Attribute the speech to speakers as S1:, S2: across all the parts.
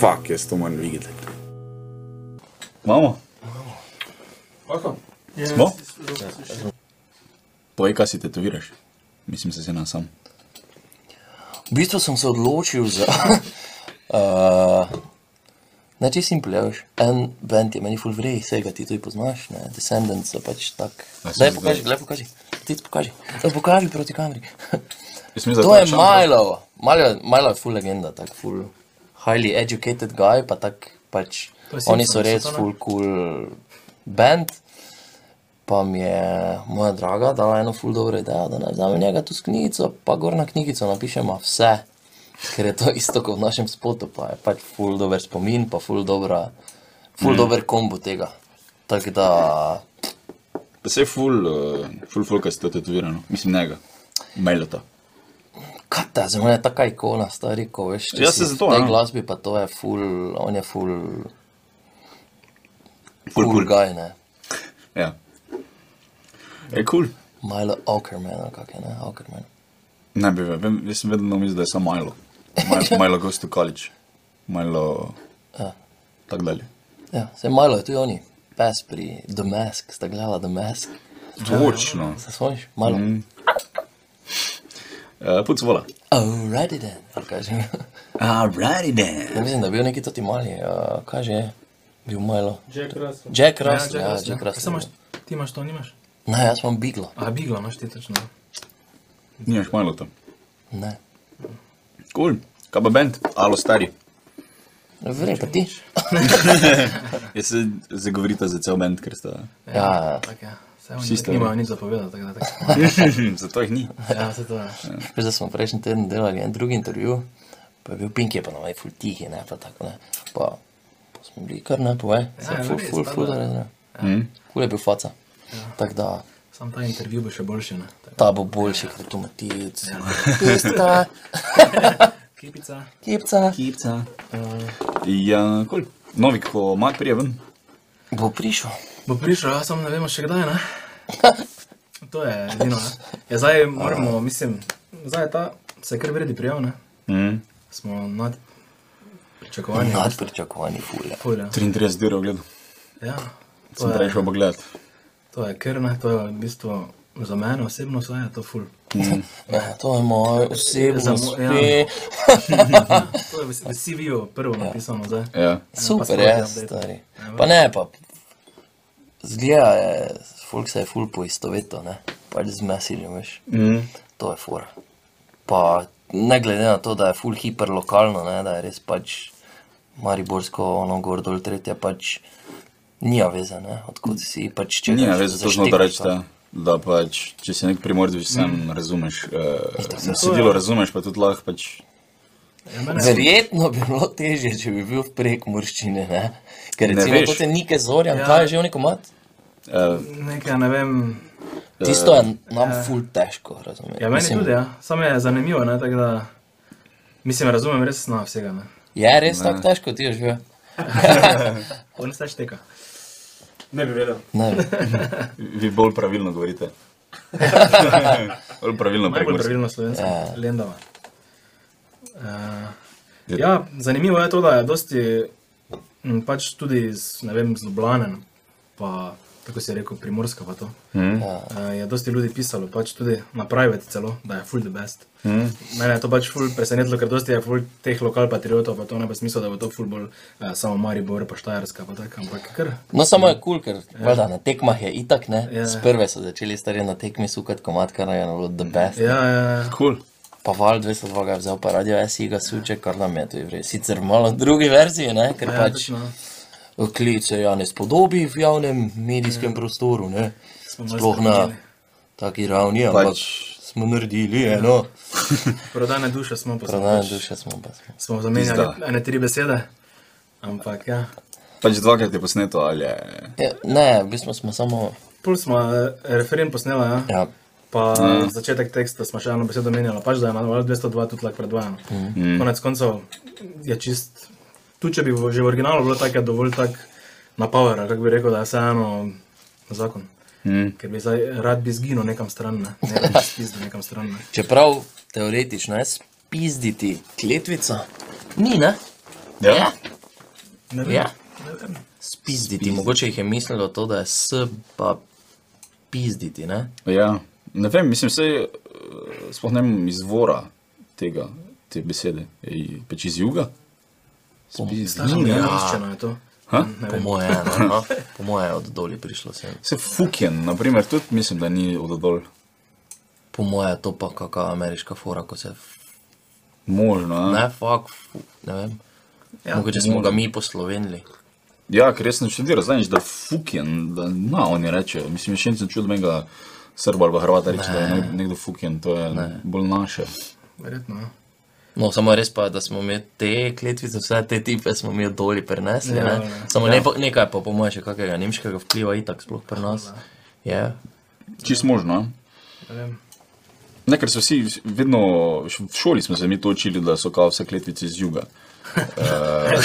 S1: Fuck, jaz to moram videti.
S2: Imamo? Smo? Povej, kaj si tetoviraš. Mislim, se na sam.
S3: V bistvu sem se odločil za. uh, ne, če si pleješ. En bend je meni full vrej, vsega ti tudi poznaš, ne, Descendants so pač tak.
S2: A sem
S3: Daj
S2: zdaj-
S3: pokaži, daj pokaži. Ti ti pokaži. Daj pokaži proti kameri.
S2: Jaz mislim, da
S3: to je
S2: Sean
S3: Milo. Milo, Milo je full legenda, tak full. Highly educated guy, pa tak pač.
S4: To je
S3: Oni
S4: Simpsons,
S3: so res
S4: so to, ne?
S3: full cool band. Pa mi je moja draga dala eno ful dobro idejo, da naj vzamem njega tu s knjigico, pa gor na knjigico napišemo vse, ker je to isto kot v našem spotu, pa je pač ful dober spomin, pa ful dobra, ful mm. dober kombo tega. Tako da,
S2: Pa se je ful, uh, ful, ful, kaj si to tetovirano. Mislim, njega. Mailota.
S3: kaj ta za mene je taka ikona, stari, ko veš, če
S2: Ja,
S3: si
S2: saj zato,
S3: v tej
S2: ne.
S3: glasbi, pa to je ful, on je ful,
S2: Ful,
S3: ful
S2: kul.
S3: gaj, ne.
S2: Ja. Je kul. Cool.
S3: Milo Ackerman, ali kak je, ne, Ackerman.
S2: Ne bi vedel, vem- jaz sem vedno mislil, da je samo Milo. Milo, Milo goes to college. Milo.
S3: Ja.
S2: Tako dalje.
S3: Ja, se Milo je tudi oni, pes pri The Mask, sta gledala The Mask.
S2: Točno.
S3: Se spomniš? Malo. Mm.
S2: Uh, Put zvola.
S3: Alrighty then. ali Kaj že?
S2: Alrighty then.
S3: Ja, mislim, da je bil neki toti mali, uh, kaj že je? Bil malo.
S4: Jack Russell.
S3: Jack Russell, ja, Jack
S4: Kaj se
S3: Russell.
S4: imaš? Ti imaš to, nimaš?
S3: Ne, jaz imam biglo.
S4: A, Bigla imaš ti točno. no.
S2: Nimaš Milota.
S3: Ne.
S2: Kul. Cool. Kaj pa bend? Alo, stari.
S3: Vrej, pa ti?
S2: Jaz se zagovorite za cel bend, ker sta.
S3: Ja, ja.
S4: Tako je. Vse oni
S2: Vsi
S4: tako
S2: ste-
S4: nimajo nič zapovedati, tako da tako.
S2: Zato jih ni.
S4: Ja, vse to je.
S3: Veš, da smo prejšnji teden delali en drugi intervju, pa je bil Pinky, pa nam je ful tihi, ne, pa tako ne. Pa, pa smo bili kar ne, povej. Ja,
S4: je
S3: ful,
S4: res,
S3: ful,
S4: pa
S3: ful,
S4: da. Ja.
S3: da ne. Kul je bil faca. Tako da,
S4: Sam ta intervju bo še boljši, ne? Tako.
S3: ta bo boljši, ker tu matic.
S4: Ja.
S3: Pista,
S4: Kipica.
S3: kipca.
S2: Kipca. Ja, kul. Cool. Novi, ko mat prije ven.
S3: Bo prišel.
S4: Bo prišel, jaz sam ne vemo še kdaj, ne? To je edino, ne? Ja, zdaj moramo, mislim, zdaj je ta, se je kar vredi prijav, ne?
S2: Mm.
S4: Smo nad pričakovanjem.
S3: Nad pričakovanji fulja.
S4: Ful, ja.
S2: 33 ur ogledal.
S4: Ja, to
S2: Sem prej
S4: je,
S2: šel pogledat.
S4: to je kar, ne? To je v bistvu za mene osebno, saj je to ful.
S3: Ja, to je moj
S4: Za
S3: osebno
S4: mo- ja.
S3: uspeh.
S4: To je v, v CV-ju prvo napisano zdaj.
S2: Ja.
S3: Super
S4: sploh
S3: je,
S4: ne update. Ja,
S3: stari. Pa ne, pa zgleda je, folk se je ful poistoveto, ne, pač z mesiljem, veš,
S2: Mm.
S3: to je fora. Pa ne glede na to, da je ful hiper lokalno, ne, da je res pač Mariborsko, ono gor dol tretje, pač nija veze, ne, odkud si, pač če
S2: Nima
S3: greš,
S2: veze, to
S3: zaštekneš
S2: smo da reči,
S3: pa-
S2: da, da pač, če si nek primordič, že sam razumeš, uh,
S3: se
S2: besedilo razumeš, pa tudi lahko pač.
S4: Ja, mene,
S3: Verjetno bi bilo težje, če bi bil prek morščine, ne? Ker
S2: Ne
S3: recimo
S2: veš.
S3: kot je Nike Zorjan, ja. kaj je že v neko mat?
S2: Uh,
S4: nekaj, ja, ne vem,
S3: Tisto je nam ful težko, razumeti.
S4: Ja, meni Mislim... tudi, ja. samo je zanimivo, ne, tako da. Mislim, razumem res snov vsega. Ne,
S3: Je res tako težko, ti je že.
S4: on se šteka.
S5: Ne bi vedel.
S3: Ne,
S2: vi bolj pravilno govorite. bolj pravilno
S4: Najbolj
S2: prekmursko.
S4: pravilno slovensko,
S3: Ja.
S4: lendava. Uh, ja, zanimivo je to, da je dosti, m, pač tudi iz, ne vem, zloblanen, pa tako si rekel, primorska pa to.
S2: Mm.
S3: Ja.
S4: Uh, je dosti ljudi pisalo, pač tudi na private celo, da je full the best. Mm. Mene je to pač full presenetilo, ker dosti je full teh lokal patriotov, pa to ne bi smisel, da bo to full bolj uh, samo Maribor, pa Štajerska, pa tako, ampak kar.
S3: no samo je kul, cool, ker valjda, na tekmah je itak, ne?
S4: Ja.
S3: Sprve so začeli stari na tekmi sukati komat, kar je no, bilo the best.
S4: Ja, ja, ja.
S2: Cool.
S3: Pa val 202 ga je vzel, pa radio SI ga suče, kar nam je tudi vrej. Sicer malo drugi verziji, ne?
S4: Ja,
S3: Ker pač
S4: točno.
S3: klice ja ne spodobi v javnem medijskem prostoru,
S4: Ja.
S3: ne?
S4: Smo malo Pač.
S3: Sploh na
S4: spremenili.
S3: taki ravni, ampak smo naredili
S4: Ja.
S3: no. eno.
S4: Prodane duše smo
S3: Prodajne
S4: poslušali.
S3: duše smo pa smo.
S4: Smo zamenjali
S2: Tista.
S4: ene tri besede, ampak ja.
S2: Pač dvakrat je posneto ali je.
S3: Ja, ne, v bistvu smo samo.
S4: Pol smo eh, referen posnela, ja.
S3: Ja,
S4: Pa začetek teksta smo še eno besedo menjali, pač da je malo 202 tudi lahko predvajano. Mm. Konec koncev je čist, tudi če bi v- že v originalu bilo tako, je dovolj tak napower, kako bi rekel, da je vseeno zakon. Mm. Ker bi zdaj rad bi zginil nekam stran, ne, ne rad bi spizdil nekam stran. Ne.
S3: čeprav teoretično je spizditi kletvico, ni ne. Ja,
S4: Ne vem.
S3: ja. Spizditi, mogoče jih je mislilo to, da je s pa pizditi, ne?
S2: Ja, ne vem, mislim, se eh, sploh ne vem izvora tega, te besede. Ej, Pač iz juga? Spizdi.
S4: Stara
S2: Ja.
S4: angliščina je to.
S2: Ha?
S4: Ne
S3: Po
S4: vem.
S3: moje, ne, no? po moje je od dolje prišlo sem.
S2: Se fuken, naprimer, tudi mislim, da ni ododol.
S3: Po moje je to pa kakšna ameriška fora, ko se
S2: Možno, a?
S3: Ne, fuck, fu, ne vem. Ja,
S4: Ja,
S3: Mogoče smo ga mi poslovenili.
S2: Ja, ker res ne čudim, znaš, da fuken, da na oni rečejo. Mislim, še nisem čudil menga Srba ali pa Hrvata reči, da je nek- nekdo fuken, to je ne. bolj naše.
S4: Verjetno. ja.
S3: No, samo res pa je, da smo mi te kletvice, vse te tipe smo mi doli prenesli. Ja,
S4: Ja,
S3: ne?
S4: ja.
S3: Samo ja. Ne, pa- nekaj pa po mojem še kakega nemškega vpliva itak sploh pri nas. Je.
S2: Čist možno, a?
S4: Ne vem.
S2: Ne, ker so vsi vsi- vedno, š- v šoli smo se mi to učili, da so kao vse kletvice iz juga.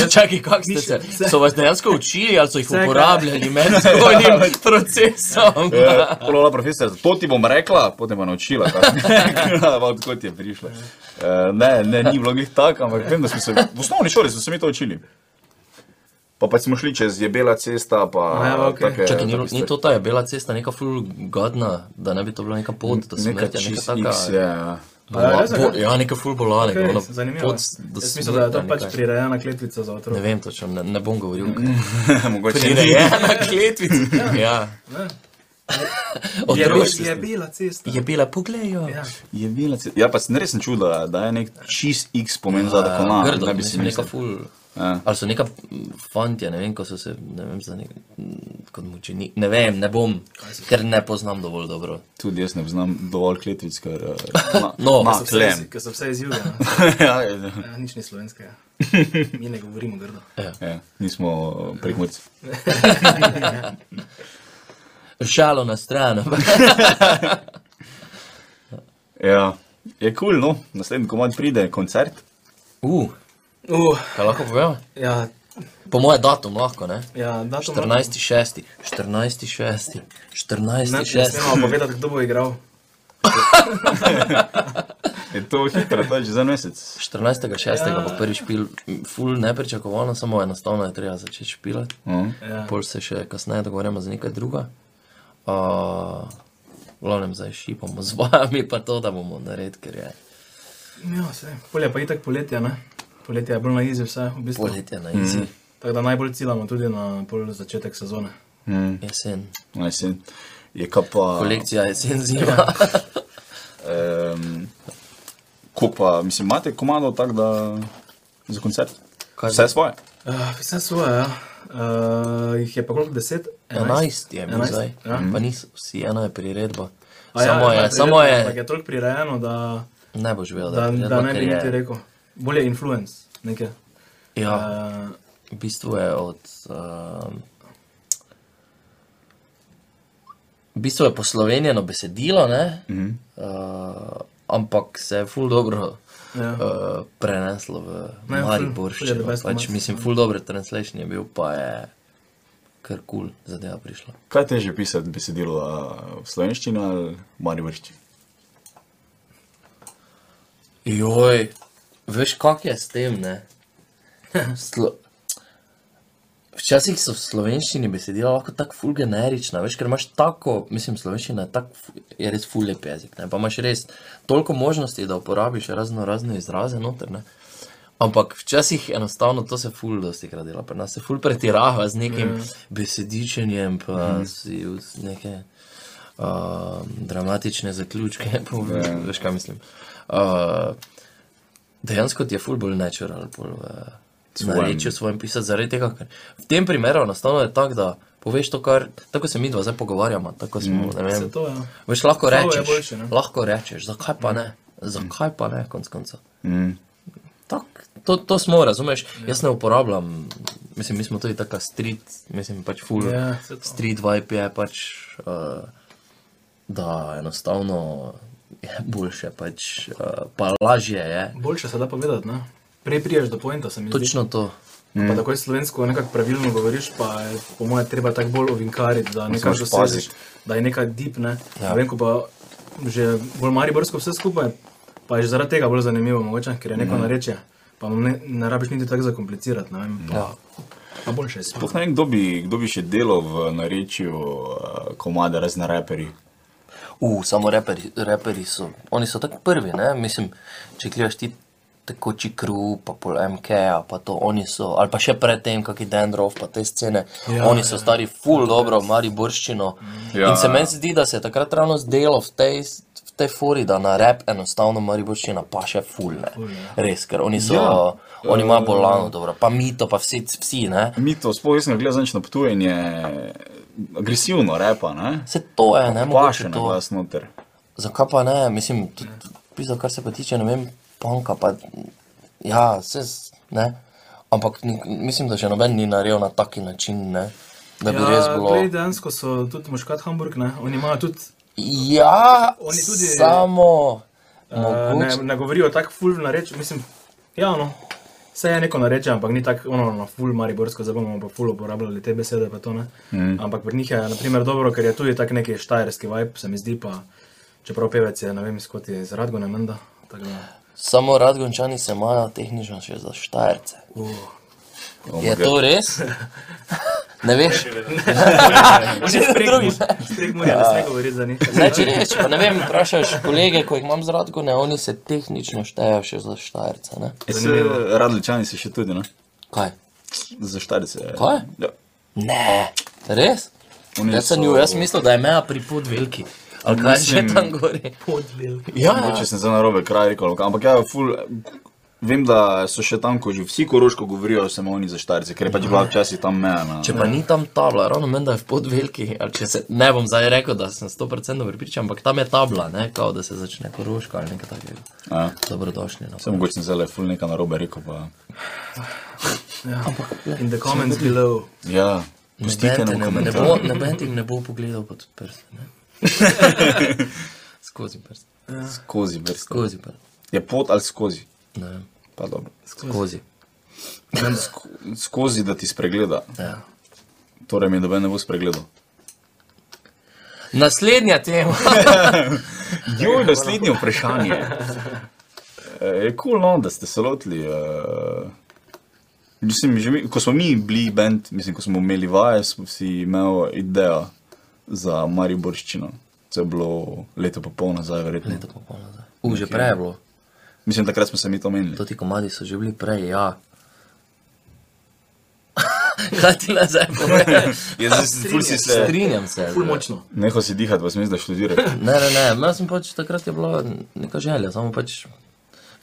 S3: Čakaj, kako ste se? So vas dejansko učili ali so jih
S4: kaj- Ja.
S3: uporabljali med svojim procesom?
S2: Lola profesor, to ti bom rekla, potem pa naučila, kako odkot je prišla. Eh, Ne, ne, ni bilo glih tako, ampak vem, da smo se, v osnovni šoli smo se mi to učili. Pa pa smo šli čez jebela cesta, pa
S4: A ja, ok.
S2: take-
S3: Čakaj, ni,
S2: take
S3: ni to ta je bila cesta, neka ful gadna, da ne bi to bila neka pot, da se
S2: Neka
S3: smrtja, neka
S2: čist
S3: taka.
S2: X je. ja.
S4: A, res je?
S3: Bo, ja, neka ful bolanega.
S4: Okej,
S3: Okay,
S4: Zanimivo. Jaz mislim, da je to pač Mm. prirejena kletvica za
S3: Ne
S4: otroke.
S3: vem točno, ne, ne bom govoril.
S2: Mogoče
S3: Prirejena kletvica. ja.
S4: Je,
S3: Otroški.
S4: je bila cesta.
S3: Je bila, poglej jo.
S4: Ja.
S2: Je bila cesta. Ja, pa sem res čudo, da, da je nek čist X pomen za tako na.
S3: Ja, Grdo,
S2: ne
S3: bi si neka
S2: mislil.
S3: ful.
S2: Ja.
S3: Ali so neka mm, fantje, ne vem, ko so se, ne vem, za nek, mm, kot mučeni. Ne vem, ne bom, ker ne poznam dovolj dobro.
S2: Tudi jaz ne poznam dovolj kletvic, ker... eh, Na,
S3: No.
S2: na
S3: Ker so
S2: tlem.
S4: Ker so vse iz juga. ne.
S2: ja, ja,
S4: Ja, nič ni slovenskega. Mi ne govorimo grdo.
S2: ja, nismo prek moc.
S3: Šalo na stran. ampak
S2: Ja, je kul, cool, no. Naslednji komad pride, koncert.
S3: Uh,
S4: Uh,
S3: kaj lahko povem?
S4: ja,
S3: Po moje datum lahko, ne?
S4: ja, datum.
S3: 14.6. 14.6.
S4: Ne, ne
S3: 14.6.
S4: smemo povedati, kdo bo igral.
S2: Je to hitro, to je že za en mesec.
S3: 14.6. Ja. pa prvi špil, m, ful nepričakovano, samo enostavno je treba začeti špilati.
S2: Uh,
S4: Ja.
S3: Pol se še kasneje dogovorimo za nekaj druga. Uh, v glavnem zdaj šipamo z vami, pa to, da bomo naredili, ker je
S4: Ja, vse. Polje pa itak poletje, ne? Poletje je bolj na izi vse, v bistvu.
S3: poletje na izi, mm.
S4: Tako da najbolj ciljamo tudi na pol začetek sezone.
S2: mm,
S3: jesen.
S2: jesen. Je ka pa...
S3: Kolekcija jesen zima.
S2: Um, ko pa, mislim, imate komado tako, da za koncert?
S3: Kaj
S2: Vse
S3: za-
S2: svoje.
S4: Uh, vse svoje, ja. Uh, jih je pa koliko? 10?
S3: Ja. 11 je bil
S4: 11,
S3: zdaj,
S4: ja.
S3: pa niso vsi, ena je priredba.
S4: A ja,
S3: Samo
S4: ja,
S3: je,
S4: priredba,
S3: samo
S4: ampak
S3: je,
S4: Je toliko prirejeno, da,
S3: ne boš vedel, da
S4: da,
S3: je priredba,
S4: da ne
S3: ker
S4: bi
S3: je-
S4: niti rekel. Bolje influence, nekaj.
S3: Ja,
S4: Uh,
S3: V bistvu je od. Um, v bistvu je poslovenjeno besedilo, ne? Mm
S4: Mhm.
S3: -hmm. uh, ampak se je ful dobro.
S4: ja.
S3: Uh, preneslo v
S4: Ne, ful- ful je ja.
S3: Mariborščino.
S4: the best
S3: Pač,
S4: komad.
S3: mislim, full dobro translation je bil, pa je kar kul cool zadeva prišla.
S2: Kaj je težje pisati besedilo a, v slovenščini ali marivrščini?
S3: Joj, veš, kak je s tem, ne? Slo... Včasih so v slovenščini besedila lahko tako ful generična, veš, ker imaš tako, mislim, slovenščina je tako, fu- je res ful lep jezik, ne? Pa imaš res toliko možnosti, da uporabiš razno razne izraze noter, ne? Ampak včasih enostavno to se ful dosti krat dela, pri nas se ful pretirava z nekim besedičenjem, pa si vz- neke uh, dramatične zaključke, poveš, veš, kaj mislim. Uh, Dejansko ti je ful bolj natural, bolj uh,
S2: Svojem.
S3: na rečju svojem pisati, zaradi tega, ker v tem primeru enostavno je tako, da poveš to, kar, tako se mi dva zdaj pogovarjamo, tako smo, mm, ne vem.
S4: Se to, ja.
S3: Veš, lahko
S4: Slovo je
S3: rečeš,
S4: boljše, ne? Mm.
S3: lahko rečeš, zakaj pa ne, zakaj pa ne, konc konca.
S2: Mm.
S3: Tak, to, to smo, razumeš?
S4: Ja.
S3: Jaz ne uporabljam, mislim, mi smo tudi taka street, mislim, pač full.
S4: Ja, saj to.
S3: street vibe je pač, uh, da enostavno je boljše, pač, uh, pa lažje je.
S4: Boljše se da povedati, ne? Prej priješ do pointa, se mi zdi.
S3: Točno to.
S4: Mm. Pa takoj slovensko nekako pravilno govoriš, pa je po mojem treba tako bolj ovinkariti, da nekaj
S2: moraš
S4: dosežeš,
S2: paziti.
S4: da je nekaj deep, ne. Ja. Vem, ko pa
S3: Mhm.
S4: že bolj mariborsko vse skupaj, pa je že zaradi tega bolj zanimivo mogoče, ker je neko mm. nareče. Pa ne, ne rabiš niti tako zakomplicirati, ne vem.
S3: No. Ja.
S4: Pa, pa boljše je sploh.
S2: Sploh ne vem, kdo bi, kdo bi še delal v narečju uh, komada razna reperi.
S3: Uh, samo reperi, reperi so, oni so tako prvi, ne? mislim, če gledaš ti tekoči kru, pa pol MK, pa to oni so, ali pa še predtem, kaki Dendrov, pa te scene, ja, oni so stari full dobro, mari borščino. Ja.
S2: Ja.
S3: In se meni zdi, da se je takrat ravno zdelo v tej, v tej fori, da na rep enostavno mari borščina pa še full, ne? Res, ker oni so, ja. oni imajo bolano dobro, pa mito, pa vsi, vsi, ne?
S2: Mi to sploh nismo gledali, znači na potujenje, agresivno repa, ne?
S3: Se to je, ne, Ja, mogoče
S2: Paše na
S3: to.
S2: glas noter.
S3: Zakaj pa ne, mislim, tudi, pizdo, kar se pa tiče, ne vem, panka, pa ja, se ne. Ampak ni- mislim, da še noben ni naredil na taki način, ne, da bi ja, res bilo.
S4: Glej, dejansko so tudi muškat Hamburg, ne? Oni imajo tudi,
S3: Ja,
S4: Oni tudi-
S3: samo
S4: uh, ne,
S3: mogoče.
S4: ne govorijo tako ful na reč, mislim, ja, no. Vse je neko nareče, ampak ni tako ono na ful mariborsko, zdaj bomo pa ful uporabljali te besede, pa to ne. Mm. Ampak pri njih je naprimer dobro, ker je tudi tak neki štajerski vibe, se mi zdi pa, čeprav pevec je, ne vem, skoti iz Radgona menda, tako da,
S3: Samo radgončani se imajo tehnično še za štajrce.
S4: uh,
S2: Oh my
S3: Je
S2: God.
S3: to res? Ne veš?
S4: Že drugi. Strek mora, da se ne govori za njih.
S3: Ne, če rečeš, pa ne vem, vprašaš kolege, ko jih imam z radgone, oni se tehnično štejejo še za štajrce, ne?
S2: E, se- Radličani se še tudi, ne?
S3: Kaj?
S2: Za štarice.
S3: Kaj?
S2: Ja.
S3: Ne, res?
S2: Oni
S3: Jaz
S2: so-
S3: sem bil, jaz mislim, da je meja pri pod veliki. Ali kaj že
S2: Mislim-
S3: tam gori?
S2: Ja, mogoče sem zdaj na robe kraj rekel, ampak- ampak ja, ful. Vem, da so še tam, ko že vsi koroško govorijo, samo oni za štarice, ker je pač bila včasih tam meja. Na...
S3: Če pa ni tam tabla, ravno meni, da je v podveliki, ali če se ne bom zdaj rekel, da sem 100% pripričan, ampak tam je tabla, ne, kao da se začne koroška ali nekaj takega.
S2: Ja.
S3: Dobrodošli. No.
S2: Sem mogoče sem zdaj le ful nekaj na robe rekel. Pa...
S4: Ja. In the comments below.
S2: Ja, pustite nam
S3: ne, ne
S2: komentar.
S3: bo, noben ti ne bo pogledal pod prste, ne. skozi prste,
S2: Skozi brst.
S3: skozi prste,
S2: Je pot ali skozi?
S3: ne, vem,
S2: Pa dobro.
S3: skozi.
S2: Sko skozi, da ti spregleda.
S3: Ja.
S2: Torej, mi dobe ne bo spregledal.
S3: Naslednja tema.
S2: Jo, naslednje vprašanje. E, Je kul, cool, no, da ste se lotili. Uh, mislim, že mi, ko smo mi bili bend, mislim, ko smo imeli vaje, smo si imeli idejo za Mariborščino. To je bilo leto pa pol nazaj, verjetno.
S3: Leto pa pol nazaj. U, že prej je bilo.
S2: Mislim, takrat smo se mi to menili.
S3: To ti komadi so že bili prej, ja. Kaj ti nazaj poveš?
S2: Jaz sem ful si se.
S3: Strinjam se.
S4: Ful
S3: z-
S4: močno.
S2: Nehal si dihati, vas mislim, da študiraš.
S3: Ne, ne, ne, jaz sem pač takrat je bila neka želja, samo pač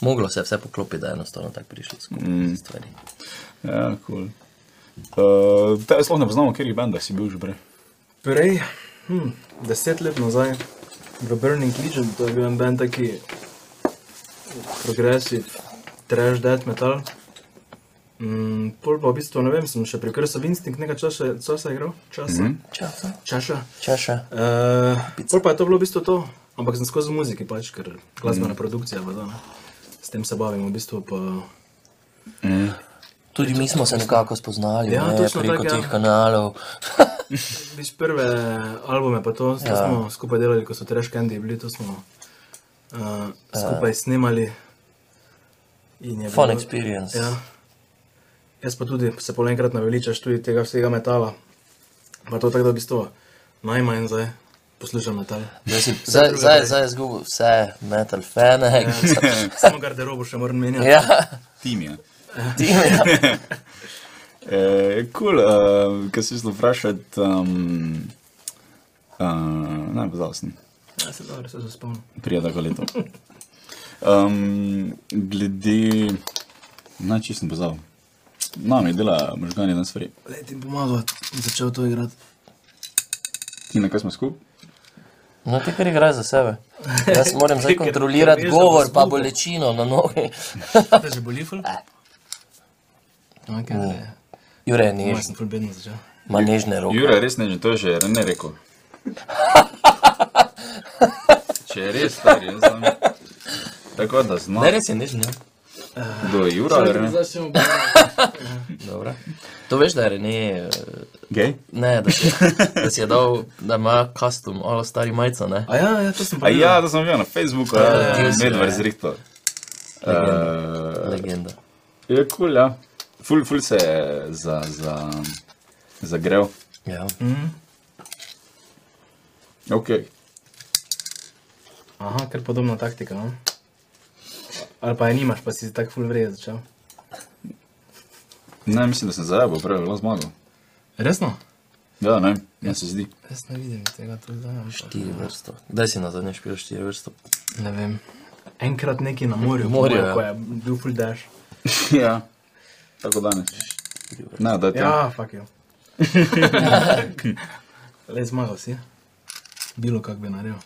S3: moglo se je vse poklopiti, da je enostavno tako prišlo skupaj mm. stvari.
S2: Ja, kul. Cool. Uh, Sploh ne poznamo, ker je bend, da si bil že prej.
S4: Prej, hm, deset let nazaj, v Burning Legion, to je bil en band taki progresiv, trash death metal. Mm, pol pa v bistvu, ne vem, sem še pri Krsav Instinct nekaj časa, časa igral, časa, mm
S3: Časa.
S4: -hmm. časa.
S3: Čaša.
S4: Uh, pol pa je to bilo v bistvu to, ampak sem skozi muziki, pač, ker glasbena mm. produkcija, pa to, ne. s tem se bavim, v bistvu pa
S3: Tudi mi smo se nekako spoznali,
S4: Ja,
S3: ja, ne,
S4: točno
S3: preko
S4: tako, ja.
S3: teh kanalov.
S4: Viš prve albume, pa to, to ja. smo skupaj delali, ko so Trash Candy bili, to smo uh, skupaj ja. snemali. in je
S3: Fun
S4: bilo-
S3: experience.
S4: Ja. Jaz pa tudi se polenkrat naveličaš tudi tega vsega metala. Pa to tako, da v bistvu najmanj zdaj poslušam metal.
S3: Zdaj si- Zdaj zdaj- zdaj je zgubil vse metal fene. Ja.
S4: Samo garderobo še moram menjati.
S3: ja.
S2: Tim je.
S3: Tim, ja.
S2: Kul, Eh, cool, uh, kaj si šlo vprašati? Um, uh, ne, pozabil sem,
S4: Ja, se dobro, se že spomnim.
S2: prije tako leto. Um, glede, ne, čisto sem pozabil. No, mi dela možgani danes fraj.
S4: Lej ti pomagal, začel to igrati.
S2: Ti na kaj smo skupaj?
S3: No, ti kar igraš za sebe. Jaz moram zdaj kontrolirati
S4: veš, da bo
S3: govor, pa
S4: zgubil.
S3: bolečino na nogi.
S4: Te že boli ful?
S3: Eh.
S4: Okay.
S3: Jure,
S4: Ja,
S3: niž,
S4: sem ful bedno začel.
S3: ima nežne roke.
S2: Jure, res ne, že to je že ne rekel. Če je res, stari, jaz znam. Tako da znam.
S3: Ne, res je nežne.
S2: Kdo je Jura ali ne?
S5: Začnemo.
S3: Dobro. To veš, da je Rene,
S2: Gej?
S3: ne, da si, da si je dal, da ima custom, alo stari majica, ne?
S4: A ja, ja, to sem pa
S2: A
S4: videl.
S2: ja, to sem videl na Facebooku, da je
S3: Ja, ja, ja.
S2: Medvard zrihtal.
S3: Legenda.
S2: Eh, Je kul, cool, ja. Ful, ful se je za, za, zagrel.
S3: Ja.
S4: Mhm.
S2: Ok.
S4: Aha, ker podobna taktika. No? Ali pa je nimaš, pa si tako full vrije začel.
S2: Ne, mislim, da sem zajeval, prej je bilo zmagal.
S4: Resno?
S2: Ja, ne, meni se zdi.
S4: Jaz ne vidim tega tu zdaj. ampak
S3: Štiri vrste. Kdaj si na zadnje špil štiri vrste?
S4: Ne vem. Enkrat neki na morju,
S3: Morju,
S4: po moje,
S3: ja.
S4: ko je bil full dash.
S2: ja, tako danes. Ne, da ti.
S4: Ja, fuck jo. Le zmagal si. Bilo kak bi naredil.
S2: A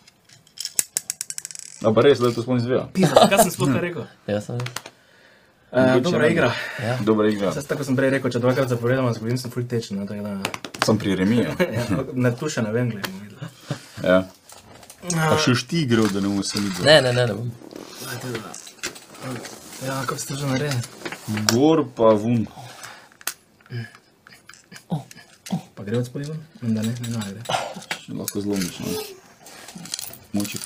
S2: No, pa res, da to spomnim zveja.
S4: Pisa, kaj sem sploh ne rekel?
S3: Ja, sem.
S4: E, Eh, dobra igra.
S2: Dobro igra.
S4: Saj tako sem prej rekel, če dvakrat zapovedamo, zgodim sem full tečen. No, tako da,
S2: Sem pri remiju.
S4: ja, ampak na tu še ne vem, gledaj. bomo videli.
S2: Ja. Pa še ti igral, da ne bomo se videli.
S3: Ne, ne, ne, ne bom.
S4: Ja, kako ste že naredili?
S2: Gor pa vun.
S4: Pa gre od spodaj ven? Menda ne, ne, ne gre.
S2: Lahko zlomiš. ne. Moči.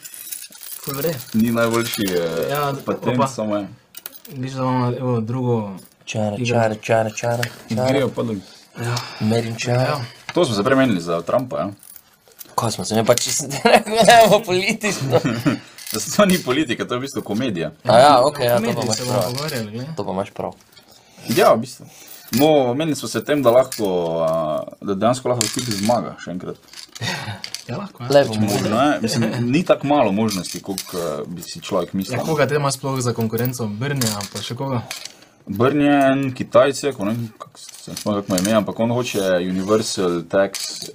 S4: Full vrije.
S2: Ni najboljši eh,
S4: Ja, opa.
S2: patent, samo je.
S4: Viš, da imamo evo, drugo.
S3: Čara,
S4: Igra.
S3: čara, čara, čara. čara.
S2: Grejo pa dol.
S3: Merim čara.
S2: To smo se premenili za Trumpa, ja.
S3: Kaj smo se ne pa čisto rekel, ne bo politično.
S2: Da se to ni politika, to je v bistvu komedija.
S3: A ja, ok, ja, to pa
S4: Mediji
S3: imaš
S4: se bomo
S3: prav.
S4: pogovarjali, gledaj.
S3: To pa imaš prav.
S2: Ja, v bistvu. No, menili smo se tem, da lahko, a, da dejansko lahko tudi zmaga še enkrat.
S4: Ja, lahko. ja.
S3: Lepo mu.
S2: Možno je, mislim, ni tako malo možnosti, koliko eh, bi si človek mislil.
S4: Ja, koga te ima sploh za konkurenco? Brnja, pa še koga?
S2: Brnjen, Kitajcek, ne vem, kako se spomnim, kako mu je ime, ampak on hoče universal tax,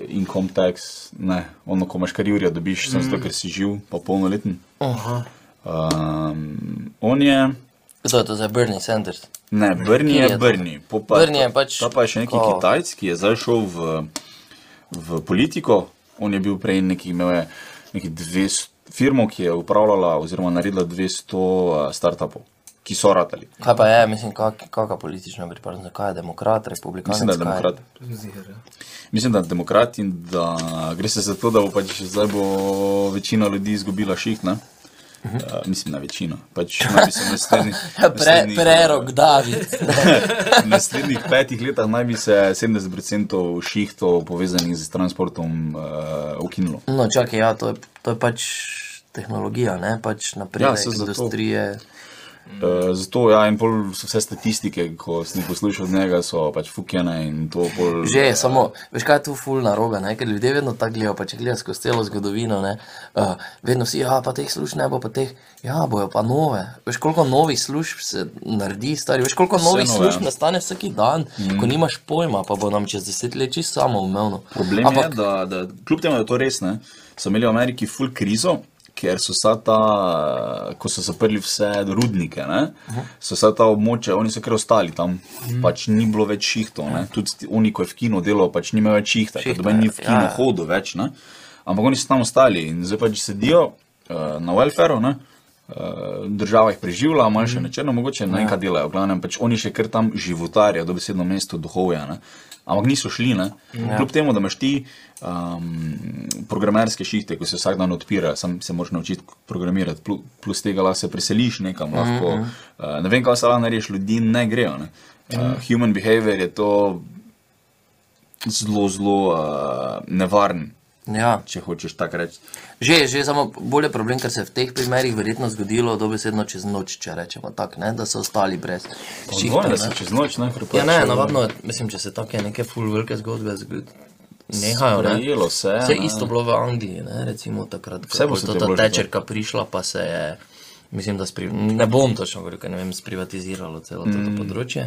S2: income tax, ne, ono, ko imaš karjurja, dobiš, mm. sem zato, ker si živ, pa polnoleten.
S4: Aha.
S2: Um, on je,
S3: Kdo je to za Bernie Sanders?
S2: ne, Brni
S3: Kje je
S2: je
S3: to?
S2: Brni. po
S3: Brni no. je pač
S2: Ta pa je še neki
S3: tako-
S2: Kitajc, ki je zdaj šel v, v politiko, on je bil prej neki, imel je neki 200 firmo, ki je upravljala oziroma naredila 200 startupov, ki so ratali.
S3: Kaj pa je, mislim, kak, kakšna politična pripadnost, kaj je demokrat, republikanec?
S2: Mislim, da je
S3: kaj
S2: demokrat.
S4: Zihar, ja.
S2: Mislim, da je demokrat in da gre se za to, da bo pač zdaj bo večina ljudi izgubila ših. Ne? Uh, mislim, na večino. Pač naj bi se v naslednjih-
S3: Mhm. Ja, Pre,
S2: naslednjih,
S3: prerok David.
S2: v naslednjih petih letih naj bi se 70% šihtov povezanih z transportom uh, ukinulo.
S3: No, čakaj, ja, to je, to je pač tehnologija, ne? Pač
S2: Ja,
S3: napredek
S2: saj
S3: ja,
S2: zato.
S3: industrije. Mhm.
S2: Uh, zato ja, in pol so vse statistike, ko sem jih poslušal od njega, so pač fukjene in to bolj.
S3: Že, ja. samo, veš kaj je tu ful narobe, ne? ker ljudje vedno tako gledajo, pa če gledaš skozi celo zgodovino, ne, uh, vedno si, ja, pa teh služb ne bo, pa teh, ja, bojo pa nove. Veš koliko novih služb se naredi, stari, veš koliko
S2: nove,
S3: novih
S2: Mhm.
S3: služb
S2: ja.
S3: nastane vsak dan, mm. ko nimaš pojma, pa bo nam čez deset let čisto samoumevno.
S2: Problem Ampak... je, da, da kljub temu, da je to res ne, so imeli v Ameriki full krizo, ker so vsa ta, ko so zaprli vse rudnike, ne, so vsa ta območja, oni so kar ostali tam, pač ni bilo več šihtov, ne. tudi ti- oni, ko je v kinu delal, pač ni imel več šihta,
S3: Šihta,
S2: šihta doben ni v
S3: ja,
S2: kino
S3: ja.
S2: ja. hodil več, ne. ampak oni so tam ostali in zdaj pač sedijo uh, na welfareu. Ne, eh, Država jih preživlja, malo še nečeno, mogoče ne nekaj delajo, v glavnem, pač oni še kar tam životarijo, dobesedno mesto duhovja. Ne. Ampak niso šli, ne. Ja. Kljub temu, da imaš ti um, programerske šihte, ko se vsak dan odpira, sam se moraš naučiti programirati, plu- plus tega lahko se preseliš nekam, lahko, mm -hmm. uh, ne vem, kaj se lahko narediš, ljudi ne grejo. Ne. Uh, human behavior je to zelo, zelo uh, nevaren,
S3: Ja.
S2: če hočeš tako reči.
S3: Že, že samo bolje problem, ker se je v teh primerih verjetno zgodilo dobesedno čez noč, če rečemo tako, ne, da so ostali brez šihtov,
S2: Življenje, da
S3: ne.
S2: se čez noč ne prepoje.
S3: Ja, ne, navadno, mislim, če se take neke full velike zgodbe zgod- nehajo, ne.
S2: Prejelo se je.
S3: Vse
S2: ne.
S3: Ja. isto bilo v Angliji, ne, recimo takrat,
S2: Vse
S3: ko
S2: bo
S3: je
S2: se
S3: to
S2: te
S3: ta
S2: bilo že to.
S3: tečerka prišla, pa se je, mislim, da spri, ne bom točno govoril, ker ne vem, sprivatiziralo celo to, to področje.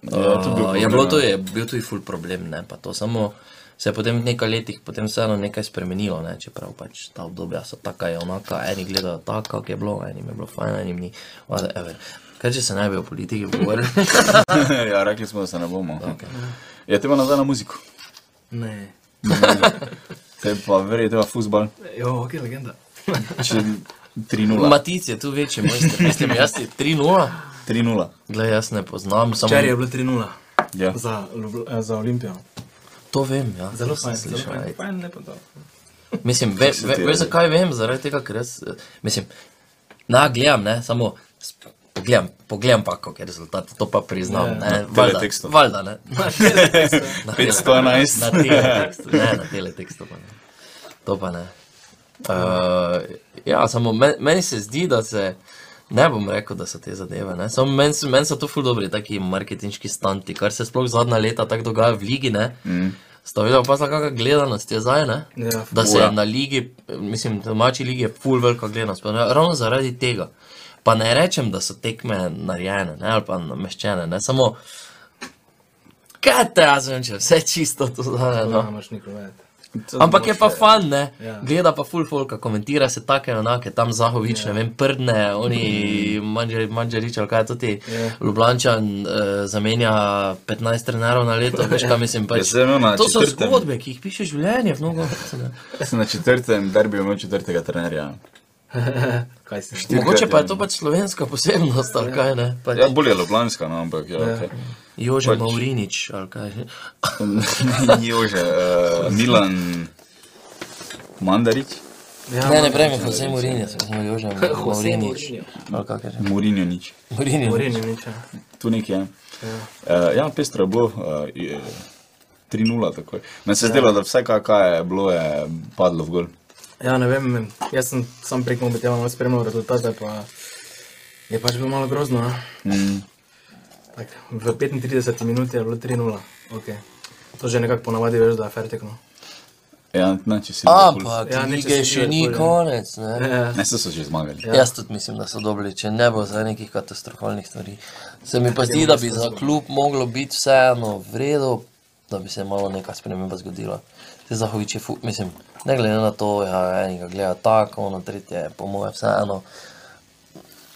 S2: Mm. Ja, to je bil
S3: Uh, je
S2: problem,
S3: bilo
S2: ja.
S3: to, je bil tudi ful problem, ne, pa to samo se je potem v nekaj letih potem vseeno nekaj spremenilo, ne, čeprav pač ta obdobja so taka je onaka, eni gledajo tako, kako je bilo, enim je bilo fajn, enim ni, whatever. Kaj če se ne bi o politiki pogovarjali?
S2: ja, rekli smo, da se ne bomo. Okay. Ja, tema nazaj na muziko.
S4: Ne.
S2: Te pa verjete v futbal.
S4: Jo, ok, legenda.
S2: Če 3-0.
S3: Matic je tu večji mojster, mislim, jaz je 3-0,
S2: 3-0.
S3: gled, jaz ne poznam, samo...
S4: Včeraj je bilo 3-0
S2: Ja.
S4: za, Ljubl- eh, za Olimpijo.
S3: To vem, ja.
S4: Zelo
S3: sem
S4: fajn, zelo
S3: slišal,
S4: fajn.
S3: ej.
S4: Fajn, lepo
S3: No.
S4: to.
S3: Mislim, ve,
S2: se
S3: ve,
S2: ti
S3: veš
S2: reče?
S3: zakaj vem, zaradi tega, ker jaz, eh, mislim, na gledam, ne, samo s- Pogledam, pogledam pa, kako je rezultat, to pa priznam.
S4: Ja.
S3: Ne,
S2: Na
S3: valjda,
S2: teletekstu.
S3: valjda, ne.
S2: 511.
S3: Na Na teletekstu, ne, na teletekstu pa ne. To pa ne. Uh, ja, samo men, meni se zdi, da se. Ne bom rekel, da so te zadeve. ne, Samo meni so, men so to ful dobri, taki marketinški stanti, kar se sploh zadnja leta tako dogaja v ligi. Ne? Mm. Sta videla pa, kakšna gledanost je zdaj. ne?
S4: Ja,
S3: da se
S2: fura.
S3: je na ligi, mislim, domači ligi je full velika gledanost. pa ra- Ravno zaradi tega. Pa ne rečem, da so tekme narejene ne? ali pa nameščene, ne? samo kaj te jaz vem, če je vse čisto to zdaj.
S4: To
S3: No.
S4: ne moreš nikoli vedeti.
S3: Ampak je pa fan, ne?
S4: Ja.
S3: gleda pa full folka, komentira se take enake, tam Zahovič, ne vem, prdne, oni Mandžari- Mandžarič ali kaj to ti. Ljubljančan eh, zamenja 15 trenerov na leto, veš kaj mislim. Pač.
S2: Jaz sem imel na
S3: To so
S2: četrtem.
S3: zgodbe, ki jih piše življenje, mnogo.
S2: Jaz sem na četrtem derbiju imel četrtega trenerja.
S4: Kaj si?
S3: Mogoče pa je to pač slovenska posebnost, ali kaj ne. Pač,
S2: Ja, bolje je ljubljanska, no, ampak ja. okej.
S3: Jože
S2: pač-
S3: pač. Maurinič, ali kaj.
S2: Jože, eh, Milan Mandarić,
S4: Ja,
S3: Ne, ne prejme, Jose Maurinič, smo Jože Maurinič. Ali kaj že.
S2: Mourinho nič.
S3: Maurinič.
S4: Morini nič. ja.
S2: Tu nekaj je. Eh, Ja, pestro je bilo. eh, je- 3-0 takoj. Meni se je zdelo, da vse, kaj- kaj je bilo, je padlo v gol.
S4: Ja, ne vem, jaz sem sam prek mobitela malo spremljal rezultate, pa je pač bilo malo grozno. ne.
S2: Mm.
S4: Tak, v 35 minuti je bilo 3-0. Okay. To že nekako ponavadi veš, da je fair no. tekmo.
S2: Ja, ne, če si Liverpool.
S3: Ampak,
S4: Ja, nič
S3: lige
S4: se ni
S3: še ni
S4: Liverpool, ja.
S3: konec. Ne?
S4: Ja,
S2: Ne, saj so že zmagali.
S3: Ja. Jaz tudi mislim, da so dobili, če ne bo zdaj nekih katastrofalnih stvari. Se mi pa zdi, da bi za klub moglo biti vseeno v redu, da bi se malo neka sprememba zgodila. Te zahoviče, fu, mislim, ne glede na to, ja, enega gleda tako, ono tretje, je po moje vseeno.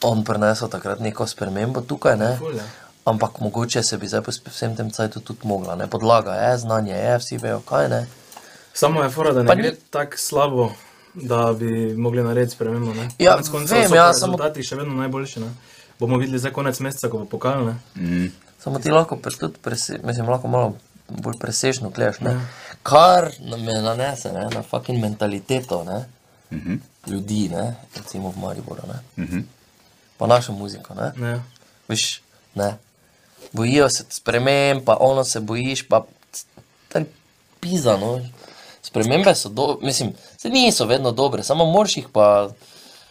S3: On prenesel takrat neko spremembo tukaj, ne?
S4: Ful, ja.
S3: Ampak mogoče se bi zdaj po sp- vsem tem cajtu tudi mogla, ne? Podlaga je, znanje je, vsi vejo kaj, ne?
S4: Samo je fora, da
S3: Pa
S4: ne
S3: ni-
S4: gre tako slabo, da bi mogli narediti spremembo. ne.
S3: Ja,
S4: Konec koncev
S3: vem,
S4: so
S3: ja,
S4: pa
S3: samo-
S4: rezultati še vedno najboljši. Ne? Bomo videli za konec meseca, ko bo pokal. Ne?
S2: Mm.
S3: Samo ti lahko pre, tudi prese, mislim, lahko malo bolj presežno gledaš, ne? kar na- me nanese ne? na fucking mentaliteto ne?
S2: Mm -hmm.
S3: ljudi, ne? recimo v Mariboru, ne?
S2: Mm -hmm.
S3: pa našo muziko. Ne?
S4: Ne.
S3: Veš, ne? Bojijo se sprememb, pa ono se bojiš, pa tam pizda. No? Spremembe so dobre, mislim, se niso vedno dobre, samo moraš jih pa.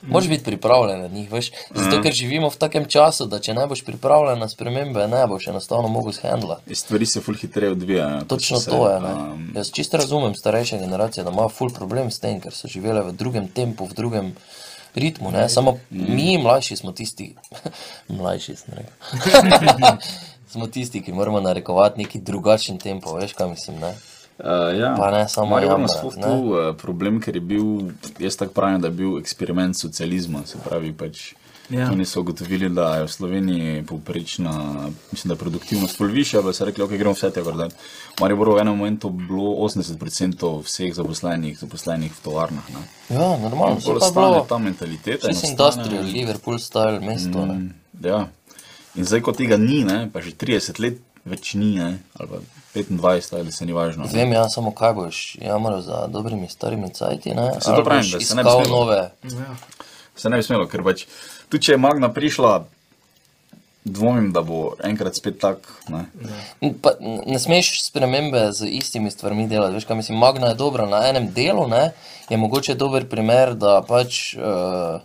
S3: Moraš biti pripravljen na njih, veš? zato ker živimo v takem času, da če ne boš pripravljen na spremembe, ne boš enostavno mogel shendlati.
S2: Stvari se ful hitreje odvijajo. ne, kot
S3: Točno
S2: so se,
S3: to je. ne.
S2: um,
S3: Jaz čisto razumem starejše generacije, da imajo ful problem s tem, ker so živele v drugem tempu, v drugem ritmu. Ne?
S2: Mm.
S3: Samo mi, mlajši, smo tisti, mlajši, sem rekel. smo tisti, ki moramo narekovati neki drugačen tempo, veš kaj mislim. Ne?
S2: Uh, ja.
S3: Pa ne samo
S2: Maribor ima
S3: Jambra,
S2: sploh
S3: ne.
S2: tu uh, problem, ker je bil, jaz tako pravim, da je bil eksperiment socializma. Se pravi, pač ja.
S4: Ja.
S2: oni so ugotovili, da je v Sloveniji povprečna, mislim, da je produktivnost pol više, pa so rekli, ok, gremo vse te vrde. V Mariboru v enem momentu bilo 80% vseh zaposlenih, zaposlenih v tovarnah. Ne?
S3: Ja, normalno,
S2: Bolj
S3: vse pa je
S2: ostane
S3: bilo.
S2: ta mentaliteta.
S3: Vsi si
S2: enostavno.
S3: industrial, Liverpool style, mesto. Mm.
S2: Ja. In zdaj, ko tega ni, ne, pa že 30 let več ni, ne, ali pa 25 ali se ni važno. ne.
S3: Vem, ja, samo kaj boš, jamro za dobrimi starimi cajti, ne?
S2: Se to
S3: ali
S2: pravim,
S3: boš
S2: da se ne bi
S3: iskal
S2: smelo.
S3: nove.
S4: Ja.
S2: se ne bi smelo, ker pač tudi če je Magna prišla, dvomim, da bo enkrat spet tak. Ne?
S3: Pa, n- ne smeš spremembe z istimi stvarmi delati. Veš, kaj mislim, Magna je dobra na enem delu, ne? je mogoče dober primer, da pač uh,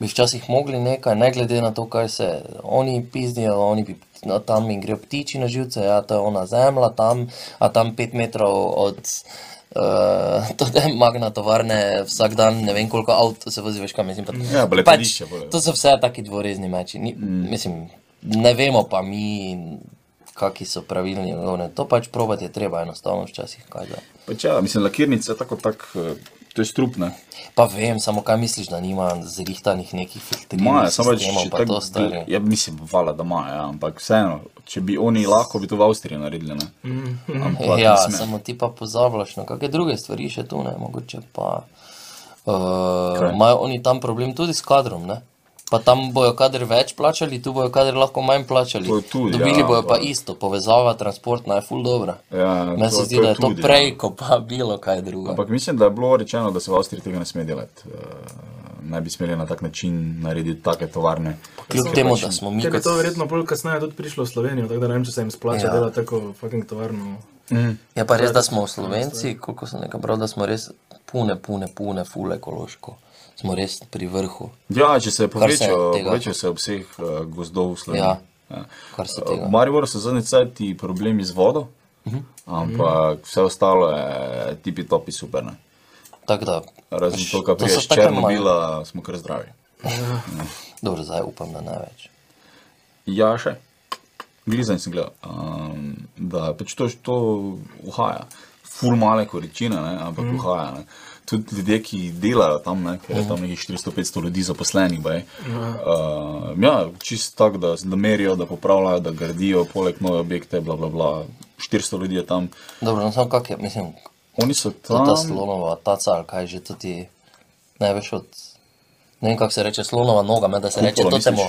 S3: bi včasih mogli nekaj, ne glede na to, kaj se oni pizdijo, oni bi. No, tam jim gre ptiči na živce, ja, to je ona zemlja, tam, a tam pet metrov od uh, te magne tovarne, vsak dan ne vem koliko avto se vozi, veš kaj mislim. pač
S2: Ja, pa letališče bolj.
S3: to so vse taki dvorezni meči. Ni, mm. Mislim, ne vemo pa mi, kakšni so pravilni odgovori. To pač probati je treba enostavno včasih kaj da.
S2: Pač ja, mislim, lakirnica je tako tak. eh, To je strupne.
S3: Pa vem, samo kaj misliš, da nima zrihtanih nekih
S2: Maja,
S3: filtriranih
S2: samo če če
S3: sistemov, Ja, pa
S2: tako
S3: to stari.
S2: Ja, mislim, vala, da maja, ja, ampak vseeno, če bi oni lahko, bi to v Avstriji naredili. Ne? Ampak,
S3: Ja,
S2: ne sme.
S3: samo ti pa pozabljaš na kakšne druge stvari, še tu ne, mogoče pa.
S2: Kaj?
S3: Uh, imajo oni tam problem tudi s kadrom, ne? Pa tam bojo kader več plačali, tu bojo kader lahko manj plačali.
S2: To je tudi,
S3: Dobili
S2: ja,
S3: bojo pa
S2: ampak-
S3: isto, povezava transportna je full dobra.
S2: Ja,
S3: Meni
S2: to-
S3: se zdi,
S2: to je
S3: da je to
S2: tudi, ja.
S3: prej, kot pa bilo kaj drugega.
S2: ampak mislim, da je bilo rečeno, da se v Avstriji tega ne sme delati. eh, ne bi smeli na tak način narediti take tovarne.
S3: Kljub
S2: Ker
S3: temu,
S2: pač-
S3: da smo mi
S4: Ker je
S3: kot
S4: to verjetno bolj kasneje tudi prišlo v Slovenijo, tako da ne vem, če se jim splača
S3: Ja.
S4: ja. delati tako fucking tovarno.
S3: Je Ja, pa res, da smo Slovenci,
S4: ja.
S3: koliko sem nekaj bral, da smo res pune, pune, pune, fule ekološko. Smo res pri vrhu,
S2: Ja, če se povečajo,
S3: tega-
S2: povečajo se obseg eh, gozdov v Sloveniji.
S3: Ja.
S2: Ja.
S3: kar se
S2: V
S3: tega.
S2: Mariboru so zadnji cajt ti problemi z vodo,
S3: Mhm.
S2: ampak vse ostalo je tipi topi super. Ne?
S3: Tako da,
S2: Razen to, kar
S3: to so
S2: priješ
S3: take
S2: Černobila, smo kar zdravi.
S3: dobro, zdaj upam, da ne več.
S2: Ja, še. Glizan sem gledal, um, da pač to, to uhaja. Ful male količine, ne, ampak
S3: Mhm.
S2: mm. uhaja. Ne. Tudi ljudje, ki delajo tam, ne, ker je tam nekih 400-500 ljudi zaposlenih,
S3: Ja.
S2: baj, uh, ja, čist tak, da, da merijo, da popravljajo, da gradijo, poleg nove objekte, bla, bla, bla. 400 ljudi je tam.
S3: Dobro, no samo kak je, mislim,
S2: Oni so
S3: ta,
S2: tam.
S3: ta slonova, ta cal, kaj že tudi ne veš od. Ne vem, kako se reče slonova noga, me, da se
S2: Kupolo,
S3: reče to
S2: misliš?
S3: temu,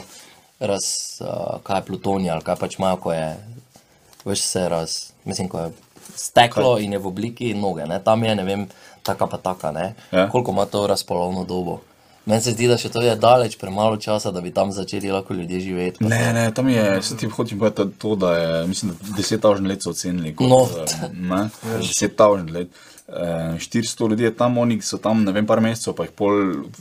S3: raz, uh, kaj je plutonija ali kaj pač ima, ko je, veš se raz, mislim, ko je steklo kaj? in je v obliki noge, ne? tam je, ne vem, taka pa taka, ne?
S2: Ja.
S3: koliko ima to razpolovno dobo. Meni se zdi, da še to je daleč premalo časa, da bi tam začeli lahko ljudje živeti. pa
S2: Ne, ne, tam je, se ti hočem povedati to, da je, mislim, da 10 tavžen let so ocenili. Kot,
S3: No.
S2: eh, Ne, 10 tavžen let. Eh, 400 ljudi je tam, oni so tam, ne vem, par mesecev, pa jih pol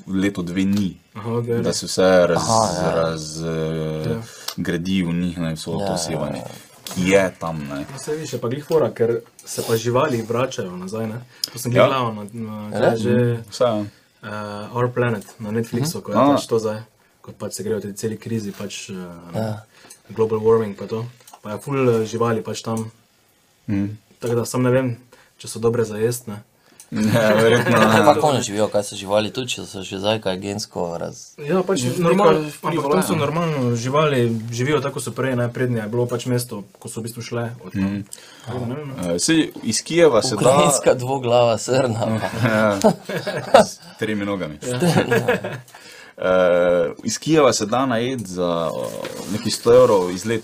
S2: leto, dve ni.
S4: Aha, okay.
S2: Da se vse
S3: Aha, ja.
S2: razgradi v njih, ne, vso
S3: Ja,
S2: to sevanje, ki je tam. Ne.
S4: Vse više pa jih fora, ker se pa živali vračajo nazaj. Ne? To sem gledal ja. na, na kaj je že
S2: Vse, ja.
S4: uh, Our Planet na Netflixu, ko je
S2: Ah.
S4: pač to zdaj, ko pač se grejo te celi krizi, pač uh, ja. global warming pa to. Pa je full eh, živali pač tam.
S2: Mhm.
S4: Tako da sam ne vem, če so dobre za jesti.
S2: ne, Ja, verjetno ne.
S3: Kaj pa konec živijo, kaj so živali, tudi če so že zdaj kaj gensko raz.
S4: Ja, pač ja. normalno, ampak tam so normalno živali, živijo tako kot so prej, najprednje je bilo pač mesto, ko so v bistvu šle od tam. Mm. Tako da ne vem.
S2: Eh, Sej, iz Kijeva se da
S3: Ukrajinska dvoglava srna. pa-
S2: Ja, s tremi nogami. Uh, iz Kijeva se da najed za uh, neki 100 evrov izlet.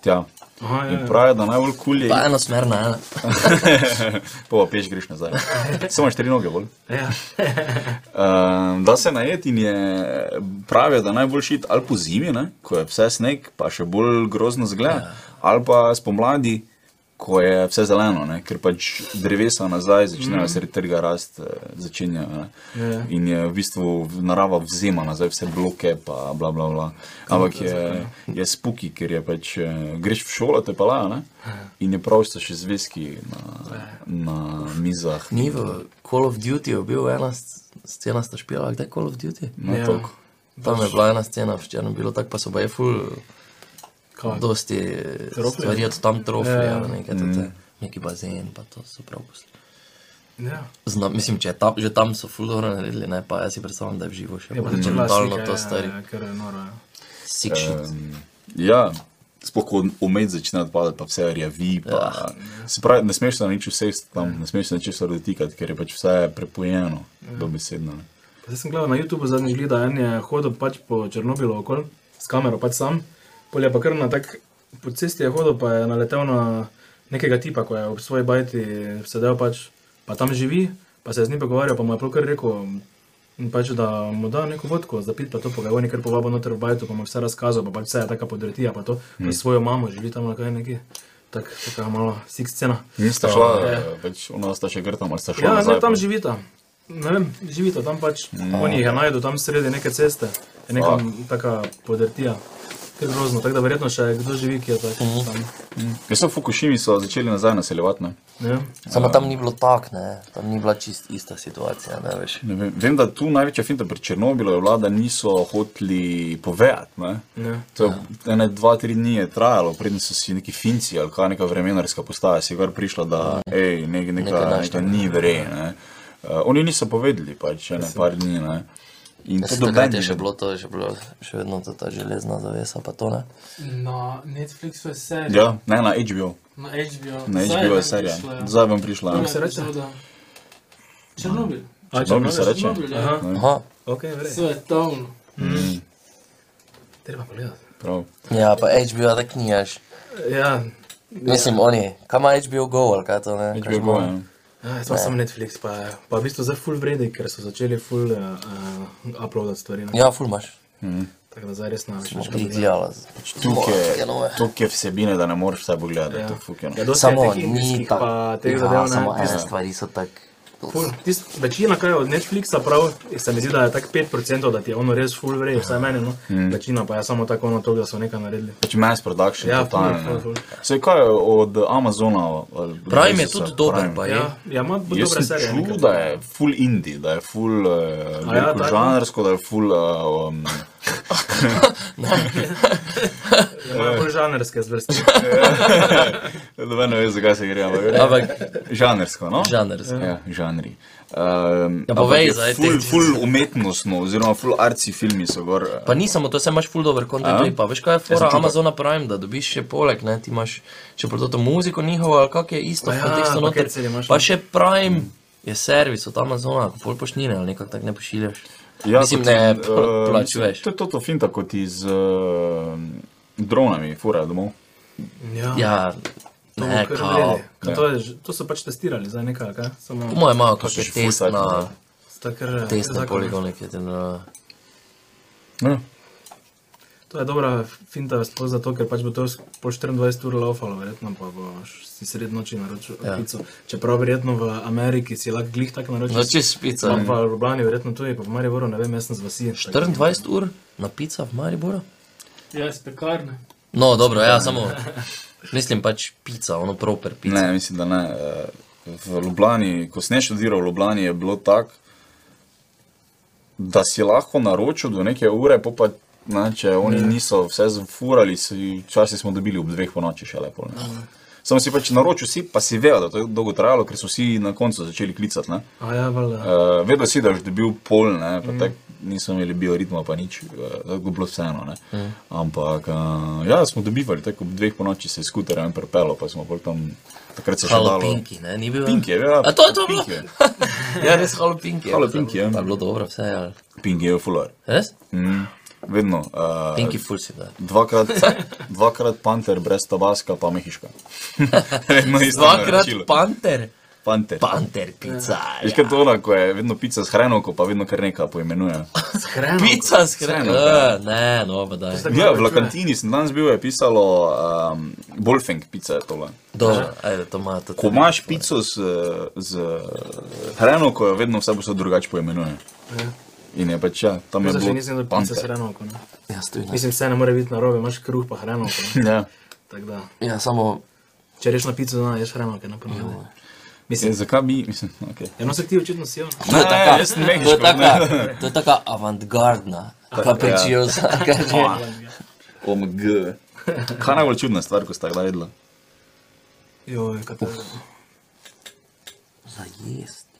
S2: Tja.
S4: Aha, ja,
S2: In pravijo, da najbolj kul je,
S3: Pa enosmerna, ena.
S2: pa pa peš greš nazaj. Samo štiri noge bolj.
S4: ja.
S2: Uh, da se najed in je, pravijo, da najboljši iti ali po zimi, ne? ko je vse sneg, pa še bolj grozno zgled,
S4: Ja.
S2: ali pa spomladi, ko je vse zeleno, ne? ker pač drevesa nazaj začnejo sredi trga rast, eh, začenjajo. Ne?
S4: Mm. Ja.
S2: In je v bistvu narava vzema nazaj vse bloke, pa bla bla bla.
S4: No,
S2: Ampak je,
S4: ja.
S2: je spuki, ker je pač eh, greš v šolo, te pa lajo, ne?
S4: Ja.
S2: in je prav, da so še zvezki na, na mizah.
S3: Ni v Call of Duty bil ena s- scena, sta špila, kdaj Call of Duty?
S2: Na
S4: Ja.
S2: toliko.
S3: Tam je bila ena scena, včeraj bilo tako, pa so baje ful,
S4: Kaj?
S3: dosti eh,
S4: Trofli?
S3: stvari od tam trofeja,
S4: Ja.
S3: nekaj tudi, neki bazen, pa to so prav pustili.
S4: Ja.
S3: Znam, mislim, če je tam, že tam so ful dobro naredili, ne, pa jaz si predstavljam, da je v živo še
S4: Je pa
S3: bolj
S4: začela
S3: brutalno
S4: slika,
S3: to
S4: ja,
S3: stari.
S4: ja, Ker je noro. ja.
S3: Sick shit.
S2: Um, ja, sploh ko umet začne odpadati, pa vse rjavi. Pa, ja. Se pravi, ne smeš se na nič usesti tam, ne smeš se ničesar dotikati, ker je pač vse prepojeno,
S4: Mhm.
S2: ja. dobesedno. ne.
S4: Pa Zdaj sem gledal na YouTubu zadnjič, gleda, en je hodil pač po Černobilu okol, s kamero pač sam, polje pa kar na tak, po cesti je hodil, pa je naletel na nekega tipa, ko je ob svoji bajti sedel pač, pa tam živi, pa se je z njim pogovarjal, pa mu je prav kar rekel, m, pač, da mu da neko vodko za pit, pa to pogajal, nekaj povabo noter v bajtu, pa mu je vse razkazal, pa pač vse je taka podretija, pa to, mm. svojo mamo živi tam na kaj neki, tak, taka malo sik scena.
S2: Nista šla,
S4: Ja.
S2: eh, pač ona sta še grta, ali sta šla.
S4: Ja,
S2: nazaj,
S4: ne, tam
S2: pa-
S4: živita. Ne vem, živita tam pač. Oni jih najdu tam sredi neke ceste, je neka taka podrtija. Ker grozno, tako da verjetno še kdo živi, ki je tak, tam.
S2: Ker so v Fukushimi so začeli nazaj naseljevati. Ne?
S4: Ne vem.
S3: Samo tam ni bilo tak, ne, tam ni bila čist ista situacija, ne veš.
S2: Ne Vem, vem, da tu največja finta pri Černobilu je bila, da niso hoteli povedati. Ne?
S4: Ne.
S2: To je
S3: Ja.
S2: ene, dva, tri dni je trajalo, preden so si neki finci ali kaj neka vremenarska postaja si kar prišla, da ej, nek,
S3: Ja. Nekaj
S2: neka,
S3: našli,
S2: neka ni vre. Ne? Uh, oni niso povedali, pač ene par dni. Ne? In to
S3: Jaz sem takrat
S2: doben
S3: je še bilo to, je še bilo še vedno ta, ta železna zavesa, pa to ne.
S1: Na Netflixu je serija,
S2: Ja, ne na HBO,
S1: na HBO.
S2: na
S1: Zdaj
S2: HBO je
S1: nam
S2: serija.
S1: prišla, ja.
S2: Zdaj bom prišla.
S1: Prva
S2: ne.
S4: se reče?
S1: epizoda. Černobil.
S4: A,
S2: Černobil se reče?
S1: Černobil, ja.
S4: Aha,
S3: Aha,
S4: ok, verjetno.
S1: Svetovno.
S4: Treba pogledati.
S2: Prav.
S3: ja, pa HBO tak ni až.
S4: Ja,
S3: Mislim, oni, kam ima HBO Go ali kaj to ne?
S2: HBO, ja.
S4: Ja, jaz imam samo Netflix, pa, pa v bistvu zdaj full vredi, ker so začeli full uh, uh, uploadati stvari. ne.
S3: Ja, ful imaš.
S4: Tako da zdaj res ne veš. več, kaj
S3: Ti
S4: pogledati.
S3: gledala. pač
S2: Tukaj,
S3: moje nove.
S2: tukaj je vsebine, da ne moreš vse pogledati.
S4: Ja.
S2: Ja. To je fukeno.
S4: Ja, dosti je
S3: Samo
S4: teh
S3: ni
S4: indijskih
S3: tako.
S4: pa teh zadev, ne, Ja.
S3: samo
S4: tista-
S3: ene stvari so tako.
S4: Ful, tist, večina, kar je od Netflixa, prav, se mi zdi, da je tako 5%, da ti je ono res full vredi, vsaj meni. No. Mm. Večina pa je samo tako ono to, da so nekaj naredili.
S2: Pač mass production,
S4: Ja,
S2: ja,
S4: ful, ful,
S2: totalno.
S4: ful.
S2: Vse kaj je od Amazona. ali
S3: Prime je
S2: Netflixa,
S3: tudi dober,
S2: Prime.
S3: pa je.
S4: Ja, ja ima dobre
S2: Jaz sem
S4: serije.
S2: čutil,
S4: nekaj.
S2: da je full indie, da je full uh,
S4: A ja,
S2: ja,
S4: tako?
S2: žanrsko, da je full. Uh, um,
S4: Ja, Imajo bolj žanrske zvrsti.
S2: Dober ne veš, zakaj se gre, ampak
S4: Ja.
S3: Ampak
S2: žanrsko. No?
S3: žanrsko.
S2: Ja, žanri. Um,
S3: Ja, povej zdaj,
S2: Ful,
S3: te-
S2: ful umetnostno, oziroma ful arci filmi so gor. eh,
S3: Pa ni samo to, se imaš full dobro
S2: Ja.
S3: content, tudi, pa veš kaj je fora
S2: čutil.
S3: Amazona Prime, da dobiš še poleg, ne, ti imaš še pa to njihovo njihovo, ali kak je isto,
S4: Pa
S3: v
S4: ja,
S3: kontekstu noter.
S4: paketcelje imaš,
S3: Pa
S4: ne.
S3: še Prime je servis od Amazona, pol pošnine ali nekako tako ne pošiljaš.
S2: Ja,
S3: Mislim,
S2: kot
S3: ne,
S2: in, eh,
S3: pl- plač
S2: mislim,
S3: veš.
S2: To je to, to finta kot iz uh, dronami, furajo domov.
S4: Ja,
S3: Ja,
S4: to,
S3: ne,
S4: bo kar
S3: kao. ja.
S4: vredi. Kaj to, je, že- to so pač testirali, zdaj nekaj, ali kaj? Samo eh,
S3: Po mojem malo kak
S2: so
S3: je
S2: še ful
S3: test
S2: sajtov,
S3: na,
S4: stakr,
S3: test na poligone, ki je ten, uh,
S2: Ja.
S4: To je dobra finta, sploh zato, ker pač bo to s- po 24 ur laufalo, verjetno pa boš si sred noči naročil ja. pico. Čeprav verjetno v Ameriki si lahko glih tako naročil.
S3: noči spica.
S4: Pa pa v Ljubljani verjetno tudi, pa v Mariboru, ne vem, jaz sem z vasi. tako da-
S3: 24 ur na pica v Mariboru?
S1: Ja, iz pekarne.
S3: No, dobro, ja, samo, mislim pač pica, ono proper pica.
S2: Ne, mislim, da ne. eh, V Ljubljani, ko sem študiral v Ljubljani, je bilo tako, da si lahko naročil do neke ure, pol pa ne, če oni niso vse zfurali, si- včasih smo dobili ob dveh ponoči še lepo. Ne. Samo si pač naročil, si, pa si vedel, da to je dolgo trajalo, ker so vsi na koncu začeli klicati. ne.
S4: A ja, valjda.
S2: Uh, vedel si, da boš dobil pol, ne,
S3: Mm.
S2: pa tak, niso imeli bioritma, pa nič, eh, tako je bilo vseeno. Mm. Ampak uh, ja, smo dobivali, tako ob dveh po noči se je skuter en prepelo, pa smo pol tam takrat se še
S3: Halo
S2: dalo.
S3: Pinki, ne, ni bil.
S2: Pinki je, ja.
S3: A to je to bilo?
S2: Pinki je.
S3: Ja, res Halo Pinki.
S2: Halo Pinki, ja.
S3: Pa je bilo dobro vse, ali.
S2: Pinki je fular.
S3: Res?
S2: Mm. Vedno. Uh,
S3: Pinki ful si da.
S2: Dvakrat, dvakrat panter brez tabaska, pa mehiška. Vedno isto.
S3: Dvakrat
S2: naročilo.
S3: panter.
S2: panter.
S3: Panter pica.
S2: Veš, kaj to ona, ko je vedno pica s hrenom, ko pa vedno kar nekaj poimenuje.
S4: Skrajno.
S3: Pica s hrano.
S2: Skrajno.
S3: Ne, no, pa daj.
S4: Tako
S2: Ja,
S4: da
S2: v
S4: plačuje.
S2: Lakantini sem danes bil, je pisalo um, Bolfeng pica. je Tole.
S3: Dobro, ajde, to ima tudi.
S2: Ko imaš pico z, z hrano, ko jo vedno vse posod drugače poimenuje. In je pač, ja, tam je
S4: Ja. Zdaj še
S2: bilo
S4: nisem dobil pice
S2: panter.
S4: s hrenovko. ne.
S3: Ja, stojno.
S4: Mislim, vse ne more biti narobe, imaš kruh pa hrenovko. ne.
S2: Ja.
S4: Tako da,
S3: Ja, samo,
S4: če reš na pico, no, ješ hrenovke, ne pomeni.
S2: Je,
S4: Mislim,
S2: zakaj bi, mislim, ok.
S4: eno se ti očitno si on.
S3: to je
S2: Ne,
S3: taka,
S2: jaz sem
S3: to je
S2: Mehiško,
S3: taka, to je taka avantgardna,
S2: ja.
S3: kapričiozna,
S2: Ah.
S3: kaže.
S2: OMG. Kaj je najbolj čudna stvar, ko sta kdaj jedla?
S4: Joj, kaj to je.
S3: Za jest.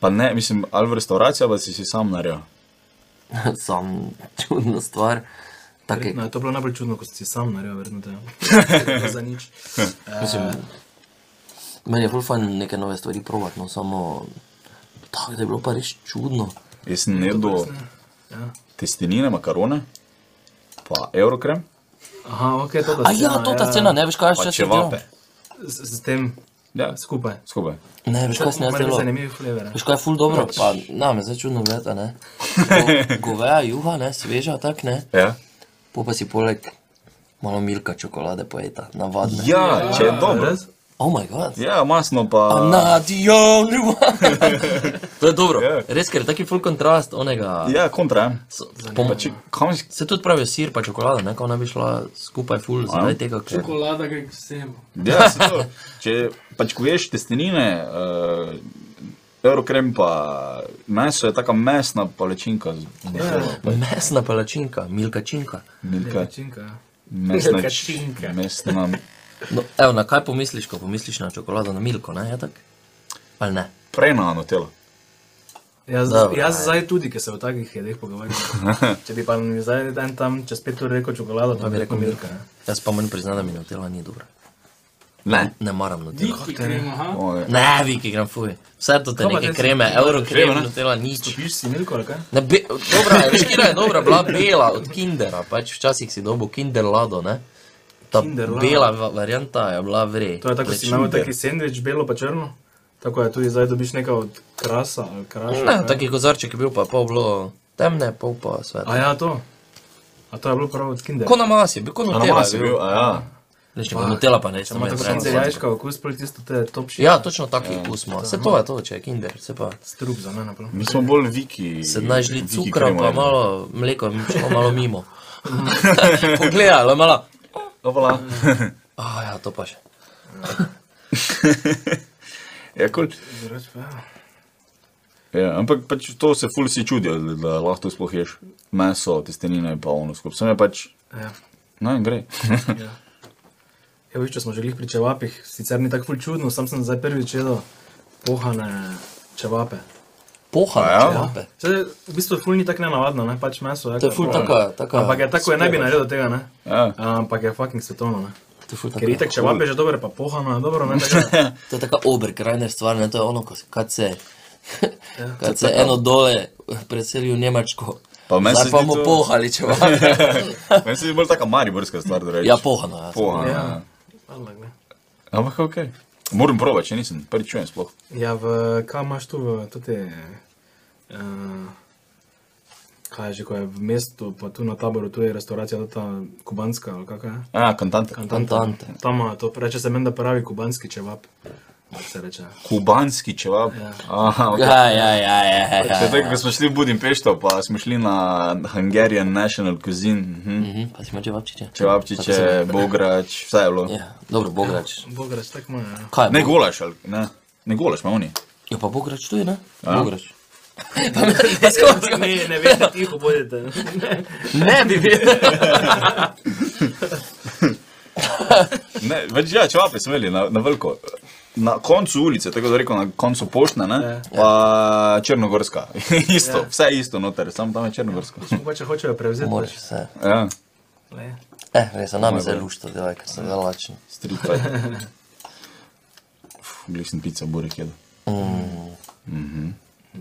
S2: Pa ne, mislim, ali v restauraciji, pa si si sam naredil.
S3: Sam čudna stvar. Take,
S4: Verjetno je to bilo najbolj čudno, ko si sam naredil, verjetno da je. Za nič.
S3: Mislim, meni je ful fajn neke nove stvari provat, no samo tako da je bilo pa res čudno.
S2: Jaz sem jedel
S4: Ja.
S2: testenine, makarone, pa eurokrem,
S4: Eh, Aha, ok, to
S3: A
S4: ta
S3: ja, to ta cena, ne veš kaj
S2: pa
S3: še
S2: čevape.
S4: Z, z tem
S2: Ja,
S4: skupaj.
S2: skupaj.
S3: Ne veš kaj sem jaz
S4: Meni
S3: delal.
S4: Zanimivi flavor.
S3: Veš kaj je ful dobro, pa nam je zdaj čudno gledati, a ne. Go, goveja juha, ne, sveža, tak ne.
S2: Ja.
S3: Po pa si poleg malo milka čokolade pojeta, navadne.
S2: Ja, če je dobro.
S4: Res?
S3: Oh my god.
S2: Ja, masno pa.
S3: I'm not the only one. to je dobro.
S2: Ja.
S3: Res, ker je taki ful kontrast onega.
S2: Ja, kontra. ja.
S3: So, pom,
S2: Pa če, kam si?
S3: se tudi pravijo sir pa čokolada, ne, kako ne bi šla skupaj ful zaradi tega, ker...
S1: Čokolada gre k vsemu.
S2: Ja, saj to. če pač ko ješ testenine, uh, eurokrem pa meso, je taka mesna palečinka. z-
S3: Mesna palačinka, milkačinka.
S2: Milka,
S4: Kačinka. ja.
S2: mesna,
S4: Milkačinka.
S2: mesna,
S3: No, evo, na kaj pomisliš, ko pomisliš na čokolado, na milko, ne, je tako? Ali ne?
S2: prenano telo.
S4: Jaz,
S3: Dobro,
S4: jaz
S3: ajde.
S4: zdaj tudi, ker se o takih jedeh pogovarjam. Če bi pa mi zdaj en tam čez pet ur rekel čokolado, pa bi rekel Milka. ne.
S3: Jaz pa moram priznati, da mi nutela ni dobro.
S2: Ne.
S3: Ne maram nutela.
S1: Viki gremo, aha.
S2: O, je.
S3: Ne, viki, gram fuj. Vse to te
S4: Kaj pa
S3: neke
S4: te si-
S3: kreme, euro kreme,
S2: ne?
S3: nutela nič.
S4: Piš si Milko, ali kaj?
S3: Ne, be, dobra, je, veš, kira je dobra, bila bela od kindera, pač včasih si dobil kinder lado, ne? Ta
S4: Kinderland.
S3: bela va- varianta je bila vre.
S4: To je tako, si imamo taki sendvič, belo pa črno. Tako je tudi zdaj dobiš nekaj od krasa ali kraša.
S3: Ne,
S4: kaj.
S3: taki kozarček je bil pa pol bilo temne, pol pa svetlo.
S4: A ja, to. A to je bilo prav od Kinder.
S3: Ko na masi, bil kot
S2: Na
S3: nutela.
S2: masi bil, a ja.
S3: Reči, kot nutela pa
S4: Če
S3: nečem.
S4: ima tako kinder jajčka okus, pol tisto te topši.
S3: Ja, točno taki okus ima. Se to je to, če je kinder, se pa.
S4: Strup za mene, no. prav.
S2: Mi smo bolj viki.
S3: 17 žlic
S2: viki
S3: cukra,
S2: kremo
S3: pa
S2: jedli.
S3: malo mleko, je šlo malo mimo. Pogledala, malo.
S2: Opala.
S3: A ja, to pa še.
S2: Ja, kul.
S4: Drugače pa ja.
S2: Ja, ampak pač to se ful si čudijo, da, da lahko sploh ješ meso, testenine in pa ono skup. Sem je pač,
S4: Ja.
S2: no in gre.
S4: Ja, veš, če smo že glih pri čevapih, sicer ni tako ful čudno, sam sem zdaj prvič jedel pohane čevape.
S3: Pohana,
S2: Ja.
S3: čevape.
S4: Zdaj, v bistvu ful ni tako nenavadno, ne, pač meso. Je,
S3: To je ful taka, taka.
S4: Ampak je tako, je ne bi
S3: spreva.
S4: naredil tega, ne.
S2: Ja.
S4: Ampak je fucking svetovno, ne.
S3: To je ful
S4: Ker
S3: taka.
S4: itak čevape je že dobro, pa pohana je dobro, ne. Tako, da-
S3: To je taka oberkrajner stvar, ne, to je ono, ko se- kad se, kad se eno dole preseli v Njemačko.
S2: Pa meni
S3: Zdaj
S2: se
S3: pa
S2: zdi
S3: mu
S2: to-
S3: pohali čevape.
S2: Meni se je bolj taka mariborska stvar, da rečeš.
S3: Ja, pohano, ja.
S2: Poha. Ja.
S4: Ja. Allah, ne.
S2: Ampak ok. Moram provati, če nisem, prvi čujem sploh.
S4: Ja, v, kaj imaš tu v te. Uh, kaj je že, ko je v mestu, pa tu na taboru, tu je restauracija, ta kubanska ali kakaj je.
S2: A, kantant.
S3: Cantante.
S4: Tam ima to, reče se meni, da pravi kubanski čevap. tako Se reče.
S2: Kubanski čevap.
S4: Ja.
S2: Aha, ok.
S3: Ja, ja, ja, ja, ja,
S2: To je
S3: ja.
S2: tako, ko smo šli v Budimpešto, pa smo šli na Hungarian National Cuisine. Mhm.
S3: Mhm, pa si imel čevapčiče.
S2: Čevapčiče, bograč, vse je bilo.
S3: Ja, dobro, bograč.
S4: Bog reče, tako ima. Ja.
S3: Kaj je
S2: Ne
S3: Bog-
S2: golaš, ali ne? Ne golaš, ima oni.
S3: Ja, pa bograč tu je, ne?
S2: A?
S3: Bograč. Pa skočil.
S4: Ne, ne veš, tiho bodite.
S3: Ne bi bil.
S2: Ne, več ja, čevape smo imeli na, na veliko. Na koncu ulice, tako da rekel, na koncu poštne,
S3: Ja.
S2: ne? Pa Črnogorska. isto,
S4: Ja.
S2: vse isto noter, samo tam je Črnogorska.
S4: Skupaj, če Pač hočejo prevzeti. pač
S3: Moraš vse.
S2: Ja,
S4: Le.
S3: Eh, res, a nam je zdaj lušta, delaj, ker sem zelo lačen.
S2: street fight. Glej sem pico, burek jedel.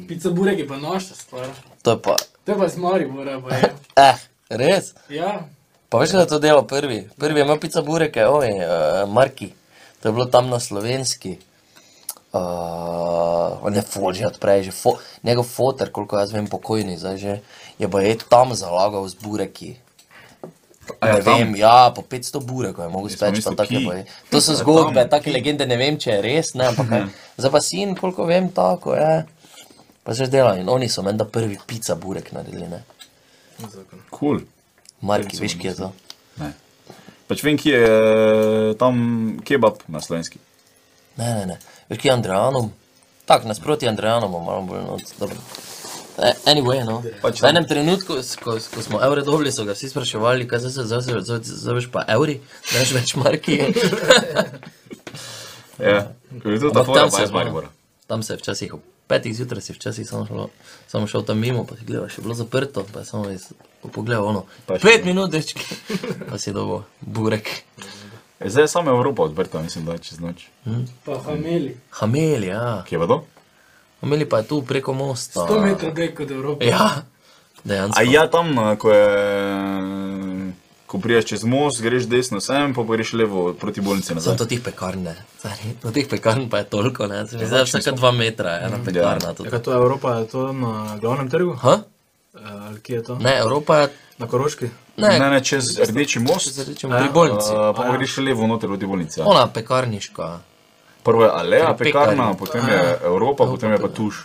S1: Pica burek je pa naša stvar.
S3: To je pa,
S1: To je pa z Maribora, pa je.
S3: eh, res.
S1: Ja,
S3: Pa veš, da je to delo prvi. Prvi je imel pica bureke, oj, uh, Marki. To je bilo tam na slovenski. Uh, ne foži odprej, že fo, njegov foter, koliko jaz vem, pokojni zdaj že, je pa je tam zalagal z bureki.
S2: A ja,
S3: ne
S2: tam?
S3: vem, ja, po 500 burek je mogel speči,
S2: mislil,
S3: pa take
S2: ki.
S3: pa je. To so zgodbe, take legende, ne vem, če je res, ne, ampak
S2: Mhm.
S3: kaj. Za pa sin, koliko vem, tako je. Pa se že dela in oni so menda prvi pica burek naredili, ne.
S4: Zakon.
S2: Cool.
S3: Marki, veš, kje je to?
S2: Ne. Pač vem, ki je tam kebab na slovenski.
S3: Ne, ne, ne. Veš, ki je Andrejanom? Tak, nasproti Andrejanom, malo bolj noč. Anyway, no.
S2: Pač
S3: v enem trenutku, s- ko, ko smo evre dobili, so ga vsi spraševali, kaj zdaj se zaveš pa evri, ne veš več marki.
S2: Ja, je to ta
S3: Ampak
S2: fora, pa
S3: tam se
S2: je z
S3: zna.
S2: Maribora.
S3: Tam se je včasih ob petih zjutraj, si včasih samo šel, samo šel tam mimo, pa si gledal, še je bilo zaprto, pa je samo iz, pogledal ono.
S2: Pa še-
S3: Pet minut, dečki, pa si dobo, burek.
S2: E, Zdaj je samo Evropa odprta, mislim, da čez noč.
S1: pa hameli.
S3: Hameli, ja.
S2: Kje pa to?
S3: Hameli pa je tu preko mosta.
S1: 100 metrov dek od
S2: E.
S1: Evrope.
S3: Ja, dejansko.
S2: A ja, tam, eh, ko je... Ko priješ čez most, greš desno sem, pa greš levo proti bolnici nazaj.
S3: Sem to tih pekarn, ne. Stari, To tih pekarn pa je toliko, ne. Se mi zdi, da vsaka dva metra je
S2: Mm.
S3: ena pekarna.
S4: Ja,
S3: tudi.
S4: kaj to je Evropa, je to na glavnem trgu?
S3: Ha?
S4: Eh, Ali kje je to?
S3: Ne, Evropa je,
S4: Na Koroški?
S2: Ne,
S3: ne,
S2: ne, čez rdeči most,
S3: zdaj rečemo, pri bolnici.
S2: eh, pa greš levo noter proti bolnici. ja.
S3: Ona pekarniška.
S2: Prvo je Aleja,
S3: Pri
S2: pekarna,
S3: pekarni.
S2: potem je Evropa, potem je pa Tuš.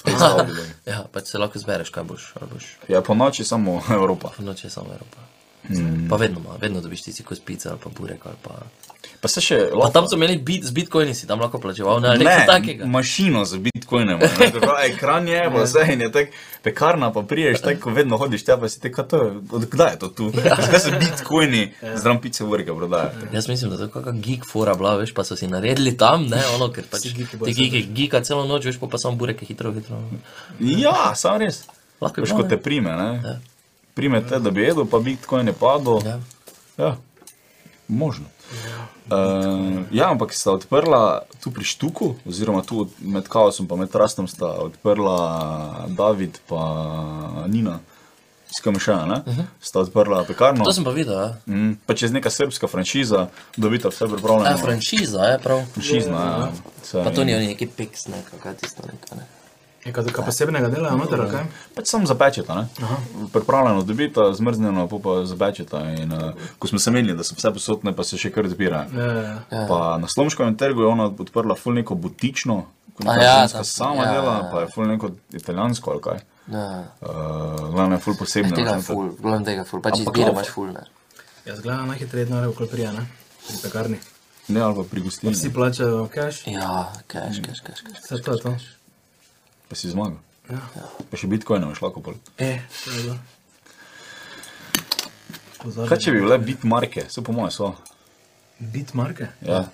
S2: V tej stavbi, da je.
S3: Ja, pač se lahko zbereš, kaj boš, ali boš
S2: Ja, po noči samo Evropa.
S3: po noči samo Evropa.
S2: Mm.
S3: Pa vedno, ima, vedno dobiš tisti kos pice ali pa burek ali pa...
S2: Pa se še
S3: Pa
S2: lahko
S3: tam so imeli bit, z bitcoini, si tam lahko plačeval, ne, ali
S2: Ne,
S3: nekaj takega.
S2: mašino z bitcoinem, ne, tako, ekran je, pa vse in je tako, pekarna pa priješ, tako ko vedno hodiš, te pa si te, kaj to je, odkdaj je to tu,
S3: Ja.
S2: zdaj so bitcoini, zdram pice vrge prodaja.
S3: Jaz mislim, da je to kakšna geek fora bila, veš, pa so si naredili tam, ne, ono, ker pač ti geeki, geeka celo noč, veš, pol pa samo bureke hitro, hitro.
S2: Ja, sam res,
S3: Lahko je
S2: veš,
S3: bilo,
S2: ko
S3: ne.
S2: te prime, ne, prime te, da bi jedel, pa bitcoin je padel,
S3: Ja.
S2: ja, možno. Uh, ja, ampak sta odprla tu pri Štuku, oziroma tu od- med Kaosom in Rastom sta odprla David in Nina iz KMŠ, sta odprla pekarno.
S3: Mhm. To sem pa videl, ja.
S2: Mm, pa čez neka srpska franšiza, dobita vse
S3: Ta
S2: pripravljeno.
S3: je franšiza, je prav.
S2: Franšizna, ja. Saj-
S3: Pa to ni oni neki piks, neka, kaj tisto neka, ne.
S4: Nekaj kaj posebnega dela, amater, ali kaj?
S2: Pač samo zapečeta, ne? pripravljeno dobita, zmrznjeno, pa pa zapečeta. In, uh, ko smo se menili, da so vse posodne, pa se še kar odpira.
S4: Ja, ja, ja.
S2: Pa na Slomškovem trgu je ona odprla ful neko butično, ko
S3: A
S2: neka
S3: ja,
S2: ženska
S3: ta-
S2: sama
S3: ja,
S2: dela, pa je ful neko italijansko ali kaj.
S3: Ja.
S2: Uh, Glavno je ful posebno.
S3: Tega je
S2: ne, ta-
S3: ful, glavno tega je ful, pač
S2: Ampak
S3: izbira
S2: no.
S3: imaš ful, ne.
S4: Jaz gledam najhitreje denarje, ko prija, ne? Pri pekarni.
S2: Ne, ali pa pri
S4: Vsi
S2: gostilni,
S4: plačajo cash,
S3: Ja, keš, keš, keš, keš.
S4: vse to je to.
S2: pa si zmagal.
S4: Ja.
S2: Pa še bitcoinov je šlo kupol.
S4: E, to je bilo. Pozabil.
S2: Kaj če bi bile bitmarke, vse po moje so.
S4: Bitmarke?
S2: Ja.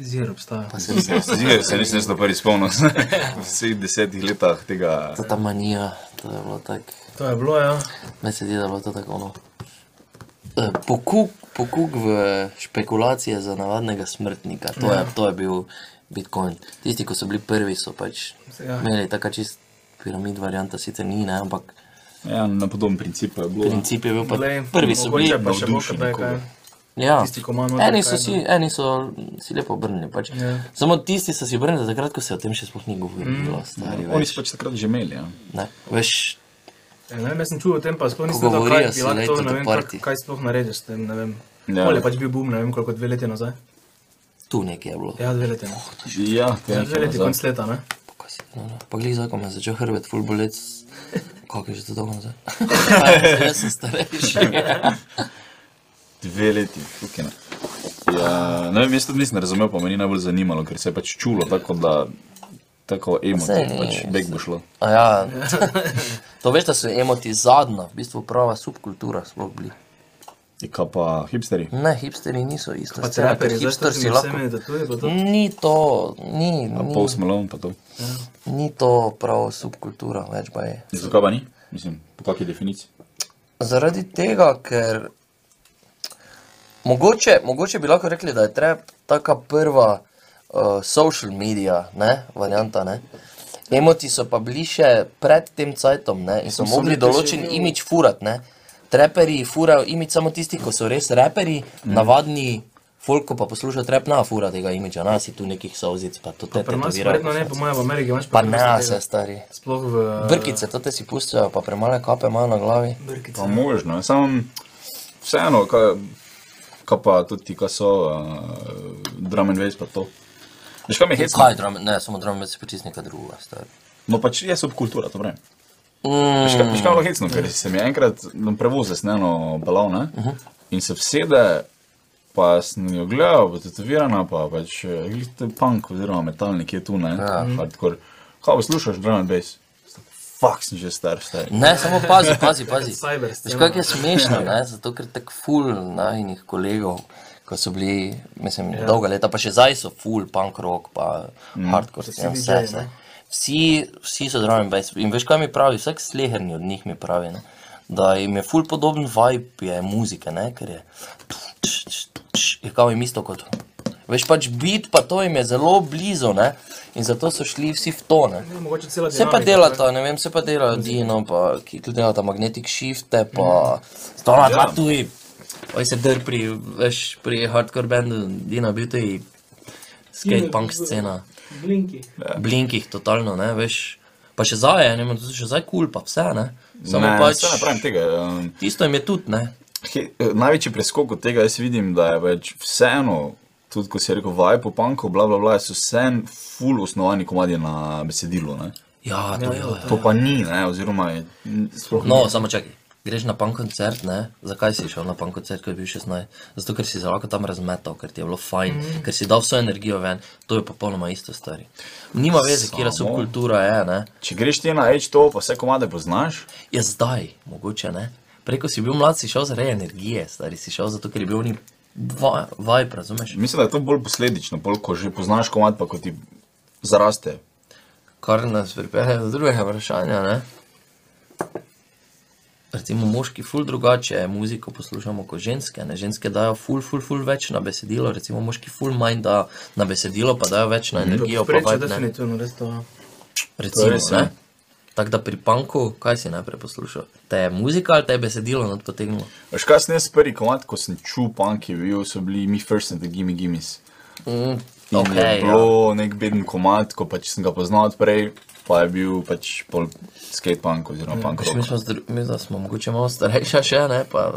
S4: Zir obstaja.
S3: Pa se vse,
S2: Zdaj se nisem jaz na prvi spomnil, v vseh desetih letah tega.
S3: ta manija, to je bilo tako,
S4: To je bilo, ja.
S3: meni se zdi, da je bilo to tako ono. eh, Pokuk, pokuk v špekulacije za navadnega smrtnika, to
S4: Ja.
S3: je, to je bil Bitcoin. Tisti, ki so bili prvi, so pač
S4: Ja.
S3: imeli taka čist piramid varianta, sicer ni, ne, ampak
S2: Ja, na podoben princip je bilo. no.
S3: princip je bil pa
S4: Glej,
S3: prvi so bili.
S4: mogoče pa še bo
S2: navdušeni,
S4: kaj, kaj.
S3: Ja.
S4: Tisti, ko ima noter
S3: eni so
S4: kaj,
S3: si, eni so si lepo obrnili. Pač.
S4: Ja.
S3: Samo tisti so si obrnili, takrat, ko se o tem še sploh ni govorilo. Mm. Stari,
S2: Oni
S3: več,
S2: so pač takrat že imeli. Ja.
S3: ne, veš,
S4: Ja, Ne vem, jaz sem čuval o tem, pa sploh nisem
S3: Ko
S4: vedel,
S3: govorijo
S4: kaj bi
S3: si,
S4: lahko
S3: lej,
S4: to,
S3: to
S4: ne
S3: do
S4: vem,
S3: party.
S4: kaj, kaj sploh narediš s tem, ne vem.
S2: Ja.
S4: Ja. Pol je pač bil boom, ne vem koliko, dve leti nazaj.
S3: tu nekje je bilo.
S4: Ja, dve leti. ne.
S2: Ja, te
S4: Ja, dve leti, konc
S2: nazaj.
S4: leta, ne?
S3: Pa kaj si- no, no. Pa glej, zakaj me je začel hrbet, full bolec. Kako je že to dolgo nazaj? Jaz sem starejši.
S2: Dve leti, tukaj. Ja, ne vem, jaz tudi nisem razumel, pa me ni najbolj zanimalo, ker se je pač čulo tako, da tako emo,
S3: Saj,
S2: pač beg bo šlo.
S3: A Ja, to veš, da so emoti zadnja, v bistvu prava subkultura sploh bili.
S2: Je kaj pa hipsteri?
S3: Ne, hipsteri niso isto.
S4: Pa te raperi, zdaj ste
S3: hipsteri
S4: si
S3: lahko. Mm.
S4: vsemi tatuje, pa to.
S3: Ni to, ni, ni,
S2: Pol smelon pa to.
S3: ni to prav subkultura, več pa je.
S2: Ja, Zakaj pa ni? Mislim, po kakšni definiciji?
S3: Zaradi tega, ker mogoče, mogoče bi lahko rekli, da je trap taka prva uh, social media ne, varianta. Ne. Emoti so pa bili še pred tem cajtom ne, in so
S2: Mislim, so
S3: mogli
S2: nekaj že
S3: določen
S4: no.
S3: imič furat. Ne. Treperi furajo imič samo tisti, ki so res reperi, mm. navadni. Folko pa posluša trap na fura tega imidža, nas je tu nekih sauzic, pa to te
S4: Pri nas
S3: tetovirajo.
S4: verjetno ne, po mojem v Ameriki imaš
S3: Pa ne,
S4: preprosto
S3: se
S4: tega.
S3: stari.
S4: Sploh v...
S3: Brkice, to te si pustijo, pa premale kape imajo na glavi.
S4: Brkice.
S2: Pa možno, samo vseeno, kaj, kaj pa tudi ti, ki so uh, drumen veš, pa to. Veš, kaj me hecno?
S3: Kaj je drama? Ne, samo drama se počisi nekaj drugega. stari.
S2: No, pač je subkultura, to vreme.
S3: Mm,
S2: Veš, kaj veš, kaj je bilo hecno, ker se mi je enkrat na prevoze sneno balon ne?
S3: Mhm.
S2: uh -huh. in se vsede, pa sem jo gledal, bo tetovirana, pa pač eh, glih to je punk oziroma metalnik je tu, ne? Ja. Hardcore. Kaj poslušaš, drum and bass? Fak sem že star, star.
S3: ne, samo pazi, pazi. pazi.
S4: Cyber scena.
S3: Veš, kako je smešno, ne? zato ker tako ful najnih kolegov, ko so bili, mislim, ja. dolga leta, pa še zdaj so ful, punk rock, pa mm. hardcore, vse, vse.
S4: DJ-ji,
S3: vse. Vsi, vsi so drum and bass. In veš, kaj mi pravi, vsak sleherni od njih mi pravi, ne? da jim je ful podoben vibe je muzike, ne? ker je, je kao jim isto kot. Veš pač bit, pa to jim je zelo blizu, ne? in zato so šli vsi v tone.
S4: Ne, Mogoče cela
S3: Se pa
S4: dinamika,
S3: delata, ne vem, se pa delajo Dino, pa ki tudi delata magnetic shifte, pa stola dva tuji. Oj se dr pri, veš, pri hardcore bandu Dina bil tuji skate punk scena.
S1: Blinki.
S3: Blinkih totalno, ne, veš. Pa še zaje, ne vem, to so še zdaj kul, pa vse, ne. Samo
S2: ne,
S3: pač,
S2: saj ne pravim tega. Um,
S3: tisto jim je tudi, ne.
S2: He, eh, največji preskok od tega jaz vidim, da je več vseeno, tudi ko si rekel, vaj po panku, bla bla bla, so vseeno full osnovani komadi na besedilu. Ne?
S3: Ja, to je.
S2: To pa ni, ne? oziroma je n- sploh
S3: No, samo čakaj. Greš na punk koncert, ne? Zakaj si šel na punk koncert, ko je bil 16? Zato, ker si se lahko tam razmetal, ker ti je bilo fajn, mm -hmm. ker si dal vso energijo ven. To je popolnoma isto, stari. Nima veze, kje
S2: Samo-
S3: subkultura je, ne?
S2: Če greš ti na H to, pa vse komade poznaš,
S3: Je zdaj, mogoče ne. Preko si bil mlad, si šel zaradi energije, stari si šel zato, ker je bil oni vaj, razumeš?
S2: mislim, da je to bolj posledično, bolj ko že poznaš komad, pa ko ti zaraste.
S3: Kar nas pripelje do drugega vprašanja, ne? Recimo moški ful drugače muziko poslušamo kot ženske, ne? Ženske dajo ful, ful, ful več na besedilo, recimo moški ful manj da na besedilo, pa dajo več na energijo, pa
S4: Prečo
S3: vibe, ne?
S4: definitivno, res no, to.
S2: To je
S3: Recimo,
S2: res,
S3: ne?
S2: ne?
S3: Tako da pri panku, kaj si najprej poslušal? Te je muzika ali te je besedilo not potegnilo?
S2: Veš, kaj sem jaz prvi komat, ko sem čutil punk, je bil, so bili mi first and the gimme gimmes.
S3: Mm,
S2: In okay, je
S3: okay, ja.
S2: bilo ja. nek beden komat, ko pač sem ga poznal odprej, pa je bil pač pol skate punk oziroma punk
S3: Pač Mi,
S2: rock.
S3: smo zdru, mi da smo mogoče malo starejša še, ne? pa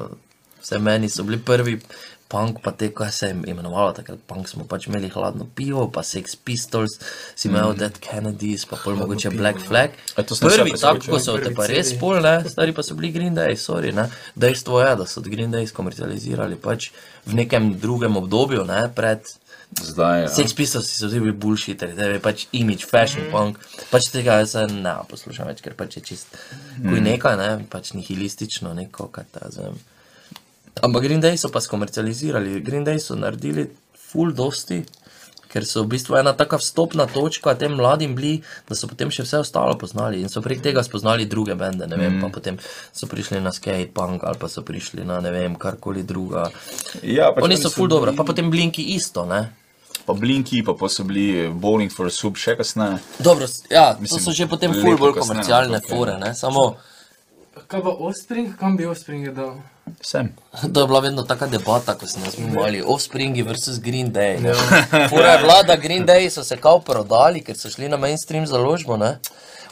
S3: vse meni so bili prvi. Punk pa te, kaj se je imenovalo takrat, punk smo pač imeli hladno pivo, pa Sex Pistols,
S2: Mhm.
S3: si imel mm. Dead Kennedys, pa pol mogoče pivo, Black Flag.
S2: no. A to sem še ja.
S3: Prvi
S2: preskočil,
S3: tako, ko so te pa res pol, ne, stari pa so bili Green Day, sorry, ne. Dejstvo je, da so od Green Day skomercializirali pač v nekem drugem obdobju, ne, pred
S2: Zdaj, ja.
S3: Sex Pistols so bili bullshit, da je pač imidž, fashion mm. punk, pač tega jaz se ne poslušam več, ker pač je čist kuj nekaj, ne, pač nihilistično neko, kaj ta zem. Ampak Green Day so pa skomercializirali, Green Day so naredili full dosti, ker so v bistvu ena taka vstopna točka tem mladim bili, da so potem še vse ostalo poznali in so prek tega spoznali druge bende, ne vem, mm. pa potem so prišli na skate punk ali pa so prišli na ne vem, karkoli druga.
S2: ja, pač
S3: Oni
S2: meni
S3: so full dobro,
S2: bili-
S3: pa potem Blinki isto, ne.
S2: Pa Blinki, pa pa so bili Bowling for Soup še kasneje.
S3: Dobro, s- ja, Mislim,
S2: Mislim,
S3: to so že potem
S2: leto
S3: ful bolj
S2: kasneje,
S3: komercialne
S2: ampak, ja.
S3: fore, ne? samo
S1: Kaj pa Offspring? Kam bi Offspring dal?
S2: Sem.
S3: to je bila vedno taka debata, ko smo nas
S2: Ja.
S3: mi imeli Offspringi versus Green Day. ne. Fora je vlada, Green Day so se kao prodali, ker so šli na mainstream založbo, ne?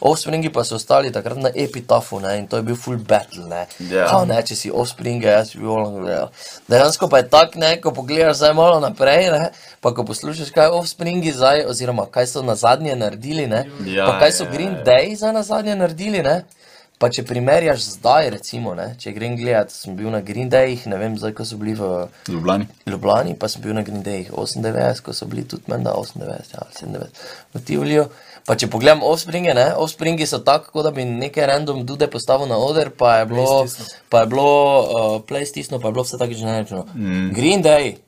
S3: Offspringi pa so ostali takrat na epitafu ne? in to je bil full battle. Ne?
S2: Ja.
S3: Kao, ne, če si Offspring, jaz bi bilo gledal. Dejansko pa je tak, ne, ko pogledaš zdaj malo naprej, ne? pa ko poslušaš, kaj Offspringi zdaj, oziroma kaj so na zadnje naredili, ne?
S2: Ja,
S3: pa kaj so
S2: ja,
S3: Green
S2: ja.
S3: Day za na zadnje naredili. Ne? Pa če primerjaš zdaj, recimo, ne? če grem gledat, sem bil na Green Dayih, ne vem, zdaj ko so bili v
S2: Ljubljani.
S3: Ljubljani, pa sem bil na Green Dayih 98, ko so bili tudi menda 98, ja, 97, v Tivlju. Pa če pogledam offspringe, ne, offspringi so tako, kot da bi neke random dude postavil na oder, pa je bilo, pa je bilo, uh, play stisno, pa je bilo vse tako generično. Mm. Green Day,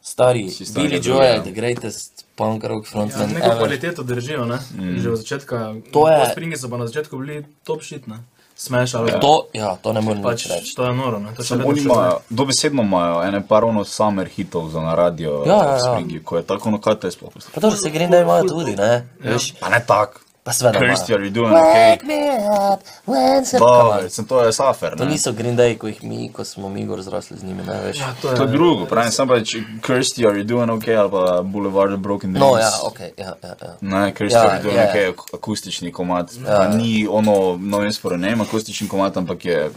S3: stari,
S2: Si stari,
S3: Billy
S2: dobro,
S3: Joel,
S2: ja.
S3: the greatest punk rock
S4: Ja,
S3: frontman
S4: neko
S3: ever.
S4: kvaliteto držijo, ne? Mm. Že od začetka.
S3: To je-
S4: Springi so pa na začetku bili top shit, ne? Smeš ali
S3: To, ja, to ne morem
S4: pač
S3: nič reči.
S4: to je noro, ne? To še
S2: Samo
S4: vedno
S2: oni
S4: še
S2: imajo, dobesedno imajo ene par ono summer hitov za na radio,
S3: Ja, ja, ja.
S2: Springi, ko je tako, no kaj to je sploh.
S3: Pa dobro, se Green Day imajo tudi, ne? Veš,
S2: Pa ne tak.
S3: pa seveda. imajo.
S2: Kirsty, are you doing okay?
S3: Wake me up when se- Come
S2: Dobro,
S3: on.
S2: sem to je safer,
S3: To
S2: ne?
S3: niso Green Day, ko jih mi, ko smo mi gor zrasli z njimi, ne veš.
S4: Ja.
S2: To je drugo, pravim, sem pač Kirsty, are you doing okay? Ali pa Boulevard of Broken Dreams.
S3: No, ja, ok, ja, ja. ja.
S2: Ne, ker
S3: Ja,
S2: ja, je to
S3: ja.
S2: yeah. nekaj ak- akustični komat. Ja. Ni ono, no, jaz sporo ne imam akustični komat, ampak je.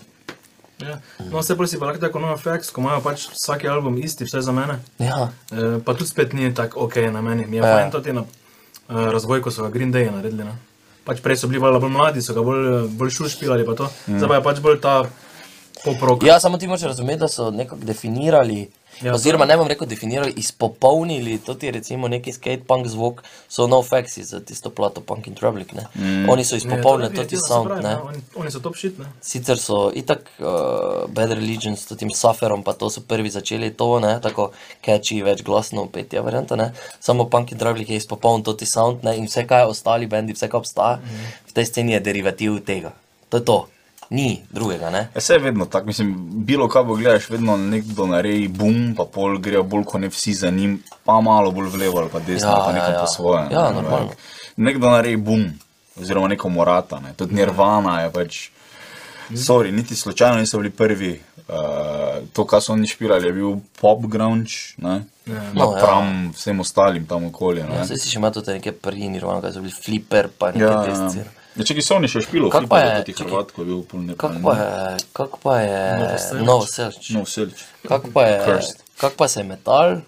S4: Ja. No, vse bolj si pa lahko tako no FX, ko imajo pač vsak album isti, vse za mene.
S3: ja.
S4: E, pa tudi spet ni tako ok na meni. Mi je
S3: Ja.
S4: fajn to ti na e, razvoj, ko so ga Green Day naredili. Ne? Pač prej so bili valjda bolj mladi, so ga bolj, e, bolj šušpilali, pa to. Mm. Zdaj pa je pač bolj ta poprok.
S3: ja, samo ti moraš razumeti, da so nekako definirali. Ja,
S4: Ja,
S3: oziroma, ne bom rekel, definirali, izpopolnili to ti je recimo neki skate-punk zvok, so no faxi za tisto plato Punk in Trouble. Mm. Oni so izpopolnili to ti sound.
S4: pravi,
S3: Ne?
S4: ne, Oni, oni so top shit, ne?
S3: Sicer so itak uh, Bad Religion s tem Sufferom, pa to so prvi začeli to, ne, tako catchy, več glasno petje, varianta, ne. Samo Punk in Draglik je izpopolnil to ti sound, ne, in vse, kaj ostali bendi, vse, kar obstaja v tej sceni, je derivativ tega. To je to. Ni drugega, ne.
S2: Ja, Vse je vedno tako, mislim, bilo kaj bo gledaš, vedno nekdo naredi bum, pa pol grejo bolj, ko ne vsi za njim, pa malo bolj v levo ali pa desno,
S3: Ja,
S2: ja, pa
S3: ja,
S2: nekam
S3: ja.
S2: ja. po svoje.
S3: Ja,
S2: ne,
S3: normalno.
S2: ampak Nekdo naredi bum, oziroma neko morata, ne. tudi nirvana je pač. Sorry, niti slučajno niso bili prvi. Uh, to, kar so oni špirali, je bil pop grunge, ne. Ja.
S3: No, ja.
S2: Napram ja. vsem ostalim tam okolje. Ne.
S3: Ja, Saj si še imel tudi neke prvi nirvana, kaj so bili flipper, pa neke ja,
S2: Ja, ja.
S3: desce.
S2: Ja, če ki so oni še špilo,
S3: Kako
S2: kako
S3: pa
S2: pa
S3: je-
S2: je ti
S3: čakaj.
S2: Hrvat, ko je bil poln
S3: Kako pa je, kako pa je, no, vse.
S2: No, Selič.
S3: Kako pa je,
S2: Cursed.
S3: kako pa se je metal,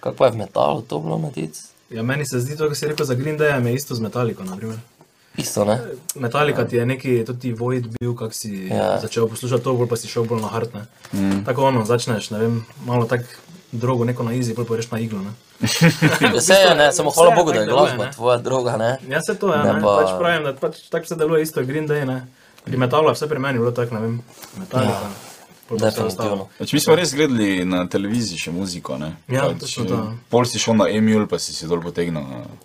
S3: kako pa je v metalu to bilo metic?
S4: Ja, meni se zdi to, kar si rekel za Green Day, me isto z Metallico, na primer.
S3: Isto, ne?
S4: Metallica ti je neki, tudi Void bil, kak si
S3: Ja.
S4: ja. začel poslušati to, bolj pa si šel bolj na hard. Ne? Mm. Tako ono, začneš, ne vem, malo tako drogo, neko na easy, bolj pa reš na iglo. Ne?
S3: Vse je, ne, samo hvala
S4: vse
S3: Bogu, da je
S4: tako deluje,
S3: glasba
S4: ne.
S3: tvoja droga, ne.
S4: Ja, se to je,
S3: Ne
S4: ne, ne?
S3: pa-
S4: Pa... pač pravim, da pač tako se deluje isto, Green Day, ne. Pri metalu je vse pri meni bilo tako, ne vem, Metallica. Ja.
S3: Definitivno.
S2: Pač mi smo res gledali na televiziji še muziko, ne?
S4: Ja,
S2: pač,
S4: točno to.
S2: eh, Pol si šel na Emil, pa si si dol potegnil. eh,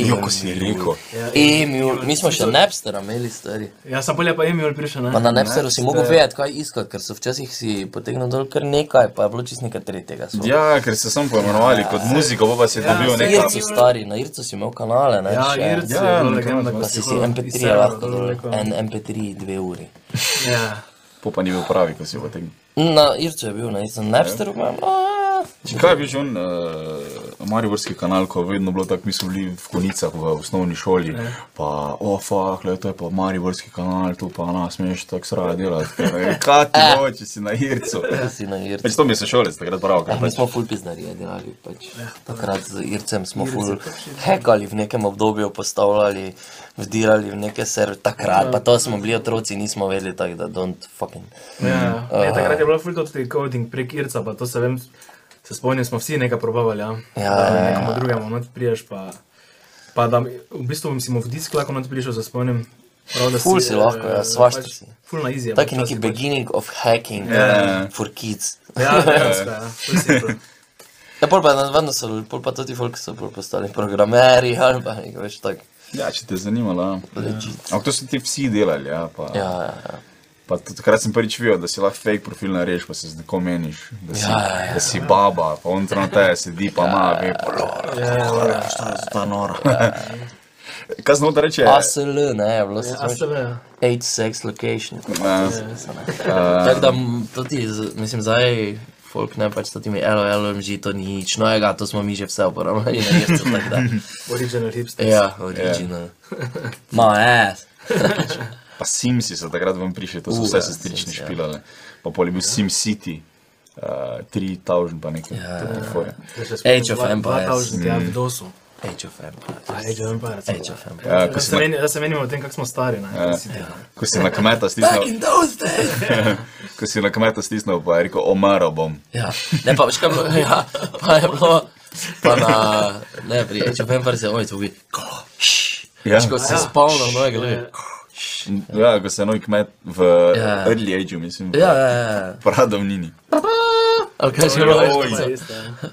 S2: Jo, ko si rekel.
S4: Ja,
S3: Emil, E, mi smo še Napstera imeli, stari.
S4: Jaz Ja, sem bolje pa Emil prišel, ne?
S3: Pa na Napsteru si mogel vedeti, kaj iskati, ker so včasih si potegnil dol kar nekaj, pa je bilo čist nekaj tretjega. so.
S2: Ja, ker se sem poimenovali kot muziko, pa pa si dobil
S3: Na
S2: nekaj.
S3: Ircu stari, na Ircu si imel kanale, ne?
S4: Ja,
S3: še.
S4: Irc je
S2: Ja,
S4: bila
S2: nekaj
S4: legenda.
S3: Pa si si
S4: hodil iz
S3: MP3
S4: severa
S3: lahko
S4: dol
S3: dol,
S4: neko-
S3: en MP3 dve uri.
S4: Ja.
S2: Po pa ni bil pravi, ko si jo potegnil.
S3: Na Ircu je bil, na Ircu, na Napsteru pa je bilo. "Ah,
S2: Če Kaj je bil že on, uh, Mariborski kanal, ko je vedno bilo tako, mi smo bili v konicah v osnovni šoli,
S4: Ja.
S2: pa ofak, oh, to je pa Mariborski kanal, tu pa nas smeš tako sraja delati. Kaj ti hoče, si na Ircu?
S3: Si na Ircu.
S2: Pač to mi je se šole, takrat prav,
S3: Ja,
S2: kaj
S3: mi
S2: pač.
S3: smo ful pizdarije delali, pač.
S4: Ja,
S3: Takrat z Ircem smo ful
S4: pač
S3: hekali v nekem obdobju, postavljali, vdirali v neke serve, takrat, pa to smo bili otroci, nismo vedeli tako, da don't fucking.
S4: Ja, ne, takrat je bilo ful to tudi coding prek Irca, pa to se vem, se spomnim, smo vsi nekaj probavali, ja.
S3: Ja,
S4: Da
S3: ja,
S4: Nekomu drugemu not priješ, pa, pa da, v bistvu bi si mu v disk lahko not prišel, se spomnim. Prav, da eh, pač
S3: Ful si lahko, ja, svašta si.
S4: Ful na pač izjavi.
S3: Taki neki beginning of hacking
S2: Ja.
S3: for kids.
S4: Ja, dejansko, ja, ful si to.
S3: Ja, pol pa vedno so, pol pa tudi folk so pol postali programerji ali pa nekaj več tak.
S2: Ja, če te je zanimalo. ja.
S3: Legit.
S2: Ampak to so ti vsi delali, ja. Pa,
S3: Ja, ja, ja.
S2: pa tudi takrat sem prvič videl, da si lahko fake profil narediš, pa se z nekom meniš, da si,
S3: Ja, ja, ja.
S2: da si baba, pa on tam teje sedi, pa ima, ve, pa
S4: Ja,
S2: nora, šta je za ta nora. Kaj znamo da reče?
S3: ASL, ne, je bilo se
S4: Ja,
S3: spomniš?
S4: sebe, ja.
S3: Age sex location.
S2: Eh,
S3: Tako da, m, to ti, z- mislim, zdaj, folk ne pač s temi LOLMG, to ni nič novega, to smo mi že vse uporabljali na Ircu, tako da.
S4: Original hipster.
S3: Ja, original. Ma, ass.
S2: Pa Simsi so takrat vam prišli, to so
S3: U,
S2: vse
S3: ja,
S2: sestrične
S3: Sims, ja.
S2: špilale. Pa pol je bil Sim City, uh, 3000 pa nekaj.
S3: Ja,
S2: to
S3: ja,
S2: fore.
S3: Age of Empires.
S4: 2000, ja, v DOS-u.
S3: Age of Empires.
S4: Age of Empires.
S3: Age of Empires.
S2: Ja, ko
S4: Da
S2: si
S4: se
S2: na-
S4: meni- da se menimo o tem, kako smo stari, ne? Kako si ti,
S3: Ja.
S4: ne?
S2: Ko si na kmeta stisnil,
S3: those days!
S2: ko si na kmeta stisnil, pa je rekel, omaro bom.
S3: Ja, ne pa, veš kaj je bilo, ja, pa je bilo, pa na, ne, pri Age of Empires je ono, to bi, kloš.
S2: Ja.
S3: Veš, ko si spomnil novega ljudi.
S2: Ja, ko se je novi kmet v
S3: Ja.
S2: early ageu, mislim,
S3: Ja, ja, ja.
S2: pradavnini.
S3: Ali kaj že bilo?
S4: Ja, isto, ja.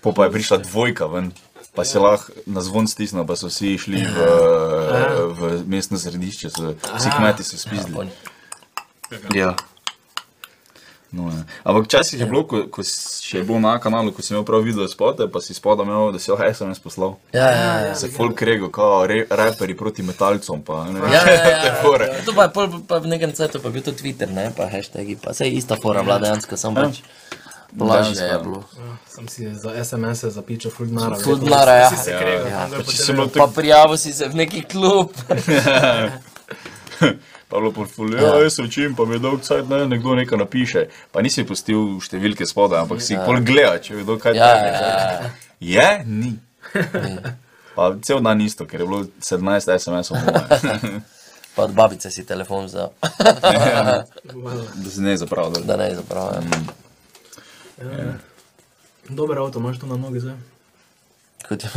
S2: Po pa je prišla dvojka ven. Pa si lahko na zvon stisnil, pa so vsi šli v,
S3: Ja.
S2: v mestno središče, so, vsi kmeti so spizdili.
S3: Oni.
S2: Ja. No, ja. Ampak včasih je bilo, ko, ko s- še je bilo na kanalu, ko si imel prav video spote, pa si spodaj imel, da si lahko SMS poslal.
S3: Ja, ja, ja.
S2: Se folk rego, kao re, raperi proti metalcom, pa ne
S3: Ja, ja, ja,
S2: te fore.
S3: ja. To pa je pol, pa v nekem cajtu, pa je bil to Twitter, ne, pa hashtagi, pa se je ista fora bila dejansko, samo pač. Blažje je
S2: Dejansko.
S3: bilo.
S4: Ja, Sem si za SMS-e zapičal ful denara.
S3: Ful denarja, ja.
S4: Si se kregal,
S3: Ja,
S4: tam dol
S2: Pa
S4: po
S2: če si
S4: televizorju.
S2: bilo
S3: Pa
S2: tako,
S3: prijavil si se v neki klub.
S2: pa je bilo portfolio, ja, jaz se učim, pa mi je dolg cajt, ne, nekdo nekaj napiše, pa nisi pustil številke spodaj, ampak si jih pol gleda, če vedo kaj
S3: Ja,
S2: tam je.
S3: ja, ja.
S2: Je, ni. Pa cel dan isto, ker je bilo 17 SMS-ov, po moje.
S3: Pa od babice si telefon vzel,
S2: da se ne zapravljalo.
S3: da ne zapravim.
S4: Dober avto, imaš tu na nogi zdaj?
S3: Kot je.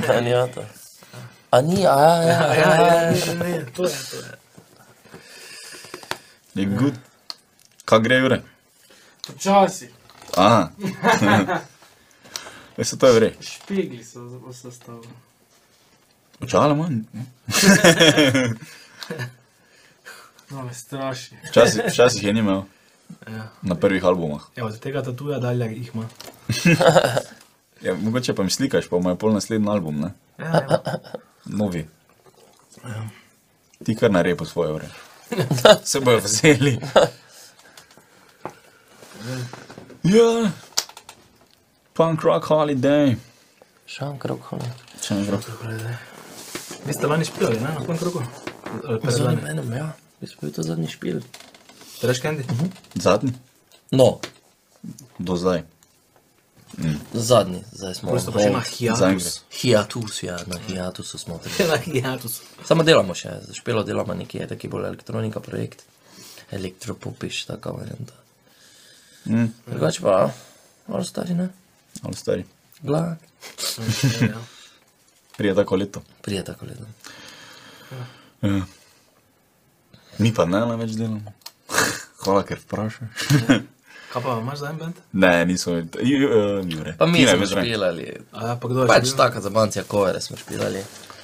S3: A ni avto. A ni, a ja, ja, ja.
S4: ne, to je, to je.
S2: Je good. Kaj gre, Jure?
S1: Počasi,
S2: Aha. Veste, to je vre.
S1: špegli so sestavljeni.
S2: Očala manj.
S1: No, me straši.
S2: Včasih včasih je nimel.
S4: Ja.
S2: Na prvih albumah.
S4: Ja, od tega tatuja dalje jih ima.
S2: Ja, mogoče pa mi slikaš, pa mu je pol naslednji album, ne?
S4: Ja, ja.
S2: Novi. Ti kar naredi po svoje ure. Se bojo vzeli. Ja. Punk rock holiday.
S3: Šan krok, ne.
S2: Če ne gre.
S4: Vi ste lani špijali, ne, na pun kroku? Ali pa
S3: Zadnji
S4: zadnji?
S3: menem, ja. Mi smo bili to zadnji špil.
S4: Reš, Kendi?
S3: Mhm.
S2: Zadnji?
S3: No,
S2: Do zdaj.
S3: zadnji, zdaj smo.
S4: Prosto pa še na
S3: hold.
S4: hiatus.
S3: Hiatus, ja, na hiatusu smo. trenutno.
S4: Na hiatus.
S3: Samo delamo še, za špilo delamo nekje, taki bolj elektronika projekt, elektropopiš, taka varianta.
S2: Mm.
S3: Drugače pa, malo stari, ne,
S2: Ali stari.
S3: glava,
S4: Ja, ja.
S2: Prije tako leto.
S3: prije tako leto.
S2: Ja. Mi pa ne, ne več delamo. Hvala, ker vprašaš.
S4: Kaj pa imaš za en bend?
S2: Ne, niso. Ju, uh, Jure.
S3: Pa mi
S2: Tina je
S3: smo
S2: bil zraven.
S3: špilali.
S4: A, ja, pa kdo je?
S3: Pač
S4: še bil?
S3: taka zabancija kovere smo špilali.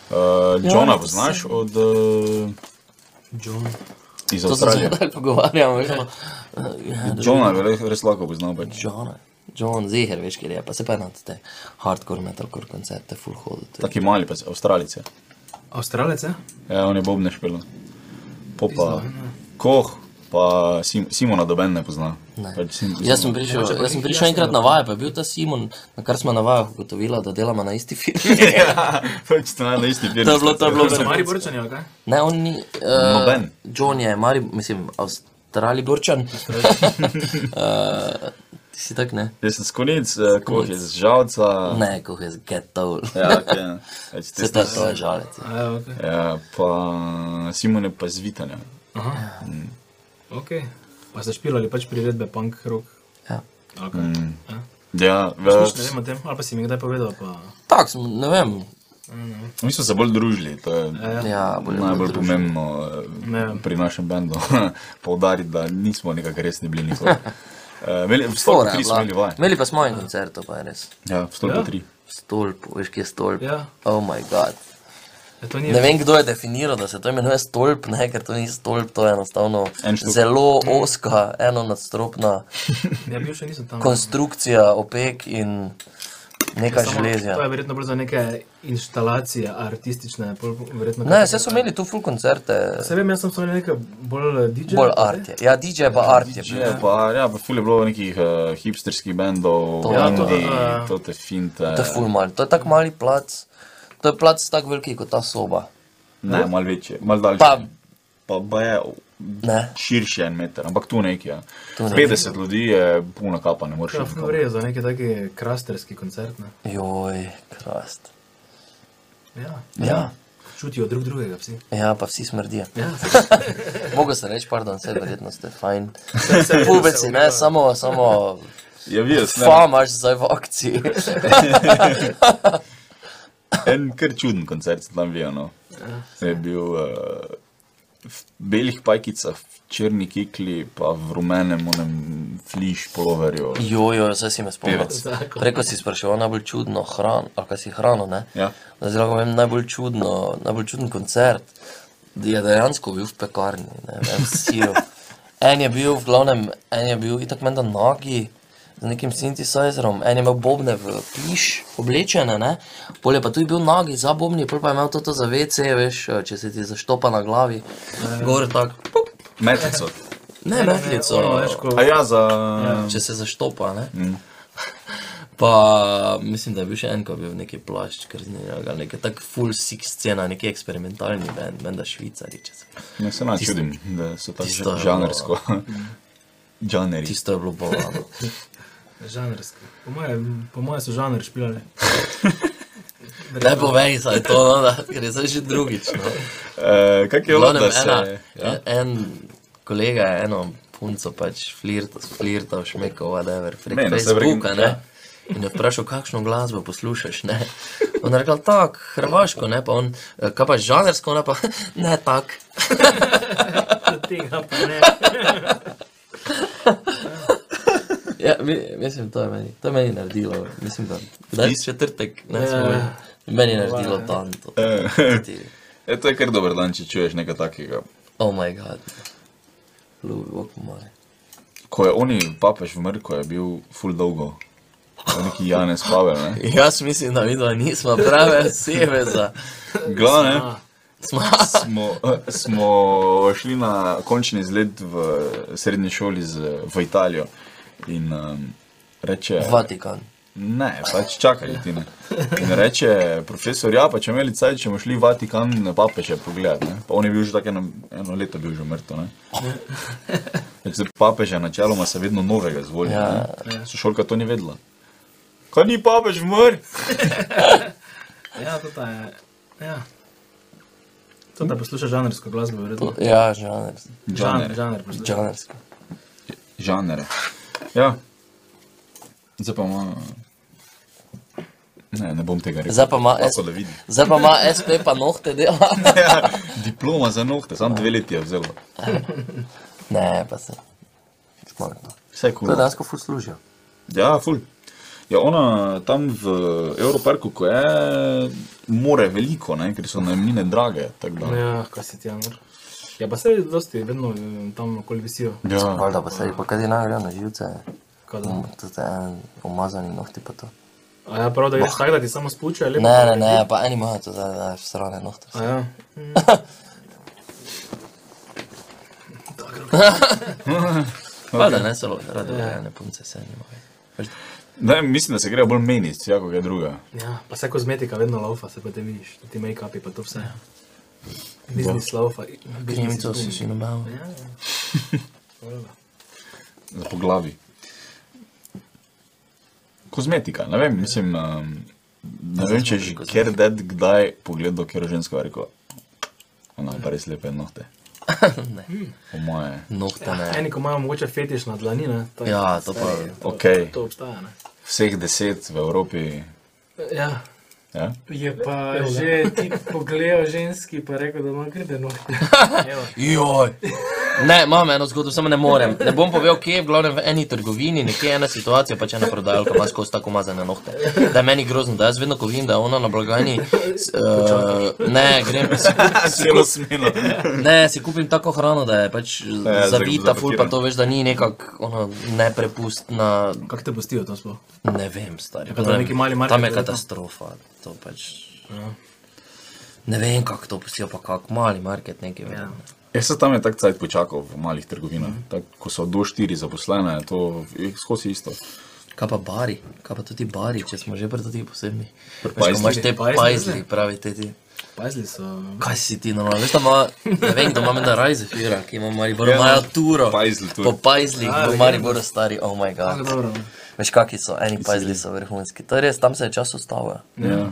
S2: Uh, Johna poznaš od uh,
S4: John.
S2: iz
S3: To se
S2: Avstralije.
S3: zdaj pogovarjamo. veš, ono, ja,
S2: Johna je res- res lahko poznal. Pač.
S3: John, John Zeher, veš, kje je, pa se pa na te hardcore metalcore koncerte full hodil.
S2: Taki mali, pa z- Avstralice.
S4: Avstralec je?
S2: Ja, on je Bob ne špil. Popa,
S3: ja.
S2: Koh, pa Sim, Simona doben ne pozna.
S3: Ne.
S2: Pač Sim,
S3: Jaz sem prišel, jaz sem prišel enkrat na vajo, pa je bil ta Simon, na kar smo na vajah ugotovila, da delamo na isti firmi.
S2: ja, pač to je na isti film.
S3: To je bilo- to je bilo-
S4: Za Mari Borčan je, ali kaj?
S3: Ne, on ni. Uh,
S2: Noben.
S3: John je, Mari, mislim, Avstralij Borčan. uh, ti si tak ne?
S2: Jaz sem skonic, eh, Koh je z žalca.
S3: Ne, ko je z getov.
S2: Ja, ok, ja. Pač
S3: Se
S2: tisto-
S3: to to je žalec. ja.
S4: A, ok.
S2: Ja, pa Simon je pa z Vitanja.
S4: Aha. Ok. Pa ste špilali pač priredbe punk rock.
S3: Ja.
S4: ali kaj?
S2: Ja, več.
S4: Nič ne vem o tem, ali pa si mi kdaj povedal, pa
S3: Tak, sem, ne vem.
S2: Mi smo se bolj družili, to je
S3: Ja, bolje
S2: najbolj
S3: družil.
S2: pomembno eh,
S4: Ne.
S2: pri našem bendu. Poudariti, da nismo nekako resni bili nikoli. Eh, imeli- V
S3: Fora
S2: stolpu
S3: je
S2: tri smo
S3: bila.
S2: imeli vaje.
S3: Imeli pa smo en koncert, to pa je res.
S2: Ja, v stolpu
S4: Ja.
S2: tri.
S3: Stolp, veš, kje je stolp.
S4: Ja.
S3: Oh moj bog.
S4: je E, to ni.
S3: Ne vem, kdo je definiral, da se to imenuje stolp, ne, ker to ni stolp, to je enostavno
S2: En štup.
S3: zelo oska, enonadstropna
S4: Ja, bil še nisem tam.
S3: Mhm. konstrukcija opek in nekaj
S4: Samo
S3: železja.
S4: To je verjetno bolj za neke instalacije, artistične, bolj verjetno.
S3: Ne, vse so imeli tu full koncerte,
S4: Se vem, jaz sem samo nekaj bolj eh, DJ.
S3: bolj artje. Ja, DJ pa artje.
S2: Je pa, ja, pa ful je bilo nekih uh, hipsterskih bendov,
S3: To-
S4: Ja, to-
S2: indie,
S4: ja.
S2: to te finte.
S3: To je full mal, to je tak mali plac, to je plac tako veliki kot ta soba.
S2: Ne, malo večje, malo daljše.
S3: Pa-
S2: pa, pa je
S3: Ne,
S2: širši en meter, ampak tu nekje. Ja.
S3: Tu nekje.
S2: 50 ljudi je puno kapa, ne moreš.
S4: Ja,
S2: iti
S4: ful
S2: nikamor.
S4: vrejo za neki taki krasterski koncert, ne.
S3: joj, krast.
S4: Ja.
S3: Ja,
S4: Čutijo drug drugega psi.
S3: ja pa vsi smrdijo.
S4: Ja,
S3: Mogo se reči, pardon, vse verjetno ste fajn. Pubeci, ne, samo, samo
S2: Ja, vidiš, ne.
S3: Fama imaš zdaj v akciji.
S2: En kar čuden koncert sem tam bil. No.
S3: Ja.
S2: Je bil uh, v belih pajkicah, v črni kikli, pa v rumenem onem fliš poloverju.
S3: Jojo, zdaj si me spomnil.
S2: Pevec.
S3: Preko si spraševal najbolj čudno hrano, ali kaj si hrano, ne?
S2: Ja.
S3: Da Zdaj lahko vem najbolj čudno, najbolj čuden koncert. Je dejansko bil v pekarni, ne vem, sir. En je bil, v glavnem, en je bil itak menda nagi. Z nekim synthesizerom, en je imel bobne v piš, oblečene, ne? pol je pa tudi bil nagi za bobni, pol pa je imel to za WC, veš, če se ti zaštopa na glavi, gor tak, pop,
S2: Metlico.
S3: ne, metlico.
S4: ono, veš, ko-
S2: A ja, za.
S3: Če se zaštopa, ne. Mm. Pa mislim, da je bil še en, ko je bil neki plašč, ker z njega nekaj tak full six scena, neki eksperimentalni bend, menda švicari. če se-
S2: Ne se nam čudim, da so
S3: tisto
S2: tako
S3: je
S2: žanrsko. Žanri.
S3: Tisto je bilo bolano.
S4: žanrski. Po moje, po moje so žanr špilali.
S3: Ne povej, saj to, no, da, ker je zdaj že drugič. No.
S2: Eh, Kaj je
S3: V
S2: bilo,
S3: glavnem,
S2: da se.
S3: ena, e-
S2: Ja?
S3: en- En kolega je eno punco pač flirt- flirtal, šmekal, whatever, prek
S2: Meni, saj
S3: Facebooka,
S2: verjetno,
S3: ne.
S2: ja.
S3: In je vprašal, kakšno glasbo poslušaš, ne. On je rekel, tak, hrvaško, ne, pa on, "Eh, kaj pa žanrsko, ne, pa ne tak.
S4: Tega pa ne.
S3: Ja, mi, mislim, to je meni, to je meni naredilo, mislim, da, da je četrtek, ne, smo imeli. meni je naredilo dan, to, ti,
S2: E, to je kar dober dan, če čuješ nekaj takega.
S3: oh my god, ljubi, bog moj.
S2: Ko je oni papež umrl, ko je bil full dolgo. Neki Janez Pavel, ne?
S3: Jaz mislim, da mi dva nismo prave osebe za,
S2: Glavne.
S3: smo,
S2: smo, smo šli na končni izlet v srednji šoli z, v Italijo. In um, reče:
S3: Vatikan.
S2: Ne, pač čakaj, ti ne. In reče profesor: Ja, pa če imeli caj, če bomo šli v Vatikan, papeže pogledati. ne." Pa on je bil že tako eno, eno leto, bil že mrtev. ne. Pač Zdaj papeža načeloma se vedno novega zvoli.
S3: Ja.
S2: ne. Sošolka to ni vedela. Kaj ni papež mrtev?
S4: Ja, to ta je. Ja. To da poslušaš žanrsko glasbo, verjetno.
S3: Ja, žanr,
S4: Žanr,
S2: Žanre.
S4: žanr poslušaš.
S3: žanrsko.
S2: žanre. Ja. Zdaj pa ima. Ne, ne bom tega rekel.
S3: Zdaj pa ima
S2: Lahko
S3: es-
S2: da vidim.
S3: Zdaj pa ima SP pa nohte dela.
S2: Ja, diploma za nohte, samo dve leti je vzelo.
S3: Ne, pa se, smartno.
S2: Vse
S3: To
S2: kul.
S3: dejansko ful služijo.
S2: Ja, ful. Ja, ona tam v Evroparku, ko je, more veliko, ne, ker so najmnine drage. tako da.
S4: Ja, kaj se ti jamr. Ja, pa se je dosti, vedno eh, tam okoli visijo.
S2: Ja,
S3: Valjda pa se jih pa kaj naj gre na živce.
S4: Kada.
S3: Tudi en umazani nohti pa to.
S4: A ja, prav, da greš tako, da ti samo spučajo, lepo.
S3: Ne, ne,
S4: naredi.
S3: ne, pa eni imajo to, da da, strane nohte.
S4: A ja.
S3: Valjda ne, celo rade urejene punce se nimajo.
S2: ne, mislim, da se grejo bolj meniti, jako je druga.
S4: ja, pa se kozmetika vedno laufa, se pa te vidiš, ti make-upi pa to vse. Biznis laufa. biznis
S3: Krimico so
S4: boom.
S3: si nabavili.
S4: Ja, ja. Valjda.
S2: Za po glavi. Kozmetika, ne vem, mislim, um, ne vem, če je že kjer ded kdaj pogledal, kjer žensko je rekel, ona ima pa res lepe nohte. Po moje.
S3: Nohte ne.
S4: Eni, ko imajo mogoče fetiš na dlanine, to, je-
S3: Ja, to pa...
S2: Ok,
S4: to obstaja. Ne?
S2: vseh deset v Evropi.
S4: Ja,
S2: Ja?
S1: Je pa že ti pogledal ženski, pa rekel, da ima grde nohte.
S3: Joj. Ne, imam eno zgodbo, samo ne morem. Ne bom povedal, kje je, v glavnem v eni trgovini, nekje je ena situacija, pač ena prodajalka ima skozi tako umazane nohte. Da je meni grozno, da jaz vedno, ko vidim, da je ona na blagajni, s- eh, ne, grem, si kupim, si
S2: Celo smelo.
S3: Ne, si kupim tako hrano, da je pač
S2: Ja,
S3: zavita, ful pa
S2: zapakirana.
S3: to veš, da ni nekako ono, neprepustna.
S4: kako te pustijo to sploh?
S3: Ne vem, stari.
S4: Ja, pa Ja. to
S3: ne vem,
S4: neki mali market
S3: tam je
S4: verjetno.
S3: katastrofa. To pač. Ne vem, kako to pustijo, pa kako mali market neki. Ja.
S2: Jaz sem tam je tak cajt počakal v malih trgovinah, tak, ko so do štiri zaposlene, to je skozi isto.
S3: Kaj pa bari, kaj pa tudi bari, če smo že pri teh posebnih. Veš, ko
S2: pajzlih?
S3: Imaš te
S4: Pajzli,
S3: pajzli, pravi te ti.
S4: Pazili so.
S3: Kaj si ti normalno? Veš, da ima, ne vem, da ima menda Rajzefira, ki ima v Mariboru,
S2: Ja,
S3: imajo turo.
S2: pajzli tur.
S3: Po pajzlih,
S4: Ja,
S3: v Mariboru stari, oh moj
S4: Tako
S3: bog.
S4: dobro.
S3: Veš, kaki so, eni pajzli so vrhunski. To je res, tam se je čas ustavil.
S2: Ja.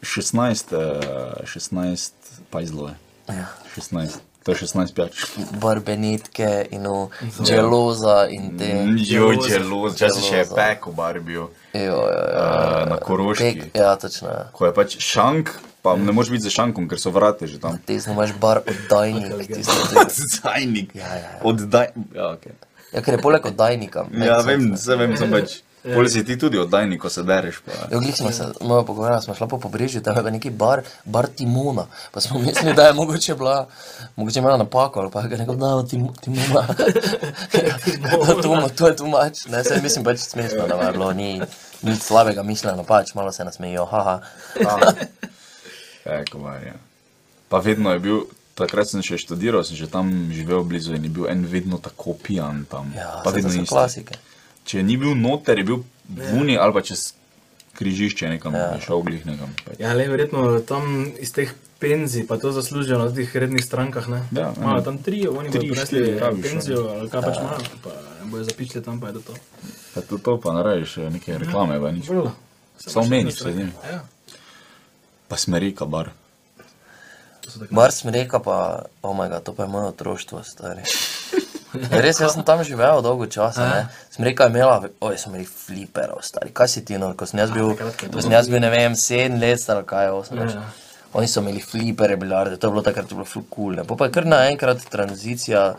S2: 16, eh, 16 pajzlove.
S3: Ja.
S2: 16, to je 16 pijač.
S3: Barbenitke in v dželoza in te.
S2: Mm, Jo, zelo, včasih še je
S3: Želoza.
S2: peko barbijo
S3: Jo, jo, jo.
S2: eh, na Koroški.
S3: Pek, ja, točno. ja.
S2: Ko je pač šank, pa ne moreš biti za šankom, ker so vrate že tam.
S3: Ti znaš bar oddajnik, tisto. ti-
S2: Zajnik.
S3: ja.
S2: Oddaj. Ja, okay.
S3: Ja, ker je poleg oddajnika.
S2: ja
S3: make sense,
S2: vem,
S3: ne.
S2: se vem, sem pač. Poli si ti tudi oddajnik, ko se dereš. Pa.
S3: Ja, glih smo se, malo pogovarjali, smo šli po pobrežju, tam je bil neki bar, bar Timona, pa smo mislili, da je mogoče bila, mogoče imela napako ali pa je rekel, da je Timona. Da, Tuma, to je tumač, ne, se mislim pač smešno, da je bilo, ni nič slabega mišljeno, pač malo se nasmejijo, haha.
S2: Peko barja. ja. Pa vedno je bil. Takrat sem še študiral, sem že tam živel blizu in je bil en vedno tako pijan tam.
S3: Ja,
S2: pa
S3: saj to
S2: vedno
S3: so
S2: isto.
S3: klasike.
S2: Če ni bil noter, je bil vuni ali pa čez križišče nekam, ja. šel glih nekam. pač.
S4: Ja, le verjetno tam iz teh penzij, pa to zaslužijo na teh rednih strankah. Ne?
S2: Ja,
S4: imajo
S2: eno-
S4: tam tri, oni
S2: tri,
S4: bodo
S2: štiri
S4: prinesli
S2: rabiš, ne.
S4: penzijo ali kaj pač imajo, pa bojo zapičili tam, pa je to to.
S2: Pa to, to pa narediš eh, neke reklame, pa nič.
S4: Vrlo.
S2: Samo meniš se z njim.
S4: Ja,
S2: Pa smerika bar.
S4: to so tako.
S3: Bar sem rekel, pa, omega, oh to pa je moje otroštvo, stari. Res, jaz sem tam živel dolgo časa, ne. Sem rekel, imela, oj, sem rekel, fliperov, stari, kaj si ti, no, ko sem jaz bil, ko sem jaz bil, ne vem, sedem let star, ali kaj, osem let. Oni so imeli flipere, bilarde, to je bilo takrat bilo ful kul, ne. Pa pa je kar naenkrat tranzicija,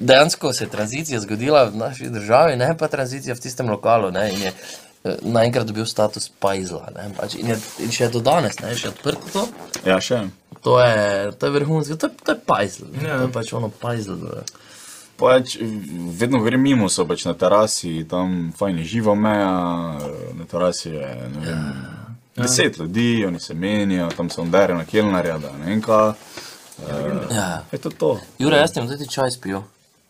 S3: dejansko se je tranzicija zgodila v naši državi, ne pa tranzicija v tistem lokalu. Ne, in je, eh, Naenkrat dobil status pajzla. ne, Pač in, je, in še do danes, ne, še odprto to.
S2: Ja, še.
S3: To je, to je vrhunsko, to je, to je pajzel.
S4: Ja.
S3: Yeah. To je pač ono pajzel. da.
S2: Pač vedno ko grem mimo, so pač na terasi, tam fajn je živa meja, eh, na terasi je ne vem. Deset ljudi, oni se menijo, tam se ondarijo na kelnarja, da ne vem kaj.
S3: Ja.
S2: Je to to.
S3: Jure, jaz ti bom tudi čaj spil,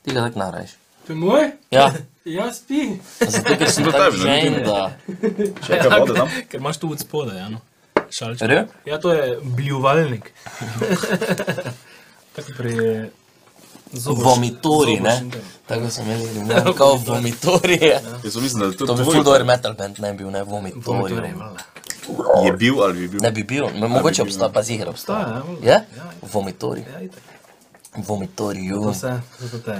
S3: ti ga tako narajš.
S1: To je moj?
S3: Ja,
S1: Jaz spi.
S3: zato ker sem
S2: Do
S3: tako
S2: tebe, da niti
S3: žen,
S2: ne.
S3: da...
S2: Še kaj no. vode tam?
S4: Ker imaš tu od spodaj, ja. No. Šalček.
S3: Re?
S4: Ja, to je bljuvalnik. Tako pri eh, zobu.
S3: Vomitori, ne? Tako sem jaz rekel, kao vomitori je.
S2: Jaz sem mislil, da je to,
S3: To bi
S2: tvoj
S3: ful dober metal band ne bil, ne, vomitori.
S4: Vomitori, valjda.
S2: je bil ali bi bil.
S3: Ne bi bil, mo- mogoče obstaja, pa zihar
S4: Obstaja,
S3: obstaja.
S4: ja, valjda.
S3: Je?
S4: Ja, ja.
S3: Vomitori.
S4: Ja, itak.
S3: No. Vomitorium.
S4: Vse, vse te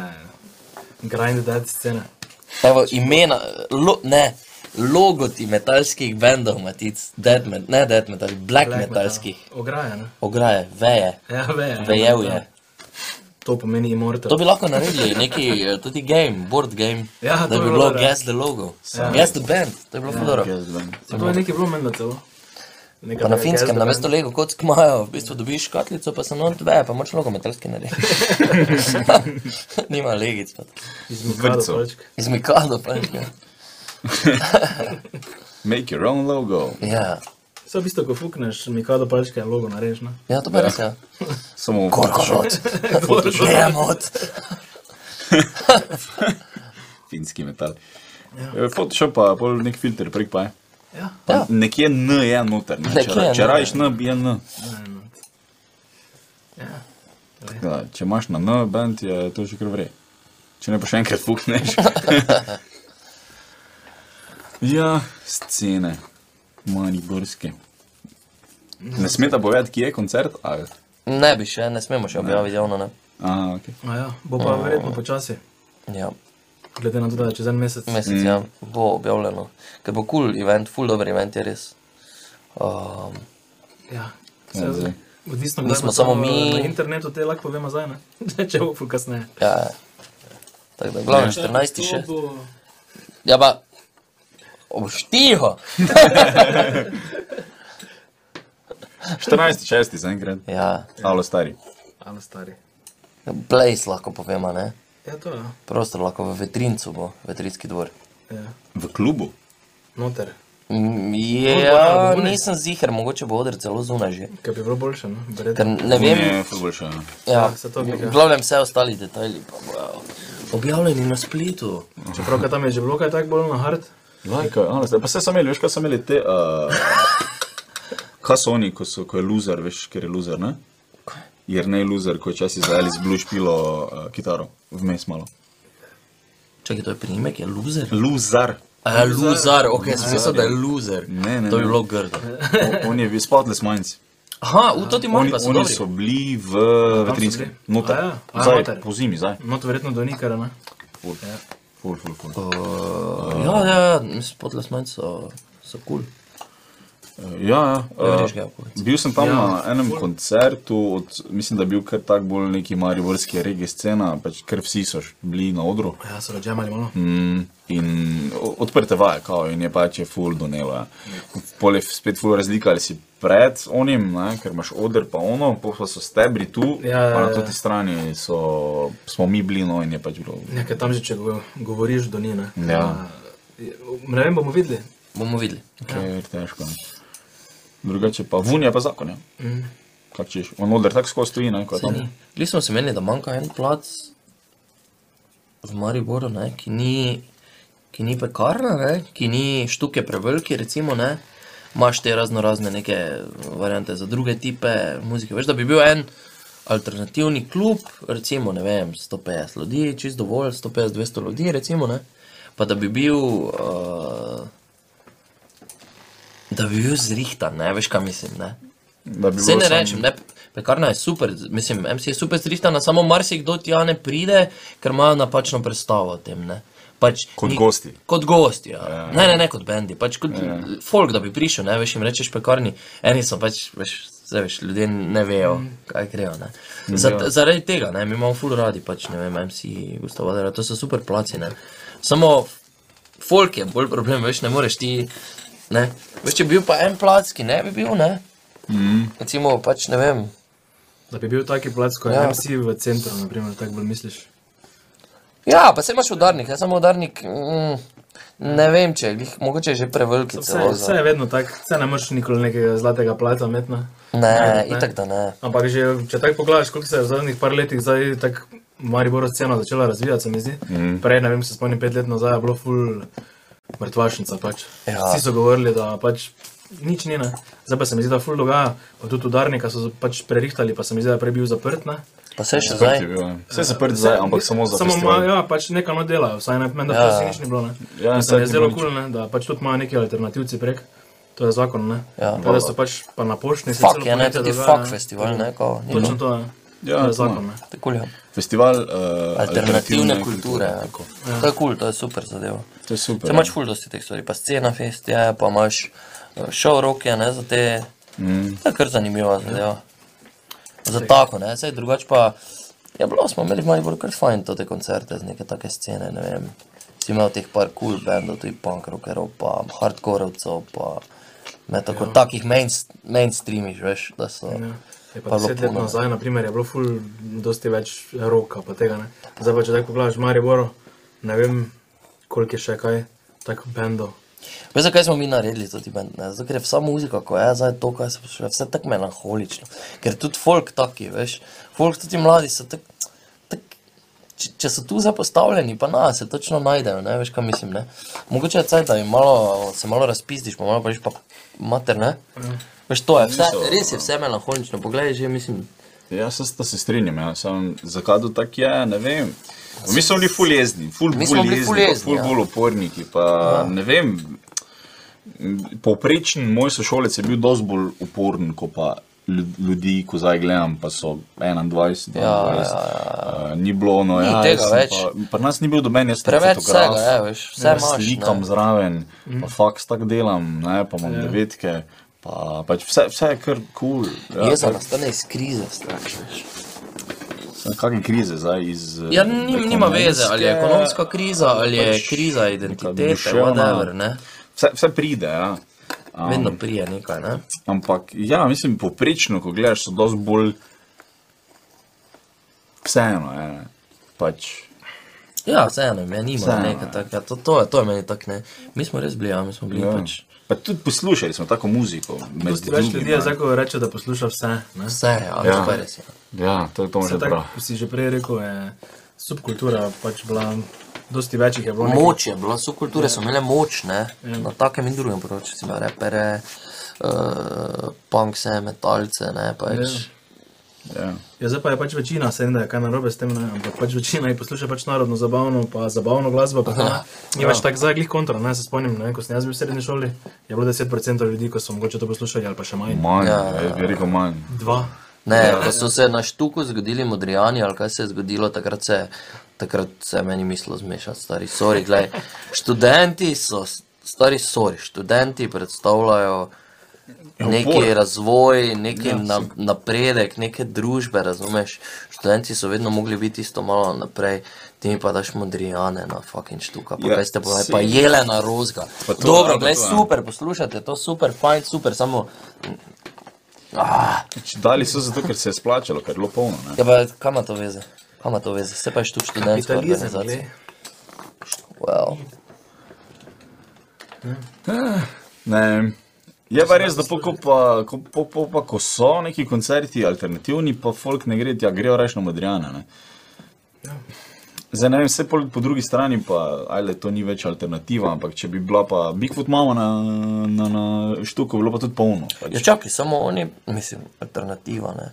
S4: grind dead scene.
S3: Evo, imena, lo, ne, logoti metalskih bendov, matic, dead metal, ne dead metal, black, black metalskih.
S4: Ograja, ne?
S3: ograje, veje,
S4: Ja, veje.
S3: vejev je.
S4: to pomeni immortal.
S3: To bi lahko naredili, neki eh, tudi game, board game.
S4: Ja, to
S3: da
S4: bi
S3: bi
S4: bilo
S3: bilo
S4: dobro.
S3: Guess the Logo. Ja. Guess the Band, to je bilo fudoro.
S2: Jaz vem.
S4: To je nekaj bilo menda celo. Neka
S3: Pa na
S4: taka
S3: finskem,
S4: jazda
S3: na
S4: band.
S3: mesto Lego kot kmajo, v bistvu dobiš škatlico, pa se not dve, pa moč logo metalski naredi. Nima legic. Pa.
S4: Iz Mikado
S2: vrtcev.
S4: pač.
S3: Iz Mikado pa je.
S2: Make your own logo.
S3: Ja.
S4: Vse v bistvu, ko fukneš Mikado pačke, logo narediš, ne?
S3: ja, to pa res je.
S2: Samo
S3: Korkorot. Gremot.
S2: finski metal. Ja. Photoshop pa pol nek filter prek pa je.
S4: Ja.
S2: Pa
S3: Ja.
S2: Nekje N je noter, ne?
S3: Nekje
S2: Če
S3: N,
S2: ra- če
S3: ja.
S2: rajiš N, bi je N.
S4: Ja.
S2: Tako da, Ja, Če imaš na N band, je to že kar vre. Če ne pa še enkrat pukneš. ja, scene, mariborske.
S3: No,
S2: Ne smeta povedati, kje je koncert? Ali?
S3: Ne bi še, ne smemo še objaviti javno, ne.
S2: Aha, ok.
S4: A ja, bo pa verjetno počasi.
S3: Ja,
S4: Glede na to, da je čez en mesec.
S3: mesec mm. ja, bo objavljeno. Ker bo kul cool event, full dober event je res. Um,
S2: Ja,
S4: Ja. Saj,
S2: zdaj.
S4: Odvisno,
S3: Nismo
S4: kdaj bo to
S3: samo mi.
S4: Na internetu te lahko povemo zdaj, ne? Če bo ful kasneje.
S3: ja, ja. Tako da, glavno 14. še.
S1: bo...
S3: Ja, pa. Oštiho!
S2: 14.6. zaenkrat.
S3: Ja,
S2: Alo, stari.
S4: Ano, stari.
S3: place lahko povemo, ne.
S4: Ja, to je.
S3: Prostor lahko v vetrincu bo, vetrinski dvor.
S4: Ja.
S2: V klubu.
S4: Noter.
S3: Mm,
S4: dvorana
S3: Ja,
S4: bo, ne?
S3: nisem ziger, mogoče bo odr celo zunaj že.
S4: Kaj bi bilo boljše, no?
S3: Ker
S4: Verjetno.
S3: ne vem,
S2: Ne, ful boljše. ja.
S3: Ja,
S4: Ja, se to bi ga.
S3: v glavnem vse ostali detajli pa bojo objavljeni na spletu.
S4: Čeprav kaj tam je že bilo kaj tako bolj na hard.
S2: Lajka, alo, stari. ja, Pa se sami, veš, kaj so imeli te... Uh... Kaj so oni, ko, so, ko je loser, veš, ker je loser, ne? Jer ne je loser, ko je časi zajeli z blue špilo uh, kitaro. Vmes malo.
S3: Čakaj, to je primek, je loser.
S2: Luzar.
S3: A, loser, ok, sem mislil, da je loser.
S2: Ne, ne,
S3: To bi
S2: ne.
S3: bilo grdo.
S2: O, on je bil spotless minds.
S3: Aha, v to ti
S2: Oni,
S3: manjka, so
S2: oni
S3: dobri.
S2: so bili v veterinskem.
S4: bili?
S2: Noter.
S4: A ja, a, noter.
S2: Zdaj, po zimi, zdaj.
S4: No, to verjetno do nikara, ne?
S2: Ful, ful, ful. ful.
S3: Uh,
S2: eh,
S3: Ja, ja, ja, mislim, podles manj so, so kul.
S2: Ja, ja.
S3: Ne
S2: eh,
S3: veš, kaj je konec.
S2: Bil sem tam ja, na enem ful. koncertu, od, mislim, da je bil kar tak bolj neki mariborski regi scena, pač kar vsi so š- bili na odru.
S4: Ja, so odžemali malo.
S2: Mm, in o- odprte vaje, kao, in je pač je full donelo. Ja. Pol je f- spet full razlika, ali si pred onim, ne, ker imaš odr, pa ono, pol pa so stebri tu,
S4: Ja, ja,
S2: pa na
S4: ja.
S2: toti strani so, smo mi bili, no in je pač bilo.
S4: Nekaj Ja, tam že, če go- govoriš do njih, ne?
S3: Mm.
S2: Ja.
S4: A, je- Ne vem, bomo videli.
S3: Bomo videli.
S2: Ker težko. Drugače pa vunja pa zakon. Ja. Mm. Kaj češ, on odr tako skozi stoji, ne, kot tam.
S3: Gli smo se meni, da manjka en plac v Mariboru, ne, ki ni, ki ni pekarna, ne, ki ni štuke preveliki, recimo, ne. Imaš te razno razne neke variante za druge tipe muzike. Veš, da bi bil en alternativni klub, recimo, ne vem, 150 ljudi, čist dovolj, 150-200 ljudi, recimo, ne. Pa da bi bil, uh, da bi bil zrihtan, ne, veš, kaj mislim, ne.
S2: Da bi
S3: Vse
S2: bilo
S3: ne
S2: samo-
S3: rečem, ne, pekarna je super, mislim, MC je super strihtana, samo marsikdo tja ne pride, ker imajo napačno predstavo o tem. Ne. Pač,
S2: Kot gosti.
S3: Kot gosti, ja. Ne, ne, ne kot bendi, pač kot folk, da bi prišel, ne veš, jim rečeš pekarni. Eni so pač, veš, vse veš, ljudje ne vejo, kaj grejo. Ne. Zar, zaradi tega, ne, mi imamo full radi, pač ne vem, MC, Gustavadera, to so super placi, ne. Samo folk je bolj problem, veš, ne moreš ti, ne. Veš, če bi bil pa en plac, ki ne bi bil, ne. Recimo, pač ne vem.
S4: Da bi bil taki plac, kot
S3: Ja.
S4: je MC v centru, naprimer, tako bolj misliš.
S3: Ja, pa se imaš udarnik, jaz sem udarnik. Mm, ne vem, če je glih, mogoče je že preveliki
S4: Vse,
S3: celo.
S4: vse
S3: Za...
S4: je vedno tako, vse ne moreš nikoli nekega zlatega plata metna.
S3: Ne, itak da ne.
S4: Ampak že, če tako pogledaš, koliko se je v zadnjih par letih zdaj tako Maribor scena začela razvijati, se mi zdi.
S3: Mhm.
S4: Mm. Prej, ne vem, se spomnim pet let nazaj, je bilo ful mrtvašnica pač.
S3: Ja.
S4: Vsi so govorili, da pač nič ni, ne. Zdaj pa se mi zdi, da ful dogaja, pa tudi udarnika so pač prerihtali, pa se mi zdi, da je prej bil zaprt, ne.
S3: Pa se še
S2: Zaprt je
S3: zdaj.
S2: bil, ja. Vse se prd zdaj, ampak samo za
S4: Samo
S2: festival.
S4: ima, ja, pač nekaj no delajo, vsaj ne, meni, da
S3: Ja.
S4: ja. si nič ni bilo, ne.
S2: Ja,
S4: In se
S2: saj
S4: mi je
S2: ni
S4: zdelo
S2: bilo
S4: kul, ne, da pač tudi imajo neki alternativci prek. To je zakon, ne.
S3: Ja.
S4: Tako da so pač pa na poštni. se
S3: Fak
S4: celo
S3: je, ja, ne,
S4: podjetje
S3: tudi
S4: dogaja,
S3: fak
S4: ne.
S3: festival, ne, ko ni
S4: Točno
S3: bilo.
S4: to je.
S2: Ja,
S4: to
S2: to ima.
S4: je zakon, ne.
S3: To je kul, ja.
S2: Festival uh,
S3: Alternativne kulture. ja. To je kul, to je super zadeva.
S2: To je super. ja.
S3: Se imaš ful dosti teh stvari, pa scena fest je, pa imaš eh, šov roke, ja, ne, za te. To je kar zanimiva zadeva. Za tako, ne, saj drugače pa Ja, bilo smo imeli v Mariboru kar fajn to te koncerte z neke take scene, ne vem. Si imel teh par cool bendov, tudi punk rockerov, pa hardcoreovcev, pa ne tako ja. takih mainst, mainstreamiš, veš, da so.
S4: Ja. Je pa
S3: Pa bilo
S4: deset let
S3: puno.
S4: nazaj, na primer, je bilo ful, dosti več roka, pa tega ne. Zdaj pa če tako pogledaš Maribor, ne vem, koliko je še kaj, tako bendo.
S3: Veš, zakaj smo mi naredili to ti bend? ne? Zato, ker je vsa muzika, ko je zdaj to, kaj se posluša, vse tako melanholično. Ker tudi folk taki, veš, folk tudi mladi so tako. tak- Če, če so tu zapostavljeni, pa na, se točno najdejo, ne veš, kaj mislim. Ne? Mogoče je caj, da jim malo, se malo razpistiš, pa malo paš pa mater, ne? Veš, to je, vse,
S2: Mhm. Niso-
S3: res je vse melanholično, poglej, že mislim,
S2: Ja, se, se strinjam, ja. Sam, zakaj to tako je, ne vem. Mi smo bili ful jezni, ful
S3: Mi smo
S2: bolj
S3: bili
S2: jezni,
S3: ful
S2: ful, jezni,
S3: jezni,
S2: ful
S3: ja.
S2: bolj uporniki. Pa, ne vem, povprečen moj sošolec je bil dosti bolj uporen kot pa lju- ljudi, ko zdaj gledam, pa so 21,
S3: Ja,
S2: 22.
S3: ja,
S2: Eh, Ni bilo no,
S3: Ni
S2: ja,
S3: tega
S2: jaz sem
S3: več.
S2: Pa, pri nas ni bil doben, jaz sem
S3: Preveč
S2: fotograf,
S3: vsega je, veš, vse
S2: ja,
S3: imaš, ne.
S2: Slikam zraven, pa faks tak delam, ne, pa imam devetke, pa pač vse, vse je kar kul. Cool,
S3: ja, jeza
S2: pač-
S3: nastane iz krize, strašno, veš.
S2: Kakšne krize zdaj iz. eh,
S3: Ja, nim, nima veze, ali je
S2: ekonomske-
S3: ekonomska kriza, ali je
S2: pač
S3: kriza
S2: neka
S3: identitete,
S2: duševna.
S3: whatever, ne?
S2: Vse, vse pride, ja. Am,
S3: Vedno prije nekaj, ne?
S2: Ampak, ja, mislim, poprečno, ko gledaš, so dosti bolj. Vseeno, je, ne. pač.
S3: Ja, vseeno, meni nima
S2: Vseeno,
S3: nekaj
S2: ja.
S3: takega, to, to, je- to je meni tako ne. Mi smo res bili, ja, mi smo bili
S2: Ja.
S3: pač
S2: Pa tudi poslušali smo tako muziko. med
S4: Dosti več
S2: drugim,
S4: ljudi je
S2: ne.
S4: zdaj, ko reče, da posluša vse. Ne?
S3: vse, ja, ja.
S2: Ja.
S3: to je res. Ja.
S2: Ja, to je to že
S4: Vse tako,
S2: prav.
S4: kot si že prej rekel, je subkultura pač bila, dosti večjih je bilo. nekih-
S3: Moč je bila, so
S2: Ja.
S3: kulture so imele moč, ne? Na takem in drugem področju, si ima repere, uh, punkse, metalce, ne, pač.
S2: Ja.
S4: Ja, zdaj pa je pač večina, se ne da je kaj narobe s tem, ne, ampak pač večina je posluša pač narodno zabavno, pa zabavno glasbo. Pa, ne, ni
S3: Ja.
S4: več tako zaglih kontra, ne se spomnim, ne, ko sem jaz bil v srednji šoli, je bilo 10% ljudi, ko so mogoče to poslušali ali pa še manj.
S2: Manj,
S3: Ja,
S2: ja, jaz bi rekel manj.
S4: Dva.
S3: Ne,
S2: Ja,
S3: ko so se na štuku zgodili modrijani ali kaj se je zgodilo, takrat se, takrat se je meni mislilo zmešati, stari sori. Glej, študenti so, s- stari sori, študenti predstavljajo neki
S2: upor. Ja,
S3: razvoj, neki na, napredek, neke družbe, razumeš? Študenti so vedno mogli biti isto malo naprej. Ti mi pa daš modrijane na fucking štuka, pa
S2: Ja,
S3: ja, kaj ste pa,
S2: sej.
S3: pa jelena rozga.
S2: Pa to, ja,
S3: Dobro,
S2: pa
S3: gledaj,
S2: to, ja.
S3: super, poslušate, to super, fajn, super, samo
S2: Pač Dali so zato, ker se je splačalo, ker je bilo polno. Ne?
S3: Ja, pa kam ima to veze? Kam ima to veze? Vse pa je tu študentska
S4: Kapitalizem,
S3: organizacija.
S4: glej.
S3: Well.
S2: Ne. Je pa res, da po, ko, pa, ko, po, po, pa, ko so neki koncerti alternativni, pa folk ne gre, ja, grejo reči na Madrijana. Ne? Zdaj ne vem, vse po, po drugi strani pa, ajde, to ni več alternativa, ampak če bi bila pa Bigfoot mama na, na, na štuku, bi bilo pa tudi polno.
S3: Ja,
S2: Pač.
S3: čakaj, samo oni, mislim, alternativa. Ne.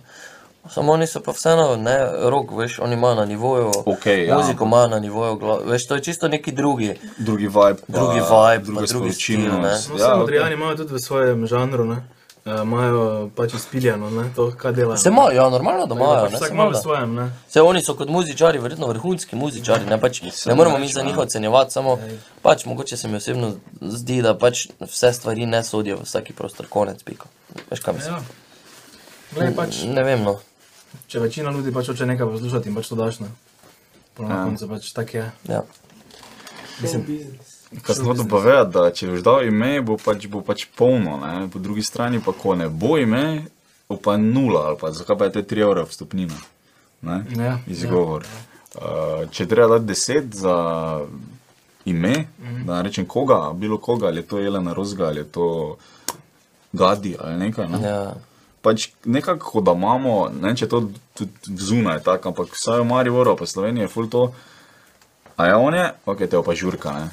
S3: Samo oni so pa vseeno, ne, rok, veš, oni imajo na nivoju,
S2: Okej, ja.
S3: muziko imajo na nivoju, gla- veš, to je čisto neki drugi.
S2: Drugi vibe, pa,
S3: Drugi vibe, pa
S2: druga
S3: drugi stil,
S2: sporočilnost. Ja,
S4: No, vse
S2: okej.
S4: modrijani imajo tudi v svojem žanru, ne, eh, imajo pač izpiljeno, ne, to, kaj delajo.
S3: Se imajo, ja, normalno, da imajo.
S4: pač
S3: ne,
S4: vsak
S3: saj
S4: ima v
S3: valjda.
S4: svojem, ne.
S3: Se oni so kot muzičari, verjetno vrhunski muzičari, ne, pač, ne moremo mi za njih ocenjevati, samo pač mogoče se mi osebno zdi, da pač vse stvari ne sodijo v vsaki prostor, konec pika. Veš, kaj mislim?
S4: Ja. Glej, pač,
S3: Ne vem, no.
S4: če večina ljudi pač hoče nekaj poslušati, jim pač to daš, ne. Pa na koncu pač tako je.
S3: Ja.
S2: Kaj smo to povedali, da če boš dal ime, bo pač, bo pač polno, ne? po drugi strani pa ko ne bo ime, bo pa nula ali pa zakaj pa je te 3 evra vstopnina. Ne?
S4: Ja,
S2: Izgovor. Uh, če je treba dati 10 za ime,
S4: Mhm.
S2: da ne rečem koga, bilo koga, ali je to Jelena Rozga, ali je to Gadi ali nekaj. Ne?
S3: Ja.
S2: pač nekako, da imamo, ne vem, če je to tudi zunaj, tako, ampak vsaj v Mariboru, pa Sloveniji je ful to. A ja, on je, ok, te pa žurka, ne?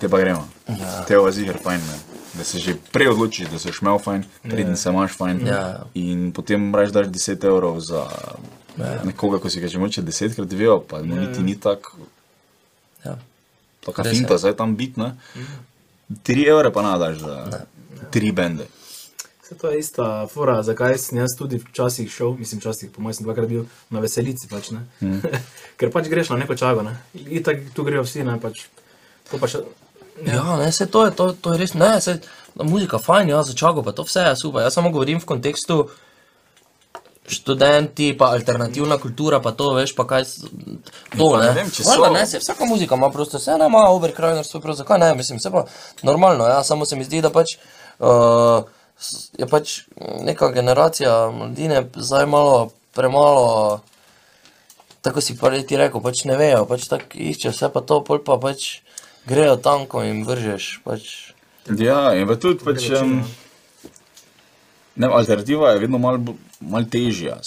S2: te pa gremo. Ja. Te pa ziger fajn, ne? da se že prej odločiš, da se šmel fajn, preden se imaš fajn.
S3: Ja.
S2: In potem raž daš 10 evrov za nekoga, ko si ga že moče 10 krat videl, pa mu niti ni tako,
S3: Ja.
S2: taka
S3: Mm. Res je. Mhm.
S2: finta, zdaj tam biti, ne? 3 evre pa nadaš za 3 bende.
S4: Vse to je ista fora, zakaj sem jaz tudi včasih šel, mislim, včasih, po mojem, sem dvakrat bil na veselici. Pač, mm. Ker pač greš na neko čago, ne? in tako tu grejo vsi. Ne, pač, to pa še,
S3: ja, ne, se to je, to, to je res, ne, se muzika fajn, ja, začago pa to vse je super. Jaz samo govorim v kontekstu, študenti, pa alternativna kultura, pa to veš, pa kaj s- to
S2: Pa
S3: ne.
S2: ne vem, če so.
S3: Valjda ne, se vsaka muzika ima prosto, vse ne ima Oberkrajner, svoj prostor, zakaj ne, mislim, vse pa normalno, ja, samo se mi zdi, da pač uh, je pač neka generacija mladine zdaj malo premalo, tako si pa ti rekel, pač ne vejo, pač tako išče vse pa to, pol pa pač grejo tanko in vržeš, pač.
S2: Ja, in pa tudi pač. Um, ne, vem, alternativa je vedno malo mal težja.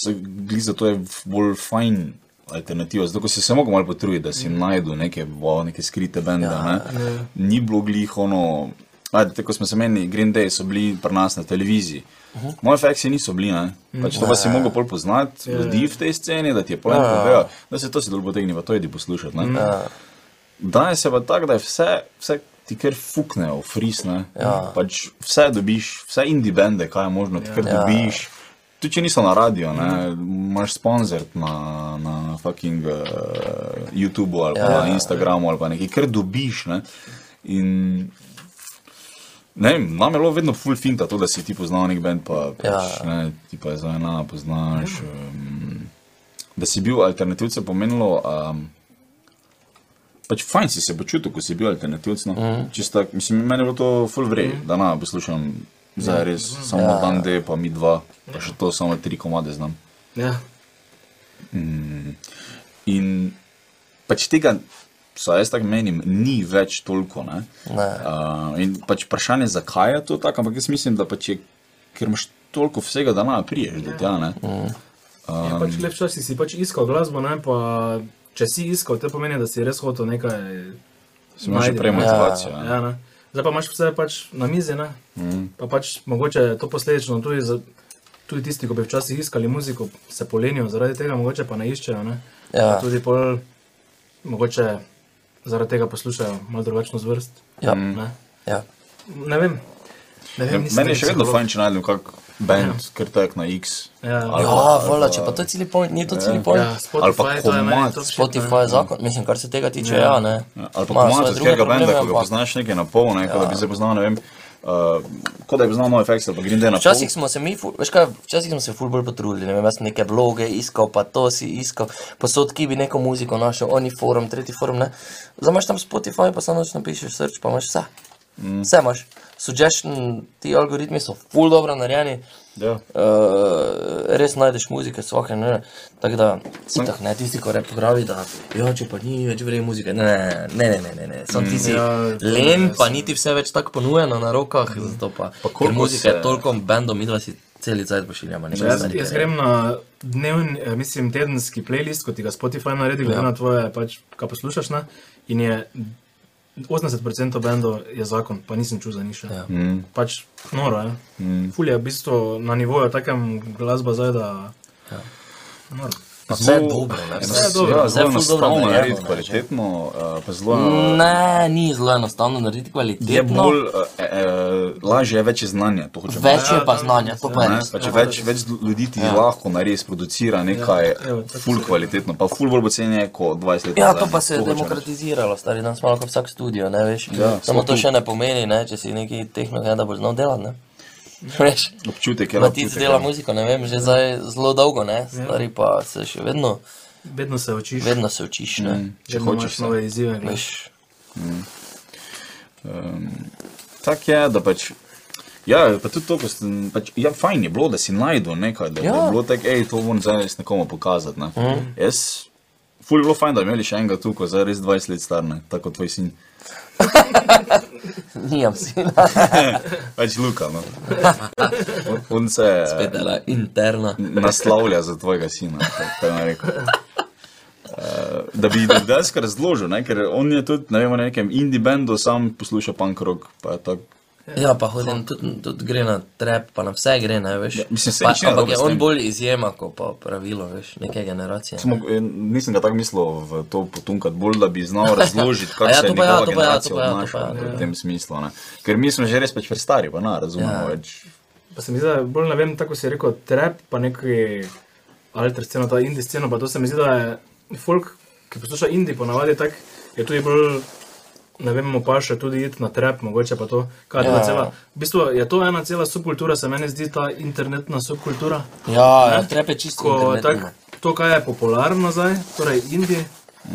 S2: Gliza to je f- bolj fajn alternativa. Zato ko si se lahko malo potrudil, da si najdu neke, wow, neke skrite bende. Mhm. Ja, ne? Ni bilo glih ono. Ajde, tako smo se menili, Green Day so bili pri nas na televiziji. Uh -huh. Moji faksi niso bili, ne? pač to pa si mogel bolj poznati, ljudi v tej sceni, da ti je polno povedal, da se to si dol potegne, pa to idi poslušati. ne. Danes je pa tako, da je vse, vse ti kar fuknejo, frisne. Ja. Pač vse dobiš, vse indie bende, kaj je možno, ti kar ja. dobiš. Tudi če niso na radiju, ne, imaš sponzor na, na fucking uh, YouTubu ali ja. na Instagramu ali pa nekaj, kar dobiš. Ne. In ne vem, nam je bilo vedno full finta to, da si ti poznal nek bend, pa pač, ja. ne, ti pa je za ena, poznaš. Um, da si bil alternativce pomenilo. Um, pač fajn si se počutil, ko si bil alternativc. No. Mm. Čista, mislim, meni je bilo to full vrej, mm. da na poslušam za res samo ja. dan D, pa mi dva, pa še to samo tri komade znam.
S4: Ja.
S2: In pač tega, saj jaz tako menim, ni več toliko. Ne?
S3: Ne.
S2: Uh, in pač vprašanje, zakaj je to tako, ampak jaz mislim, da pač je, ker imaš toliko vsega, da na priješ do tja. Ne?
S4: Ja, pač lep čas si pač iskal glasbo, ne pa če si iskal, to pomeni, da si res hotel nekaj.
S2: Si imaš že
S4: najti,
S2: prej
S4: ne.
S2: motivacijo. ne.
S4: Ja, ne. Zdaj pa imaš vse pač na mizi, ne? Mm. Pa pač mogoče je to posledično tudi, za, tudi tisti, ki bi včasih iskali muziko, se polenijo zaradi tega, mogoče pa ne iščejo, ne?
S3: Ja.
S4: Pa Tudi pol, mogoče zaradi tega poslušajo malo drugačno zvrst.
S3: Ja.
S4: Ne?
S3: Ja.
S4: ne vem. Ne
S2: Ja,
S4: vem nisem
S2: Mm. Meni je še vedno
S4: psiholog.
S2: fajn, če najdem kak band, ja. ker tek na X.
S4: Ja.
S2: ali pa-
S3: Ja, vola, če pa to je celi point, ni to celi point.
S4: Ja,
S3: Ja.
S2: Ali pa
S4: Spotify, to je meni
S2: komad.
S4: to.
S3: Spotify je zakon, mislim, kar se tega tiče, ja, ne.
S2: Ja, Ali pa
S3: Imajo
S2: komat
S3: svoje
S2: od
S3: druge
S2: katerega benda,
S3: probleme, Ja.
S2: ki ga
S3: ampak-
S2: poznaš nekaj na pol, ne, kot da bi se poznal, ne vem, uh, kot da bi znal nove fakse, pa Green Day na pol.
S3: Včasih smo se mi, ful- veš kaj, včasih smo se fulbol potrudili, ne vem, jaz sem neke vloge iskal, pa to si iskal, posod ki bi neko muziko našel, oni forum, tretji forum, ne. Zdaj imaš tam Spotify, pa samo noč napišeš search, pa imaš vse. Mm. Vse imaš. Suggestion, ti algoritmi so ful dobro narejeni,
S2: Ja.
S3: uh, res najdeš muzike, vsake, ne. Tako da, itak, ne, tisti, ko rep pravi, da jo, če pa ni več vrej muzike, ne, ne, ne, ne, ne, ne, ne. samo ti si
S4: Ja, to
S3: len, pa niti vse več tako ponujeno na rokah, zato pa, pa ker
S2: koliko
S3: muzika
S2: se-
S3: je toliko bendom, mi dva si celi cajt pošiljamo, ne,
S4: Ja, Jaz, jaz grem na dnevni, eh, mislim, tedenski playlist, kot ti ga Spotify naredi, glede ja. na tvoje, pač, kaj poslušaš. Ne? In je 80% bendov je zakon, pa nisem čutil za nič. Ja. Mm. Pač noro je. Mm. Ful je v bistvu na nivoju takem glasba zdaj, da. Ja. Noro.
S3: Vse je dobro, ne,
S2: Eno-
S3: vse je
S4: dobro,
S2: ja,
S3: vse
S2: Zelo
S3: je ful Mm, dobro
S2: enostavno
S3: narejeno,
S2: narediti,
S3: ne,
S2: kvalitetno, eh, pa zelo
S3: Ne, ni zelo enostavno narediti
S2: je
S3: kvalitetno,
S2: bolj, eh, eh, lažje je več je znanja, to hočem reči.
S3: več je pa znanja, to pa je
S2: Ne,
S3: res.
S2: pa če več, več ljudi ti ja. lahko nares producira nekaj
S4: evo, tako
S2: ful kvalitetno, pa ful bolj bo cenje kot 20 let.
S3: Ja,
S2: nazaj,
S3: to pa
S2: ne,
S3: se je
S2: hočem reči.
S3: demokratiziralo, stari danes malo kot vsak studio, ne veš. Ja,
S2: smo
S3: Samo to
S2: tu.
S3: še ne pomeni, ne, če si neki tehnik, ne, da boš znal delati, ne. Veš,
S2: Občutek ja. je
S3: Matic
S2: lahko.
S3: dela ja. muziko, ne vem, že zdaj zelo dolgo, ne, stari pa se še vedno,
S4: Vedno se učiš, vedno,
S3: vedno se učiš, ne.
S2: Če
S4: vedno
S2: hočeš.
S4: imaš nove izzive. glej.
S3: Veš,
S2: Tako je, da pač. Ja, pa tudi to, ko sem. Pač, ja, fajn je bilo, da si najdel nekaj, da, ja. da
S3: Ja. Mhm.
S2: je bilo tako, hej, to moram zdaj res nekomu pokazati. Ne. Mm. Jaz, ful je bilo fajn, da bi imeli še enega tu, ko zdaj res 20 let star, ne, tako kot tvoj sin.
S3: nijam si, ne.
S2: Pač Luka, no. On, on se
S3: Spet dela interna.
S2: naslavlja za tvojega sina, tako je rekel. Eh, Da bi da bi dejansko razložil, ne? ker on je tudi ne vem, v nekem indie bendu, sam posluša punk rock. pa je tako.
S3: Ja, pa hodim, tudi, tudi gre na trep, pa na vse gre, ne veš.
S2: mislim, saj
S3: pa,
S2: nič ni narobe
S3: ampak je
S2: s tem.
S3: on bolj izjema, kot pa pravilo, veš, neke generacije.
S2: Samo, eh, Nisem ga tako mislil v to potunkati, bolj da bi znal razložiti, kako
S3: Ja,
S2: se
S3: to
S2: je
S3: pa ja,
S2: njegova
S3: to pa ja,
S2: generacija
S3: to pa ja, to pa
S2: obnašala
S3: ja,
S2: ne, v tem smislu. Ne. Ker mi smo že res pač prestari, pa ne razumemo
S3: Ja.
S2: več.
S4: Pa se mi zdi, da je bolj ne vem, tako si rekel, trap, pa neki alter scena, ta indie scena, pa to se mi zdi, da je folk, ki posluša indie, ponavadi tak, je tudi bolj ne vem, mu pa še tudi iti na trep, mogoče pa to. Kaj, ja.
S3: Ja.
S4: cela, v bistvu je to ena cela subkultura, se meni zdi ta internetna subkultura.
S3: Ja, ja
S4: Ne?
S3: trepe čisto.
S4: Ko,
S3: internetno.
S4: tak, to, kar je popularno zdaj, torej Indije,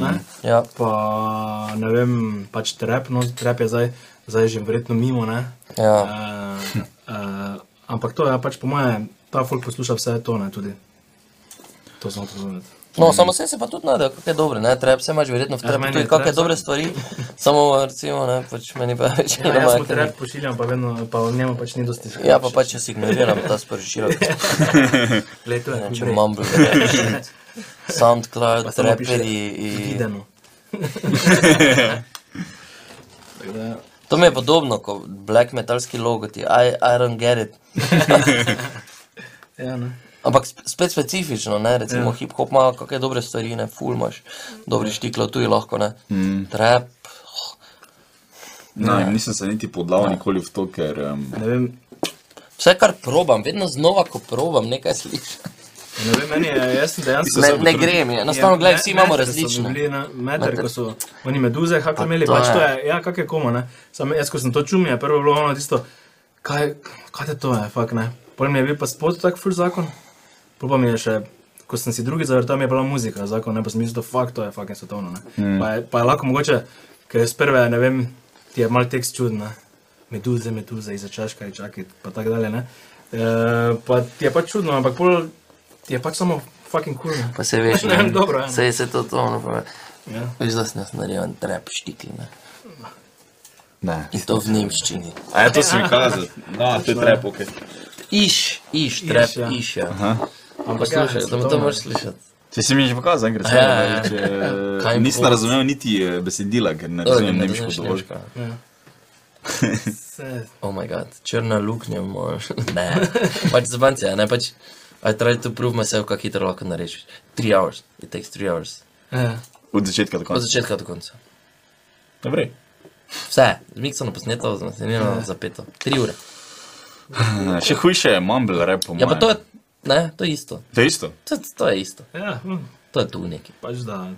S4: mm.
S3: Ja.
S4: pa ne vem, pač trep, no trep je zdaj, zdaj že verjetno mimo. Ne?
S3: Ja.
S4: Uh, uh, ampak to je ja, pač po mojem, ta folk posluša vse to, ne tudi. To sem opozoril.
S3: No, samo se, se pa tudi najde, kako je dobro, ne, trep se imaš verjetno v
S4: Ja,
S3: trepu,
S4: meni je
S3: tudi kakšne
S4: trap-
S3: dobre stvari, samo recimo, ne, pač meni pa več
S4: Ja,
S3: ne
S4: jaz mu
S3: manjka.
S4: trep pošiljam, pa vedno, pa v njemu pač ni dosti.
S3: Ja, pa pač jaz ignoriram ta sporočila,
S4: Leto je,
S3: če imam blokirane. SoundCloud,
S4: Pa samo piše,
S3: treperi in...
S4: videno. Tako da,
S3: To mi je podobno, kot black metalski logoti, I, I don't get it.
S4: Ja, ne.
S3: Ampak sp- spet specifično, ne,
S4: Ja.
S3: recimo yeah. hip-hop ima kakšne dobre stvari, ne, ful imaš, dobri štiklo, tu je lahko, ne, mm. trap,
S2: Ne, nisem se niti podal nikoli v to, ker um,
S4: Ne vem,
S3: vse kar probam, vedno znova, ko probam, nekaj slišim.
S4: ne vem, meni je, jaz sem dejansko.
S3: Ne, ne grem, ja. je,
S4: Ja.
S3: enostavno, gledaj, vsi imamo različne.
S4: Meter, ko so oni meduze, kako imeli,
S3: to
S4: pač
S3: je.
S4: to je, ja, kak je komu, ne. Sam jaz, ko sem to čumil, je prvo bilo ono tisto, kaj, kaj te to je, fak ne. Potem mi je bil pa spod tak ful zakon, pol pa mi je še, ko sem si drugi zavrtal, mi je bila muzika zakon, ne, pa sem mislil, da fak to je, fak je svetovno, ne. Mm. Pa, je, pa je lahko mogoče, ker je sprve, ne vem, ti je mal tekst čuden, ne. Meduze, meduze, iza čaška je čakaj, pa tako dalje, ne. E, pa ti je pač čudno, ampak pol ti je pač samo fucking cool, ne.
S3: Pa se veš,
S4: Ne, dobro, ja.
S3: se je se to tono.
S4: Ja.
S3: Veš, da sem jaz naredil trep štikli, ne.
S2: ne.
S3: In to v nemščini.
S2: A je to si mi kazal? No, to je trep, ok.
S3: Iš, iš, trep,
S4: ja.
S3: iš, ja.
S4: Ampak ja,
S3: Poslušaj, to, to
S4: svetovno.
S3: moraš slišati.
S2: Če si mi že pokazal, enkrat
S3: Ja,
S2: stvar,
S3: ja, ja.
S2: ne, če, eh,
S3: Kaj jim
S2: nisem
S3: bo?
S2: razumel niti eh, besedila, ker ne
S3: Dobro,
S2: razumem
S3: ne
S2: nemško
S3: razumeš
S2: dovolj.
S3: nemško.
S4: Ja. Se,
S3: Oh my god, črna luknja moraš. Ne, pač zabancija, ne pač. I try to prove myself, kako hitro lahko narešiš. 3 hours, it takes 3 hours.
S4: ja.
S2: Od začetka do
S3: Od
S2: konca.
S3: začetka do konca.
S2: Dobre.
S3: Vse, zmiksano posneto,
S2: Ja.
S3: zmasnirano, zapeto. 3 ure.
S2: Eh, Še hujše je mumble rap, po
S3: Ja, pa
S2: mojem.
S3: to je, ne, to je isto.
S2: To je isto.
S3: To, to je isto.
S4: ja hm,
S3: To je tu neki.
S4: pač da.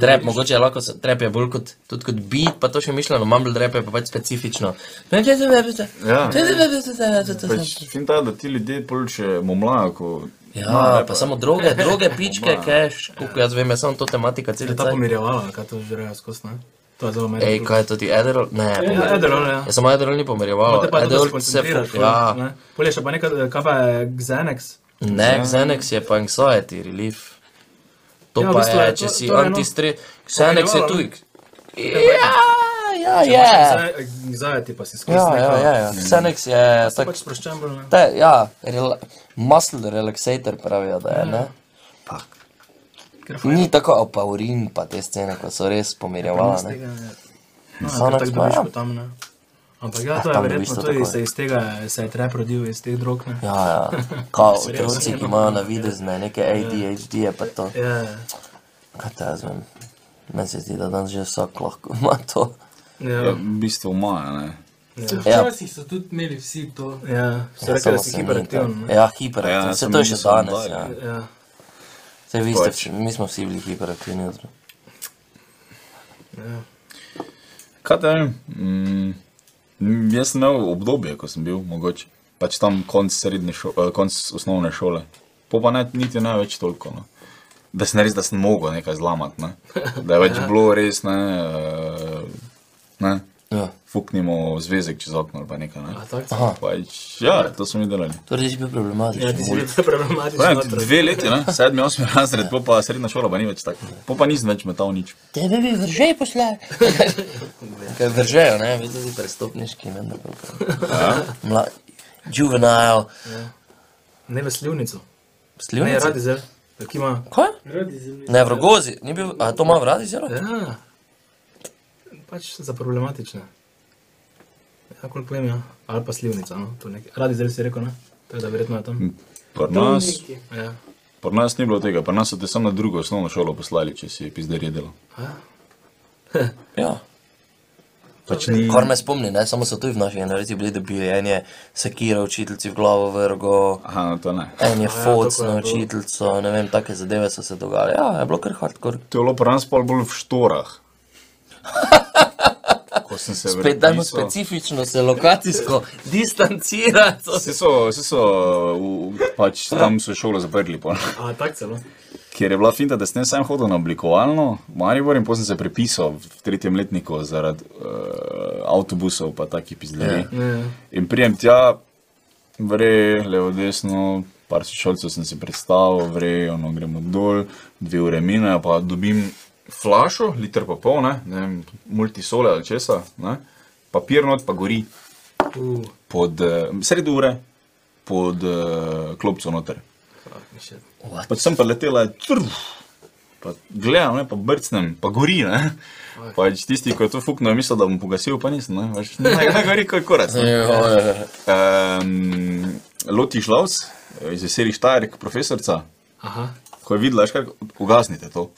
S3: Trep, mogoče je lahko, se- trep je bolj kot, tudi kot beat, pa to še mišljeno, mumble trep je pa pač specifično.
S2: Ja. Pač, fin ta, da ti ljudje pol še momlajo, ko...
S3: Ja, pa samo droge, droge pičke, keš, koliko jaz vem, je samo to tematika
S4: Je
S3: celica.
S4: Ja, ta pomirjevala, kaj to že rejo skozi, ne? To je zelo meni.
S3: Ej, kaj je to ti, Ederol? Ne,
S4: Ja,
S3: pomer-
S4: Ederol, ja.
S3: Ja, samo Ederol ni pomerjeval,
S4: Te pa je to, da se
S3: Ederol se
S4: koncentriraš,
S3: fuk- ja.
S4: ne? Polje še pa nekaj, kaj pa je Xenex? Ja.
S3: Ne, Xenex je pa anxiety relief. To
S4: Ja, v
S3: pa
S4: bistvu je
S3: je,
S4: to-
S3: če
S4: to
S3: si
S4: je eno- ja.
S3: antistres, Xenex je
S4: Pomirjevalo,
S3: tuj. Ja, ja, ja.
S4: eh, Xenex pa si skozi.
S3: Ja,
S4: neko-
S3: ja, ja, ja. Xenex je
S4: To
S3: tak
S4: Pač sproščen bolj, ne?
S3: Te, ja, rela muscle relaxator pravijo, da je.
S2: Ja.
S3: Ne?
S4: Ker fajn
S3: Ni tako opaurin, pa te scene, ko so res pomirjevali.
S4: iz
S3: ne.
S4: tega je. No,
S3: Xanax
S4: ja, ker tako
S3: pa ja.
S4: dobiš po tam, ne? Ampak ja, to
S3: tam
S4: je
S3: dobiš
S4: verjetno
S3: to
S4: tudi
S3: takoj.
S4: se iz tega, se je trep rodil iz teh drog, ne?
S3: Ja, ja. Kao otroci, ki imajo na videzne neke ADHD, je pa to.
S4: Ja, ja.
S3: Kaj te jaz vem? Meni se zdi, da danes že vsak lahko ima to.
S2: Ja,
S4: Ja,
S2: v bistvu maja, ne.
S3: Ja.
S1: Včasih so tudi imeli vsi to.
S4: ja. Se reče, da
S3: Samo
S4: si
S3: se ni
S4: hiperaktiven,
S3: tam-
S4: ne?
S3: Ja,
S2: Ja,
S3: hiperaktiven. Vse
S2: sem
S3: to je še
S2: nisem
S3: danes.
S2: dal,
S3: Ja.
S4: Ja.
S3: Saj vi ste,
S2: Pač.
S3: vš- mi smo vsi bili hiperaktivni. otrok.
S4: Ja,
S2: Kaj te vem? Mm, mm, jaz sem imel obdobje, ko sem bil mogoče. Pač tam konc, srednje šo, eh, konc osnovne šole. Po pa ne, niti ne več toliko. No. Da sem res, da sem mogel nekaj zlamati. Ne. Da je več bilo res, ne, eh, ne.
S3: Ja.
S2: Fuknimo zvezek čez okno ali pa nekaj. Ne.
S4: A tako?
S3: Aha.
S2: Pač, ja, to smo mi delali.
S3: Torej, si bil problematičen.
S4: Ja, ti si bil problematičen.
S2: Pravim, ti
S4: otrok.
S2: dve leti, ne, sedmi, osmi razred, po pa srednja šola pa ni več tako. Po pa nisem več metal nič.
S3: Tebe bi vržej poslal. Kaj vržejo, ne, vi tudi prestopniški, ne, ne, ne. Juvenile,
S4: Ne v slivnico. Ne,
S3: slivnice.
S4: radi zel. Ki ima.
S3: Kaj?
S1: Rodi zemlji.
S3: Ne, v rogozi, ni bil, a to ima v radi zelo?
S4: Ja. Pač za problematične. Ja, koliko vem, ja. Ali pa slivnica, no. to nekaj. Radi zel si rekel, ne? Tako da verjetno je tam.
S2: Mm. Pri nas,
S1: Domniki.
S4: Ja.
S2: pri nas ni bilo tega, pri nas so te samo na drugo osnovno šolo poslali, če si pizderje delal.
S3: Ja.
S2: Pač ni.
S3: Kar me spomni, ne, samo so tu v naši generaciji bili, da bi enje sekira učiteljci v glavo vrgo,
S2: Aha, no, to ne.
S3: en je foc
S4: Ja, tako je
S3: na
S4: bilo.
S3: učiteljco, ne vem, take zadeve so se dogajale. Ja, je bilo kar hardcore.
S2: To je bilo pri nas pol bolj v štorah. ko sem se
S3: Spet dajmo
S2: vpisal-
S3: specifično se lokacijsko distancirati.
S2: Vsi so, vsi so v, v- pač tam so šolo zaprli. pol.
S4: A tak celo.
S2: Ker je bila finta, da sem sam hodil na oblikovalno, Maribor in potem sem se prepisal v tretjem letniku zaradi uh, avtobusov in takih pizdelij. Yeah. In prijem tja, vre, levo, desno, par sošolcev sem si predstavil, vre, ono gremo dol, dve ure mine, pa dobim flašo, liter pa pol, ne, ne vem, multisole ali česa, ne, papir not pa gori
S4: Uh,
S2: pod eh, sredi ure, pod eh, klopco noter. Pa sem pa letela, trf, pa gledam, ne, pa brcnem, pa gori. Ne. Pač tisti, ki je to fuknil, je mislil, da bom pogasil, pa nisem. Ne, pač, ne, ne gori kot korac.
S4: Ja.
S3: Ja,
S2: Um, Loti Šlaus eh, iz Veseli Štajerk, profesorica,
S4: aha.
S2: ko je videla, škaj, ugasnite to.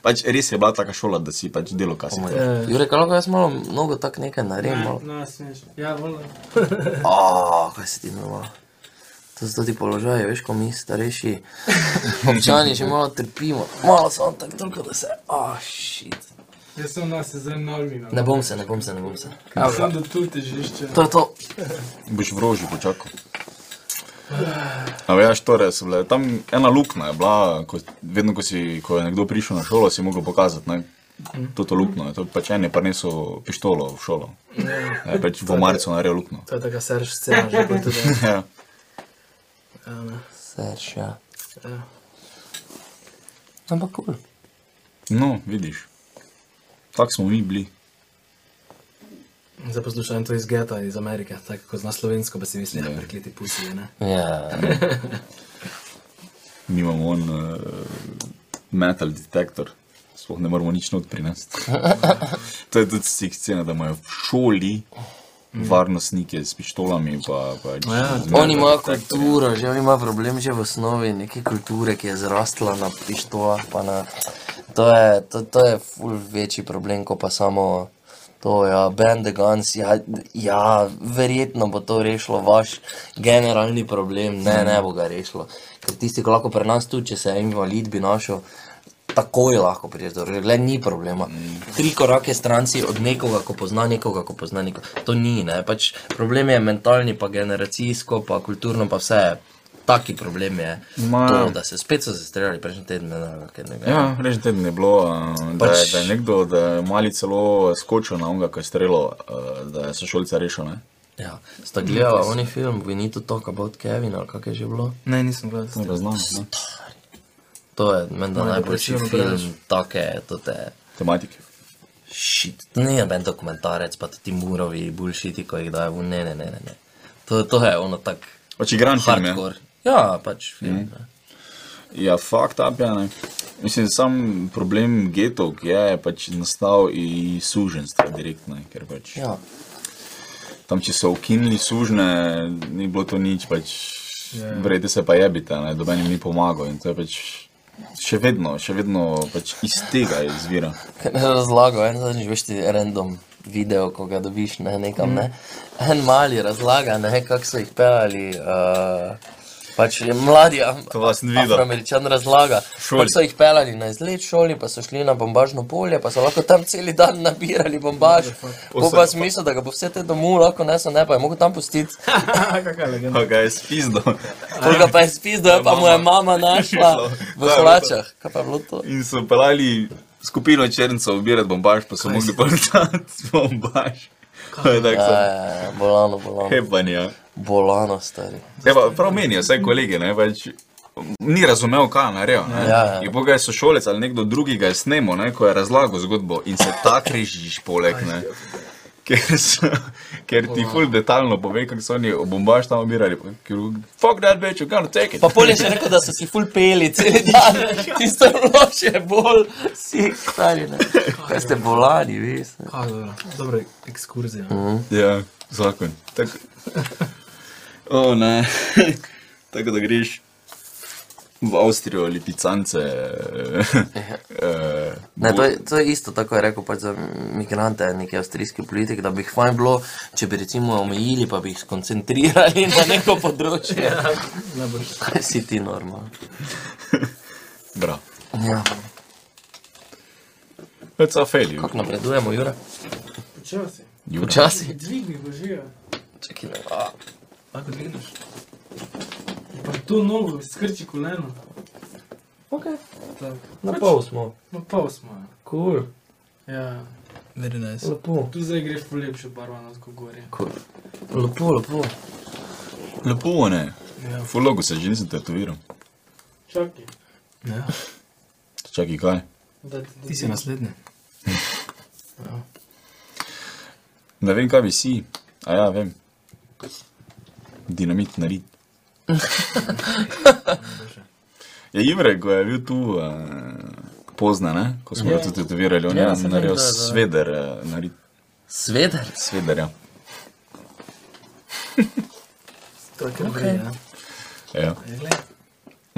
S2: Pač res je bila taka šola, da si pač delo kasnite.
S3: Jure, kaj lahko jaz malo, mnogo tak nekaj naredim? malo?
S1: No, smeš. Ja, volim.
S3: Oh, kaj se ti normal. To so ti položaji, veš, ko mi starejši občani že malo trpimo. Malo samo tako, toliko, da se, oh, shit.
S1: Jaz sem nas zdaj normi.
S3: Ne bom se, ne bom se, ne bom se.
S1: Ja, sem do tu težišče.
S3: To je to.
S2: Boš v roži počakal. A veš, torej, so bile, tam ena luknja je bila, ko, vedno, ko, si, ko je nekdo prišel na šolo, si mogel pokazati. Ne? To je luknjo, to pač eni prinesel pištolo v šolo. Ja, pač v marcu naredijo luknjo.
S4: To je taka serž scena, že kot tudi.
S2: Ja.
S3: Serš, ja.
S4: Ja.
S3: Ampak kul. Cool.
S2: No, vidiš, tako smo mi bili.
S4: Zdaj poslušam to iz geta iz Amerike, tako kot zna slovensko, pa si mislim, da prekliti pusi, ne?
S3: Ja,
S2: Mi imamo on uh, metal detektor, sploh ne moramo nič not prinesti. to je tudi stik scena, da imajo v šoli varnostnike s pištolami. Pa, pa
S4: ja,
S3: oni imajo kulturo, že oni imajo problem že v osnovi neke kulture, ki je zrastla na pištolah, pa na... To je, to, to je ful večji problem, kot pa samo to, ja, band the guns, ja, ja, verjetno bo to rešilo vaš generalni problem, ne, ne bo ga rešilo. Ker tisti, ki lahko pri nas tu, če se je invalid bi našel, takoj lahko prideš do rešitve, ni problema. Tri korake stran si od nekoga, ko pozna nekoga, ko pozna nekoga. To ni, ne, pač problem je mentalni, pa generacijsko, pa kulturno, pa vse. Taki problem je,
S2: Ma-
S3: to, da se spet so zastreljali prejšnji teden, ne vem, kaj ne gre.
S2: Ja, reči teden je bilo, eh, da, je- da je nekdo, da je mali celo skočil na onega, ki je strelo, eh, da je sošolca rešil. Ne?
S3: Ja, sta gledala oni film We Need to Talk About Kevin ali kako je že bilo?
S4: Ne, nisem gledal.
S2: Ne, ne znam, ne.
S3: To je menda najboljši
S4: depresivno
S3: film, take, to te.
S2: Tematike.
S3: Šit, to ni noben dokumentarec, pa ti murovi, bulšiti, ko jih dajo, v- ne, ne, ne, ne. ne. To, to je ono tak
S2: Pač igran film je. Mhm.
S3: hardcore. Ja, pač film. ne.
S2: Ja, fakt up je. Ne. Mislim, sam problem getov ki je, je pač nastal iz suženstva direktno, ker pač ja.
S3: Ja,
S2: tam, če so ukinili sužne, ni bilo to nič, pač vrede se pa jebite, ne, dobenim ni pomagal in to je pač še vedno, še vedno pač iz tega izvira.
S3: Ker ne razlago, en zadnjič veš ti random video, ko ga dobiš ne, nekam, ne. En mali razlaga, ne, kako so jih pevali. Uh, Pač je mladi,
S2: To vas sem videl.
S3: Američan razlaga.
S2: šoli.
S3: Kako so jih pelali na izlet šoli, pa so šli na bombažno polje, pa so lahko tam cel dan nabirali bombaž. Po pa smisel, da ga bo vse te domov lahko nesel, ne pa je mogel tam pustiti.
S4: Kakšna legenda.
S2: Pa ga je spizdo
S3: Ko ga pa je spizdo, pa mu je mama našla v
S2: Da,
S3: hlačah. Kaj pa je bilo to?
S2: in so pelali skupino črncev, ubirati bombaž, pa so mogli pometati bombaž. To je tako, ja.
S3: Ja, ja, ja, bolano, bolano.
S2: hepanja.
S3: Bolano, stari.
S2: Je Ja, pa prav menijo, vse kolege, ne več. Ni razumel, kaj narejo.
S3: Ja, ja.
S2: Je boga je sošolec ali nekdo drugi ga je snemo, ne, ko je razlagal zgodbo in se tak režiš poleg. Ne. Ker, so, ker ti ful detaljno pove, kako so oni obombaž tam umirali. Ker, Fuck that bitch, you're gonna take it.
S3: Pa polje še rekel, da so si ful peli cel dan, tisto je bilo še bolj sik, stari. ne. Kaj ste bolani, veš? ne.
S4: A, dobro, dobro, ekskurzija.
S2: Ja, zakon. Tak, o, ne. Tako da greš v Avstrijo ali picance. eh,
S3: Ne, to, je, to je isto, tako je rekel pač za migrante, neki avstrijski politik, da bi jih fajn bilo, če bi recimo omejili, pa bi jih skoncentrirali na neko področje. Kaj si ti normal?
S2: Bra.
S3: Ja,
S2: That's a failure.
S3: kako napredujemo, Jure?
S1: Počasi.
S2: Jure.
S3: Počasi.
S1: Dvigni božijo.
S3: Čakaj, le- a,
S4: Tako dvigneš.
S1: Pa to nogo, skrči koleno.
S5: Ok.
S1: Tako.
S5: Na pol smo.
S1: No, pol smo.
S5: Cool.
S1: ja. Ja.
S4: Very nice.
S5: Lepo.
S1: Tu zdaj greš po lepšo barvano, kot gori.
S3: Cool. Lepo, lepo.
S2: Lepo, ne?
S4: Ja.
S2: Ful logo se že nisem tetoviral.
S1: Čakaj.
S4: Ja.
S2: Čakaj, kaj?
S1: Da ti
S4: Ti si naslednji.
S2: Ne vem, kaj bi si. A ja, vem. Dinamit narit. Ja, Jure, ko je bil tu uh, pozna, ne? ko smo ga
S1: Ja.
S2: tudi tetovirali, on
S5: Ja,
S2: je nam
S5: saj vem,
S2: naredil
S5: da, da.
S2: sveder, uh, narit
S3: Sveder.
S2: sveder, ja.
S4: Tako je. Okay. Ja.
S2: ja.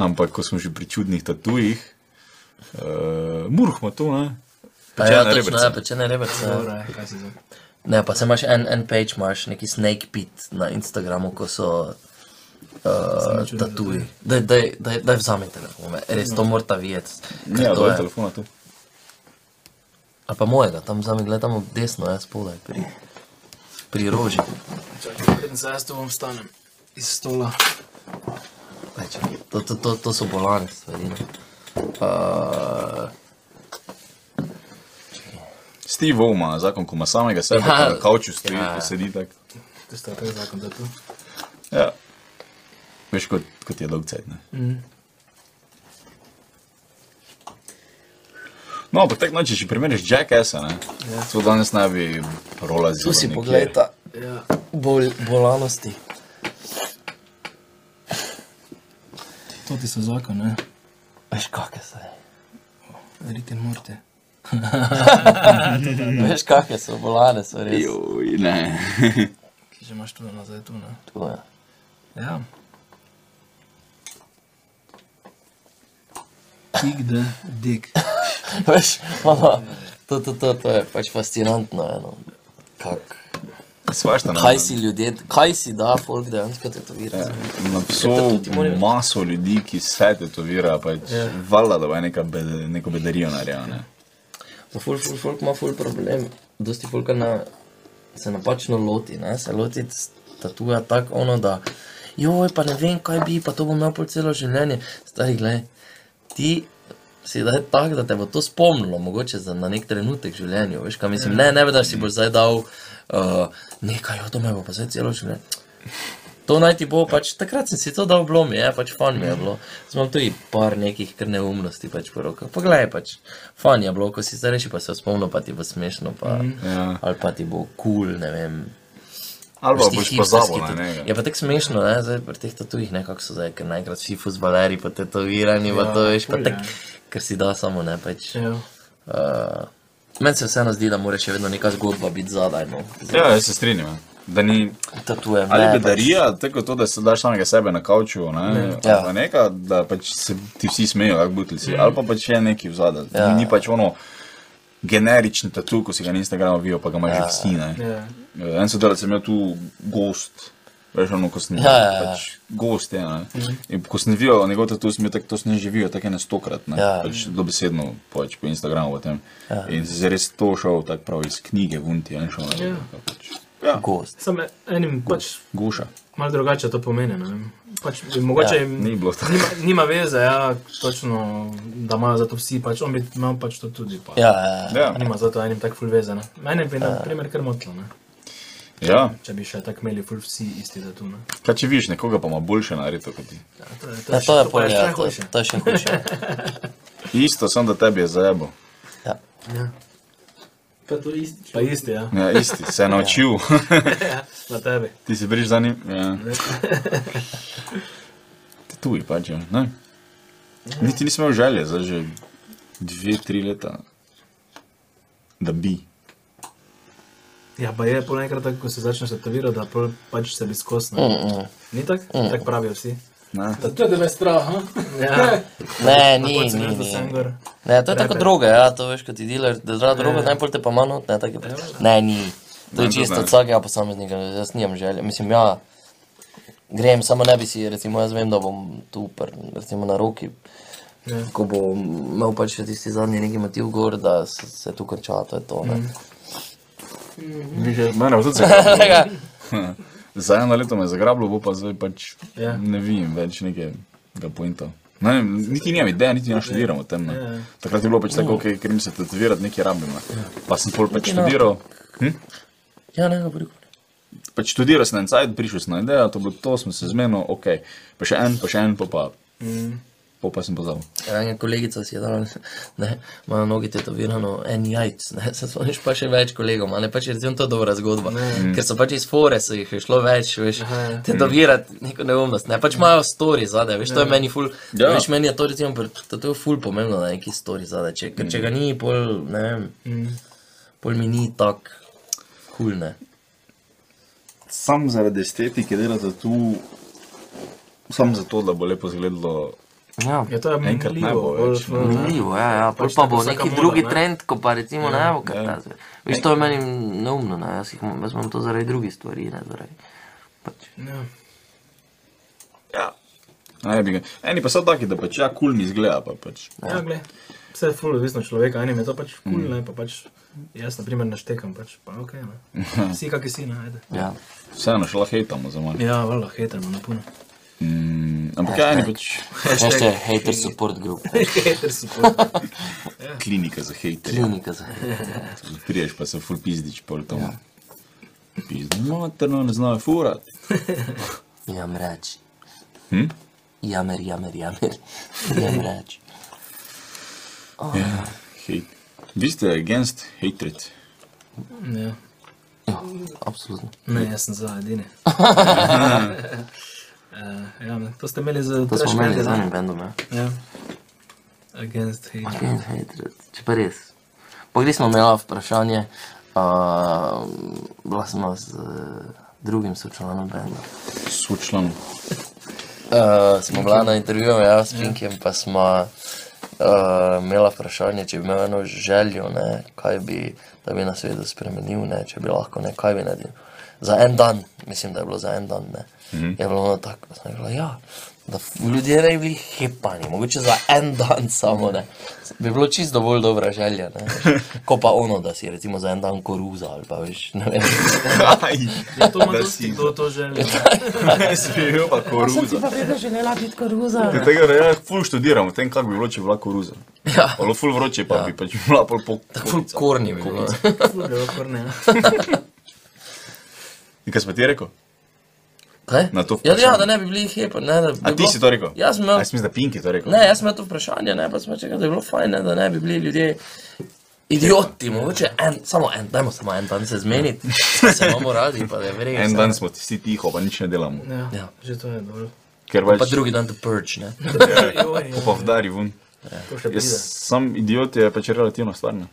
S2: Ampak, ko smo že pri čudnih tatujih, uh, murh ima to, ne?
S3: Pa
S2: Pečena
S3: ja, točno,
S2: rebrca.
S3: ja, pečene rebrce. ja.
S4: Dobro, je, kaj si zdaj?
S3: Ne, pa se imaš en, en page, imaš neki snake pit na Instagramu, ko so uh, tatuji. Daj, daj, daj, daj vzami telefon, me, res to morata vidjeti. ker
S2: Ja,
S3: to
S2: to
S3: je.
S2: je telefona tu.
S3: Ali pa mojega, tam vzami, gledaj tam desno, jaz spodaj, pri, pri roži.
S4: Čakaj, preden se jaz to vam stanem iz stola.
S3: Daj, čakaj, to, to, to, to so bolane stvari. ne. Uh,
S2: Steve Vo ima zakon, ko ima samega sebe,
S3: Ja.
S2: ja, na kavču stoji,
S3: Ja.
S2: ja. sedi tako.
S4: Ti sta tak zakon, da tu.
S2: Ja. Veš, kot, kot je dolg cajt. Mm.
S3: Mhm.
S2: No, ampak tako noče, če primerjaš Jackassa, ne? Ja. To danes naj bi prolazil.
S3: tu si
S2: nekje.
S3: poglej ta
S4: Ja.
S3: bol, bolanosti.
S4: To ti so zakon, ne?
S3: Veš, kakšne so.
S4: Rit in morte.
S3: Veš, kakšne so bolane, so res.
S2: Joj, ne.
S4: Ki že imaš tu nazaj tu, no. ne?
S3: Tu je.
S4: Ja. Tik da, dik.
S3: Veš, ono, to, to, to, to je pač fascinantno. Eno. Kak,
S2: Svašta na,
S3: kaj si ljudje, kaj si da, folk dejansko tetovira.
S2: na pso maso ljudi, ki se tetovira, pač ja. valjda, da bo neka bed, neko bedarijo narejena. Ne?
S3: Pa ful, ful, folk ima ful problem. Dosti folka na, se napačno loti, ne? se loti s- tatuja tako ono, da joj, pa ne vem kaj bi, pa to bom imel pol celo življenje. Stari, gled, ti si daj tak, da te bo to spomnilo, mogoče za, na nek trenutek v življenju, veš kaj mislim, ne, ne bi da si boš zdaj dal uh, nekaj, jo, to me bo pa zdaj celo življenje. To naj ti bo, pač takrat sem si to dal blom, je pač fan mi je bilo. Zdaj imam tudi par nekih kar neumnosti pač po rokah. Poglej, pač fan je bilo, ko si starejši pa se spomnil, pa ti bo smešno, pa,
S2: Ja.
S3: ali pa ti bo kul, cool, ne vem.
S2: Ali pa
S3: Pač ti
S2: boš
S3: hipsterski
S2: pozabil na
S3: tat-
S2: njega.
S3: Je pa tako smešno, ne, zdaj pri teh tatujih nekako so zdaj, ker naenkrat vsi fuzbaleri pa tetovirani, ja, pa to veš, pa
S4: ful,
S3: tak,
S4: ja.
S3: ker si da samo ne pač.
S4: Ja.
S3: Uh, meni se vseeno zdi, da mora še vedno neka zgodba biti zadaj, no.
S2: Ja, jaz se strinjam. ja. Da ni
S3: Tatujem.
S2: Ali
S3: ne,
S2: je
S3: pač.
S2: bedarija, tako kot to, da se daš samega sebe na kavču, ne, ne.
S3: Ja.
S2: Ja. Neka, da pač se ti vsi smejijo, kako butli si, ali pa pač je neki vzadaj.
S3: Ja.
S2: Ja. Ni pač ono generični tatu, ko si ga na Instagramu vijo, pa ga imaš ja. vsi. Ne.
S4: Ja.
S2: En sodelavec je imel tu gost. Veš, ono, ko sem
S3: Ja, ja, ja.
S2: pač gost, je, ne. In ko sem videl njegov tatu, sem bil tako, to sem ne živijo, tako ene stokrat, ne.
S3: Ja.
S2: Pač dobesedno pač po Instagramu potem. Ja. In si res to šel tako prav iz knjige, vunti, en šel. Ja. Pač. ja.
S3: Gost.
S4: Samo enim pač
S2: Guša.
S4: malo drugače to pomeni, ne vem. Pač mogoče
S3: Ja,
S4: jim
S2: Ni bilo tako.
S4: Nima, nima veze, ja, točno, da imajo za to vsi, pač on bi imel pač to tudi. Pa.
S3: Ja, ja, ja.
S2: Ja.
S4: Nima za to enim tako ful veze. Ne? Mene bi na primer kar motilo, ne?
S2: ja.
S4: če bi še tako imeli ful vsi isti tatu. Ne?
S2: Kaj če vidiš nekoga, pa ima boljše narediti kot ti.
S4: Ja, to je,
S3: Ja, to je pol,
S4: še
S3: ja, to,
S4: hujše.
S3: to je še hujše.
S2: Isto, samo da tebi je zajebo.
S3: Ja.
S1: Pa to isti.
S4: Pa isti, ja,
S2: Ja, isti, se je naučil.
S4: na tebi.
S2: ti si briš za njim. Ja. Tuj pač, ja. ne. Niti nisem imel želje, zdaj že dve, tri leta, da bi.
S4: Ja, pa je pol enkrat tako, ko se začneš tetovirati, da pol pač se bi skosnil. Mm, mm. Ni tako? Mm. Tako pravijo vsi.
S2: Ne.
S1: To je, da me strah, ha?
S4: Ja,
S3: Ne, ni,
S4: se
S3: ni,
S4: ne da
S3: ni.
S4: sem gor.
S3: Ne, to je tako droga, ja, to veš, kot ti dealer, da zdrava droga, najbolj te pa ima not, ne, tako je. pa- Ne, ni. To
S2: Ne,
S3: je
S2: to
S3: čisto
S2: ne.
S3: od vsakega posameznika, jaz nimam želje. Mislim, ja, grem, samo ne bi si, recimo, jaz vem, da bom tu, pr, recimo na roki,
S4: Ja.
S3: ko bom Mm. imel pač še tisti zadnji neki motiv gor, da se, se tu konča, to je to, ne.
S2: Mene vzeti zagrabilo. Za eno leto me je zagrabilo, bo pa zdaj pač
S4: Ja.
S2: ne vidim več nekega pointa. Ne, vem, niti nimam ideje, niti ne študiram o tem.
S4: Ja, ja.
S2: Ne. Takrat je bilo pač tako, okay, ker mi se tetovirati nekaj rabim. Ne. Pa sem pol pač študiral,
S3: Ja, ne, dobro.
S2: pač študiral sem en sajt, prišel sem na idejo, to bo to, smo se zmenili, ok, pa še en, pa še en, pa pa,
S4: Mm.
S2: pa, pa sem pozabil.
S3: Ena kolegica si je dala, ne, ima na nogi tetovirano en jajc, ne, se spomniš pa še več kolegov, a ne pač recimo to je dobra zgodba, ne. ker so pač iz fore, so jih je šlo več, veš, tetovirati neko neumnost, ne, pač imajo story zadaj, veš, to je meni ful,
S2: Ja.
S3: ja. veš, meni je to recimo, pri tatoju ful pomembno, da je neki story zadaj, če, ker če ga ni, pol, ne vem, pol mi ni tak, kul, ne.
S2: Sam zaradi estetike delate tu, sam zato, da bo lepo izgledalo.
S3: Ja,
S4: Ja, to je no,
S2: Enkrat ne bo
S4: minljivo,
S2: več,
S4: bolj,
S2: ne.
S4: bolj, ne.
S3: Zanimivo, ja, ja. Pač
S4: Pač
S3: pa
S4: tako
S3: bo
S4: vsaka
S3: neki
S4: moda,
S3: drugi
S4: ne. Ja,
S3: trend, ko pa recimo ne bo kaj takega. Veš, to je meni neumno, ne? jaz, jih, jaz imam to zaradi drugih stvari, ne zaradi. Pač.
S4: Ja.
S2: Ja. Ne, bi ga. Eni pa so taki, da pač ja, kul mi izgleda. Pa pač.
S4: Ja, gled, vse je ful, odvisno od človeka, enim je to pač kul, cool, ne, pa pač jaz, na primer, naštekam, pač pa ok, ne. Vsi, kaki si, ne, ajde.
S3: Ja.
S2: Vseeno šla hejtamo za manj.
S4: Ja, valjda, hejtamo na puno.
S2: Mm, ampak ja, eni pač
S3: Še je hater support group,
S4: Hater si pol.
S3: Ja.
S2: klinika za hejterje.
S3: klinika za hater.
S2: Priješ pa se ful pizdič pol tam. Ja. Pizdič, materno no, ne znajo furat.
S3: Jam reč.
S2: Hm?
S3: Jamer, jamer, jamer. Jam reč.
S2: Hejt. Vi ste against hatred.
S4: Ja.
S3: Absolutno.
S4: Ne, jaz sem za edini. Eh, ja, ne, to ste imeli za
S3: To smo
S4: trash
S3: imeli
S4: bende,
S3: z
S4: ne?
S3: enim bendom, ja.
S4: Ja. Against hate.
S3: Again, hater, če pa res. Pa gre smo imeli vprašanje, uh, bila smo z eh, drugim sočlanom benda.
S2: Sočlan.
S3: Uh, smo bila na intervjuju, ja, s Pinkem, pa smo uh, imela vprašanje, če bi imel eno željo, ne, kaj bi, da bi na svetu spremenil, ne, če bi lahko ne, kaj bi naredil. Za en dan, mislim, da je bilo za en dan, ne.
S2: Mhm.
S3: Je bilo ono tako, da sem rekla, ja, da f- ljudje ne bi bili hepani, mogoče za en dan samo, ne. Bi bilo čisto dovolj dobra želja, ne. veš. Ko pa ono, da si recimo za en dan koruza ali pa veš, ne vem.
S4: Ja, to ima
S2: Da
S4: dosti,
S2: si-
S4: kdo to želi.
S2: Smejil pa koruza.
S3: vedno želela biti koruza.
S2: Ja, Tega ne, ja, ful študiram, o tem kako bi bilo, če bi bila koruza.
S3: Ja.
S2: Olo ful vroče pa ja. bi pač bila pol pol.
S3: Ful korni bi bilo.
S4: Ful, da je okorne, ja.
S2: In kaj smo ti rekel?
S3: Kaj?
S2: Na to
S3: ja, ja,
S2: vprašanje.
S3: da ne bi bili hepa. Ne, da bi
S2: A ti
S3: bilo-
S2: si torej to rekel?
S3: Jaz sem imel,
S2: Jaz mislim, da Pink je to rekel.
S3: ne, jaz sem imel to vprašanje, ne, pa sem rekel, da je bilo fajn, ne, da ne bi bili ljudje idioti, mogoče en, samo en, dajmo samo en dan se zmeniti, da se imamo radi, pa da je verjetno.
S2: En dan smo vsi tiho, pa nič ne delamo.
S4: Ja,
S3: Ja.
S4: že to je dovolj.
S2: Ker
S3: Pa
S2: pač Ja,
S3: drugi dan to purge, ne.
S4: Joj,
S2: ko
S4: joj,
S2: pa vdari ven.
S4: to še
S2: Jaz
S4: pride.
S2: sem idiot, je pač relativno stvar. Ne?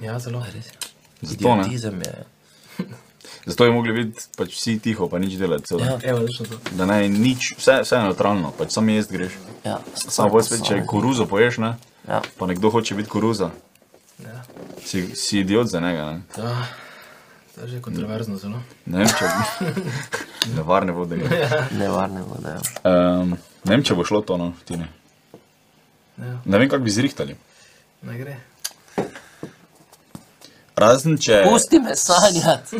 S4: Ja, zelo.
S3: Res je.
S2: Zato, ne?
S3: Idiotizem je.
S2: Zato je mogli biti pač vsi tiho, pa nič delati. Celo.
S3: Ja.
S4: Evo, točno to.
S2: Da ne nič, vse, vse je neutralno, pač samo jesti greš.
S3: Ja,
S2: Samo bolj svet, če koruzo poješ, ne?
S3: Ja.
S2: pa nekdo hoče biti koruza,
S4: Ja.
S2: si, si idiot za njega. Ne,
S4: To, to je že kontroverzno zelo.
S2: ne vem, če bo. Nevarne vode.
S3: Ja.
S2: gre.
S3: Nevarne vode. ja.
S2: Um, ne vem, če bo šlo to, no, ti ne.
S4: Ja,
S2: Ne vem, kako bi zrihtali.
S4: ne gre.
S2: Razen če,
S3: Pusti me sanjati,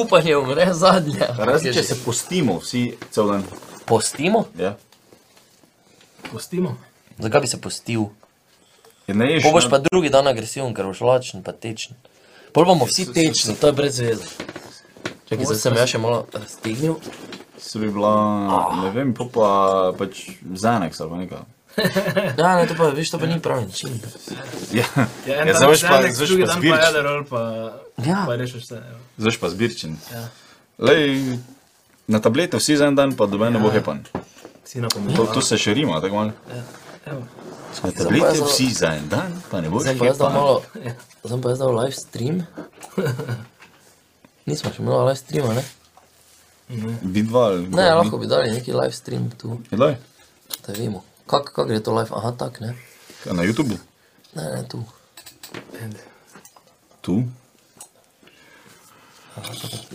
S3: upanje umre zadnje.
S2: razen, če se postimo vsi cel dan.
S3: postimo,
S2: Ja.
S4: Pustimo.
S3: zakaj bi se postil?
S2: Ker Ne ješ.
S3: Pol boš
S2: ne?
S3: pa drugi dan agresiven, ker boš lačen, pa tečen. Pol bomo vsi tečni, to je brez veze. Čakaj, zdaj sem jaz še malo raztegnil.
S2: Se bi bila, ne vem, pa pa pač Zanex ali pa nekaj.
S3: Ja, ne, to pa, veš, to pa ni pravi način.
S2: Ja,
S4: Ja, en
S2: ja
S4: dan
S2: zdaj boš pa,
S4: želek,
S2: zdaj boš
S4: drugi
S2: pa
S4: dan pa
S2: zbirčen.
S4: jaderol, pa,
S3: Ja.
S4: pa rešiš vse. evo.
S2: Zdaj boš pa zbirčen.
S4: Ja.
S2: Lej, na tabletu vsi za en dan, pa do mene
S3: Ja.
S2: bo hepan.
S4: Si na
S2: To,
S4: pomenu.
S2: to se še rima, tako malo.
S4: Evo,
S2: Na tabletu
S3: Zapazil.
S2: vsi za en dan, pa ne bo
S3: Zdaj pa jaz dal
S2: hepan.
S3: malo, zdaj pa jaz dal live stream. Nismo še imeli live streama, ne?
S2: Vidva ali
S3: Ne, lahko bi dali neki live stream tu,
S2: Lej,
S3: da vemo. Kako kak gre to live? Aha, tak, ne?
S2: kaj na YouTubu?
S3: Ne, ne, tu.
S2: Tu?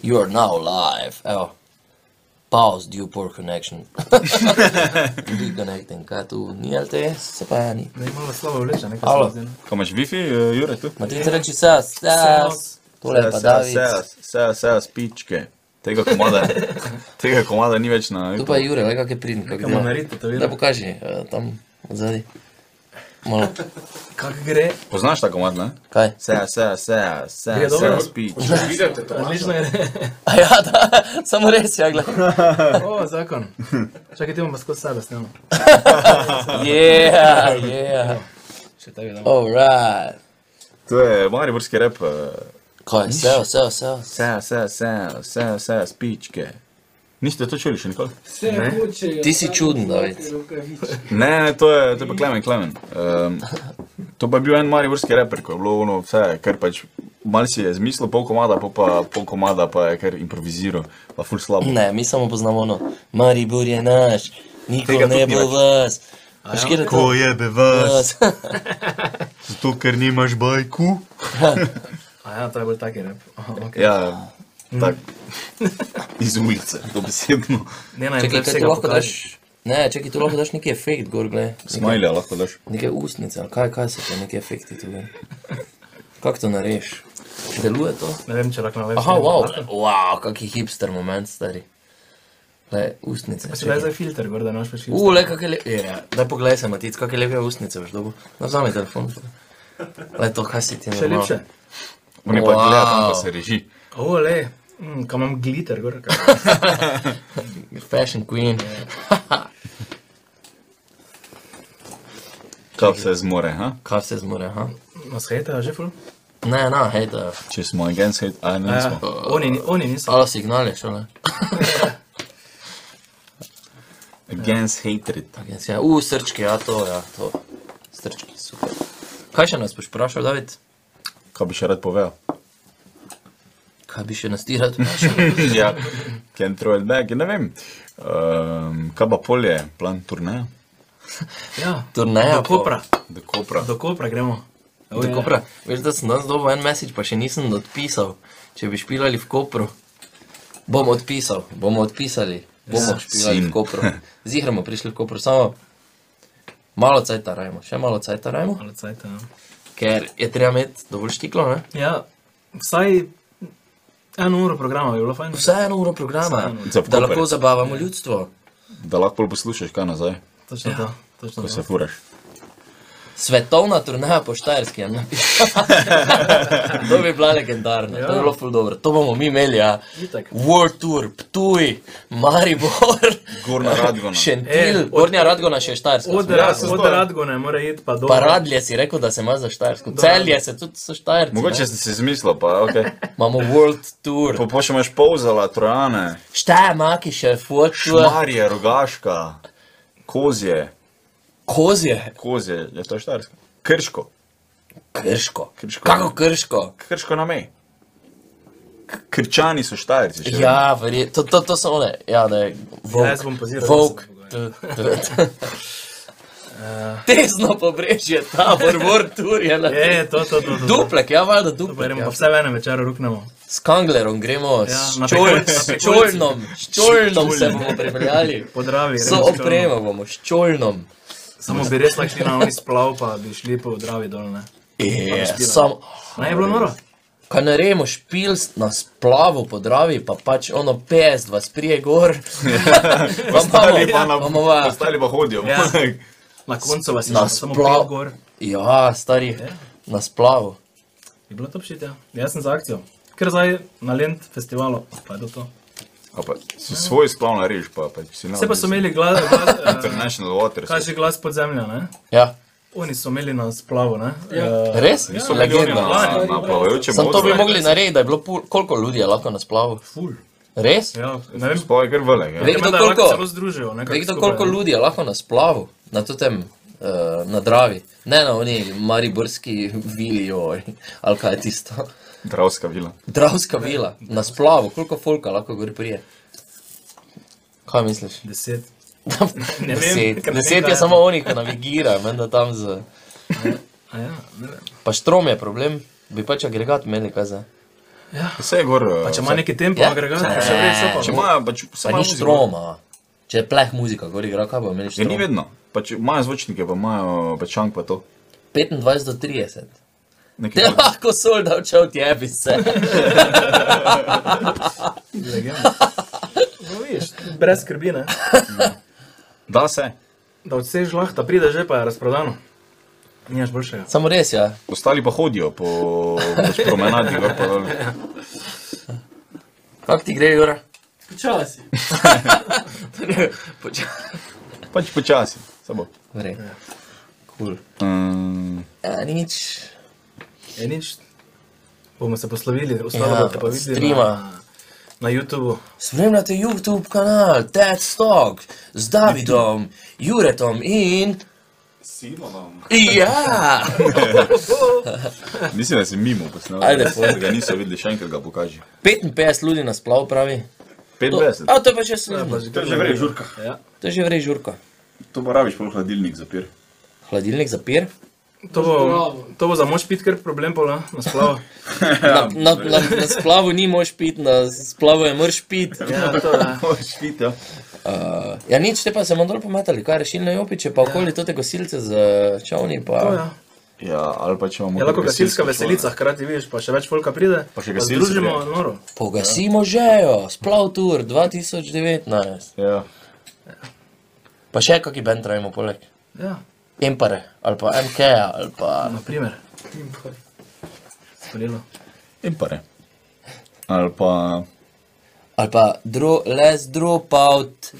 S3: You are now live, evo. Pause due poor connection. Reconnecting, kaj tu? Ni LTE, se pa ja ni.
S4: ne, malo slabo vleče, nekaj
S3: Alo.
S4: se mi zdi, ne.
S2: Kaj imaš Wi-Fi, eh, Jure, tu?
S3: Ma ti reči sas, sas. Tole je pa David.
S2: Seja, seja, spičke. Tega komada, tega komada ni več na.
S3: Tu pa je Jure, le kak je pridn. kak
S4: Kaj
S3: dela.
S4: ima narediti, tetoviranje?
S3: Da pokaži, eh, tam odzadi. Malo,
S4: Kako gre?
S2: Poznaš ta komad, ne?
S3: kaj?
S2: Seja, seja, seja,
S4: Gre
S2: seja,
S3: Ja,
S4: dobro?
S2: seja, spičke.
S6: Vidite to?
S4: Odlično je.
S3: A ja, da, samo res, ja, gledaj.
S4: O, zakon. Čakaj, ti imamo skozi sebe snemamo.
S3: Yeah, yeah.
S4: Še tega damo.
S3: Alright.
S2: To je mariborski rep. eh,
S3: Kaj, sejo, sejo, sejo.
S2: Seja, seja, seja, seja, seja, spičke. Niste to čuli še nikoli?
S1: Vse hočejo.
S3: Ti si
S1: samo
S3: čuden,
S1: vzeti
S3: David.
S1: rokavičke.
S2: Ne, ne, to je, to je pa Klemen, Klemen. Um, to pa je bil en mariborski reper, ko je bilo ono vse, kar pač mal si je zmislil, pol komada, pol, pa, pol komada pa je kar improviziral, pa ful slabo.
S3: Ne, mi samo poznamo ono, Maribor je naš, nikoli
S2: Tega
S3: ne
S2: tudi
S3: bo
S2: ni več.
S3: vas. Veš, kje ja? je to?
S2: je be
S3: Vas.
S2: zato ker nimaš bajku.
S4: A ja, to je bolj taki rep. Aha, okay.
S2: Ja,
S3: Mm.
S2: tak. Iz ulice, dobesedno.
S4: Ne, ne,
S3: Čakaj, kaj tu lahko daš? Ne, čakaj, tu lahko daš neki efekt gor, gled.
S2: Smajlja lahko daš.
S3: Neke ustnice, ali kaj, kaj so to, neki efekti tu gor. Kako to nareš? Deluje to?
S4: Ne vem, če lahko na web.
S3: Aha, wow, wow, kaki hipster moment, stari. Le, ustnice.
S4: Pa si
S3: čakaj.
S4: daj za filter, gor, da ne moreš več filter.
S3: U, le, kakaj lepe, ja, daj poglej se, Matic, kakaj lepe ustnice boš dobil. No, vzame telefon. Le, to, kaj si ti
S4: Še
S3: naredil.
S4: lepše.
S2: Oni pa
S3: Wow.
S2: gledajo tam, ko se reži.
S4: O, le, mm, kam imam glitter, gor. kaj.
S3: Fashion queen.
S2: Kap se zmore, ha?
S3: Kaj se zmore, ha?
S4: Nas hejta, No, že ful?
S3: Ne, no, hej, da.
S2: Če smo against hate, a ne
S4: Ja,
S2: smo.
S4: oni, ni- oni niso.
S3: Alo, signal je šele.
S2: Against hatred.
S3: Ja, u, srčki, ja, to, ja, to. Srčki, super. Kaj še nas boš vprašal, David?
S2: Kaj bi še rad povedal?
S3: Kaj bi še nas ti rad vprašal?
S2: ja, can throw it back, ja ne vem. Um, kaj pa polje, plan turneja?
S4: Ja,
S3: Turneja
S4: do Kopra.
S2: Do Kopra.
S4: Do Kopra gremo. O,
S3: Do
S4: je.
S3: Kopra. Veš, da sem danes dobil en message, pa še nisem odpisal. Če bi špilali v Kopru, bom odpisal, bomo odpisali, bomo ja, špilali
S2: sin.
S3: v Kopru. Zihramo prišli v Kopru, samo malo cajta rajmo, še malo cajta rajmo,
S4: Malo cajta, ja.
S3: ker je treba imeti dovolj štiklo, ne?
S4: Ja, vsaj eno uro programa bi bilo fajn.
S3: Vse eno uro programa,
S4: Vsaj eno
S2: uro. Za v
S3: da
S2: Koper.
S3: lahko zabavamo ljudstvo.
S2: Da lahko pol poslušaš, kaj nazaj,
S4: Točno ja. to. Točno
S2: ko se
S4: to.
S2: furaš.
S3: Svetovna turneja po Štajerski, ja. to bi bila legendarna, ja. to bi bilo ful dobro. To bomo mi imeli, ja.
S4: Itak.
S3: World Tour, Ptuj, Maribor,
S2: Gorna
S3: Ja.
S2: Radgona.
S3: Šentil,
S4: E,
S3: e, Gornja Radgona še Štajerska.
S4: Od,
S3: smo.
S4: ja,
S2: se
S4: od
S2: zgodaj.
S4: Radgone mora iti pa do.
S3: Paradlje si rekel, da se ima za Štajersko. Celje se tudi so Štajerci.
S2: Mogoče
S3: ne.
S2: si si zmislil, pa ok.
S3: Imamo World Tour.
S2: Po pošem imaš polzala, trojane,
S3: Štaje, maki še, fočuje.
S2: šmarje, rogaška, kozje,
S3: Kozje.
S2: kozje, je to štarsko. Krško,
S3: Krško.
S2: Krško.
S3: Kako krško?
S2: krško na mej. K- Krčani so štajrci. še vedno.
S3: Ja, verjetno. To, to, to so one. Ja, da je
S4: Ja,
S3: volk.
S4: jaz bom poziral.
S3: Volk.
S4: da se
S3: T, t, t. Tesno pobrežje, ta vrvor tur je na
S4: bo- Je, E, to, to, to. to, to.
S3: Duplek, ja, valjda
S4: To pa
S3: duplek.
S4: gremo
S3: Ja.
S4: pa vse v enem večeru ruknemo.
S3: S Kanglerom gremo,
S4: Ja,
S3: s
S4: na
S3: čol-
S4: prikol- na
S3: s
S4: prikolcu.
S3: čolnom, s čolnom se bomo pripeljali.
S4: Podravi.
S3: So opremo bomo, s čolnom.
S4: Samo bi res lahko šli na oni splav, pa bi šli po Dravi dol. Ne,
S3: Je, Sam,
S4: ne je bilo noro.
S3: kaj naredimo, špil na splavu po Dravi, pa pač ono pes, vas prije gor. Vam
S2: Ostali pa
S3: imamo,
S2: na-
S3: vam imamo.
S2: Ostali pa hodijo.
S4: Ja. Na koncu vas je
S3: Na
S4: še samo pol
S3: splavu.
S4: gor.
S3: Ja, stari, na splavu.
S4: Je bilo to pšitja. Jaz sem za akcijo. Ker zdaj na Lent festivalu, pa je to to.
S2: A Pa, si svoj splav narediš, pa, pa si na.
S4: Vse pa so imeli glas, glas eh,
S2: International Waters.
S4: kaj že glas podzemlja, ne?
S3: Ja.
S4: Oni so imeli na splavu, ne?
S1: Ja.
S4: Eh,
S3: Res?
S2: Niso legenda.
S3: Legenda.
S2: Na, na plavajočem
S3: Sam to bi
S2: modru.
S3: mogli narediti, da je bilo pol, koliko ljudi je lahko na splavu.
S4: Ful.
S3: Res?
S4: Ja, ne vem,
S2: Sploh je kar velik. ja.
S3: Ve-
S4: Nekdo
S3: koliko-
S4: koliko? Celo združijo, nekako.
S3: Ve kdo,
S4: skupaj,
S3: koliko
S4: ne.
S3: ljudi je lahko na splavu, na tem, uh, na Dravi, ne na oni mariborski vili, joj, ali kaj je tisto.
S2: Dravska vila.
S3: Dravska vila, na splavu, koliko folka lahko gori prije. Kaj misliš?
S4: Deset. Ne vem,
S3: Deset,
S4: ker ne vem,
S3: Deset
S4: kaj
S3: je
S4: je.
S3: samo oni, ki navigirajo, menda tam z.
S4: A ja, ne vem.
S3: Pa štrom je problem, bi pač agregat imeli, kaj za.
S2: Vse je gor. eh,
S4: Pa če ima neki tempo,
S3: Ja.
S4: agregat, še prej so pa.
S2: Če ima, pač
S3: Pa
S2: samo
S3: ni štroma. Če je pleh muzika, gori igra, kaj bo imeli
S2: Ja, ni
S3: štrom.
S2: vedno. Pa če imajo zvočnike, pa imajo pečank pa to.
S3: 25 do 30.
S2: Nekaj
S3: Te lahko solda učel tjebi se.
S4: Legenda. No, vidiš, brez skrbi, ne?
S2: Da se,
S4: Da odsež lahko, pride že pa je razprodano. Nimaš boljšega.
S3: Samo res, ja.
S2: ostali pa hodijo po pač promenadi. gor pa dol.
S3: Kako ti gre, Jura?
S1: Počasi.
S2: Pač počasi. Samo.
S3: Verjetno. Kul.
S2: Mm,
S3: Ja, nič.
S4: E, nič, bomo se poslovili, ostalo
S3: Ja,
S4: boste pa videli
S3: streama.
S4: na, na YouTubu.
S3: Spremljate YouTube kanal Ted Stock z Davidom, Juretom in. Simonom. Ja!
S2: mislim, da si mimo posnel.
S3: Ajde, pojdi.
S2: če ga niso videli, še enkrat ga pokaži.
S3: 55 ljudi nas plav pravi. To,
S2: 25.
S3: a, to je pa
S4: Ja,
S3: že služba.
S2: To je že vrej žurka.
S3: To je že vrej žurka.
S2: To pa rabiš, pa v hladilnik zapir.
S3: Hladilnik zapir.
S4: To bo,
S1: Bravo.
S4: to bo za mož pit, ker problem pa na splavu. Ja,
S3: Na, na, na, na splavu ni moš pit, na splavu je moraš pit.
S4: Ja, to je.
S2: Moraš biti, ja.
S3: Uh, ja, nič, te pa se bomo dol pometali, kaj rešilne jopiče, pa okoli tote gosilce z čovni. Pa...
S4: To, ja.
S2: Ja, ali pa če imamo...
S4: Je lahko
S2: kak
S4: gasilska
S2: gasilsko
S4: veselica,
S2: čoln.
S4: hkrati vidiš, pa še več folka pride.
S2: Pa še gasilci
S4: Združimo
S2: pridejo.
S4: noro.
S3: Pogasimo žejo, splav tour 2019.
S2: Ja.
S3: Pa še kaki bend trajimo poleg.
S4: Ja,
S3: Empare ali pa MK ali pa
S4: na primer. Sprejelo.
S2: In pa ne. Ali pa...
S3: ali pa dro, les drop out.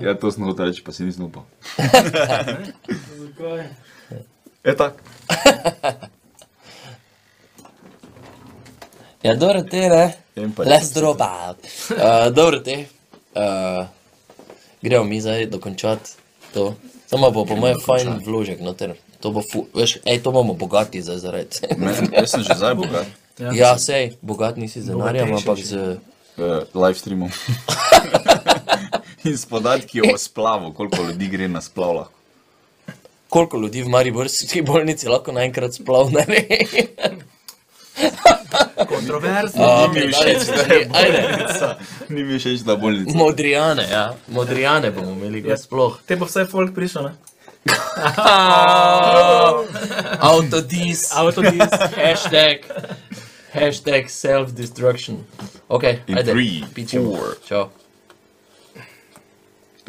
S2: Ja, to sem hotel reči, pa si nisem upal.
S1: Zakaj?
S2: Je tak.
S3: Ja, dobro te, ne?
S2: Empire.
S3: Les drop out. Uh, dobro te. Uh, gremo mi zdaj dokončati to. Samo bo po mojem fajn vložek noter. To bo, fu, veš, ej, to bomo bogati zdaj zaradi.
S2: Ne, jaz sem že zdaj bogat.
S3: ja, sej, bogat nisi z denarjem, ampak z...
S2: Uh, live streamom. In s podatki o splavu, koliko ljudi gre na splav lahko.
S3: Koliko ljudi v Mariborski bolnici lahko naenkrat splavne?
S4: Kontroverzno.
S3: A,
S2: mi je
S3: predalec
S2: všeč,
S3: stvari, Ajde,
S2: Ni mi všeč, da bolnica.
S3: modrijane, ja. Modrijane bomo imeli, gor sploh.
S4: Te bo vsaj folk prišel, ne?
S3: Avtodis. Avtodis. Hashtag. Hashtag self-destruction. Ok,
S2: In
S3: ajde.
S2: three,
S3: Pičemo.
S2: four.
S3: Čau.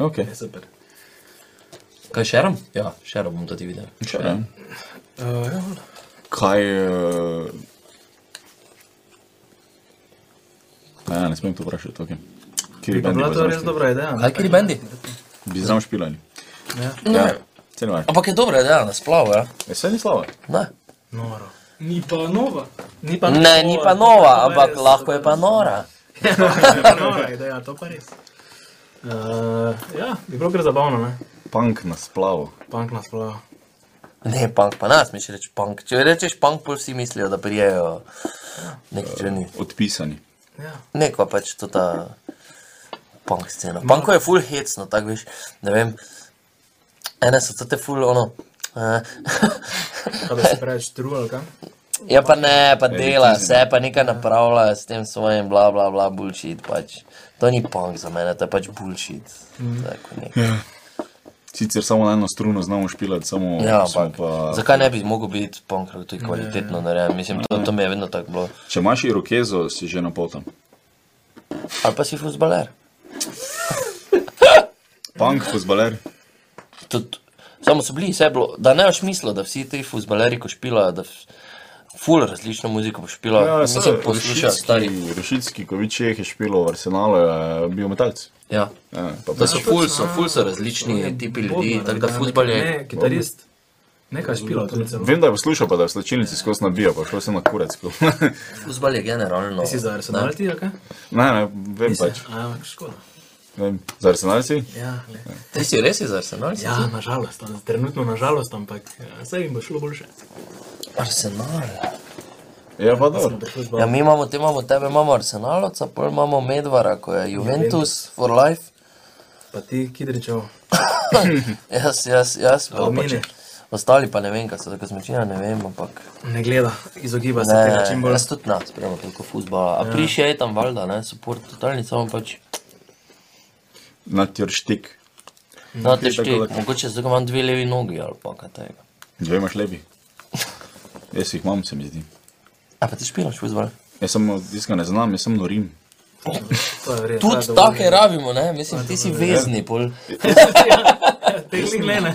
S2: Okay.
S4: Je super.
S3: Kaj šeram? Ja, šeram bom tudi videl.
S2: Če ne.
S4: Uh, ja,
S2: Kaj eh, je... Uh... Ja, ne smem to vprašati, ok. Kjer je
S4: bi pa
S2: bilo
S4: bila to res
S2: dobro?
S4: dobra ideja. ne?
S3: Kaj kri bendi?
S2: Bi znam špilani.
S4: Ja.
S3: No.
S2: Ja. Ceno je.
S3: Ampak je dobro, da nas plava, ja.
S2: Je se ni slabo.
S3: Ne.
S4: Noro.
S1: Ni pa nova.
S4: Ni pa
S3: ne, ni pa nova, ampak lahko je pa nora.
S4: nora ideja, to pa res. Uh, ja, bi bilo kar zabavno, ne?
S2: Punk na splavu.
S4: Punk nas plava.
S3: Ne, punk pa nas, miš reči punk. Če rečeš punk, pol vsi mislijo, da prijejo neki črni.
S2: Odpisani.
S4: Ja.
S3: Neko pač to ta punk scena. Punko je full hecno, tako veš, ne vem. Ene so to te full ono. eh,
S4: Kaj da se preveč tru ali kaj?
S3: ja pa ne, pa dela,
S2: Elitizem.
S3: vse pa nekaj napravlja s tem svojim bla bla bla bullshit pač. To ni punk za mene, to je pač bullshit. Tako nekaj.
S2: Sicer samo na eno struno znamo špilati, samo
S3: Ja,
S2: smo
S3: ampak
S2: pa...
S3: zakaj ne bi mogel biti punk, ker to je kvalitetno narejen? Mislim, to, to mi je vedno tako bilo.
S2: Če imaš irokezo, si že na pol tam.
S3: Ali pa si fuzbaler.
S2: Punk,
S3: Ja.
S2: fuzbaler.
S3: Tudi, samo so bili, vse je bilo, da ne boš mislil, da vsi ti fuzbaleri, ko špilajo, da f- ful različno muziko špilajo. Ja, Mislim, poslušajo stari.
S2: Rešitski, ko vičeh je špilo v Arsenalu, je bil metalc.
S3: Ja.
S2: Ja, pa
S3: Da so ful, so ful so različni tipi ljudi, tako da fuzbal je.
S4: Ne, kitarist. Nekaj špila, to je celo.
S2: Vem, da je poslušal, pa da je v slačilnici skozi nabija, pa šel sem na kurec. ko-
S3: Fuzbal je generalno.
S4: Si za arsenal ti, ali kaj?
S2: ne, ne, vem pač.
S4: A, škoda.
S2: Vem. Za Arsenal si?
S4: Ja, le.
S3: Ti si res iz Arsenala? si?
S4: Ja, nažalost, a- trenutno nažalost, ampak ja, vse jim bo šlo boljše.
S3: Arsenal.
S2: Ja, pa dobro.
S3: Ja, mi imamo, te imamo, tebe imamo Arsenalovca, pol imamo Medvara, ko
S4: Ja,
S3: je Juventus for life.
S4: Pa ti, Kidričev,
S3: Jaz, jaz, jaz. pa
S4: Alumini.
S3: pač- Ostali pa ne vem, kaj so tako zmečina, ne vem, ampak.
S4: ne gleda, izogiba se tega čim
S3: Ne,
S4: bolj.
S3: jaz tudi ne spremljam toliko futbola. A prišel je tam valjda, ne, support totalni, samo pač.
S2: Na tjurštik.
S3: No, te
S2: tako
S3: štiri,
S2: da-
S3: mogoče zdaj ko imam dve levi nogi ali pa kaj tega.
S2: Dve imaš lepi. Jaz jih imam, se mi zdi.
S3: A pa ti špilaš fuzbol.
S2: Jaz samo tiska ne znam, jaz sem norim.
S4: To je res. to je
S3: Tudi
S4: dovolj.
S3: take rabimo, ne? Mislim, ti si vezni, pol.
S4: Tehnik ne, ne.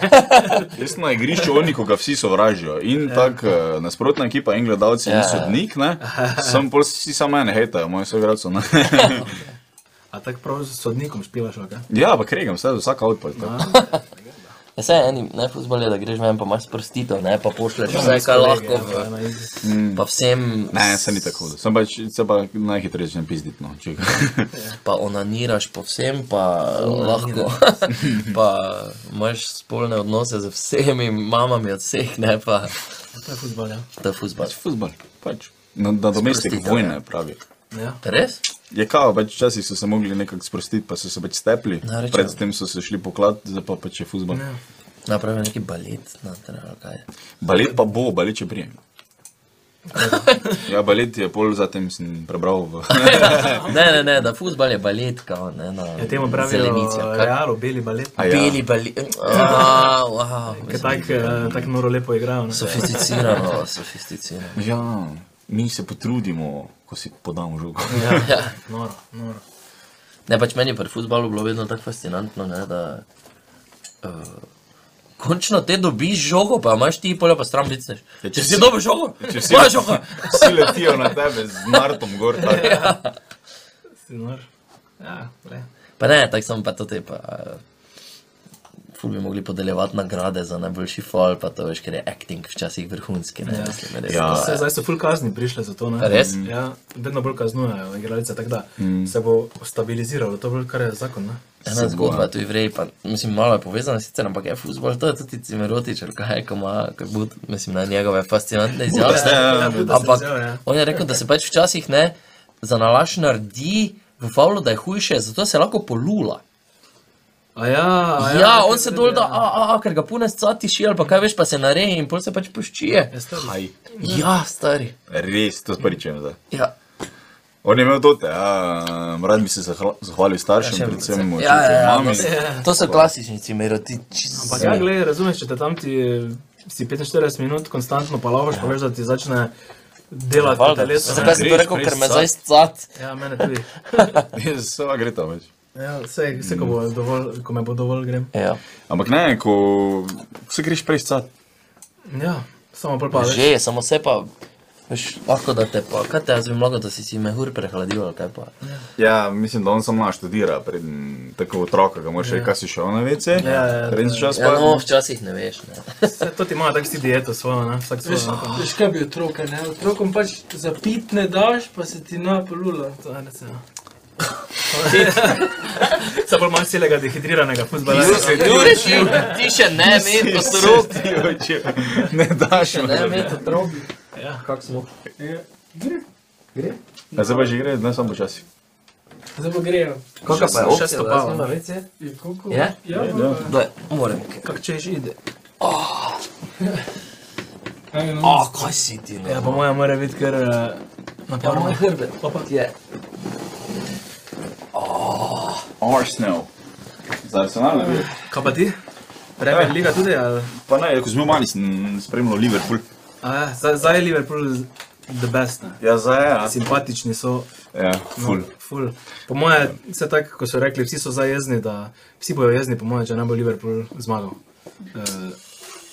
S2: Jaz na igrišču oni, ko ga vsi sovražijo. In tako eh, nasprotna ekipa in gledalci in
S3: Ja.
S2: sodnik, ne? Sem pol vsi samo mene hejtajo, moji sogradci. ne.
S4: A tako prav s sodnikom špilaš, ok?
S2: Ja, pa kregam, vse, vsak output.
S3: Ja, se eni, ne fuzbol je, da greš ven, pa imaš sprostitev, ne? Pa pošleš vse, kar
S4: ja.
S3: lahko. v- Pa vsem,
S2: Ne, se ni tako. hudo. Sem pač, se pa najhitreje začnem pizditi, no. Čekaj.
S3: pa onaniraš po vsem, pa lahko. Pa imaš spolne odnose z vsemi mamami od vseh, ne pa
S4: To je futbol, ja.
S3: ta fuzbol.
S2: Pač fuzbol, pač. Na, na domestik
S3: Sprostitev,
S2: vojne pravi.
S4: ja.
S3: Res?
S2: Je kao, pač včasih so se mogli nekako sprostiti, pa so se pač stepli.
S3: Ja, rečem.
S2: Predtem so se šli poklad, zdaj pa pač je fuzbol.
S4: Ja.
S3: Napravijo neki balet, noter, ali kaj.
S2: Balet pa bo, balet če prijem. Ja, balet je pol, zatem sem prebral v
S3: Ne, ne, ne, da fuzbol je balet, kao, ne, na
S4: Ja, temu pravijo
S3: zelenici. ali kaj.
S4: Realo, beli balet.
S2: A ja.
S3: Beli balet. Ah, wow,
S4: Ker
S3: mislim,
S4: tako eh, tako noro lepo igrajo. ne.
S3: Sofisticirano, sofisticirano.
S2: Ja, mi se potrudimo, ko si podamo žogo.
S3: Ja, ja.
S4: Noro, noro.
S3: Ne, pač meni je pri futbalu bilo vedno tako fascinantno, ne, da uh, končno te dobiš žogo, pa imaš ti polja, pa stran blicneš.
S2: Ja, če
S3: Če si
S2: si-
S3: dobil žogo,
S2: če si-
S3: moja žoga. Ja.
S2: Vsi letijo na tebe z nartom gor. tako.
S4: Si nor. Ja, le.
S3: Pa ne, tako sem pa to te pa. eh, Ful bi mogli podeljevati nagrade za najboljši fall, pa to veš, ker je acting včasih vrhunski. Ne, mislim, res,
S2: Ja.
S3: to
S4: Vse,
S3: se-
S4: zdaj so ful kazni prišle za to. Ne?
S3: Res?
S4: Ja, vedno bolj kaznujejo igralce, tako da mm. se bo stabiliziralo, to je bolj kar je zakon. Ne?
S3: Ena zgodba je tudi vrej, pa mislim, malo je povezana sicer, ampak je futbol, to je tudi cimerotič, ali kaj, ko ima, ko bud, mislim, na njegove fascinantne izjave.
S2: Ja,
S4: Buda se
S3: Ampak
S4: izjave, ja.
S3: on je rekel, da se pač včasih ne zanalaš naredi v favlu, da je hujše, zato se lahko polula.
S4: A ja, a
S3: Ja, ja on se dol da, a, a, a, ker ga pune scati ši ali pa kaj veš, pa se nareje in pol se pač poščije.
S2: Aj,
S3: Ja, stari.
S2: Res, to sporičujem zdaj.
S3: Ja,
S2: On je imel dote, ja, rad bi se zahla- zahvalil staršem,
S3: Še-
S2: predvsem
S3: ja, ja,
S2: očetu,
S3: ja,
S2: mami.
S3: no, to so klasični cimerotiči.
S4: Ampak ja, gledaj, razumeš, če te tam ti eh, si 45 minut konstantno palavaš, pa veš, da ti začne delati po telesu.
S3: Zakaj
S4: ne.
S3: sem to rekel, ker me zdaj scat?
S4: Ja, mene tudi.
S2: Sva gre ta več.
S4: Ja, vse, vse ko, bo dovolj, ko me bo dovolj, grem.
S3: Ja.
S2: Ampak ne, ko se greš prej scat.
S4: Ja, samo pol pa več.
S3: Že, samo se pa, veš, lahko da te pa, kaj te jaz bi mogel, da si si mehur prehladil ali kaj pa.
S2: Ja, mislim, da on samo študira, preden tako otroka, ga moraš reči, kaj si šel na vece.
S4: Ja, ja, ja.
S2: Preden si čas
S3: Ja,
S2: pa.
S3: no, včasih ne veš. Ne.
S4: Vse to ti ima tako si dieto svojo, ne? vsak svoj.
S1: Veš, veš, kaj bi otroka, ne? Otrokom pač zapit ne daš, pa se ti napolula.
S4: Vse bolj manj celega dehidriranega futbola.
S3: Jure, ti, ti še ne veš, ko so rok.
S2: Ne daš mu.
S3: Ne veš, otrok.
S4: Ja.
S3: Kako smo?
S2: Ja, zdaj pa že gre, ne samo počasi.
S1: Zdaj pa grejo.
S3: Kakšna pa je opcija,
S4: Šesto
S3: da
S4: palo.
S3: smo na
S1: Je, koliko?
S3: Je?
S1: Ja,
S2: Je,
S1: pa-
S3: Daj, moram.
S4: Kako češ ide?
S1: Aj, no.
S3: A, kaj si ti, ne?
S4: Ja, po mojem mora biti kar eh,
S3: Ja,
S4: naporno.
S3: moj hrbet.
S4: Opa.
S3: Je.
S2: Arsenal. Za Arsenal ne veš.
S4: Kaj pa ti? Premier Liga tudi, ali?
S2: Pa ne, ko smo mali, sem spremljal Liverpool.
S4: A ja, zdaj- zdaj je Liverpool z- the best. Ne?
S2: Ja, zdaj je. a?
S4: Simpatični so.
S2: Ja, ful.
S4: Ful. Po moje, vse tako, ko so rekli, vsi so zdaj jezni, da vsi bojo jezni, po moje, če ne bo Liverpool zmagal. Uh,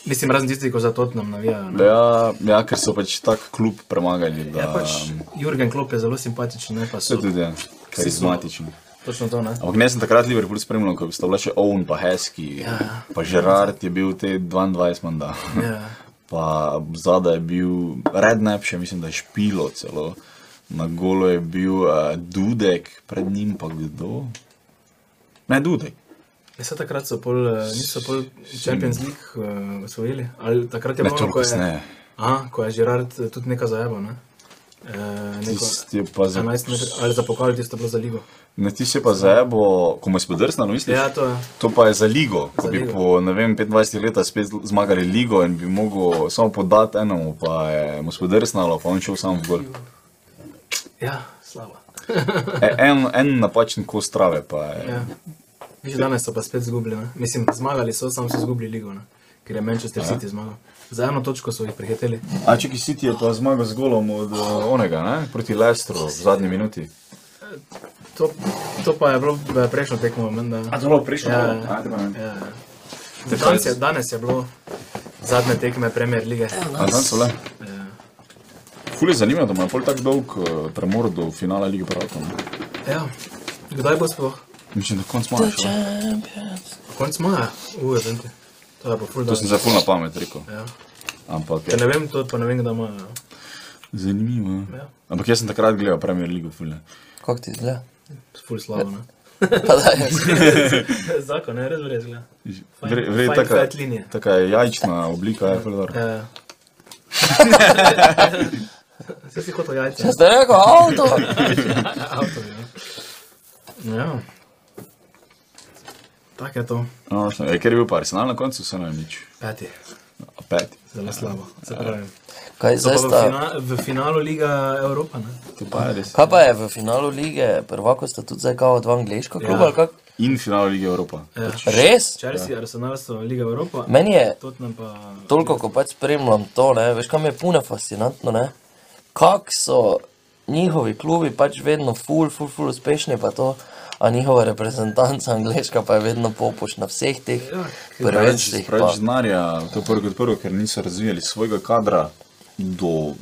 S4: mislim, razen tisti, ko za Tottenham navijajo. ne.
S2: Ja, ja, ker so pač tak klub premagali, da
S4: Ja, pač Jurgen Klopp je zelo simpatičen, ne pa
S2: so
S4: so.
S2: tudi ja, karizmatični.
S4: Točno to, ne?
S2: Ampak ne sem takrat Liverpool spremljal, ko sta bila še Owen, pa Heski, pa Gerard je bil te 22 manda.
S4: Ja.
S2: Pa zadaj je bil Rednap, še mislim, da je špilo celo. Na golo je bil uh, Dudek, pred njim pa kdo? Ne, Dudek.
S4: Vse Ja, takrat so pol, eh, niso pol Champions League uh, osvojili. Ali takrat je
S2: Ne,
S4: bilo
S2: to
S4: ko je,
S2: kasneje.
S4: aha, ko je Žirard eh, tudi nekaj zajabo, ne? Uh, neko,
S2: Tisti je pa za,
S4: 11 metrov, ali za pokal, tisto je bilo za ligo.
S2: ne, tisti je pa za ebo, ko mu je spodrsnilo, misliš?
S4: Ja, to je.
S2: To pa je za ligo, ko
S4: Za
S2: bi
S4: ligo.
S2: po ne vem, 25 letih spet zl- zmagali ligo in bi mogel samo podati enemu, pa je mu spodrsnalo, pa on šel sam v gol.
S4: Ja, slabo.
S2: E, en, en napačen kos trave pa je.
S4: Ja. Že danes so pa spet izgubili. Ne? Mislim, zmagali so, sam so izgubili ligo. Ne? ker je Manchester City zmagal. Za eno točko so jih prehiteli.
S2: A če ki City je pa zmagal z golom od eh, onega, ne? proti Lestru v zadnji minuti.
S4: To, to pa je bilo eh, prejšnjo tekmo, menda.
S2: bilo prejšnjo?
S4: Ja, ja. Ja. Danes je, danes je bilo zadnje tekme Premier lige. eh,
S2: A tam so le. Ful je zanimivo, da ima pol tako dolg eh, premor do finala Lige Prvakov. ne.
S4: Ja. Kdaj bo sploh?
S2: Mislim, da konc maja še. ne.
S4: Konc maja, uje, vente. To je pa ful
S2: To sem
S4: dobro.
S2: zdaj ful na pamet rekel.
S4: Ja.
S2: Ampak
S4: Če
S2: je.
S4: ne vem, to pa ne vem, kdaj imajo.
S2: Zanimivo.
S4: Ja.
S2: ja. Ampak jaz sem takrat gledal Premier League, ful je.
S3: Kako ti zle?
S4: Ful slabo, ne?
S3: Pa da je.
S4: Zakon, ne, res brez gleda.
S2: Vre, vre,
S4: fajn
S2: taka,
S4: flat linije.
S2: taka je jajčna oblika, je ful dobro.
S4: Ja. Vse si hotel jajce.
S3: Če ste rekel avto.
S4: Ja. Tako je to.
S2: No, no, ker je bil pa Arsenal na koncu, vseeno je nič.
S4: Peti.
S2: A peti.
S4: Zelo slabo. Se pravi.
S3: Kaj
S4: To
S3: zdaj
S4: pa v,
S3: sta?
S4: fina, v finalu Liga Evropa, ne?
S2: To pa je res.
S3: Kaj pa je v finalu lige, prvako sta tudi zdaj kao dva angliška kluba,
S4: Ja.
S3: ali kako?
S2: In final Lige Evropa.
S4: Ja.
S3: Res?
S4: Chelsea, Arsenal so Liga Evropa.
S3: Meni je
S4: Tottenham pa...
S3: toliko, ko pač spremljam to, ne, veš, kam je puno fascinantno, ne? Kak so njihovi klubi pač vedno ful, ful, ful uspešni, pa to, a njihova reprezentanca angliška pa je vedno popuš na vseh teh prvenstvih. pa-
S2: Preveč denarja, to je prvo kot prvo, ker niso razvijali svojega kadra. Do,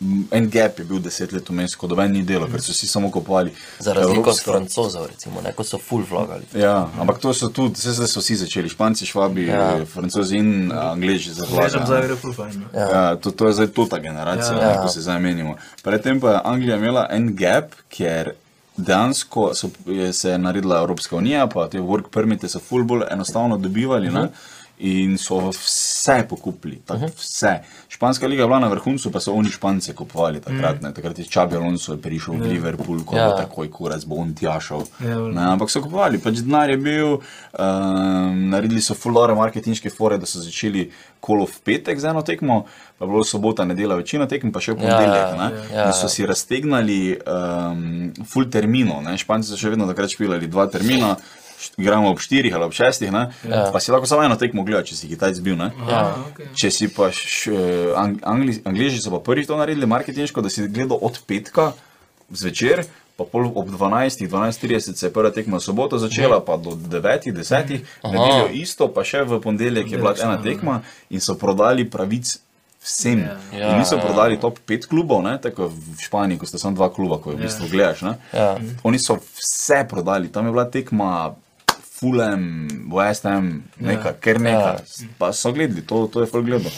S2: m, en gap je bil deset let vmes, ko doben ni delo, ker so vsi samo kopali.
S3: Za razliko od
S2: Evropska-
S3: francozov, recimo, ne, ko so ful vlagali.
S2: Ja, ampak to so tudi, vse zdaj so vsi začeli, Španci, Švabi, ja.
S3: Ja.
S2: Francozi in Angliji, zelo
S4: Ležem za Euro Full Fine.
S3: Ja.
S2: Ja, to, to je zdaj to ta generacija,
S3: Ja.
S2: ja. ko se zdaj menimo. Predtem pa je Anglija imela en gap, ker dejansko so, je, se je naredila Evropska unija, pa te work permite so full bolj enostavno dobivali. Uh -huh.
S3: Mhm.
S2: In so vse pokupili, tako uh -huh. vse. Španska liga je bila na vrhuncu, pa so oni Špance kupovali takrat. Ne? Takrat je Čabi Alonso je prišel v Liverpool, ko
S3: Mhm. Ja.
S2: je takoj kurac bo on tja šel.
S4: Ja, vel.
S2: Ne, ampak so kupovali, pač denar je bil, um, naredili so fulore marketinške fore, da so začeli kolo v petek z eno tekmo, pa je bilo sobota, nedelja, večina tekem, pa še v ponedeljek.
S3: ja,
S2: ne.
S3: ja,
S2: In so si raztegnali um, full termino, ne. Španci so še vedno takrat špilali dva termina. št- Igramo ob 4 ali ob 6, ja. pa si lahko samo eno tekmo gledal, če si Kitajc bil. Ne?
S3: Ja.
S2: Če si pa še, ang, angli, angliži so pa prvi to naredili marketinško, da si gledal od petka zvečer, pa pol ob 12, 12.30 se je prva tekma sobota začela,
S3: Mhm.
S2: pa do 9, 10, nedeljo isto, pa še v ponedeljek je bila ena tekma in so prodali pravic. Vsem.
S3: Ja.
S2: Ja, niso
S3: Ja, ja.
S2: prodali top 5 klubov, ne? tako kot v Španiji, ko ste samo dva kluba, ko je v bistvu gledaš. ne.
S3: Ja.
S2: Oni so vse prodali, tam je bila tekma Fulham, West Ham, nekaj, ker nekaj. Pa so gledali, to, to je full gledal.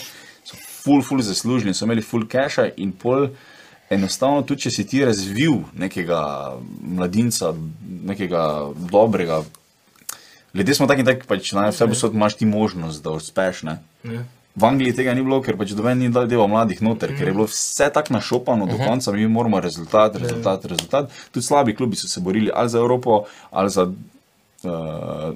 S2: So full, full zaslužili, so imeli full cache in pol. Enostavno, tudi če si ti razvil nekega mladinca, nekega dobrega, ljudje smo taki, da pač, na vse posod imaš ti možnost, da uspeš. Ne? V Angliji tega ni bilo, ker pač doben ni dal dela mladih noter, ker je bilo vse tako našopano do konca, mi moramo rezultat, rezultat, rezultat. Tudi slabi klubi so se borili ali za Evropo, ali za. Uh,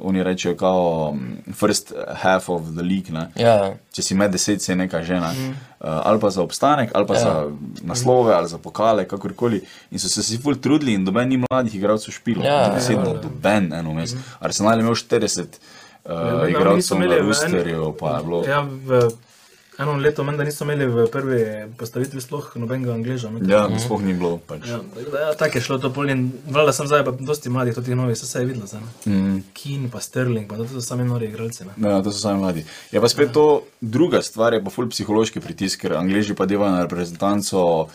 S2: oni rečejo, kao mm, first half of the league. Ne?
S3: Ja,
S2: Če si med deset, se je neka žena. Mm. Uh, ali pa za obstanek, ali pa ja. za naslove, ali za pokale, kakorkoli. In so se si ful trudili, in doben ni mladih igralcev špilo.
S3: Ja, ja,
S2: Deset, ja, doben eno mes. Mm. Arsenal je imel 40
S4: Ja,
S2: uh,
S4: mi niso
S2: igralcev
S4: imeli
S2: na
S4: v en-
S2: Rusterju, pa je bilo.
S4: Ja, v eno leto menda niso imeli v prvi postavitvi sploh nobenega angleža. ne.
S2: Ja, mhm. sploh ni bilo. Pač.
S4: Ja, tako da, ja, tako je šlo to polje. Vlada sem zdaj, pa dosti mladih, tudi novih, vse se je videlo. Mm. Kin, pa Sterling, pa to so sami nori igralci. Ne?
S2: Ja, to so sami mladi. Je pa spet to druga stvar, je pa ful psihološki pritisk, ker Angliji pa devajo na reprezentanco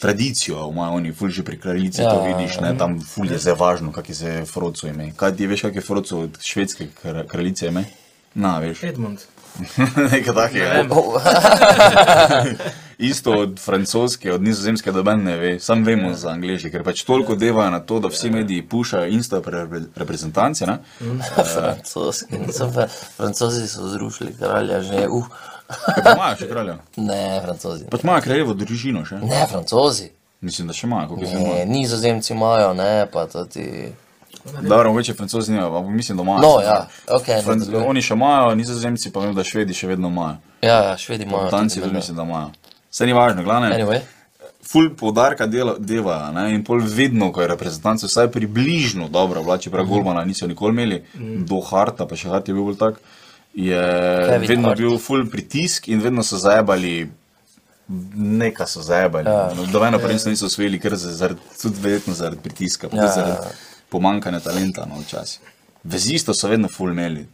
S2: tradicijo, imajo oni ful že pri kraljici, ja,
S3: Ja,
S2: to vidiš, ne, tam ful je zdaj važno, kak je se Froco ime. Kaj ti veš, kak je Froco od švedske kra- kraljice ime? Na, veš,
S3: Ja.
S4: Edmund.
S2: nekaj takega. Ne.
S3: O,
S2: Isto od francoske, od nizozemske, da ben ne ve, sam
S3: Ja.
S2: vemo za angliži, ker pač toliko devajo na to, da vsi mediji pušajo insta pre reprezentance, ne.
S3: Mhm. francoski, niso fra... francozi so zrušili kralja že, uh,
S2: Ja, pa imajo še kralja.
S3: ne, francozi.
S2: Pač imajo kraljevo družino še.
S3: Ne, francozi.
S2: Mislim, da še imajo, koliko se imajo.
S3: Ne, nizozemci imajo, ne, pa tudi.
S2: Dobro, mogoče francozi nimajo, ampak mislim, da imajo.
S3: No, ja, ok. ne,
S2: Fran
S3: tako-
S2: oni še imajo, nizozemci pa vem, da švedi še vedno imajo.
S3: Ja, ja, švedi imajo.
S2: Danci tudi mislim, da imajo. Vse ni važno, glavno.
S3: Anyway,
S2: Ful podarka dela, deva, ne? in pol vedno, ko je reprezentanca vsaj
S3: Mhm.
S2: približno dobro, vlači prav Golmana niso nikoli imeli, do Harta, pa še Hart je bil bolj tak. je
S3: Kevin
S2: vedno
S3: Hart.
S2: bil full pritisk in vedno so zajabali. Nekaj so zajabali. Ja. Dobeno prvenstvo niso osvojili, ker za- zaradi, tudi verjetno zaradi pritiska, ja.
S3: Ja.
S2: zaradi pomankanja talenta na včasih. Vezisto so vedno full imeli.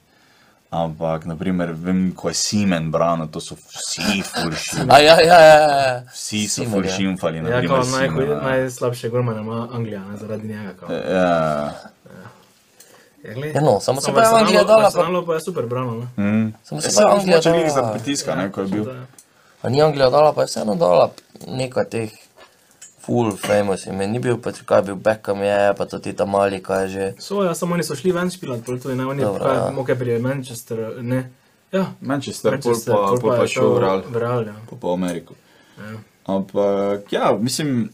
S2: Ampak, naprimer, vem, ko je Simen branil, to so vsi furši.
S3: A ja, ja, ja, ja.
S2: Vsi so
S3: Simen, ja.
S2: furšimfali.
S4: Ja, kot najhuj, najslabše gormana ima Anglija, ne, zaradi njega. Kao.
S2: Ja,
S4: Ja, glej,
S3: Ja, no, samo se
S4: samo
S3: pa je Anglija
S4: Arsenalu-
S3: dala, pa-
S4: Arsenalu pa je super brano.
S2: Ja.
S4: Ne?
S2: Hm?
S3: Samo se
S2: Vse
S3: pa
S2: je
S3: Anglija
S2: bilo črnili zaradi
S3: dala.
S2: pritiska, ne, ko je bil.
S3: A ni Anglija dala, pa je vseeno dala nekaj teh full famous imen. Ni bil Petr, kaj je bil Beckham je, pa to ti ta mali, kaj je že.
S4: So, ja, samo oni so šli ven špilat, pol tudi ne, oni
S3: Dobro, ja.
S4: pa moke pri Manchester, ne. Ja,
S2: Manchester, pol
S4: Manchester,
S2: pa, pol pa
S4: je
S2: šel v Real,
S4: v Real, ja.
S2: pa pa v Ameriko. Ampak, ja, mislim,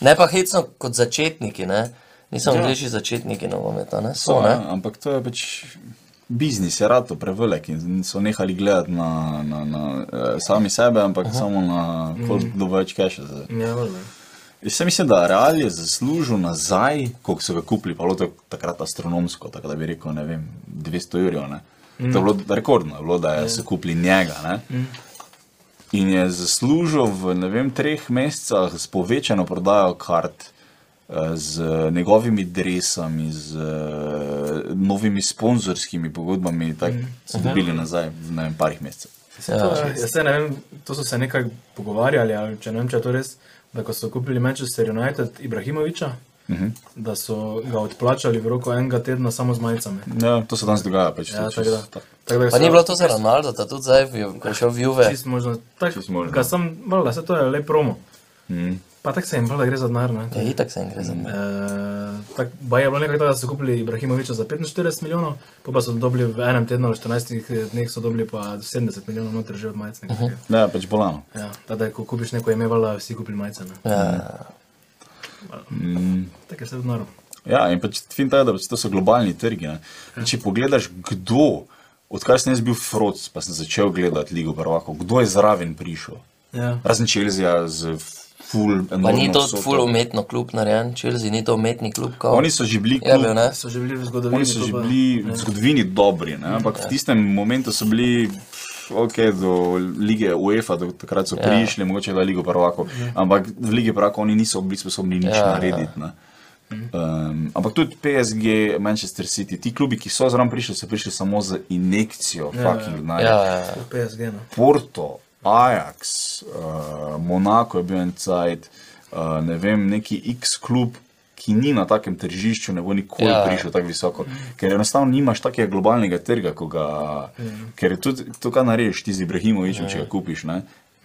S3: Ne pa hecno kot začetniki, ne. Niso
S2: Ja.
S3: angliži začetniki nogometa, ne. So,
S2: to,
S3: ne.
S2: ne? ampak to je pač biznis, je rato prevelik in so nehali gledati na, na, na eh, sami sebe, ampak Aha. samo na koliko mm. več keša. zdaj.
S4: Ja, valjda.
S2: Jaz se mislim, da Real je zaslužil nazaj, koliko so ga kupili, pa je bilo to takrat astronomsko, tako da bi rekel, ne vem, 200 jurjev. Mm. To je bilo rekordno, je bilo, da je,
S4: Ja.
S2: so kupili njega. Mm. In je zaslužil v ne vem, treh mesecih s povečano prodajo kart, eh, z njegovimi dresami, z eh, novimi sponzorskimi pogodbami, tako
S4: Mm.
S2: so dobili nazaj v ne vem, parih mesecih.
S4: Ja, Saj
S2: Ja.
S4: to je- Jaz se ne vem, to so se nekako pogovarjali, ali če ne vem, če je to res, da ko so kupili Manchester United Ibrahimoviča, uh
S2: Mhm.
S4: -huh. da so ga odplačali v roku enega tedna samo z majicami.
S2: Ja, to se danes dogaja, pač
S4: Ja,
S2: to
S4: tako da.
S2: čisto-
S4: Tako da
S3: Pa
S4: so-
S3: ni bilo to eh. za Ronaldo, da tudi zdaj, v- ko je šel v Juve.
S4: Čist možno, tak,
S2: Čisto možno. Mhm.
S4: Ga sem, valjda, se to je le promo. Pa tako se jim valjda gre za denar, ne.
S3: Ja, itak se jim gre za
S2: Mm.
S3: me.
S4: Eh, Tako baje je bilo nekaj tega, da so kupili Ibrahimoviča za 45 milijonov, pa pa so dobili v enem tednu ali 14 dneh so dobili pa 70 milijonov noter že od majic.
S3: Mhm.
S4: Uh -huh.
S2: Ne, pač bolano.
S4: Ja, tada, ko kupiš neko ime, valjda vsi kupili majice, ne.
S2: Mm.
S3: Ja,
S4: Tako je se odnoro.
S2: Ja, in pač fin ta je, da pač to so globalni trgi. Ne. In Če pogledaš, kdo, odkar sem jaz bil froc, pa sem začel gledati Ligo Prvakov, kdo je zraven prišel?
S4: Ja.
S2: Razen Chelsea z full
S3: pa ni
S2: enormno
S3: to
S2: vsoto.
S3: ful umetno klub narejen, Chelsea ni to umetni klub, kao.
S2: Oni so že bili
S3: Je
S2: klub,
S3: bil, ne?
S4: Ja, So že bili v zgodovini.
S2: oni so
S4: to
S2: že
S4: pa- Ja.
S2: bili v zgodovini dobri, ne? ampak v tistem momentu so bili. pff, Ok, do lige UEFA, do takrat
S3: Ja.
S2: so prišli, mogoče da Ligo Prvakov,
S4: Ja.
S2: ampak v Ligi Prvakov oni niso bili sposobni nič
S3: Ja, ja.
S2: narediti. ne. Um, ampak tudi PSG, Manchester City, ti klubi, ki so zraven prišli, so prišli samo z injekcijo, fucking
S3: Ja, ja,
S2: denarja.
S3: ja.
S4: PSG, no.
S2: Porto, Ajax, uh, Monako je bil en cajt, uh, ne vem, neki X klub, ki ni na takem tržišču, ne bo nikoli
S3: Ja.
S2: ja. prišel tako visoko. Ker enostavno nimaš takega globalnega trga, ko ga,
S3: Ja.
S2: ker je tudi to, kar narediš ti z Ibrahimovičem, če ga kupiš, ne,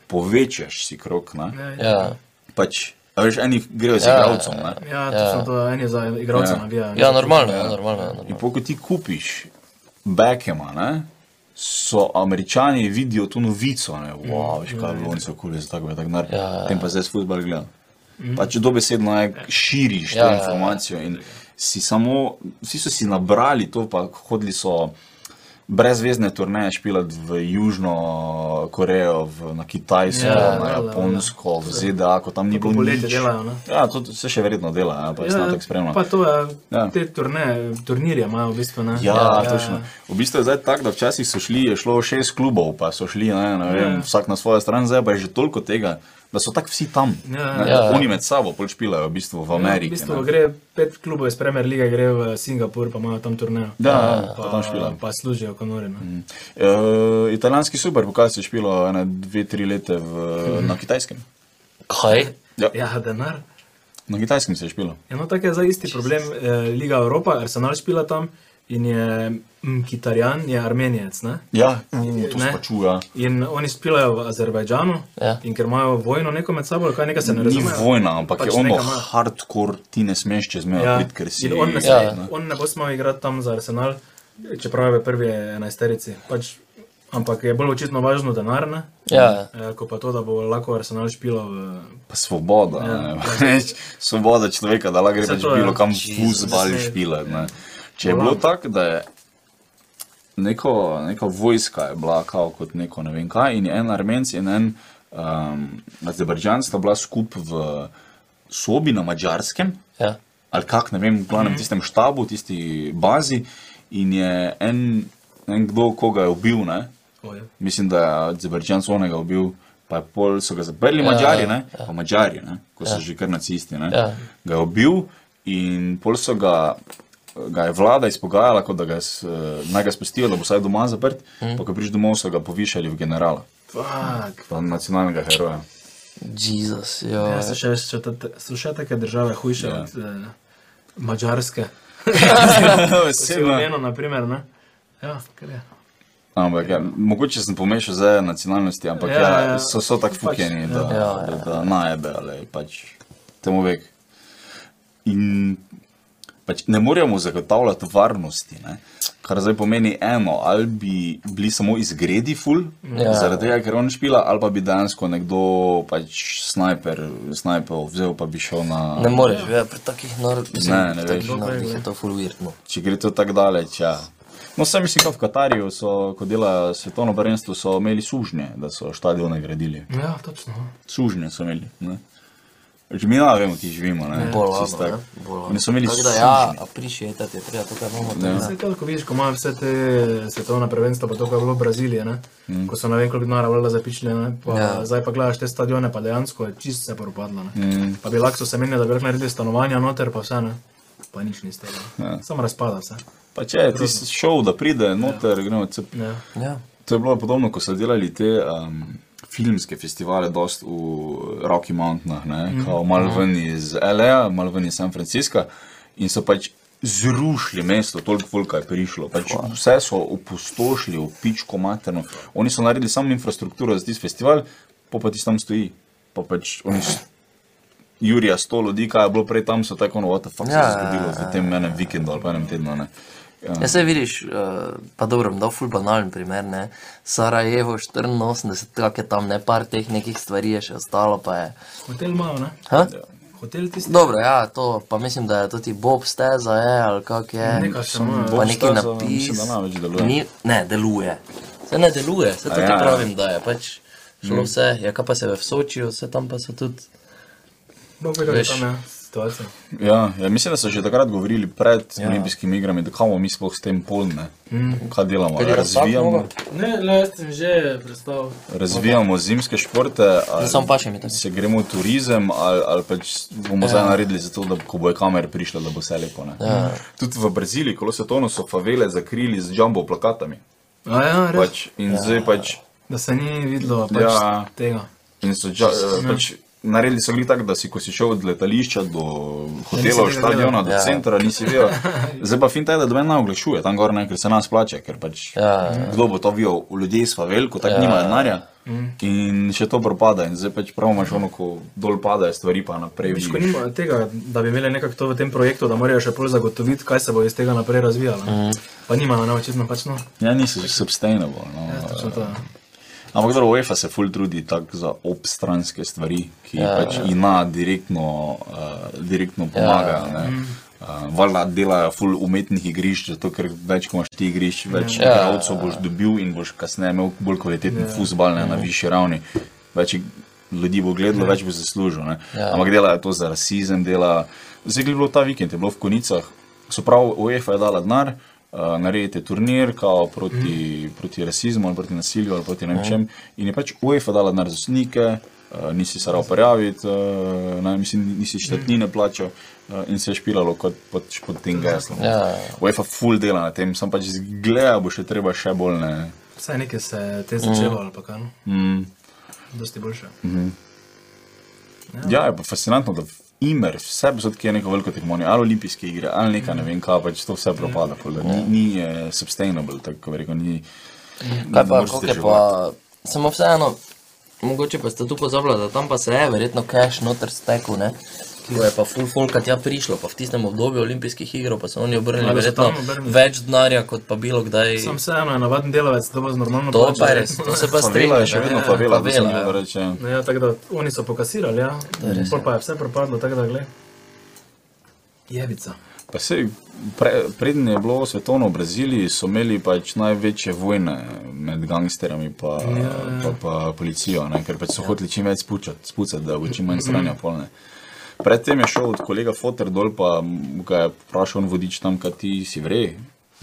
S2: povečaš si krok. Ne,
S3: Ja,
S2: pač, a veš, eni grejo z
S3: Ja,
S2: igravcem. ne.
S4: Ja, točno to en je za igralca
S2: Ja.
S4: navija.
S3: ja normalno, ja, normalno. ja,
S2: In
S3: normalno.
S2: pol, ko ti kupiš Beckema, ne, so američani vidijo to novico, ne, wow, veš kaj, oni so kuli za tako, tako nar.
S3: ja, ja.
S2: Tem pa zdaj futbol gleda. Pa če dobesedno je, širiš
S3: Ja,
S2: to
S3: ja, ja.
S2: informacijo in si samo, vsi so si nabrali to, pa hodili so brezvezne turneje špilati v Južno Korejo, v, na Kitajsko,
S4: Ja,
S2: ja, na
S4: ja, ja.
S2: Japonsko, v ZDA, ko tam ni
S4: Tako
S2: bilo
S4: poletje
S2: nič.
S4: delajo, ne.
S2: Ja, to se še verjetno dela, ja, pa jaz ne tako spremljam.
S4: pa to je,
S2: Ja.
S4: ja. te turne, turnirje imajo v bistvu, ne.
S2: Ja, ja, točno. V bistvu je zdaj tako, da včasih so šli, je šlo šest klubov, pa so šli ne, ne vem, ja. vsak na svojo stran, zdaj pa je že toliko tega, da so tako vsi tam.
S4: Ja,
S2: ne,
S3: ja.
S2: da Oni med sabo pol špilajo v bistvu v
S4: V
S2: Ameriki.
S4: bistvu
S2: ne.
S4: gre pet klubov iz Premier League, gre v Singapur, pa imajo tam turnejo.
S2: Da, ja,
S4: pa,
S2: pa tam špilajo.
S4: pa služijo konore. Mm.
S2: E, italijanski superpokaz se je špilo ene, dve, tri leta v, na kitajskem.
S3: Kaj?
S4: Ja, denar.
S2: Na kitajskem se je špilo.
S4: Eno tako je zdaj isti problem, eh, Liga Evropa, Arsenal špila tam in je mm, Kitarjan, je Armenijec. Ne?
S2: Ja, uh, to
S4: Ne.
S2: spačuje.
S4: In oni špilajo v Azerbajdžanu,
S3: Ja.
S4: in ker imajo vojno neko med sabo, ali kaj nekaj se ne
S2: Ni
S4: razume.
S2: vojna, ampak pač je ono
S4: nekaj ima.
S2: hardcore, ti ne smeš čez mejo ja.
S4: Ja.
S2: priti, ker si.
S4: In on ne,
S3: Ja.
S4: ja. on ne bo smel igrati tam za Arsenal, čeprav je v prvi enajsterici. Pač, ampak je bolj očitno važno denar, ne?
S3: Ja,
S4: Eh, ko pa to, da bo lahko Arsenal špilal v
S2: Pa svoboda, ja. svoboda človeka, da lahko gre pač
S4: to je.
S2: bilo kam fuzbal
S4: Saj.
S2: špila. Ne. Če je bilo tako, da je neko, neka vojska je bila kao kot neko ne vem kaj in je en armenc in en um, azerbajdžan sta bila skup v sobi na mačarskem
S3: ja.
S4: Mhm.
S2: ali kak, ne vem, v glavnem tistem štabu, tisti bazi. In je en ne vem, kdo koga je ubil. Ne?
S4: Oje.
S2: Mislim, da je Zebrdžan onega ubil, pa je pol so ga zaprli, ja, mačari, ne? Ja. Pa mačari, ne? Ko so že kar nacisti, ne?
S3: Ja.
S2: Ga je ubil in pol so ga. Ga je vlada izpogajala, kot da ga je, s- naj ga spustijo, da bo vsaj doma zaprt, mm. pa ko priš domov, so ga povišali v generala,
S4: Fak.
S2: pa nacionalnega heroja.
S3: Jezus, jo.
S4: Ja, so še, so, te, so še take države hujše
S2: Ja.
S4: ja. od eh, Mačarske.
S2: Ja. Osebno.
S4: Seveda, na primer. Ne? Ja, kar je.
S2: Ampak, ja, mogoče sem pomešal zdaj nacionalnosti, ampak ja,
S4: Ja,
S2: ja, ja.
S4: ja.
S2: so, so tako fukeni, da, ja,
S3: Ja,
S2: ja. da, da najebe ali pač temu vek. In pač ne moremo zagotavljati varnosti, ne? kar zdaj pomeni eno, ali bi bili samo izgredi ful, ja.
S3: Ja.
S2: zaradi tega, ker on špila, ali pa bi dejansko nekdo pač snajper, snajper vzel pa bi šel na...
S3: Ne moreš, ja, pri takih nor- mislim,
S2: Ne, ne
S3: pri
S2: veš.
S3: takih narodih je to no. fulvirno.
S2: če gre to tako daleč. Ja. No, sem mislim, kot v Katarju, so, ko dela svetovno prvenstvo, so imeli sužnje, da so stadione gradili.
S4: Ja, točno.
S2: Sužnje so imeli. Ne? Že mi ne vemo, ki živimo. Ne?
S3: Bolj
S2: Čisto
S3: ladno,
S2: tako.
S3: ne? Bolj ladno.
S2: Oni so imeli
S3: Tako da ja,
S2: sužnje.
S3: aprišetati je treba to, kar imamo
S2: Ja.
S3: tam.
S4: Vse to, ko vidiš, ko imajo vse te svetovna prvenstva, pa to, kar je bilo v Braziliji, ne? Mm. ko so ne vem koliko denarja vrla zapičili, ne? pa,
S3: Ja.
S4: ja. zdaj pa gledaš te stadione, pa dejansko je čist se propadlo. Mm. Pa bi lahko se menili, da bi lahko naredili stanovanja noter, pa vse ne. Pa nič ni stalo.
S2: Ja.
S4: Ja. Samo razpada vse.
S2: Pa če je ti šel, da pride noter, ja. gremo cep.
S4: Ja.
S3: Ja.
S2: To je bilo podobno, ko so delali te um, filmske festivale, dost v Rocky Mountainah, ne,
S3: Mhm.
S2: mm. kao malo
S3: Ja.
S2: ven iz L.A., malo ven iz San Francisca in so pač zrušili mesto, toliko volka je prišlo. Pač vse so opustošili, v pičko materno. Oni so naredili samo infrastrukturo za tisti festival, pa pa ti tam stoji. Pa pač oni s- Jurija, sto ljudi, kaj je bilo prej tam, so tako, no, what the fuck ja,
S3: Ja,
S2: se je
S3: ja,
S2: zgodilo v tem enem vikendu ali pa enem tednu. Ne.
S3: Ja, se vidiš, eh, pa dobro, bom dal ful banalen primer, ne. Sarajevo 84, kak je tam, ne, par teh nekih stvari je še ostalo, pa je.
S4: Hotel imajo, ne?
S3: Ha?
S4: Hotel tisti.
S3: Dobro, ja, to, pa mislim, da je to ti Bob steza, je, ali kak je.
S4: Neka samo, ja.
S3: pa
S2: Bob
S3: neki
S2: steza,
S3: napis.
S2: mislim, da ne več deluje.
S3: Ni, ne, deluje. Se ne deluje, se to
S2: A
S3: ja.
S2: ja. Mm.
S3: ti pravim, da je pač šlo vse, ja, kaj pa se v Sočiju, se tam pa so tudi.
S4: Dobro, kako je
S3: Veš.
S4: tam ja, situacija.
S2: Ja, ja, mislim, da so že takrat govorili pred ja. olimpijskimi igrami, da kamo mi sploh s tem polne, mm. kaj delamo. ali Razvijamo,
S1: Ne, le jaz sem že predstavil.
S2: razvijamo zimske športe, ali
S3: Ne, samo paše mi tako.
S2: se gremo v turizem, ali, ali pač bomo ja. zdaj naredili zato, da ko bojo kamere prišle, da bo vse lepo. Ja. Tudi v Braziliji, ko so tono so favele zakrili z jumbo plakatami.
S4: A ja, res.
S2: Pač, in ja. zdaj pač
S4: Da se ni videlo pač
S2: Ja.
S4: ja. tega.
S2: In so ča,
S4: ja.
S2: pač, naredili so bili tako, da si, ko si šel od letališča do
S4: nisi
S2: hotela,
S4: tega
S2: stadiona, do
S3: Ja.
S2: centra, nisi videl. Zdaj pa fin taj, da domen ne oglašuje, tam gor ne, ker se nas plače, ker pač
S3: Ja,
S2: kdo bo to videl, ljudje iz favel, ko tako nimajo denarja.
S4: Mm.
S2: In še to propada, in zdaj pač prav imaš ono, ko dol padajo stvari, pa naprej
S4: Viš, ko
S2: vidiš.
S4: nimajo tega, da bi imeli nekako to v tem projektu, da morajo še bolj zagotoviti, kaj se bo iz tega naprej razvijalo. Mm. Pa nimajo, ne, očitno pač no.
S2: Ja, niso sustainable. No.
S4: Ja, točno to. ja.
S2: Ampak dobro, UEFA se ful trudi tako za obstranske stvari, ki ja, pač ja. ina direktno, uh, direktno pomagajo. Ja, Uh, Valjda delajo ful umetnih igrišč, zato ker več ko imaš ti igrišč, več ja, igralcev boš dobil in boš kasneje imel bolj kvaliteten ja, futbal ja. na višji ravni. Več ig- ljudi bo gledalo, več bo zaslužil. ne.
S3: Ja.
S2: Ampak delajo to za rasizem, delajo. Zdaj je bilo ta vikend, je bilo v Konicah, so prav UEFA je dala denar, uh, naredite turnir kao proti, mm. proti rasizmu ali proti nasilju ali proti ne vem čem. In je pač UEFA dala denar za snike, uh, nisi se rao prijaviti, uh, ne, mislim, nisi štatnine plačal uh, in se je špilalo kot, pač pod tem geslom.
S3: Ja.
S2: UEFA full dela na tem, sam pač zgleda bo še treba še bolj ne.
S4: Vsaj nekaj se je te začelo, ali pa kaj. No?
S2: Mm.
S4: Dosti boljše.
S2: Ja, je pa fascinantno, da imer vse posod, ki je neko veliko tekmovanje, ali olimpijske igre, ali neka ne vem kaj, pač to vse propada, pol, da ni, ni eh, sustainable, tako kot bi rekel, ni.
S3: Kaj
S2: ne
S3: pa,
S2: moreš
S3: kako je
S2: vzdrževati.
S3: pa, samo vseeno, mogoče pa ste tu pozabili, da tam pa se je verjetno cash noter stekel, ne? Ko je pa full folka tja prišlo, pa v tistem obdobju olimpijskih iger, pa so oni obrnili
S4: Ja, da so
S3: verjetno
S4: tam obrnili.
S3: več denarja, kot pa bilo kdaj.
S4: Sam vseeno je navaden delavec, to bo z normalno
S3: To
S4: plačo,
S3: pa je
S4: ne.
S3: res, to se pa
S2: Favela
S3: strinja.
S2: je še vedno favela, da se
S3: favela,
S2: mi
S3: ja.
S2: da reče.
S4: No, ja, tako da oni so pokasirali, ja. Pol pa je vse propadlo, tako da gled. Jebica.
S2: Pa se, pre, preden je bilo svetovno v Braziliji, so imeli pač največje vojne med gangsterami in pa, pa, pa policijo, ne? ker pač so ja. hoteli čim več spučati, spucati, da bo čim manj stranja polne. Predtem je šel od kolega Foter dol, pa mu ga je vprašal on vodič tam, kaj ti si vrej.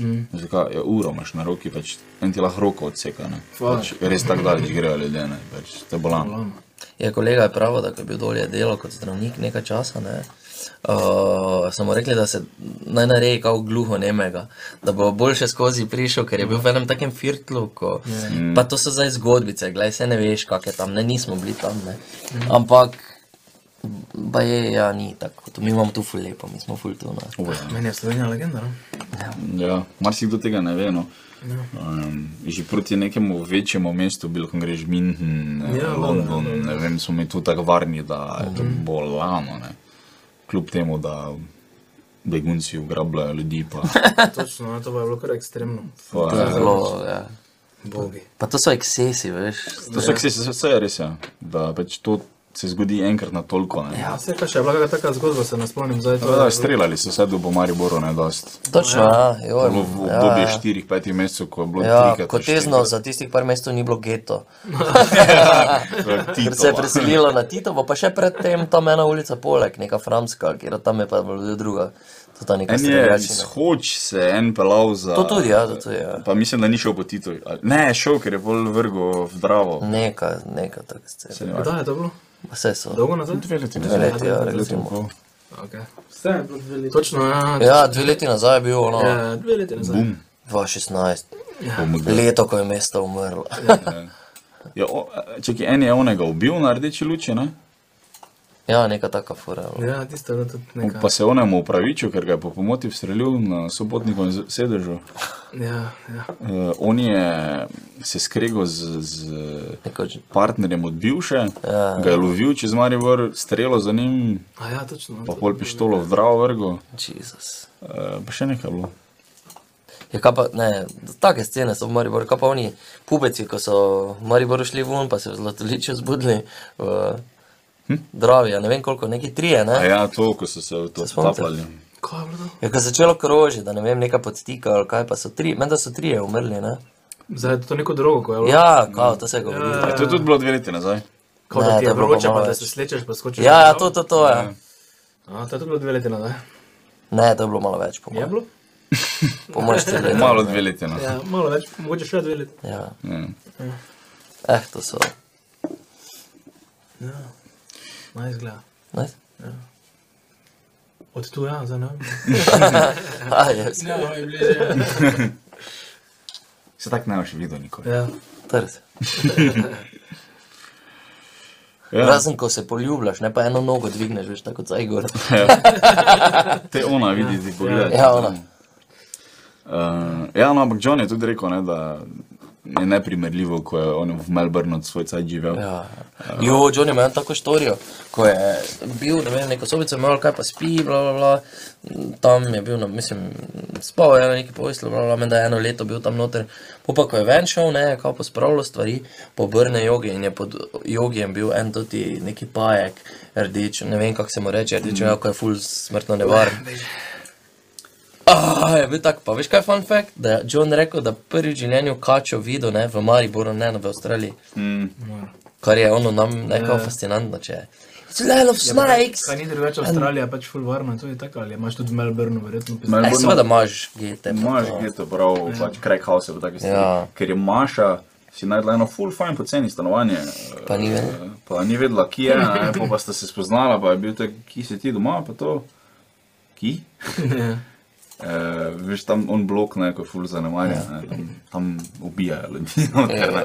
S4: Mm.
S2: Zakaj, ja, uro imaš na roki, pač en ti lahko roko odseka. ne.
S4: Hvala.
S2: Pač, res tako daleč grejo ljudje, ne? pač te bolan.
S3: Ja, kolega je pravil, da ko je bil dolje delal kot zdravnik nekaj časa. Ne, uh, samo rekli, da se naj naredi kao gluho nemega, da bo boljše skozi prišel, ker je bil v enem takem firtlu. Ko,
S2: Ja.
S3: pa to so zdaj zgodbice, gledaj, se ne veš, kak je tam, ne nismo bili tam. Ne.
S2: Mm.
S3: Ampak, pa je, ja, ni tako. To, mi imamo tu ful lepo, mi smo ful tu. Ne.
S4: Meni je Slovenija legenda. No?
S2: Ja, marsikdo tega ne ve. No.
S3: Ja.
S2: Um, že proti nekemu večjemu mestu, bilo ko greš München, ja,
S4: Ja,
S3: no,
S2: London,
S4: ja,
S2: ne vem, so mi tu tako varni, da je to
S3: Mhm.
S2: bolano. Ne. Kljub temu, da begunci ugrabljajo ljudi, pa,
S4: Točno, no, to pa je bilo kar ekstremno.
S3: To je
S2: pa
S3: zelo, ja.
S4: Bogi.
S3: Pa to so ekscesi, veš.
S2: To so ekscesi, vse je res, ja. da pač to se zgodi enkrat na toliko. Ne.
S4: Ja, vse kaj še je bila kakšna taka zgodba, se ne spomnim zdaj. to je
S2: Da,
S4: bilo-
S2: streljali so se do Mariboru, ne dost.
S3: Točno, ja, joj,
S2: To je bilo v
S3: ja,
S2: obdobju
S3: ja.
S2: 4-5 mesecev, ko je bilo
S3: Ja,
S2: trikrat.
S3: kot tezno, za tistih par mestov ni bilo geto. Ker se je
S2: Tito,
S3: preselilo na Titovo, pa še predtem tam ena ulica poleg, neka Franska, kjer tam je pa bila druga, to ta neka
S2: En je
S3: streljačina.
S2: izhoč se, je en pelal za.
S3: To tudi, ja, to tudi, ja.
S2: Pa mislim, da ni šel po Titu. ali- Ne, je šel, ker je bolj vrgo v
S3: Ja,
S2: Dravo.
S3: Neka, neka taka scena.
S4: Kdaj je to bilo?
S3: Vse so.
S4: Dolgo nazaj?
S2: Dve leti,
S3: Dve leti, ja, recimo.
S4: Okay.
S1: Vse je bilo dve leti.
S4: Točno, ja.
S3: Ja, dve leti nazaj je bil no, ono,
S4: Ja, dve leti nazaj.
S2: Bum.
S3: 2016,
S2: Pomogel.
S3: leto, ko je mesto umrlo.
S2: Ja, o, čakaj, en je onega ubil na rdeči luči, ne?
S3: Ja, neka taka fura. ja.
S4: Ja, tisto je bilo tudi nekaj.
S2: Pa se onemu upravičil, ker ga je po pomoti ustrelil na sobotnikovem sedežu.
S4: Ja, ja.
S2: Uh, on je se skregal z, z
S3: Neko, ž-
S2: partnerjem od bivše, ja. ga je lovil čez Maribor, strelo za njim,
S4: A ja, točno.
S2: pa pol pištolo v Dravo vrgo.
S3: Jezus.
S2: Uh, pa še nekaj je bilo.
S3: Ja, kaj pa, ne, take scene so v Mariboru, kaj pa oni pubeci, ko so v Mariboru šli ven, pa se v Zlatoličju zbudili v Dravi, ja ne vem koliko, neki trije, ne?
S2: Hm? A ja, to, ko so se v to
S3: Se spomnite?
S2: zapali.
S4: Kaj je bilo to?
S3: Ja, ko je začelo krožiti, da ne vem, neka podtika ali kaj, pa so tri, menda so trije umrli, ne?
S4: Zdaj je to neko drogo, ko je bilo.
S3: Ja, kao, to se je govorilo.
S2: A to je tudi bilo dve leti nazaj.
S3: Ja.
S4: Kot
S3: Ne,
S4: da ti
S3: to je
S4: je
S3: bilo
S4: vroče,
S3: pa malo
S4: pa da
S3: več.
S4: se slečeš, pa skočiš.
S3: Ja, ja, to, to, to je.
S4: A, to je tudi bilo dve leti nazaj.
S3: Ne, to je bilo malo več, po
S4: Je
S3: mojem.
S4: bilo?
S3: Po mojem štiri leta.
S2: Malo dve leti nazaj.
S4: Ja, malo več, mogoče še dve leti.
S3: Ja.
S2: Ja.
S3: Eh, to so. Ja.
S4: Naj izgleda.
S3: Ne?
S4: Od tu, ja, zdaj ne. vem.
S3: A, je,
S1: Ja, je bilo že.
S2: Se tak ne boš videl nikoli.
S4: Ja.
S3: trd.
S2: Ja,
S3: Razen, ko se poljubljaš, ne pa eno nogo dvigneš, veš, tako kot za Igor.
S2: te ona vidi, ti pogledaj.
S3: Ja, ona.
S2: Uh, ja, no, ampak John je tudi rekel, ne, da je neprimerljivo, ko je on v Melbournu svoj cajt živel.
S3: Ja. Jo, Johnny ima eno tako štorijo, ko je bil, ne vem, neko sobico imel, kaj pa spi, bla, bla, bla. tam je bil, no, mislim, spal je na neki poslu, bla, bla, menda je eno leto bil tam noter, Po pa ko je ven šel, ne, kao pospravljal stvari, pobrne jogi in je pod jogijem bil en toti neki pajek, rdeč, ne vem, kako se mu reče, rdeč, mm. ko je ful smrtno nevaren. Ah, je bil tak, pa veš kaj je fun fact? Da je John rekel, da prvi v življenju kačo videl, ne, v Mariboru, ne, v Avstraliji.
S2: Mm.
S3: Kar je ono nam nekako fascinantno, če je. It's a lot of snakes!
S4: Kaj ni drugače, Avstralija je pač full varna, to je tako, ali imaš tudi v Melbourneu, verjetno. pizda.
S3: E,
S2: Melbournu-
S3: seveda imaš GT.
S2: Imaš geto, prav, pač crack house, pa take stvari.
S3: Ja.
S2: Ker je Maša si najdla eno full fine poceni stanovanje. eh,
S3: Pa ni vedela.
S2: Pa ni vedela, kje je, ne, pa, pa sta se spoznala, pa je bil tak, ki si ti doma, pa to. Ki?
S4: Ja.
S2: Uh, veš, tam on blok, ne, ko je full zanemarja, ne, tam, tam ubijajo ljudi. noter, ne.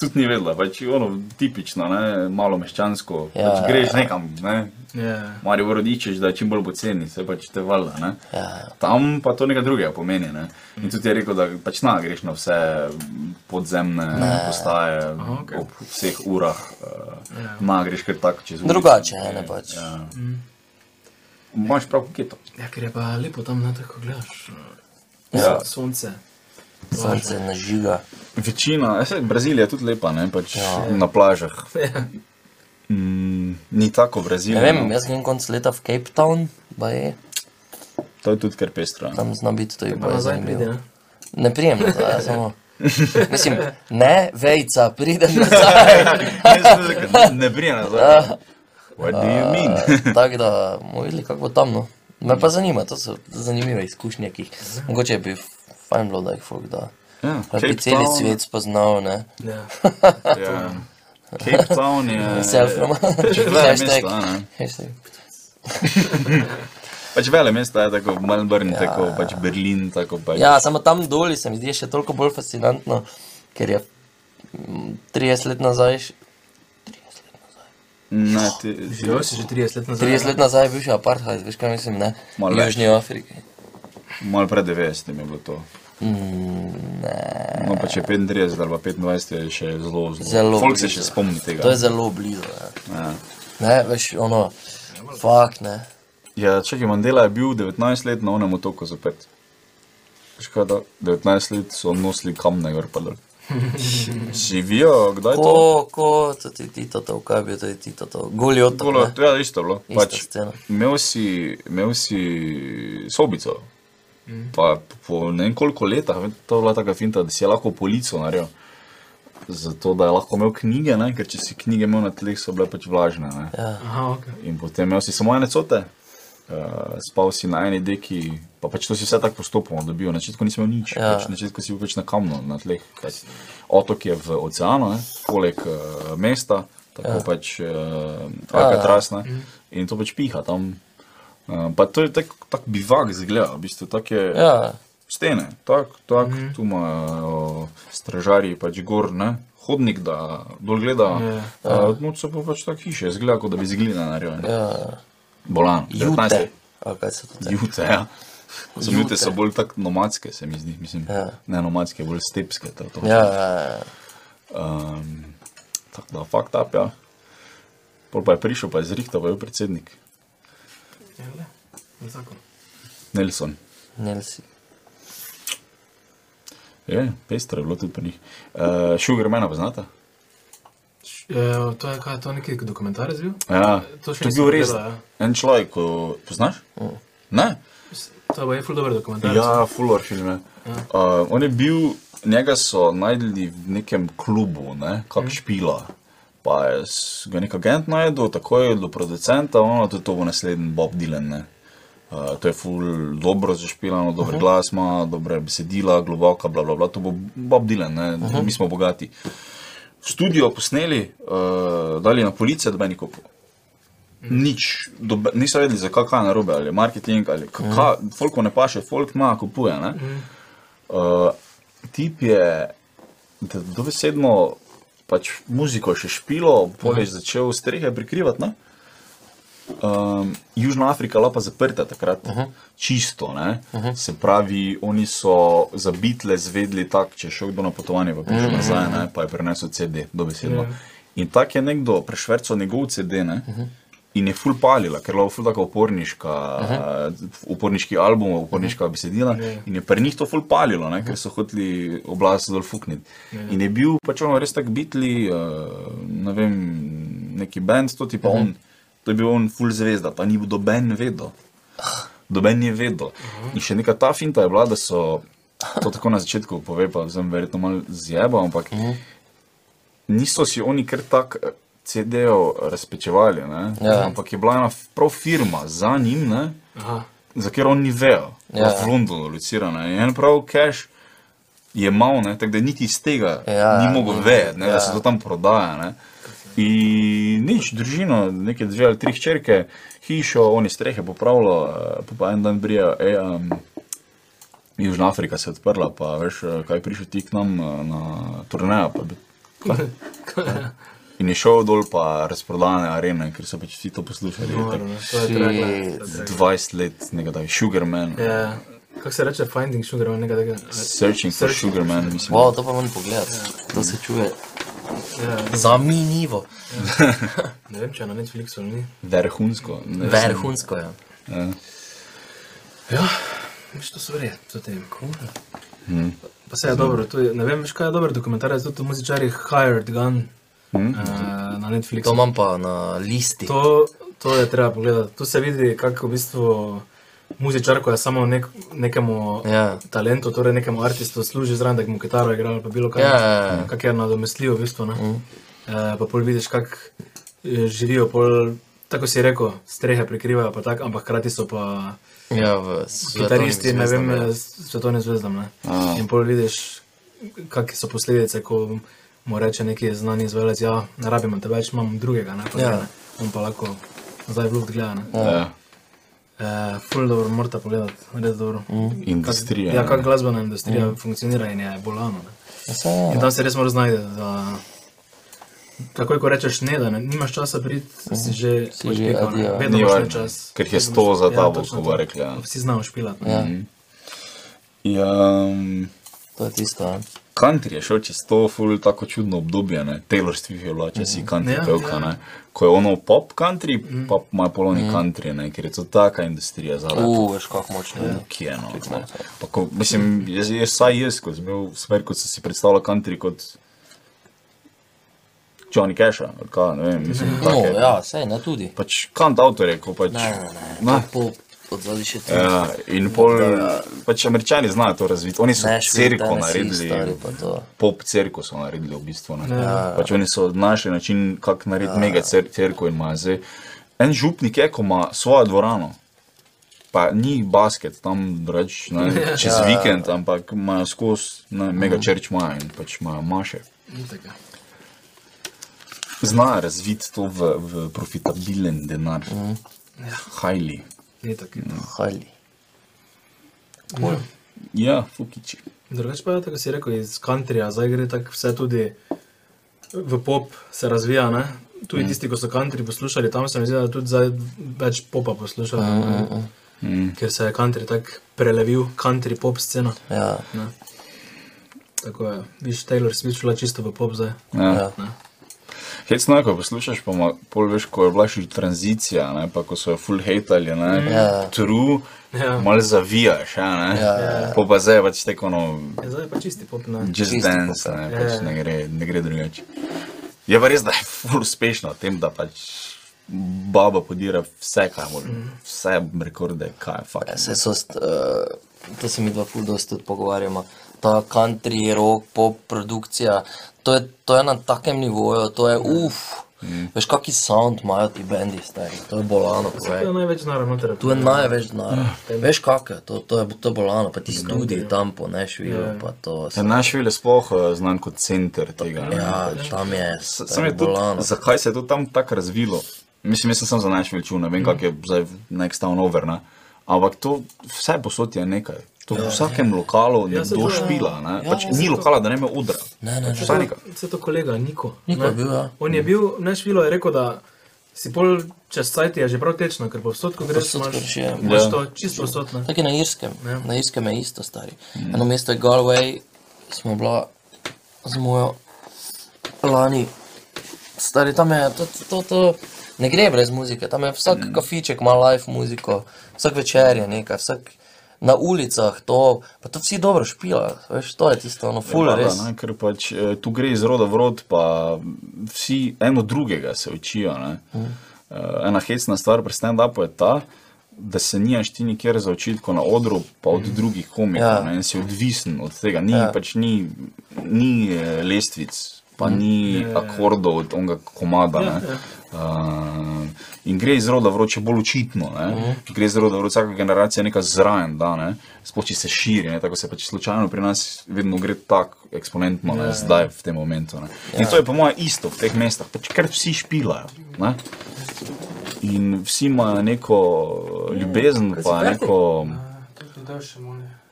S2: Tudi ni vedela, pač je ono tipično, ne, malo meščansko.
S3: Ja,
S2: Ja, pač
S3: ja,
S2: greš nekam, ne,
S4: Ja.
S2: Mari vrodičeš, da je čim bolj poceni, se pač te valda. Ne?
S3: Ja.
S2: Tam pa to nekaj drugega pomeni. Ne? In tudi je rekel, da pač na greš na vse podzemne ne. postaje, Aha,
S4: okej.
S2: okay. ob vseh urah, uh, na greš kar tako čez ulico.
S3: Drugače, ne pač.
S2: Ja. Imaš prav keto.
S4: ja, ker je pa lepo tam, na to, ko gledaš.
S2: Ja.
S4: Sonce.
S3: Sonce ne žiga.
S2: Večina, ja, saj Brazilija je tudi lepa, ne pač ja. na plažah.
S4: Ja,
S2: Mm, ni tako no.
S3: Ne
S2: Brazilija.
S3: vem, jaz grem konc leta v Cape Town, baje,
S2: To je tudi kar pestro. no. ne.
S3: tam znam biti tudi
S4: Pa
S3: bolj
S4: nazaj pride, ja.
S3: zanimivo.
S4: ne?
S3: Ne prijem nazaj, ja, samo. Mislim, ne, vejca, pridem nazaj.
S2: Jaz sem rekel, Ne brije nazaj. What do you mean?
S3: Ah. Tako da, bomo videli, kako bo tam, no. Me pa zanima, to so zanimive izkušnje, ki jih mogoče bi fajn bilo, da jih folk da.
S2: Ja,
S3: Da bi
S2: Cape
S3: celi
S2: Town,
S3: svet spoznal, ne?
S4: Ja.
S2: Ja. Cape Town je.
S3: Self-promo.
S2: Pač vele
S3: Hashtag.
S2: mesta, ne.
S3: Hashtag.
S2: Pač vele mesta je tako, Melbourne, ja. tako, pač Berlin, tako pač.
S3: Ja, samo tam dol se mi zdi še toliko bolj fascinantno, ker je mm, 30 let nazaj, š-
S2: Ne, ti, ti,
S4: Živel si že 30 let nazaj.
S3: 30 let nazaj je bil še apartheid, veš kaj mislim, ne?
S2: Malo
S3: v
S2: več.
S3: Južni Afriki.
S2: malo pred 90 je bilo to.
S3: Mm, ne.
S2: No, pa če 35 ali pa 25 je še zelo, zelo.
S3: Zelo
S2: Folk se
S3: blizu.
S2: še spomni tega.
S3: To je zelo blizu. Ne,
S2: Ja.
S3: ne veš, ono, fakt ne.
S2: Ja, čakaj, Mandela je bil 19 let na onem otoku zapet. Veš kaj, da 19 let so nosili kamne gor pa dol. Živijo, kdaj to?
S3: Ko, ko, to ti ti to, kaj je bil to, ti to, goli otok.
S2: Tole,
S3: ne.
S2: ja, isto je bilo.
S3: Ista
S2: Pač,
S3: scena.
S2: imel, si, imel si sobico. Pa po ne vem koliko letah, vem, to je bila taka finta, da si je lahko polico naredil. Zato, da je lahko imel knjige, ne? ker če si knjige imel na tleh, so bile pač vlažne. Ne?
S3: Ja.
S1: Aha, ok.
S2: In potem imel si samo ene cote, uh, spal si na eni deki, pa pač to si vse tako postopoma dobil. Na začetku nisi imel nič,
S3: Ja.
S2: ja. pač, na začetku si bil pač na kamnu, na tleh. Pač. Otok je v oceanu, ne? poleg uh, mesta, tako ja. pač uh, Alcatraz. Ja. In to pač piha tam. Uh, pa to je tako tak bivak zgleda, v bistvu tak je.
S3: Ja,
S2: Stene, tako, tak, mm. tu imajo stražarji pač gor, ne? hodnik, da dol gleda. Yeah. Uh, Moč so pa pač tako hiše, zgleda, kot da bi ziglina naredili.
S3: ja,
S2: Bolan,
S3: jute. A, kaj se to te?
S2: Jute, ja. Sem
S3: Jute.
S2: jute so bolj tako nomadske, se mi zdi. Mislim,
S3: Ja.
S2: Ne nomadske, bolj stepske. To, to.
S3: Ja, ja, ja.
S2: Um, tako da, fakt up, ja. Pol pa je prišel, pa je zrihtal, pa je bil predsednik
S4: Ja, Zakon.
S2: Nelson.
S3: Nelsi.
S2: Je, pestro je bilo tudi pri njih. Uh, Sugar mena poznate?
S4: Š- eh, To je kaj, to je neki dokumentarec bil?
S2: Ja,
S4: To
S2: to
S4: še
S2: je
S4: nisem
S2: bil res.
S4: gledal, ja.
S2: En človek, ko poznaš? Mm. Ne?
S4: To je bil ful dober dokumentarec.
S2: Ja, fuller filme. Uh, on je bil, njega so najdli v nekem klubu, ne, kak mm. špila. Pa je s- ga nek agent najdel, tako je do producenta, ono tudi to bo naslednji Bob Dylan. Ne. Uh, to je ful dobro zašpilano, dober uh -huh. glas ima, dobre besedila, globoka, bla bla bla. To bo Bob Dylan, ne, uh -huh. mi smo bogati. V studio posneli, uh, dali na police, da bi ni kupil. Nič, dobe, niso vedeli, zakaj kaj je narobe, ali je marketing, ali kaj, mm. folk mu ne paše, folk ima, kupuje. Mm. Uh, tip je d- dobesedno pač muziko še špilo, polje mm. začel strehe prikrivati. Ne? Um, Južna Afrika je bila pa zaprta takrat, uh -huh. čisto. Uh -huh. Se pravi, oni so za bitle zvedeli tako, če je šel kdo na potovanje, pa prišel uh -huh. nazaj, ne? pa je prenesel CD, dobesedno. Uh -huh. In tako je nekdo prešvercal njegov CD. Ne? Uh -huh. In je ful palila, ker je bila ful tako uporniška, uh -huh. uporniški album, uporniška besedila. In je pri njih to ful palilo, ne, ker so hoteli oblast dol fukniti. In je bil pač ono res tak bitli, uh, ne vem, neki band, to ti pa on. To je bil on full zvezda, pa ni bil doben vedel. Doben je vedel. In še neka ta finta je bila, da so, to tako na začetku pove, pa sem verjetno malo zjeba, ampak
S3: Mhm.
S2: niso si oni kar tak CD-jev razpečevali, ne?
S3: Ja.
S2: ampak je bila ena f- prav firma za njim, ne?
S4: Aha.
S2: za kjer on ni vejo,
S3: Ja.
S2: ja. v Londonu locirana. In en prav cash je imel, ne, tako da niti iz tega
S3: Ja,
S2: ja, ni mogel
S3: ni-
S2: vedeti, ja.
S3: ja.
S2: da se to tam prodaja. Ne. In nič, družino, neke dve ali tri črke, hišo, oni strehe popravljajo, eh, pa, pa en dan brija. E, um, Južna Afrika se je odprla, pa veš, eh, kaj je prišel ti k nam eh, na turnejo. pa bi- In je šel dol, pa razprodane arene, ker so pač vsi to poslušali.
S4: Dobro,
S2: tako
S4: ne, to je treba gledati.
S2: 20 let, nekaj tam, Sugarman. Ja.
S4: Ja. Kako se reče, finding sugar, ali nekaj takega.
S2: Searching for Sugar Man, mislim.
S3: Wow, to pa moram pogledati. To se čuje
S4: Ja,
S3: zaminivo.
S4: ne vem, če je na Netflixu ali ni.
S2: Verhunsko. ne.
S3: Verhunsko je.
S4: Ja, veš, to so verjetno, to tem. Pa se je dobro, to je, ne vem, veš, kaj je dober dokumentarec, tudi o muzičarjih Hired Gun eh, na Netflixu.
S3: To imam pa na listi.
S4: To, to je treba pogledati. Tu se vidi, kako v bistvu muzičar, ko je samo nek, nekemu
S3: Ja.
S4: talentu, torej nekemu artistu, služi zraven, da mu kitaro igra ali pa bilo kaj.
S3: Ja, ja, ja. Mhm.
S4: Kako je nadomestljivo, v bistvu. Mm. E, pa pol vidiš, kako eh, živijo pol tako si rekel, strehe prikrivajo, pa tak, ampak hkrati so pa
S3: Ja, v
S4: kitaristi, ne
S3: svetovnih
S4: vem,
S3: zvezdam, ja.
S4: s- svetovnim zvezdam. Ne? In pol vidiš, kakšne so posledice, ko mu reče neki znani izvajalec, ja, ne rabimo te več, imam drugega, ne pa
S3: Ja.
S4: ja. ne. On pa lahko zdaj v luft gleda. ne.
S2: Ja.
S4: Eh, Ful dobro, morate pogledati, res dobro.
S3: Mhm.
S2: Industrija.
S4: Ja, kako glasbena industrija funkcionira in je bolano. Ne?
S3: Ja, saj ja.
S4: In tam se res moraš znajti. da- Takoj, ko rečeš ne, da ne, nimaš časa priti, si že
S3: Si
S4: pač
S3: že
S4: pihal, ne.
S3: adijo.
S4: vedno
S2: Ni
S4: imaš
S2: važno,
S4: čas.
S2: ker jih je 100 za
S4: Ja,
S2: tabo,
S4: točno
S2: ko
S4: to.
S2: bo rekli. Ja.
S4: Vsi znajo špilati.
S3: Ja,
S4: ne. Mhm.
S2: Ja, um,
S3: to je tisto. ja.
S2: Country je šel čez to ful tako čudno obdobje, ne? Taylor Swift je bila, če si country
S4: Ja,
S2: ja, pevka,
S4: ja. Mhm.
S2: ne? Ko je ono pop country, mm. pa ima polovni mm. country, ne? Ker je to taka industrija zadaj.
S3: U, veš kako močno je.
S2: Ki je no. ne. Pa ko, mislim, jaz, jaz, saj jaz, ko sem imel smer, kot sem si predstavljal country kot Johnny Casha, ali kaj, ne vem, mislim,
S3: No,
S2: tako je.
S3: ja, sej, ne tudi.
S2: Pač kant avtorje, ko pač...
S3: Ne, ne, ne.
S2: Ne.
S3: To Pop odzvali še ti.
S2: Ja, in pol, pač američani znajo to razviti, oni so
S3: ja. Ne, špil,
S2: cirko
S3: Tennessee,
S2: naredili.
S3: stari pa to.
S2: pop crkvo so naredili v bistvu. Ne. Pač oni so našli način, kako
S3: Ja.
S2: narediti mega cer- cerkev in ima zdaj. En župnik je, ko ima svojo dvorano, pa ni basket, tam reč, ne, čez
S3: Ja.
S2: vikend, ampak imajo skozi, ne, mega
S3: Mhm.
S2: črč imajo in pač imajo maše.
S4: Tako je.
S2: Znajo razviti to v, v profitabilen denar.
S3: Mhm.
S2: Hajli.
S4: Ni tako.
S3: Hali.
S2: Ja, fukiči.
S4: Drugač pa je, tako si rekel, iz countryja, zdaj gre tako vse tudi v pop, se razvija. Ne? Tudi mm. tisti, ki so country poslušali, tam se mi zdi, da tudi zdaj več popa poslušajo. Mm, mm, mm. Ker se je country tako prelevil, country pop scena.
S3: Ja,
S4: Tako je, viš Taylor Swift šla čisto v pop zdaj.
S2: Ja. Hecno, ko poslušaš, pa ma- pol veš, ko je bila še tranzicija, ne, pa ko so jo full hejtali, ne,
S3: Ja.
S2: true,
S4: Ja.
S2: malo zavijaš, ja, ne, po pa zdaj pač teko, no,
S4: Ja, zdaj je pa čisti pop, ne.
S2: just
S3: Čisto
S2: dance, ne, pač
S4: Ja.
S2: ne gre, ne gre drugače. Je pa res, da je full uspešno v tem, da pač baba podira vse, kar mora, vse rekorde, kaj je fakt.
S3: se so, st- eh, to se mi dva ful dosti tudi pogovarjamo. Ta country, rock, pop produkcija, to je, to je na takem nivoju, to je uf. Mm. Veš, kaki sound imajo ti bendi, stari, to je bolano.
S4: To je
S3: Povej.
S4: največ naravno
S3: Tu je
S4: terapija.
S3: največ denarja.
S2: Mm.
S3: Veš, kakšno je to, to je to je bolano, pa ti studiji tam po Nešvilu, pa to.
S2: Ja, Naš vil je sploh eh, znan kot center tega. ne.
S3: Ja, tam je,
S2: S- Sam
S3: tam je
S2: je tudi,
S3: bolano.
S2: zakaj se je to tam tako razvilo? Mislim, jaz sem samo za naš veličun, ne vem, kako je zdaj nek stavn over, ne? ampak to vse posod je nekaj. To v vsakem lokalu nekdo špila, ne? pač ni lokala, da ne me udra.
S3: Ne, ne, ne.
S2: Vsaj nekaj.
S4: Vse to kolega, Niko.
S3: Niko
S4: ne.
S3: je bil, ja.
S4: On je bil, nešvilo je rekel, da si pol čez cajt je že prav tečno, ker povsod, ko greš,
S3: Povsod
S4: imaš
S3: greš, ja.
S4: imaš
S2: Ja.
S4: to čisto posod. ne.
S3: Tako je na Irskem, na Irskem je isto stari. Eno mesto je Galway, smo bila z mojo lani, stari tam je, to, to, to, to. ne gre brez muzike, tam je vsak kafiček ima live muziko, vsak večer je nekaj, vsak na ulicah to, pa to vsi dobro špila, veš, to je tisto, ono, full
S2: Ful,
S3: res.
S2: res. Ne, ker pač eh, tu gre iz roda v rod, pa vsi eno drugega se učijo. Mm. Ena hecna stvar pri stand-upu je ta, da se nimaš ti nikjer za očitko na odru, pa od mm. drugih komikov.
S3: Ja.
S2: Ja. Si odvisen od tega, ni, ja. pač ni, ni eh, lestvic, pa mm. ni akordov od onega komada. Ja, ja. Uh, in gre iz roda v rod, če bolj očitno. Mm. Gre iz roda v rod, vsaka generacija je nekaj zraven, da ne. Sploh če se širi, ne? tako se pač slučajno pri nas vedno gre tako eksponentno, ne? zdaj v tem momentu. Ne? In to je po mojem isto v teh mestah, pač kar vsi špilajo. Ne? In vsi imajo neko Ja. ljubezen, pa neko,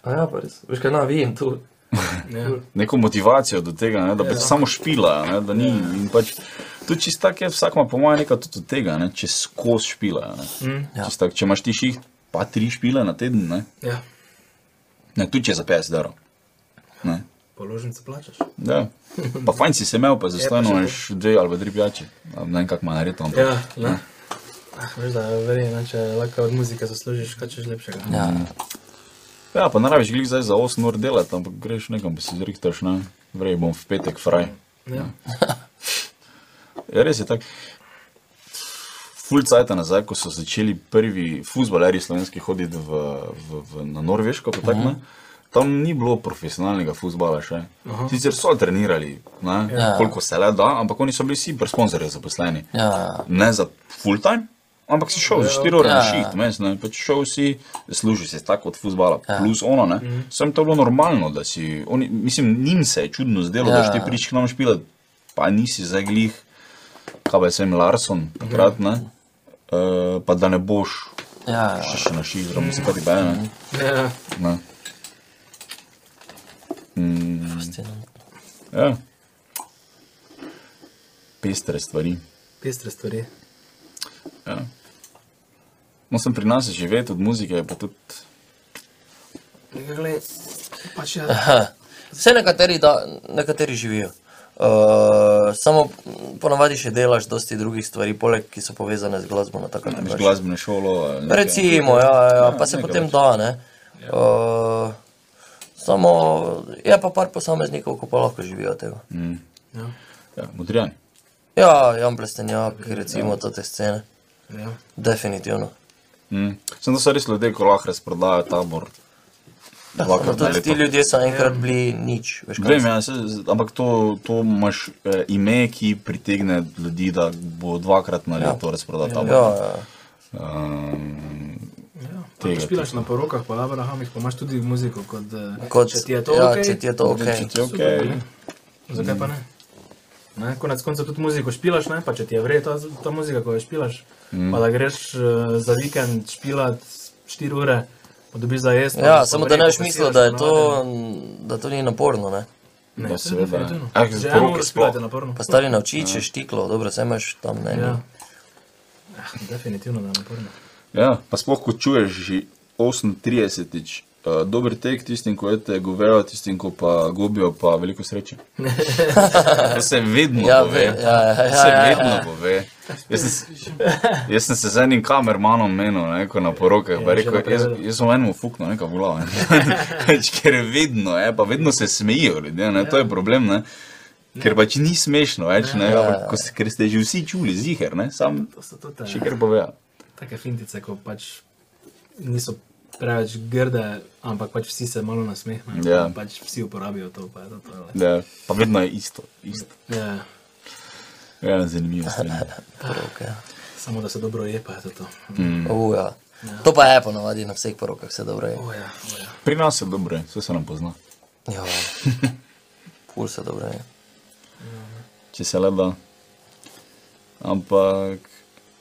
S5: A ja, pa res. Veš kaj, na, vidim tu.
S4: Ja.
S2: neko motivacijo do tega, ne? da pač samo špilajo. Ne? Da ni, in pač, tudi čisto tako je, vsak ima po mojem nekaj tudi od tega, ne? če skozi špilajo. ne. Čisto tako, Če imaš ti ših, pa tri špile na teden, ne?
S4: Ja,
S2: Ne, tudi če za 50 darov.
S4: položnice plačaš.
S2: Ja. Pa fajn si se imel, pa zastojno imaš dve ali pa tri pijače. Ali Ne vem, kako ima narediti. ampak-
S4: Ja, ne. Ah, veš, da je verjetno, če lahko od muzike zaslužiš, kaj češ lepšega.
S3: Ja,
S2: ja, pa naraviš glih zdaj za 8 ur delati, ampak greš nekam, pa si zrihtaš, ne. Vrej bom v petek fraj.
S4: Ja.
S2: Ja, res je tako. Ful cajta nazaj, ko so začeli prvi futbaleri slovenski hoditi v, v, v, na Norveško, kot tako. ne. Tam ni bilo profesionalnega futbola še. Sicer so trenirali, ne, koliko se le da, ampak oni so bili vsi pri sponzorju zaposleni.
S3: ja,
S2: ne za full time, ampak si šel za 4 ure na
S3: Ja.
S2: šit, veš, ne, pač šel si, služil si tako od fusbala,
S3: Ja.
S2: plus ono, ne.
S3: Mhm.
S2: Sem to bilo normalno, da si, oni, mislim, njim se je čudno zdelo, da
S3: Ja.
S2: si ti prič k nam špilat, pa nisi zaglih, kaj pa je sem Larson, takrat, ne, Eh, pa da ne boš
S3: Ja, ja.
S2: še, še na šit, da mislim, kaj ti bene, ne.
S3: Mhm.
S4: Ja,
S2: ne.
S3: pusti, no.
S2: Ja. Pestre stvari. ja.
S4: pestre stvari.
S2: No, sem pri nas živeti od muzike, je pa tudi
S4: Ja, glej, Pač ja.
S3: Vse nekateri, da, nekateri živijo. Uh, samo m, ponavadi še delaš dosti drugih stvari, poleg ki so povezane z glasbo no, na takem
S2: Imaš
S3: način.
S2: glasbeno šolo. ali nekaj.
S3: Recimo, ja, ja,
S2: Ja,
S3: pa se
S2: nekaj
S3: potem
S2: več.
S3: da, ne. Uh, samo je pa par posameznikov, ko pa lahko živijo od tega.
S2: Ja, Modrijani.
S3: Ja, Jan Plestenjak, recimo, to te scene.
S4: Ja.
S3: Definitivno.
S2: Mm. Sem to so res ljudje, ko lahko razprodajo tabor.
S3: No,
S2: Dvakrat na
S3: tudi ti
S2: leto.
S3: ljudje so
S2: Ja.
S3: enkrat bili nič, veš kaj.
S2: Vem, ja, se, ampak to, to imaš eh, ime, ki pritegne ljudi, da bo dvakrat na leto ja. razprodal tabor.
S3: Ja, ja.
S2: Um,
S4: Ja,
S2: Tega
S4: Če špilaš na porokah, pa labrahamih, pa imaš tudi muziko kot, eh,
S3: Kot,
S4: če ti je to
S3: ja,
S4: ok.
S3: če ti je to ok.
S2: Če ti je ok,
S4: Super, ne? Zakaj pa ne? ne? Konec koncev tudi muziko špilaš, ne? pa če ti je vred ta, ta muzika, ko jo špilaš. Mm. Pa da greš uh, za vikend špilat 4 ure, pa dobiš za jesti.
S3: Ja, samo da ne boš mislil, da je to, da to ni naporno. Ne?
S2: da
S4: no, Ne,
S2: seveda.
S4: seveda.
S2: Ah,
S4: Že
S2: za
S4: eno
S2: poroke
S4: uro
S2: sploh.
S4: špilate na porno.
S3: Pa stari nauči, če štiklo, dobro, vse imaš tam ne.
S4: Ja.
S3: ni.
S4: Ah, Definitivno da je na porno.
S2: Ja, pa sploh ko čuješ že 38-tič, uh, dober tek tistim, ko jete govejo, tistim, ko pa gobijo, pa veliko sreče. To se vedno
S3: Ja,
S2: pove.
S3: ve- ja, ja,
S2: To
S3: ja,
S2: se
S3: ja, ja.
S2: vedno pove. Jaz sem, s- jaz sem se z enim kamermanom menil, ne, ko na porokah,
S3: Ja,
S2: pa je
S4: že
S2: rekel, jaz,
S4: napovedal.
S2: jaz sem enemu fuknil nekaj v glavo. ne. Pač, Ker je vedno, je, pa vedno se smejijo ljudje, ne, to
S3: Ja.
S2: je problem. Ne. Ker pač ni smešno več, ne,
S3: ja.
S2: ampak ko se- ker ste že vsi čuli, ziger, ne, sam
S4: To so tudi
S2: še
S4: eh,
S2: kar ja. povejo.
S4: take fintice, ko pač niso preveč grde, ampak pač vsi se malo nasmehnejo.
S2: Ja.
S4: Pač vsi uporabijo to, pa je to tole.
S2: Ja, pa vedno je isto. isto.
S4: Ja,
S2: Ja, zanimivo. zanimivo.
S3: Porok, ja.
S4: samo da se dobro je, pa je to to.
S3: Mm. U, ja. To pa je ponavadi na vseh porokah, vse dobro je.
S4: Oja, oja.
S2: Pri nas je dobro, vse se nam pozna.
S3: Ja. Pul se dobro je.
S2: Če se le da. Ampak,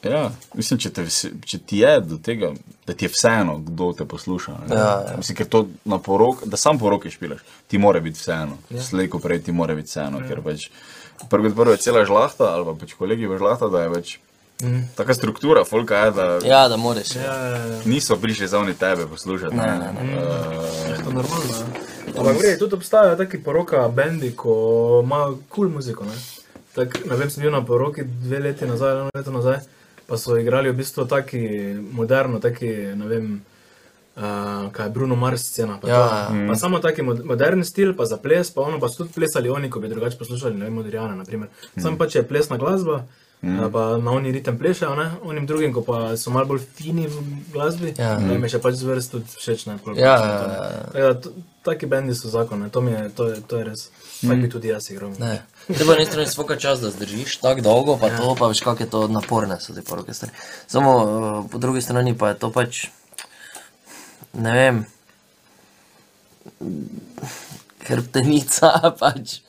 S2: ja, mislim, če, te, vse- če ti je do tega, da ti je vseeno, kdo te posluša. ne.
S3: Ja, ja.
S2: Mislim, ker to na porok, da sam poroke špilaš, ti mora biti vseeno. Ja. Slej, ko prej ti mora biti vseeno, ja. ker pač prvo kot prvo je cela žlahta, ali pa pač kolegi v žlahta, da je pač mm. taka struktura, folka je, da ja.
S3: Ja, da moraš. Ja.
S4: Ja,
S2: niso prišli za oni tebe poslušati. Ne, ne, ne. Uh,
S4: to je normalno. ja. Ampak gre, tudi obstajajo taki poroka bendi, ko imajo kul cool muziko. Ne? Tak, ne vem, sem bil na poroki dve leti nazaj, eno leto nazaj, pa so igrali v bistvu taki moderno, taki, ne vem, uh, kaj je Bruno Mars scena. Pa,
S3: Ja,
S4: to, ne. pa samo taki mod moderni stil, pa za ples, pa ono pa so tudi plesali oni, ko bi drugače poslušali, ne vem, Modrijana, naprimer. Sam pa če pač je plesna glasba, mm. pa na oni ritem plešajo, ne? onim drugim, ko pa so malo bolj fini v glasbi,
S3: Ja.
S4: ja. ne, mi je še pač zvrst tudi všeč, ne, koliko
S3: Ja,
S4: pač je to, ne.
S3: ja, ja, ja.
S4: Tako da, to- Taki bendi so zakon, ne, to, mi je, to, je, to je res. Tako bi tudi jaz igral.
S3: Mm. Ne. Te pa nisi res foka čas, da zdržiš tako dolgo, pa to pa veš, kako je to naporne so te poroke stvari. Samo uh, po drugi strani pa je to pač, ne vem, hrbtenica pač,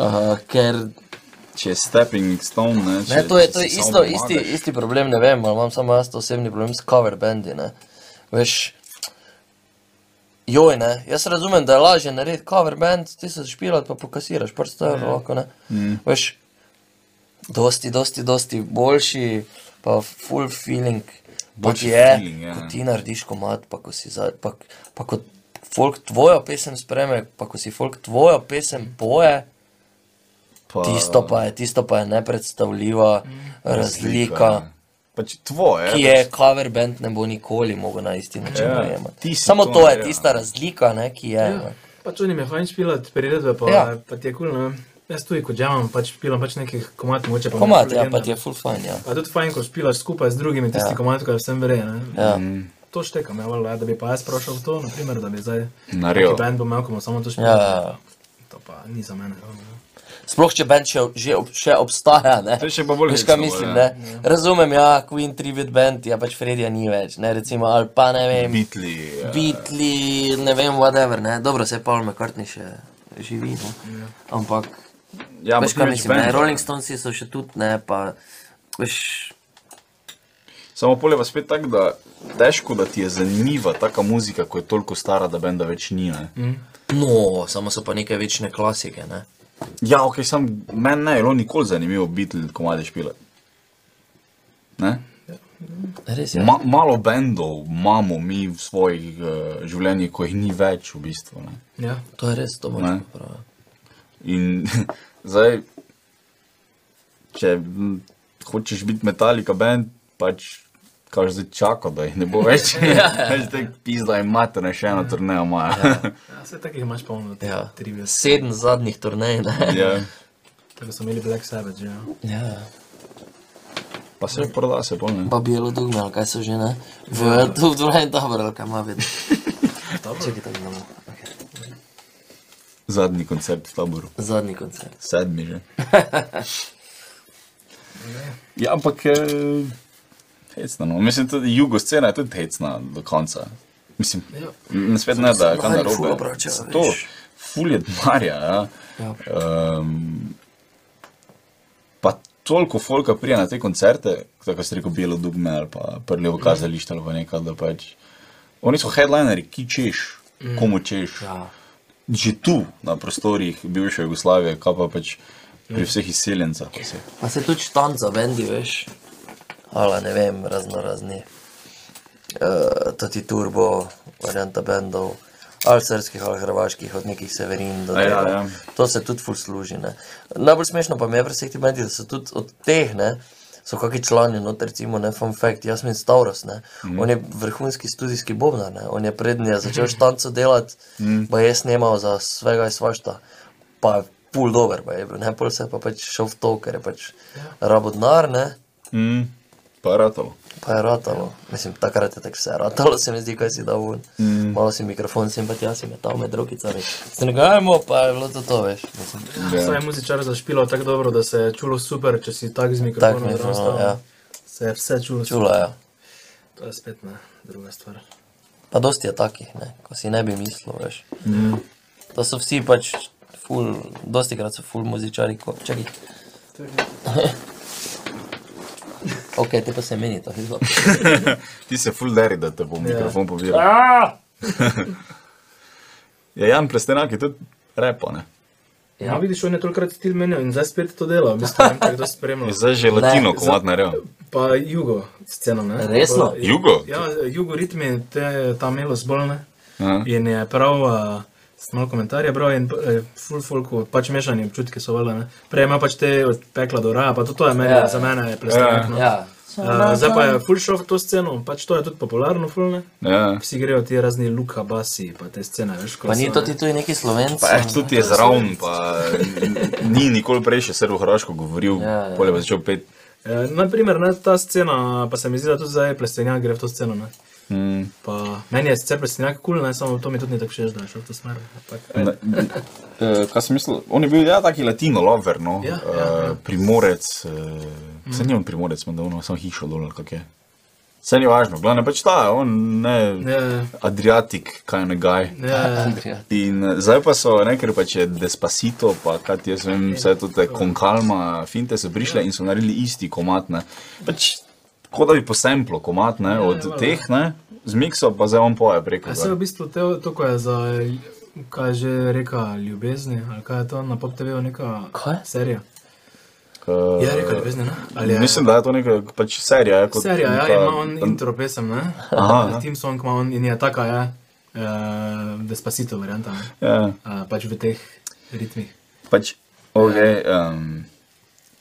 S3: uh, ker
S2: če je stepping stone, ne, če,
S3: Ne, to je,
S2: če
S3: to je
S2: si sam
S3: isto,
S2: pomagaš.
S3: isti, isti problem, ne vem, ali imam samo jaz to osebni problem s cover bendi. Ne. Veš, joj, ne, jaz razumem, da je lažje narediti cover band, ti se špilat, pa pokasiraš, pač prste
S2: Mhm.
S3: evrov, lahko ne. Veš, dosti, dosti, dosti boljši, pa full feeling, kot
S2: Boljši
S3: je,
S2: feeling, ja.
S3: ko ti narediš komat, pa ko si za, pa, pa ko folk tvojo pesem spreme, pa ko si folk tvojo pesem poje.
S2: Pa-
S3: Tisto pa je, tisto pa je nepredstavljiva
S2: Mm.
S3: razlika,
S2: Pač tvoje.
S3: ki je cover band ne bo nikoli mogel na isti način
S2: Ja,
S3: najemati.
S2: ti si
S3: Samo
S2: to ja.
S3: to je
S2: naredil.
S3: tista razlika, ne, ki je. ne.
S4: Pač oni me fajn špilat, priredbe pa,
S3: Ja.
S4: ja. pa ti je kul, cool, ne. Jaz tudi, ko džamam, pač špilam pač nekih komat, moče pa mi je
S3: Komat,
S4: ful
S3: ja,
S4: legenda.
S3: pa ti je full fajn, ja.
S4: Pa je tudi fajn, ko špilaš skupaj z drugimi, tisti ja. komat, ko je vsem vre, ne.
S3: Ja,
S4: To štekam, ja, valjda, ja, da bi pa jaz prošel v to, naprimer, da bi zdaj
S2: Naredil.
S4: neki band bo imel, ko bomo samo to
S3: ja,
S4: špilali.
S3: ja.
S4: To pa ni za mene. ravno, ne.
S3: Sploh če bend še, že ob, še obstaja. Ne?
S2: To je še pa bolj
S3: Veš, kaj
S2: hecno,
S3: mislim,
S2: ja.
S3: ne? Razumem, ja, Queen tribute band, ja pač Fredija ni več, ne recimo, ali pa ne vem.
S2: Bitli. ja.
S3: Beatli, ne vem, whatever, ne. Dobro, se Paul McCartney še živi, ne. Ampak,
S2: Ja,
S3: veš,
S2: ampak
S3: kaj
S2: ni več
S3: mislim, ne.
S2: benda.
S3: Rolling Stones so še tudi, ne, pa, veš,
S2: Samo polje pa spet tako, da težko, da ti je zanimiva taka muzika, ko je toliko stara, da benda več ni. Mm.
S3: no, samo so pa neke večne klasike, ne.
S2: Ja, ok, sam meni ne je bilo nikoli zanimivo biti komade špile. Ne?
S3: Res je.
S2: Ma, malo bendov imamo mi v svojih uh, življenjih, ko jih ni več v bistvu. Ne?
S4: Ja.
S3: To je res, to moraš
S2: Ne.
S3: popraviti.
S2: In zdaj, če m, hočeš biti metalika bend, pač kaž zdaj čaka, da jih ne bo več. Več te pizda in mater, še eno turnejo imajo.
S4: ja, vse takih imaš polno, te
S3: Ja.
S4: ja. tri veste.
S3: Sedem zadnjih turnej, ne.
S2: Ja.
S4: Tako so imeli Black Sabbath, že, ja.
S3: Ja.
S2: Pa se proda, se polne.
S3: Pa bijelo dugme, ali kaj so že, ne. V, tu v dvorani dobro, ali kaj ima vedno. Čekaj, tako no, da bomo.
S2: Zadnji koncert v taboru.
S3: Zadnji koncert.
S2: Sedmi že. ja, ampak eh, hecna. No. Mislim, tudi jugoscena je tudi hecna do konca. Mislim, na svet ne, da je kaj
S3: Denarju Ja. ful
S2: narobe.
S3: obračajo,
S2: To,
S3: veš.
S2: ful je denarja. Ja.
S3: Ja.
S2: Um, pa toliko folka prija na te koncerte, tako se reko Belo Dugme ali pa
S4: Ja.
S2: Prljevo kazališče ali pa nekaj, da pač. Oni so headlineri, ki češ,
S4: Mm.
S2: komu češ.
S3: Ja.
S2: Že tu, na prostorih bivše Jugoslavije, kaj pa pač pri
S4: Mm.
S2: vseh izseljencah. pa vseh.
S3: Pa se tudi štanca bendi, veš. Ali ne vem, razno razni. Uh, Tati turbo, varianta bendov, ali srpskih, ali hrvaških, od nekih severin do
S2: A ja,
S3: tega.
S2: ja.
S3: To se tudi ful služi. Ne. Najbolj smešno pa mi je pri vseh teh bendih, da so tudi od teh, ne, so kakšni člani, not recimo, ne, fun fact, jaz sem Stavros, ne,
S2: Mhm.
S3: mm. on je vrhunski studijski bobnar, ne, on je prednji, je začel štanco delati,
S2: Mhm.
S3: mm. pa je snimal za svega in svašta, pa je pul dober, pa je bil, ne, pol se je pa pač šel v to, ker je pač rabo denar, ne,
S2: Mm, pa je ratalo.
S3: pa je ratalo, mislim, takrat je tako vse ratalo, se mi zdi, kaj si dal vun, mm. malo si mikrofon sem pa tja si metal med rokicami, se ne gajmo, pa je bilo to to, veš, mislim.
S4: ja. Saj je muzičar zašpilo tako dobro, da se je čulo super, če si tak z mikrofonom
S3: mikrofonom,
S4: odrastal.
S3: ja.
S4: Se je vse čulo,
S3: Čula, ja.
S4: To je spet ne, druga stvar.
S3: Pa dosti je takih, ne? ko si ne bi mislil. Veš. To so vsi pač, ful, dosti krat so ful muzičari, ko čakaj. ok, te pa se meni to izlo.
S2: Ti se ful deri, da te
S4: Ja.
S2: bo mikrofon pobiral.
S1: Aaa!
S2: Ja, Jan Prestenak je tudi repo, ne?
S4: Ja, ja vidiš, on je tolikrat stil menil in zdaj spet to dela, v bistvu ne vem, kako to spremlja.
S2: Je zdaj že latino
S3: za-
S2: komad naredil.
S4: Pa jugo sceno, ne?
S3: Resno?
S4: Pa,
S2: Jugo?
S4: Ja, jugo ritmi, te ta melos bolj ne.
S2: Aha.
S4: In je prav, uh, malo komentarje bral in uh, full folku, pač mešani občutki so vele, ne. Prej ima pač te od pekla do raja, pa to, to je meni,
S3: Ja.
S4: ja. za mene je prestanek. Ja.
S3: Ja,
S4: Uh, zdaj pa je full šov to sceno, pač to je tudi popularno, full ne.
S2: Ja.
S4: Vsi grejo ti razni Luka Basi, pa te scene, veš, ko
S3: pa ni
S4: so-
S3: to ti tudi neki slovenci.
S2: Pa je tudi je zraven, pa ni nikoli prej še srbo-hrvaško govoril,
S3: Ja, ja.
S2: polje pa začel pet.
S4: Eh, Naprimer, ne, ta scena, pa se mi zdi, da tudi zdaj plestenjak gre v to sceno. Ne?
S2: Mm.
S4: Pa, meni je sicer plestenjak kul, cool, ne, samo to mi tudi ni tako všeč, da je šel v to smer. ampak, ajde.
S2: Eh, Kaj sem mislil? On je bil ja, taki latino lover, no?
S4: Ja, ja, Mhm.
S2: Eh, primorec, eh, saj ni on primorec, ima dolno, samo hišo dol, kak je. Saj ni važno, glavno pač ta, on ne,
S4: Ja, ja,
S2: Adriatic, kind of guy.
S4: ja, ja.
S2: In eh, zdaj pa so, ne, ker pač je despacito, pa kaj ti jaz vem, vse to te konkalma, finte so prišle in so naredili isti komat, ne. Pač, kot da bi posemplo komat, ne, od
S4: ja, ja.
S2: teh, ne, zmikso pa zdaj on poje preko.
S4: A se v bistvu te, to, ko je za, kaj je že reka ljubezni, ali kaj je to na pop TV-u neka
S3: Kaj?
S4: serija.
S2: K-
S4: Ja, reka ljubezni, ne? Ali je,
S2: Mislim, da je to neka pač serija. je Kot,
S4: serija, ja,
S2: neka-
S4: ima on intro pesem, ne?
S2: Aha, ja.
S4: Team song ima on in je taka, ja, uh, despacito varianta, ne?
S2: Ja,
S4: Uh, pač v teh ritmih.
S2: pač, okay, um,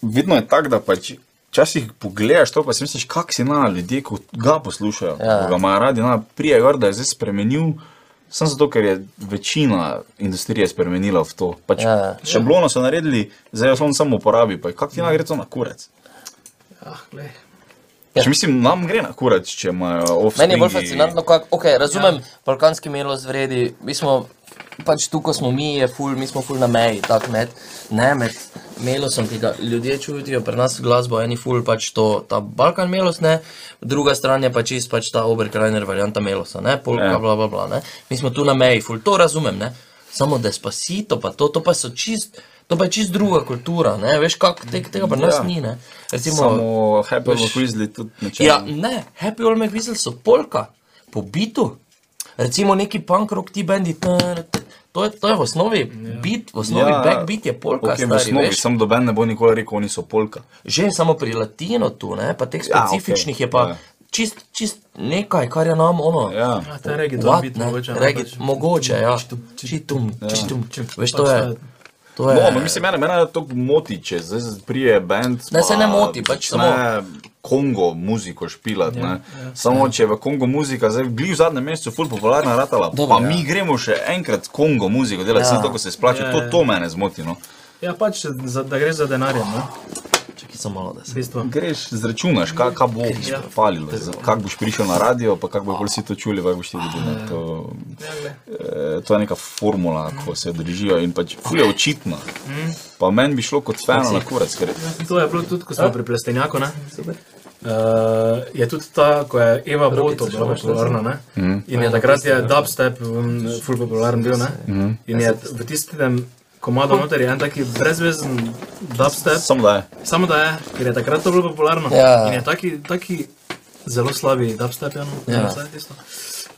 S2: vidno je tako, da pač včasih pogledaš to, pa si misliš, kak si na ljudje, ko ga poslušajo,
S3: Ja.
S2: ja. ko ga imajo radi, na prije gor, da je zdaj spremenil. Samo zato, ker je večina industrije spremenila v to. Pač,
S3: Ja, ja.
S2: ja, šablono so naredili, zdaj jo on samo uporabi. Pa, kak ti naj gre to na kurec?
S4: Ah, glej.
S2: Ja. Če mislim, nam gre na kurec, če imajo offset.
S3: Meni je bolj fascinantno, kako okay, razumem, ja. balkanski melo zvredi. Mi smo pač tu, ko smo mi, je ful, mi smo ful na meji, tako med, ne med melosom, ki ga ljudje čutijo, pri nas glasbo eni ful pač to, ta Balkan melos, ne, druga stran je pač čist pač ta Oberkrajner varianta melosa, ne, polka,
S2: Ja.
S3: ja. bla, bla, bla, ne. Mi smo tu na meji, ful, to razumem, ne. Samo despacito, pa to, to pa so čist, to pa je čist druga kultura, ne, veš, kak, te, tega pri nas
S2: Ja.
S3: ja. ni, ne. Recimo,
S2: Samo Happy Little Grizzly tudi načelno.
S3: Ja, ne, Happy Old McWhistle so polka, po bitu. Recimo neki punk rock ti bendi. ta, ta, To je, to je v osnovi bit, v osnovi
S2: Ja,
S3: ja, backbeat je polka,
S2: okej,
S3: okay,
S2: v
S3: stari,
S2: osnovi,
S3: veš.
S2: Samo doben ne bo nikoli rekel, oni so polka.
S3: Že samo pri latino tu, ne, pa teh
S2: Ja,
S3: specifičnih
S2: okej,
S3: je pa
S2: ja.
S3: čist, čist nekaj, kar je nam ono.
S2: Ja.
S4: Ja, ta regi to
S3: What,
S4: biti
S3: ne,
S4: mogoče. pač-
S3: Reggae, mogoče, ja.
S4: Čitum,
S3: Čitum, čitum,
S4: čitum. Pač
S3: veš, to
S4: ta-
S3: je, to je.
S2: Ja. No, ampak mislim, mene, mene to moti, če zdaj z- prije bend.
S3: Ne, se ne moti, pač samo-
S2: Kongo muziko špilati. Ja, ja. Samo če je v Kongo muzika, zdaj glih v zadnjem mesecu, ful popularna ratala.
S3: Dobro,
S2: Dobro, pa ja.
S3: ja.
S2: mi gremo še enkrat Kongo muziko delati,
S3: Ja.
S2: ja. tako se splača.
S4: Ja,
S2: Ja,
S4: ja.
S2: to, to mene zmoti. No.
S4: Ja, pač, za, da greš za denarjem, no, ne?
S3: Čakaj, samo malo, da se.
S4: Bistvo.
S2: Greš, zračunaš, kaj ka bo ja. falilo, kako boš prišel na radio, pa kako boš vsi to čuli, kako boš ti videl. ne, To, eh, to je neka formula, ko se držijo in pač ful je očitna. Pa meni bi šlo kot
S3: Pač
S2: fena na kurac, ker
S4: To je bilo tudi, ko smo pri plestenjaku, ne? Uh, je tudi ta, ko je Eva Boto bila popularna, ne? In je takrat je dubstep um, ful popularen bil, ne? In je v tistem komadu noter je en taki brezvezen dubstep,
S2: samo da je.
S4: Samo da je, ker je takrat to bilo popularno.
S3: Ja.
S4: In je taki, taki zelo slabi dubstep, ja. no,
S3: Ja.
S4: vsaj tisto.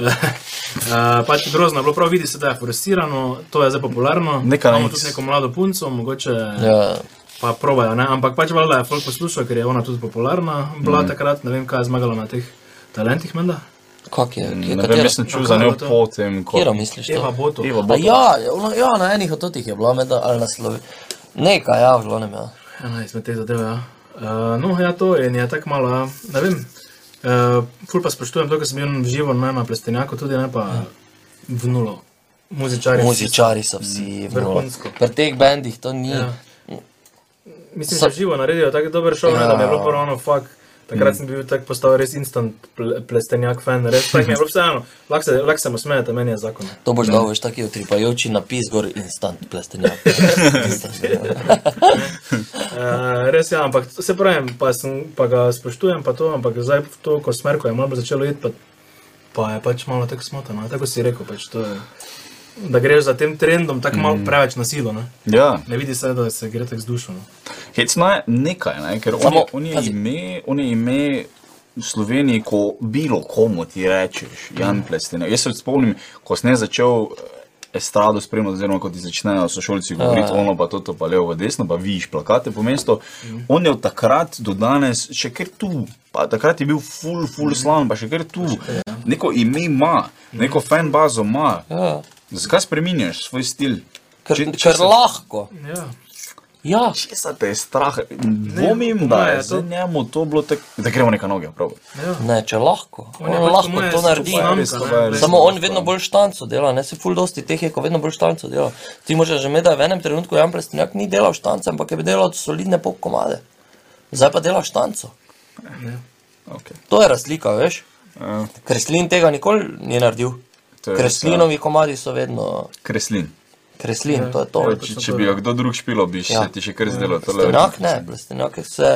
S4: Eh, pač grozno je bilo, prav vidi se, da je forestirano, to je zdaj popularno.
S2: Neka
S4: Imamo
S2: nič.
S4: tudi neko mlado punco, mogoče
S3: Ja,
S4: pa provajo, ne? ampak pač valjda je folk poslušal, ker je ona tudi popularna bila takrat, ne vem kaj je zmagala na teh talentih, menda.
S3: kak je, kje,
S2: Ne vem,
S3: katero,
S2: jaz sem čul
S4: Kako
S2: za
S4: je
S2: njo
S4: bilo to?
S2: potem, ko
S3: kjero misliš to?
S4: Eva Boto.
S2: Eva
S3: A
S2: bo.
S3: ja, ono, ja, na enih od tih je bilo, med, ali na Sloveniji. Nekaj, ja, v glavnem. Ja.
S4: Ena izmed teh zadev, ja. Uh, no, ja, to in je tako malo, ja, ne vem. Uh, ful pa spoštujem to, kar sem bil živo ne, na plestenjaku, tudi ne pa v nulo. Muzičari.
S3: Muzičari so vsi vrlo.
S4: Vrhunsko.
S3: Pri teh bendih to ni.
S4: Ja. Mislim,
S3: So-
S4: da živo naredijo tako dober šov, ja. ne, da mi je bilo prvo ono fuck. Takrat sem bil tako postal res instant ple, plestenjak fan, res tako mi je bilo vseeno. Lahko se, lahko se mu smejete, meni je zakon.
S3: To boš dal, veš, taki utripajoči napis gor instant plestenjak.
S4: Uh, res je, ja, ampak se pravim, pa, sem, pa ga spoštujem, pa to, ampak zdaj to, ko smer, ko je malo bolj začelo iti, pa, pa je pač malo tako smotano, ne, tako si rekel, pač to je, da greš za tem trendom tako
S3: Mm.
S4: malo preveč na silo, ne.
S2: Ja,
S4: Ne vidi se, da se gre tako z dušo. No.
S2: hecno je nekaj, ne? ker on,
S3: Samo,
S2: je- on, je
S3: pazi.
S2: ime, on je ime v Sloveniji, ko bilo komu ti rečeš, Jan
S3: Mhm.
S2: Plestine. Jaz se spomnim, ko sem jaz začel eh, estrado spremljati, oziroma ko ti začnejo sošolci govoriti, ono pa to, to pa levo, desno, pa vidiš plakate po mestu.
S3: Mhm.
S2: On je od takrat do danes še kar tu. Pa takrat je bil full, full
S3: Mhm.
S2: slan, pa še kar tu. Neko ime ima, neko fan bazo ima.
S3: Mhm. Ja.
S2: Zakaj spreminjaš svoj stil?
S3: Ker,
S2: Če- če
S3: ker
S2: se-
S3: lahko.
S4: Ja.
S3: Ja,
S2: Česa te je strah? Dvomim, da
S4: ne,
S2: je to...
S4: to-
S2: njemu to bilo tako, da gremo neka noge. Prav.
S3: ne, če lahko.
S4: On je
S3: On
S4: pač po
S3: lahko
S4: moje
S3: to naredi.
S4: super,
S2: res, to je res.
S3: Samo on vedno bolj štanco dela, ne se ful dosti teh je, ko vedno bolj štanco dela. Ti možeš že med, da v enem trenutku Jan Plestenjak ni delal štance, ampak je delal solidne pop komade. Zdaj pa dela štanco.
S2: Okay.
S3: To je razlika, veš?
S2: Uh,
S3: Kreslin tega nikoli ni naredil.
S2: To je res, ja.
S3: Kreslinovi komadi so vedno
S2: kreslin. Ja,
S3: kreslin, to je to.
S2: Če, če bi ga kdo drug špilo, bi še,
S3: Ja.
S2: ja. ti še kar zdelo. tole.
S3: Plestenjak ne, plestenjak je vse,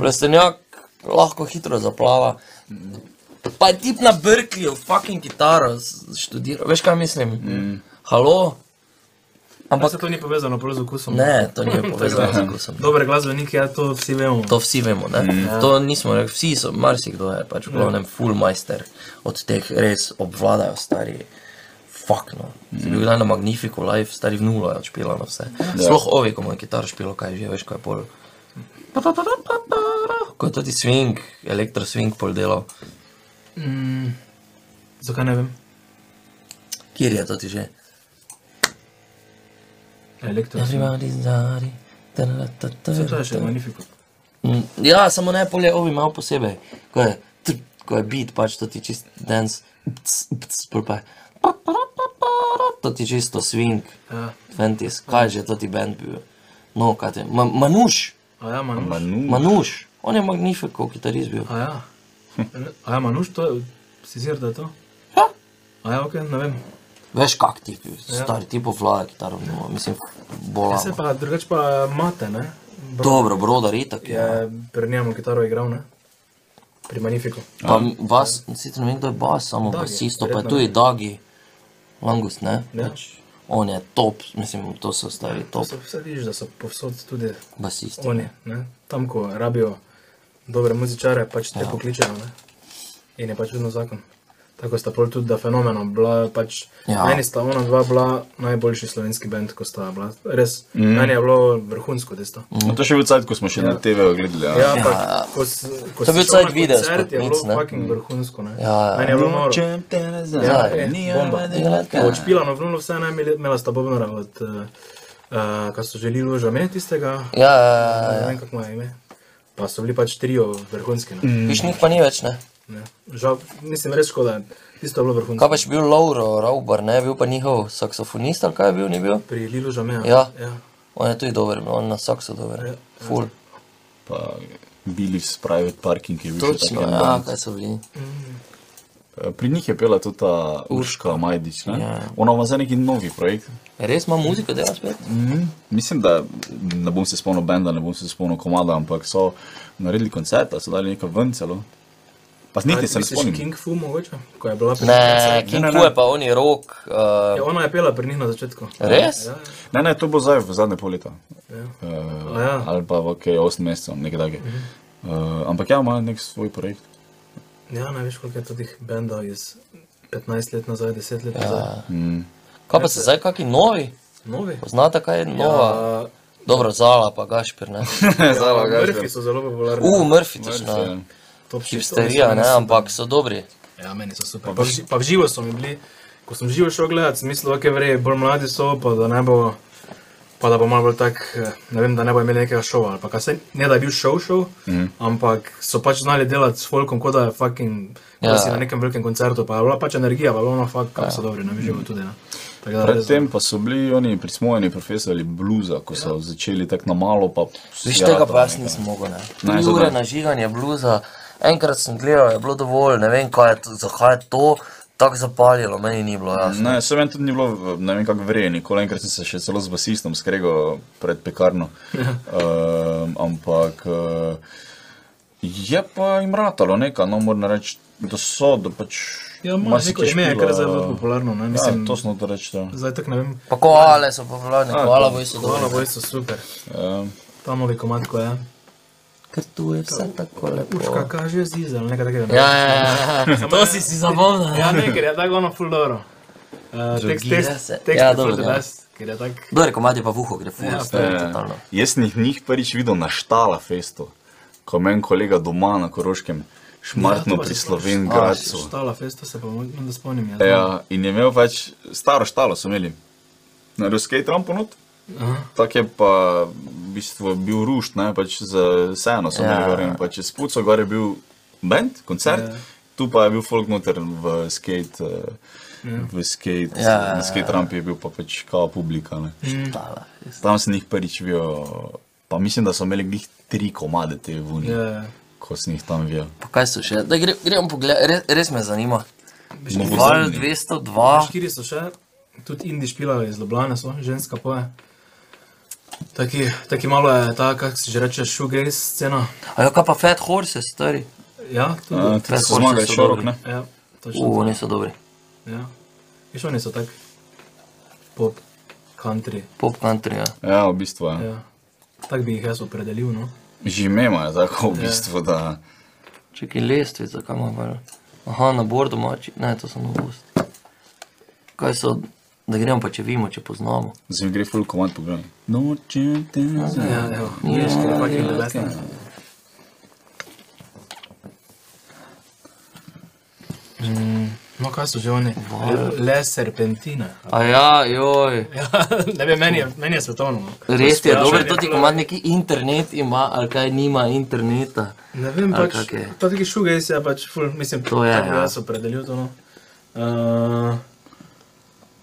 S3: plestenjak lahko hitro zaplava. Pa je tip na Berkeleyju, fucking kitaro s- študiral, veš kaj mislim?
S2: Mm.
S3: Halo?
S4: Pa
S3: Ampak
S4: se to ni povezano prav z okusom.
S3: ne, to ni povezano z okusom.
S4: Dober glasbenik, ja, to vsi vemo.
S3: To vsi vemo, ne? To nismo rekli, vsi so, marsikdo je pač v glavnem full majster od teh res obvladajo stari. Fakno. Si bil kdaj na Magnifiku live, stari v nulo je odšpilano vse. Sploh ovi, ko mu je kitaro špilo, kaj že veš, kaj je pol. Ko je tudi swing, elektro swing pol delal.
S4: Mm, zakaj ne vem?
S3: Kjer je to ti že?
S4: Elektro.
S3: Everybody's daddy. Ja.
S4: To je še magnifico.
S3: Mm, Ja, samo ne polje ovi malo posebej, ko je, tr, ko je beat, pač to ti čist dance, pc, pc, pol pa je pa, pa, pa, pa, to ti čisto swing,
S4: Ja.
S3: ventis, kaj je že to ti band bil, no, kaj ti, ma, manuš,
S4: A ja, Manuš.
S2: Manu,
S3: manuš, on je magnifico kitarist bil.
S4: A ja. A ja, Manuš, to je, si zir, da je to?
S3: Ja.
S4: A ja, ok, ne vem.
S3: Veš, kak ti, stari ti povlada kitaro, no, mislim, bola.
S4: Ja, se pa drugače pa mate, ne? Bro,
S3: Dobro, brodar itak. Ja.
S4: je pri njemu kitaro igral, ne? Pri Magnifiku.
S3: Pa vas, sicer ne vem, kdo je bas, samo
S4: Dagi,
S3: basisto, pa je
S4: verjetno
S3: tudi Dagi, Langus, ne?
S4: Ja.
S3: On je top, mislim, to so stari top
S4: So, vse vidiš, da so povsod tudi
S3: basisti.
S4: oni, ne? Tam, ko rabijo dobre muzičare, pač te ja. pokličejo, ne? In je pač vedno zakon. Tako sta pol tudi, da fenomena bila, pač
S3: Ja.
S4: ja. meni sta ona dva bila najboljši slovenski bend, ko sta bila. Res, mm. meni je bilo vrhunsko tisto.
S3: Mhm.
S2: No, to je še bil cajt, ko smo še na TV gledali. Ja.
S4: Ja, ampak ko, s- ko
S3: To je
S4: si
S3: bil
S4: šel na
S3: cajt videa
S4: koncert, je
S3: spodnic, ne?
S4: bilo fucking vrhunsko, ne?
S3: Ja, ja.
S4: Meni je bilo
S2: No,
S4: noro.
S2: Ja,
S4: Ja,
S2: ni
S4: eh, bomba.
S3: Ja.
S4: Odšpila na vnulo no, vse, ne, imeli- imela sta bobnara od, uh, kar so želeli ložame tistega,
S3: Ja, ja, ja,
S4: ne vem kako mu je ime. Pa so bili pač trio vrhunski. Ne?
S3: ja. Pišnih pa ni več, ne?
S4: Ne. Žal, mislim, res škoda, tisto je bilo vrhunsko.
S3: Kaj pa je bil Lauro Rauber, ne, bil pa njihov saksofonist ali kaj je bil, ni bil?
S4: Pri Lilu Žameja.
S3: Ja.
S4: ja.
S3: On je tudi dober, on na saksu dober, full.
S2: Pa Billy's Private Parking je bil še
S3: Točno,
S2: tak en
S3: ja,
S2: band.
S3: kaj so bili.
S2: Pri njih je pela tudi ta Urška Majdič. Ne?
S3: Ja.
S2: Ona ima zdaj neki novi projekt.
S3: Res ima muziko, dela spet?
S2: Mhm. Mislim, da ne bom se spomnil benda, ne bom se spomnil komada, ampak so naredili koncert, a so dali nekaj ven celo. Pa niti se ne
S4: Misliš
S2: spomnim.
S4: King Fu mogoče, ko je bila pri
S3: Ne,
S2: ne,
S3: King
S2: ne.
S3: Fu je pa on je rock. Uh,
S4: Ja, ona je pela pri njih na začetku.
S3: Res?
S4: Ja,
S2: Ne, ne, to bo zdaj v zadnje pol leta.
S4: ja.
S2: Uh,
S4: A Mhm. ja.
S2: ali pa v okay, 8 mesecev, nekaj takega. Uh, ampak ja, ima nek svoj projekt.
S4: ja ne veš, koliko je tudi bendov iz 15 let nazaj, 10 let nazaj. Ja.
S2: Mm.
S3: kaj pa se zdaj, kakšni novi?
S4: Novi.
S3: Poznate kaj je nova?
S4: Ja,
S3: Dobro, Zala pa Gašper, ne?
S4: ja, Murphy so zelo popularni.
S3: U, Murphy, točno.
S4: Top shit,
S3: Hipsterija,
S4: oni so
S3: ne,
S4: meni
S3: ampak so dobri.
S4: Ja, meni so super. Pa, v ži- pa v živo so mi bili, ko sem živo šel gledat, sem mislil, ok, vrej, bolj mladi so, pa da ne bo, pa da bo malo bolj tak, eh, ne vem, da ne bo imeli nekega šova. ali pa kaj Se, ne, da je bil šov šov, mm. ampak so pač znali delati s folkom, kot da je fucking, kot
S3: Ja.
S4: da si na nekem velikem koncertu, pa je bila pač energija, pa je bilo ono fuck, kako so dobri, ne bi živo tudi, ne. Tako da res, no.
S2: Predtem pa so bili oni prismojeni profesori bluza, ko
S4: Ja.
S2: so začeli tako na malo. pa so
S3: Viš
S2: si
S3: tega
S2: ratali
S3: pa jaz
S2: nekaj.
S3: nisem mogel, Ja, ne.
S2: Ne,
S3: Tri
S2: to
S3: ure
S2: ne.
S3: na žiganje bluza, enkrat sem gledal, je bilo dovolj, ne vem, kaj je to, zakaj je to tako zapalilo, meni ni bilo jasno.
S2: Ne, se meni tudi ni bilo, v- ne vem kako verjeti, nikoli enkrat sem se še celo z basistom skregal pred pekarno. um, ampak uh, je pa jim ratalo nekaj, no moram reči, da so, da pač.
S4: ja, ima neko
S2: marsikje
S4: ime, je kar
S2: špila.
S4: zdaj zelo popularno, ne,
S2: eh. Ja,
S4: mislim,
S2: to smo to reči. Ja.
S4: zdaj tako ne vem,
S3: Pa koale so popularne, koala boji so
S4: hvala,
S3: dobri.
S4: boji so super,
S2: Um,
S4: tam novi komad, ko je.
S3: Ker tu je vse tako lepo.
S4: Urška kaže zizel, nekaj takega. ne?
S3: Ja, ja, ja, ja, to si si zapomnil.
S4: Ja, ne, ker je tako ono full dobro. Uh, tekst,
S3: Zogira
S4: tekst,
S3: se.
S4: tekst
S3: Ja,
S4: je
S3: dobro,
S4: full the
S3: ja.
S4: best, ker je tako...
S3: Dober komad je Ja, pa vuho, gre full, stari, totalno.
S2: Ja, jaz sem jih njih prvič videl na štala festu, ko je meni kolega doma na
S4: Ja,
S2: Koroškem, šmartno
S4: to pa
S2: pri
S4: si spomniš.
S2: Slovengradcu.
S4: Štala festo se pa moram, da spomnim, ja.
S2: Ja, in je imel pač staro štalo, so imeli. Na ruskej tramponot. Tako je pa v bistvu bil rušt, ne pač za vseeno so
S3: Ja.
S2: imeli gor in pač čez puco gor je bil bend, koncert,
S4: Ja.
S2: tu pa je bil folk noter v skate, eh, v skate,
S3: Ja. Mm.
S2: na skate rampi je bil pa pač kao publika. Ne.
S3: Tala.
S2: Tam sem jih prvič videl, pa mislim, da so imeli glih tri komade te vunje,
S4: Ja, ja.
S2: ko sem jih tam videl.
S3: Pa kaj so še? Da gre, gremo pogledati, res, res me zanima.
S2: No, bo
S3: Val
S2: zanimivo.
S3: 202,
S4: Štiri so še, tudi indi špila iz Ljubljana so, ženska poje. Taki, taki malo je ta, kak si že reče, shoegaze scena.
S3: a jo kaj pa Fat Horses, stari.
S4: Ja,
S2: A,
S4: tudi.
S2: Ti
S3: Fred
S2: so
S3: Horsi
S2: zmagali
S3: so
S2: šorok,
S3: dobri.
S2: ne?
S4: Ja, točno.
S3: U, niso dobri.
S4: Ja. Viš, oni so tak pop, country,
S3: Pop country, ja.
S2: Ja, v bistvu. Ja.
S4: ja. Tak bi jih jaz opredelil, no.
S2: Že imamo je tako v bistvu, da
S3: Čekaj, lestvica, kam ima val? Aha, na bordu mači, ne, to sem novost. Kaj so, da gremo pa če vimo, če poznamo.
S2: zdaj mi gre full komand pogledaj. Nočem te znati.
S4: Ja, evo, vidiš, ker je fucking the best. ne. No, kaj so že oni? Le serpentina.
S3: A ja, joj.
S4: Ja, ne vem, meni je, meni je svetovno. no.
S3: Res je,
S4: Sprašanje
S3: dober, to ti
S4: bilo-
S3: komad neki internet ima, ali kaj nima interneta.
S4: Ne vem,
S3: Ali
S4: pač,
S3: kak je?
S4: ta taki šuga je pač, ful, mislim,
S3: To je,
S4: tako bi
S3: ja.
S4: Jaz opredelil to. No. Uh,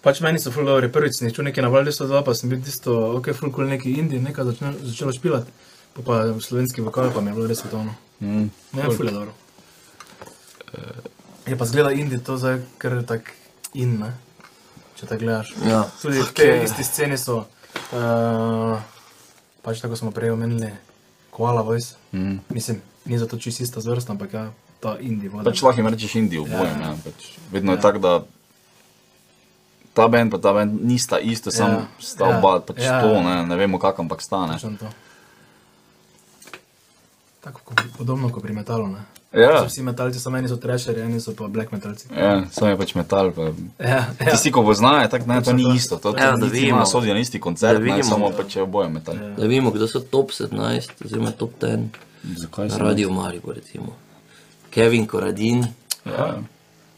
S4: pač meni so ful dobri, prvič sem jih čul nekaj na Valdu 102, pa sem bil tisto, ok, ful kul neki indij, nekaj začne, začelo špilati. Pa pa slovenski vokal, pa mi je bilo res svetovno.
S2: Mm.
S4: no. Ne, ful je dobro. Je pa zgleda indij to zdaj, ker tak in, ne. če te gledaš.
S3: Ja.
S4: Tudi okay. te iste scene so, uh, pač tako smo prej omenili, koala vojs. Mm. Mislim, ni zato čisto ista zvrst, ampak ja, ta indij voda.
S2: Pač lahko jim rečeš Indijo, boje. Ja. Pač, vedno ja. je tako, da ta bend in ta bend nista isto, samo
S4: Ja.
S2: ja. sta
S4: Ja.
S2: oba, pač
S4: Ja.
S2: ja. to ne, ne vemo, kako ampak stane.
S4: Točno to. Tako kot pri- podobno kot pri metalu. Ne?
S2: Ja,
S4: So Vsi metalci so meni so trešeri, eni so pa black metalci.
S2: ja samo je pač metal. Pa.
S4: Ja, ja.
S2: Tisti, ko poznajo, tako ne, to ni isto. To, to
S3: Ja, da
S2: ja, niti
S3: vidimo.
S2: ima sodijo na isti koncert,
S3: Da
S2: ne,
S3: vidimo.
S2: samo pač je oboje metal. Ja.
S3: Da vidimo, kdo so top 17, oziroma top 10
S2: Zakaj
S3: na
S2: se
S3: radiju Maribor, recimo. Kevin Koradin,
S2: Ja.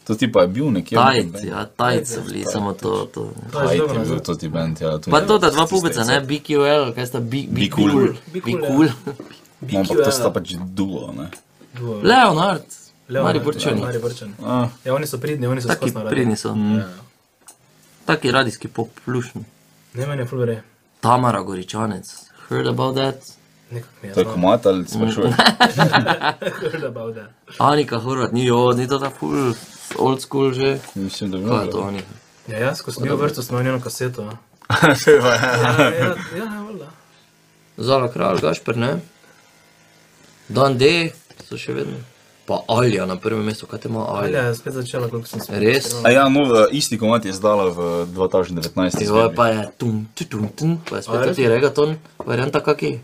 S2: To ti pa je bil nekje.
S3: Tajc, ja, Tajc so bili, samo to. to.
S4: To je že dobro,
S2: Ajde, bil
S4: ne?
S2: to ti bend, ja.
S3: Pa to, da dva pubica, ne, BQL, kaj sta bi- bi-
S2: Be cool.
S3: cool,
S4: Be
S3: bi
S4: cool,
S3: cool.
S2: Ne, ampak to sta pač duo, ne.
S4: Duo.
S3: Leonard,
S4: Leonard,
S3: Mariborčani,
S4: Ja, Mariborčani.
S2: Ah,
S4: Ja, oni so pridni, oni so skozi
S3: taki
S4: na
S3: pridni so,
S4: Ja.
S3: taki radijski pop plušni.
S4: Ne, meni je fulvere.
S3: Tamara Goričanec, heard about that?
S4: Nekako mi je.
S2: to je komat ali sprašuješ?
S4: Heard about that.
S3: Anika Horvat, ni jo, ni to ta full, old school že.
S2: Mislim, da bi
S3: Kaj je
S2: bilo.
S3: to Anika?
S4: Ja, jaz, ko sem bil v vrtu, smo imeli eno kaseto. a. Ja, ja, ja, valjda.
S3: Zala kralj, Gašpr, ne? Dan D, so še vedno. Pa Alja na prvem mestu, kaj te ima
S4: Alja
S3: Alja?
S4: je spet začela, koliko sem se
S3: Res?
S2: A ja, no, eh, isti komat je zdala v 2019.
S3: Jo,
S2: izvedbi.
S3: pa je tum, tum, tum, tum, pa je
S4: A
S3: spet
S4: res?
S3: ti regaton, varianta kaki.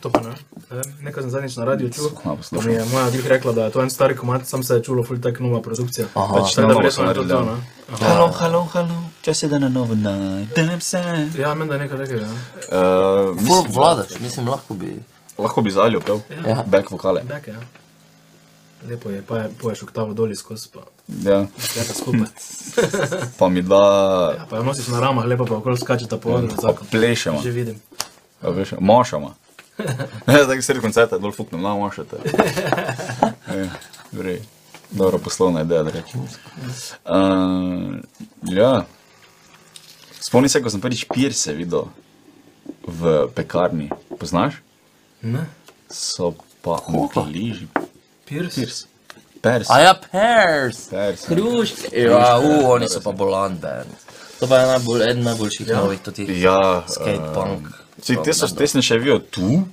S4: To pa ne. Ne vem, Nekaj sem zadnjič na radiju čutil.
S2: Skupno
S4: Pa
S2: poslušam.
S4: mi je moja glih rekla, da je to en stari komat, sam se je čulo ful tak nova produkcija.
S3: Aha.
S4: Pač tako da
S2: Novo
S4: verjetno
S2: so
S4: je to to,
S2: naredili,
S3: no.
S4: ne?
S2: Halo, halo, halo, če se da na novo night, damn sad.
S4: Ja, meni da je nekaj takega. ne.
S2: Uh,
S3: Full vladaš, mislim, lahko bi.
S2: lahko bi zaljo pel,
S3: Ja.
S2: back vokale.
S4: Dake, ja. Lepo je, pa je poješ oktavo dol skozi, pa
S2: Ja.
S4: gledaj skupaj.
S2: Pa mi da,
S4: Ja, pa jo nosiš na ramah, lepo pa okoli skačeta po odru,
S2: pa
S4: zakon.
S2: plešemo,
S4: Že vidim.
S2: a veš, mašama. Ne, tako sredi koncerta, dol fuknem, na mašate. Ja, v redu. Dobro, poslovna ideja, da rečem. Uh, ja. Spomnim se, ko sem prvič pirse videl v pekarni. Poznaš?
S4: Ne?
S2: So pa angliži.
S4: Pirs?
S2: Pirs. Pers.
S3: A ja, pers,
S2: Pers, ja.
S3: hruške. Ja, u, oni so pa bolan band. To pa je najbolj, eden najboljših novih, to ti
S2: Ja.
S3: skatepunk.
S2: Če te so tesne še vijo tu,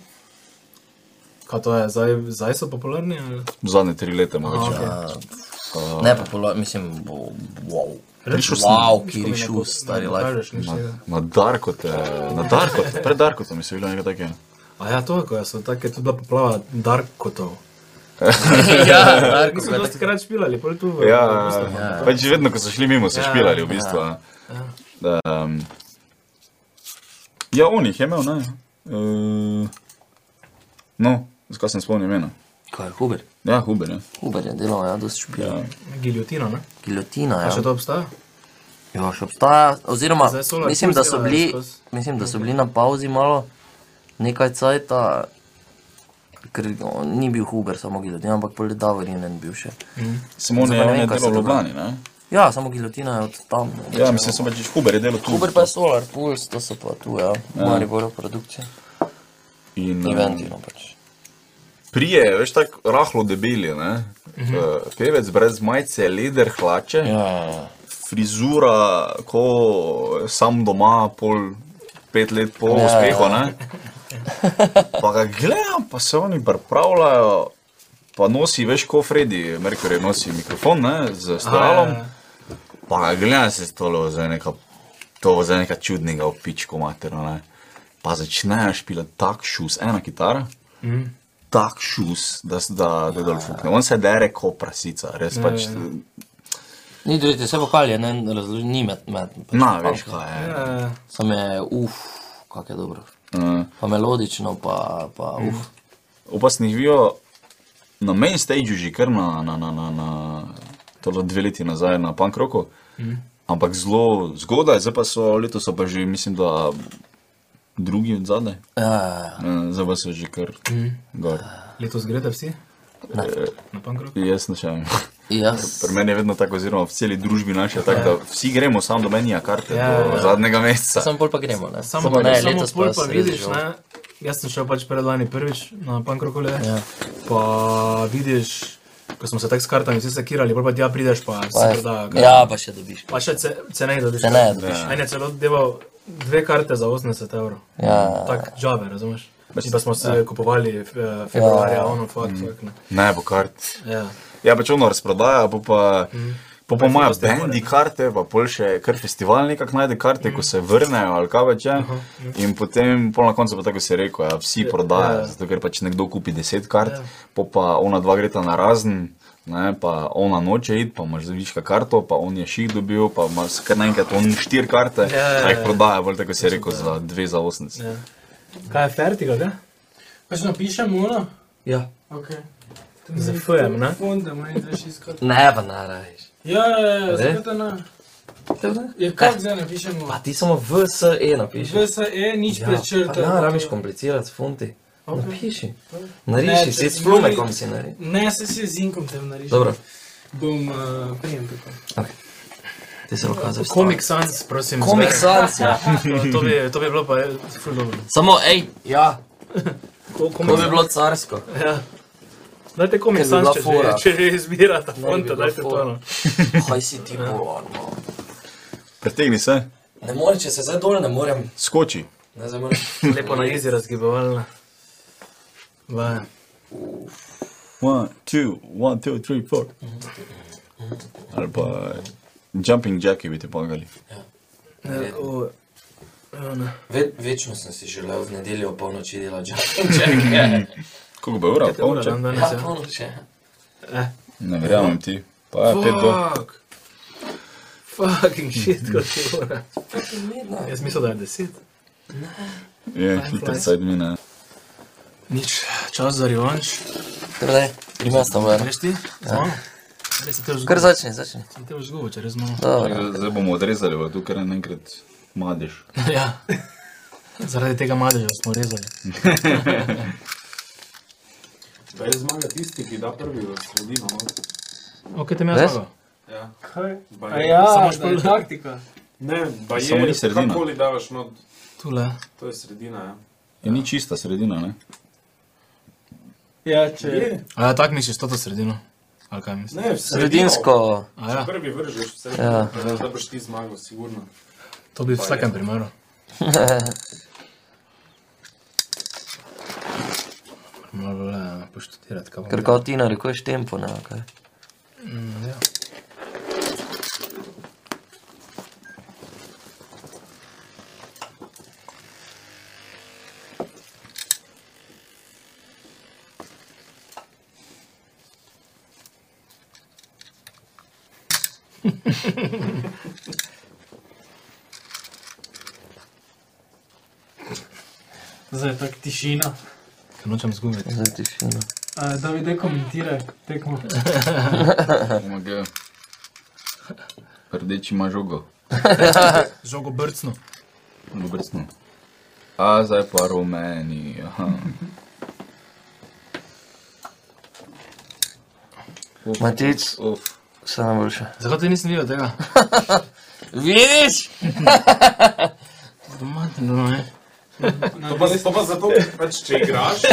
S4: Kaj to je, zdaj, zdaj so popularni? ali?
S2: zadnje tri leta mogoče.
S4: okej.
S3: Ne, pa polan, mislim, bo, wow.
S2: Prišel sem.
S3: Wow,
S4: Ko mi
S3: kiri
S4: ne po-
S3: šus,
S4: ne
S3: stari life.
S4: pokažeš nič ja. tega.
S2: Na Darko te, na Darko te, pred Darko sem mislil, nekaj takega.
S4: A ja, to je, ko so take, tudi bila poplava Dark Kotov.
S3: Ja, Darko,
S4: Mislim, da ste krat špilali, pol tu v...
S2: Ja,
S4: v Gustavo.
S2: pač vedno, ko so šli mimo, so špilali v bistvu. a. Da, em, Ja, on jih je imel, ne. Eh, No, zakaj sem spomnil imena?
S3: Kaj je Huber?
S2: Ja, Huber, ja.
S3: Huber je delal, ja, dosti špil.
S2: Ja.
S4: Giljotina, ne?
S3: Gilotina,
S4: A
S3: ja.
S4: še to obstaja?
S3: Ja, še obstaja, oziroma
S4: Zdaj so na
S3: mislim da, so
S4: pulsira,
S3: bili,
S4: skozi.
S3: mislim, da so bili na pauzi malo nekaj cajta, ker no, ni bil Huber, samo gilotina, ampak pol Davorin je bil še.
S2: Samo on je
S3: Zdaj pa ne
S2: on
S3: vem,
S2: je
S3: kaj so
S2: delal v
S3: to
S2: Ljubljani,
S3: bili.
S2: ne?
S3: Ja, samo gilotina je od tam. no. ne.
S2: Ja, mislim, sem pač Huber je delal tu.
S3: Huber pa je Solar Pulse, to so pa tu, ja, ja. Maribor produkcija.
S2: Ja. In, em,
S3: Eventino pač.
S2: Prije, veš, tako rahlo debeli, ne? Mhm. Pevec brez majice, leder hlače. Ja.
S3: Ja, ja, ja.
S2: frizura, ko sam doma, pol pet let po ja,
S3: ja.
S2: uspehu. Ne? Pa ga gledam, pa se oni pripravljajo, pa nosi, veš, ko Freddy, Merkur nosi mikrofon ne, z stralom.
S4: ja, ja.
S2: Pa ga gledam se stolo za neka, to za neka čudnega opičko materno. Ne. Pa začnejo špilati tak šus, ena kitara.
S3: Mhm.
S2: Mm. Tak šus, da, s- da, da dol
S3: Ja,
S2: fukne. On se dere kot prasica, res pač.
S3: Ni drži, vse vokalje, ne, razloži, ni med, med. pač
S2: Na,
S3: punk,
S2: veš
S3: ne.
S2: kaj je.
S4: Ja,
S3: Samo je, uf, kak je dobro.
S2: Uh,
S3: Pa melodično, pa, pa
S2: Mhm.
S3: uf.
S2: opasnih vijo na main stageu že kar na, na, na, na, na to je bilo dve leti nazaj na punk roku,
S4: Mhm.
S2: mm. ampak zelo zgodaj, zdaj pa so letos so pa že, mislim, da drugi od zadaj,
S3: Ja, ja, ja.
S2: Eh, zdaj pa so že kar
S4: Mhm.
S2: mm. gor.
S4: Letos grete vsi? Eh, Na pankroku?
S2: Jaz načem.
S3: Jaz,
S2: Pri meni je vedno tako, oziroma v celi družbi naše, je tako, da vsi gremo samo do menija karte
S4: Ja,
S2: do
S4: ja.
S2: zadnjega meseca.
S3: Samo pol pa gremo, ne?
S4: Samo, samo ne, samo
S3: letos
S4: pol
S3: pa
S4: pa
S3: se res
S4: vidiš,
S3: žal.
S4: ne, jaz sem šel pač predlani prvič na Pankroku,
S3: Ja.
S4: pa vidiš ko smo se tako s kartami vsi sekirali, pol pa ti ja prideš, pa
S3: Pa
S4: se
S3: je-
S4: proda.
S3: Ja, pa še dobiš.
S4: Pa še ce- ceneje dobiš.
S3: Ceneje dobiš.
S4: En je celo delal dve karte za 80 evrov.
S3: Ja.
S4: Tak džave, razumeš? Mislim, da smo se ja. kupovali eh, februarja, ja. ono, fakt, mm. fakt, ne.
S2: Ne bo kart.
S4: Ja.
S2: Ja, pač ono razprodaja, pa pa, mm. pa, pa imajo
S4: Mhm. festival,
S2: bendi karte, pa pol še kar festival nekako najde karte,
S4: Mhm.
S2: mm. ko se vrnejo ali kaj več. Uh -huh. In potem pol na koncu pa tako se reko, ja, vsi prodajajo,
S4: ja.
S2: zato ker pač nekdo kupi deset kart,
S4: Ja.
S2: pa pa ona dva greta na razen. Ne, pa ona noče iti, pa imaš zviška karto, pa on je ših dobil, pa imaš kar naenkrat on štiri karte,
S4: Ja, ja,
S2: pa jih
S4: ja.
S2: prodaja, bolj tako se je rekel, za dve za osemdeset.
S4: Ja. Kaj je fertiga, da?
S1: Pač napišem ono.
S5: Ja.
S1: Okay.
S4: Za FM, ne?
S1: Fonda, manj daš iskati.
S5: Ne, pa ne rabiš.
S1: Ja, ja, ja,
S5: Zdaj?
S1: zakaj to ne?
S5: Dobro.
S1: Ja, kako zdaj napišemo?
S5: Pa ti samo
S3: E
S5: VSE napiši.
S1: Že se je nič ja,
S5: pa
S1: prečrtal.
S5: Ne rabiš komplicirati, funti. Napiši.
S1: Ne,
S5: Nariši si
S1: če
S5: s
S1: si
S5: flumekom
S1: Juri-
S5: si nari.
S1: Ne, se si z inkom tem narišil.
S5: Dobro,
S1: Bom uh, prijem tako.
S5: ti se pokazal.
S4: Comic Sans, prosim.
S5: Komik
S4: zberaj.
S5: Sans, ja.
S4: No, To, to, bi, to bi bilo pa eh, ful dobro.
S5: Samo, ej, ja.
S4: Ko-
S5: To
S4: Comic
S5: bi
S4: Sans.
S5: bilo carsko.
S4: Ja. Dajte Comic
S5: Ker bi
S4: Sans,
S5: bila
S4: če
S5: fora.
S4: že, če že izbirate fonte,
S5: bila
S4: dajte to.
S5: fora.
S4: No.
S5: Kaj si ti bovar, no.
S2: Pretegni se,
S5: Ne morem, če se zdaj dol ne morem.
S2: skoči.
S5: Ne zdaj morem.
S4: Lepo na izi razgibovalna. Vaja.
S2: One, two, one, two, three, four. Ali pa jumping jacki bi ti pomagali.
S4: Ja, o, ja, ne.
S3: Ve, večno sem si želel v nedeljo ob polnoči delati čakanje.
S2: Koliko bo ura?
S4: Te ure
S2: Polnoče?
S4: dan danes,
S5: Ja,
S4: ja.
S5: polnoči. ja.
S4: Eh.
S2: Ne verjamem ti. Pa je pet do.
S4: Fuck. Fucking shit, kot je ura. Jaz mislim, da je deset.
S2: Je, hitro sedaj mi ne.
S4: Nič, čas za revanš.
S3: Torej, ima sta v enem.
S4: Greš ti? Ja. Res se te
S3: Kar
S4: vzgubi,
S3: začne, začne.
S4: sem te vzgubil, če res malo.
S3: Dobro.
S2: Ja, Zdaj bomo odrezali, bo tu kar enkrat madiš.
S4: Ja. Zaradi tega madeža smo rezali.
S6: Da je zmaga tisti, ki da prvi v sredino. No.
S4: Ok, te me
S3: Res?
S4: zmagal.
S6: Ja.
S1: Kaj?
S6: Baje-
S1: A ja,
S4: Samo
S1: samo
S4: špil-
S1: špil taktika.
S6: Ne, baje,
S2: Samo ni sredina.
S6: Kakoli daš, no,
S4: Tule.
S6: to je sredina. Ja.
S2: Je ni čista sredina, ne?
S1: Ja, če
S4: A ja, tak misliš, to to sredino. Ali kaj misliš?
S6: Ne, v sredino.
S3: Sredinsko.
S4: A
S6: Če
S4: ja,
S6: prvi vržeš, vse
S3: Ja.
S6: ja. da boš ti zmagal, sigurno.
S4: to bi v vsakem primeru. Malo bolj eh, poštudirati, kaj
S3: Ker
S4: bo.
S3: kot ti narekuješ tempo, ne vem kaj.
S4: Ja.
S1: zdaj je tako tišina.
S4: Ker nočem izgubiti.
S3: Zdaj tišina.
S1: A, da vidi, komentiraj tekmo.
S2: Pomagaj. Ja. Rdeči ima žogo.
S4: Žogo brcno.
S2: Dobrcno. A zdaj pa rumeni. Aha.
S3: Matic,
S2: Uf.
S3: vse najboljše.
S4: Zakaj ti nisem videl tega?
S3: Vidiš?
S4: Domantno, no, ne.
S1: No,
S6: To pa, to pa zato, ker pač, če igraš,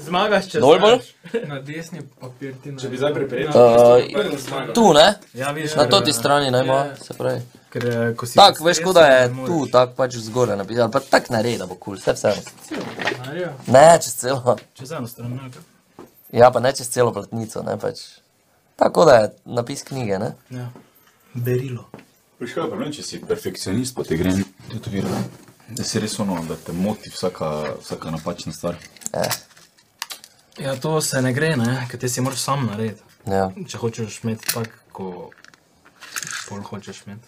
S1: Zmagaš, če
S3: Dol bolj?
S1: znaš. na desni papir ti
S6: če bi zdaj preprečil,
S3: Uh,
S6: prvi zmagal.
S3: tu, ne?
S4: Ja, vidiš,
S3: Na
S4: ker,
S3: toti strani naj ima,
S1: Ja.
S3: se pravi.
S4: Ker, eh, ko si eh,
S3: Tak,
S4: pod
S3: veš, kot da
S4: stresom,
S3: je
S4: ne
S3: tu,
S4: moreš.
S3: tak pač zgoraj napisal, ali pa tak naredi, da bo kul, vse vseeno.
S1: Marijo,
S3: Ne, čez celo.
S4: Čez eno stran, ne.
S3: Ja, pa ne čez celo platnico, ne pač. Tako da je napis knjige, ne?
S4: Ja. Berilo.
S2: Prišel je problem, če si perfekcionist, pa ti gre tetovira. Da si res ono, da te moti vsaka, vsaka napačna stvar.
S3: Eh,
S4: Ja, to se ne gre, ne, ker ti si moraš sam narediti.
S3: ja.
S4: Če hočeš imeti tako, ko pol hočeš imeti.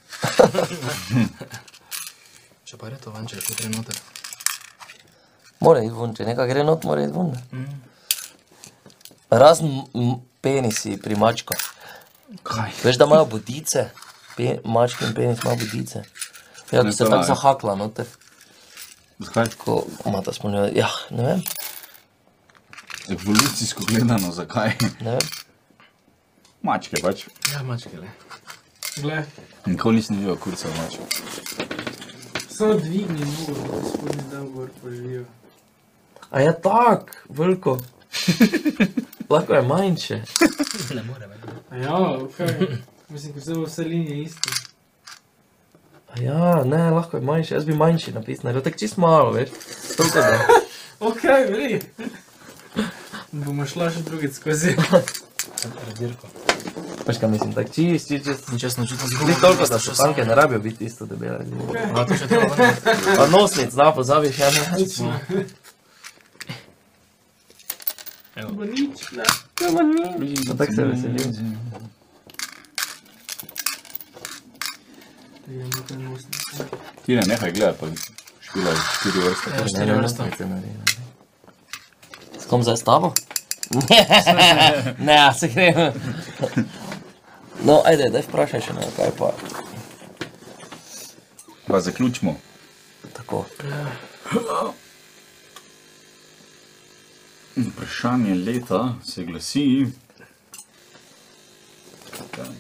S4: Če pa je to ven, če je to noter.
S3: Mora iti ven, če nekaj gre not, mora iti ven. ne.
S4: Mm.
S3: Razen m- penisi pri mačkah.
S4: Kaj?
S3: Veš, da imajo bodice, Pe, mački in penis imajo bodice. Ja, da se
S2: to
S3: tako
S2: ne.
S3: zahakla noter,
S2: Zakaj?
S3: ko imata spomnila. Ja, ne vem,
S2: Evolucijsko gledano, zakaj?
S3: ne vem.
S2: Mačke pač.
S4: Ja, mačke le.
S1: gled.
S2: Nikoli nisem videl kurca mačke.
S1: Samo dvigni nogo, da se spodnji dan gor poživijo.
S5: A je tak, veliko.
S3: ja, Lahko je manjše.
S7: Ne more več.
S1: Ja, okay. mislim, da so vse linije iste.
S3: A Ja, ne, lahko je manjše. Jaz bi manjši napis naredil, tako čist malo, veš. Toliko da.
S1: Ok, vri. Bomo šla še drugič skozi.
S7: Razdirko.
S3: Pač kaj mislim, tako čist, čist, čist.
S7: In čestno čutim
S3: Ni
S7: zgubo.
S3: toliko, da so tanke, ne rabijo biti isto debele.
S7: No, to še treba vrniti.
S3: Pa nosnic, da pozabiš, ja ne.
S1: Bo nič, ne.
S3: Pa tako se veselim.
S1: Ja, bo to nosno.
S2: Ti ne, nehaj gledati, pa špilaj štiri vrste.
S7: Ja, štiri vrste.
S3: S kom zdaj s tabo? Ne, ne, se gremo. No, ajde, daj vprašaj še nekaj, kaj pa.
S2: Pa zaključimo.
S3: Tako.
S2: Vprašanje leta se glasi. Čakaj,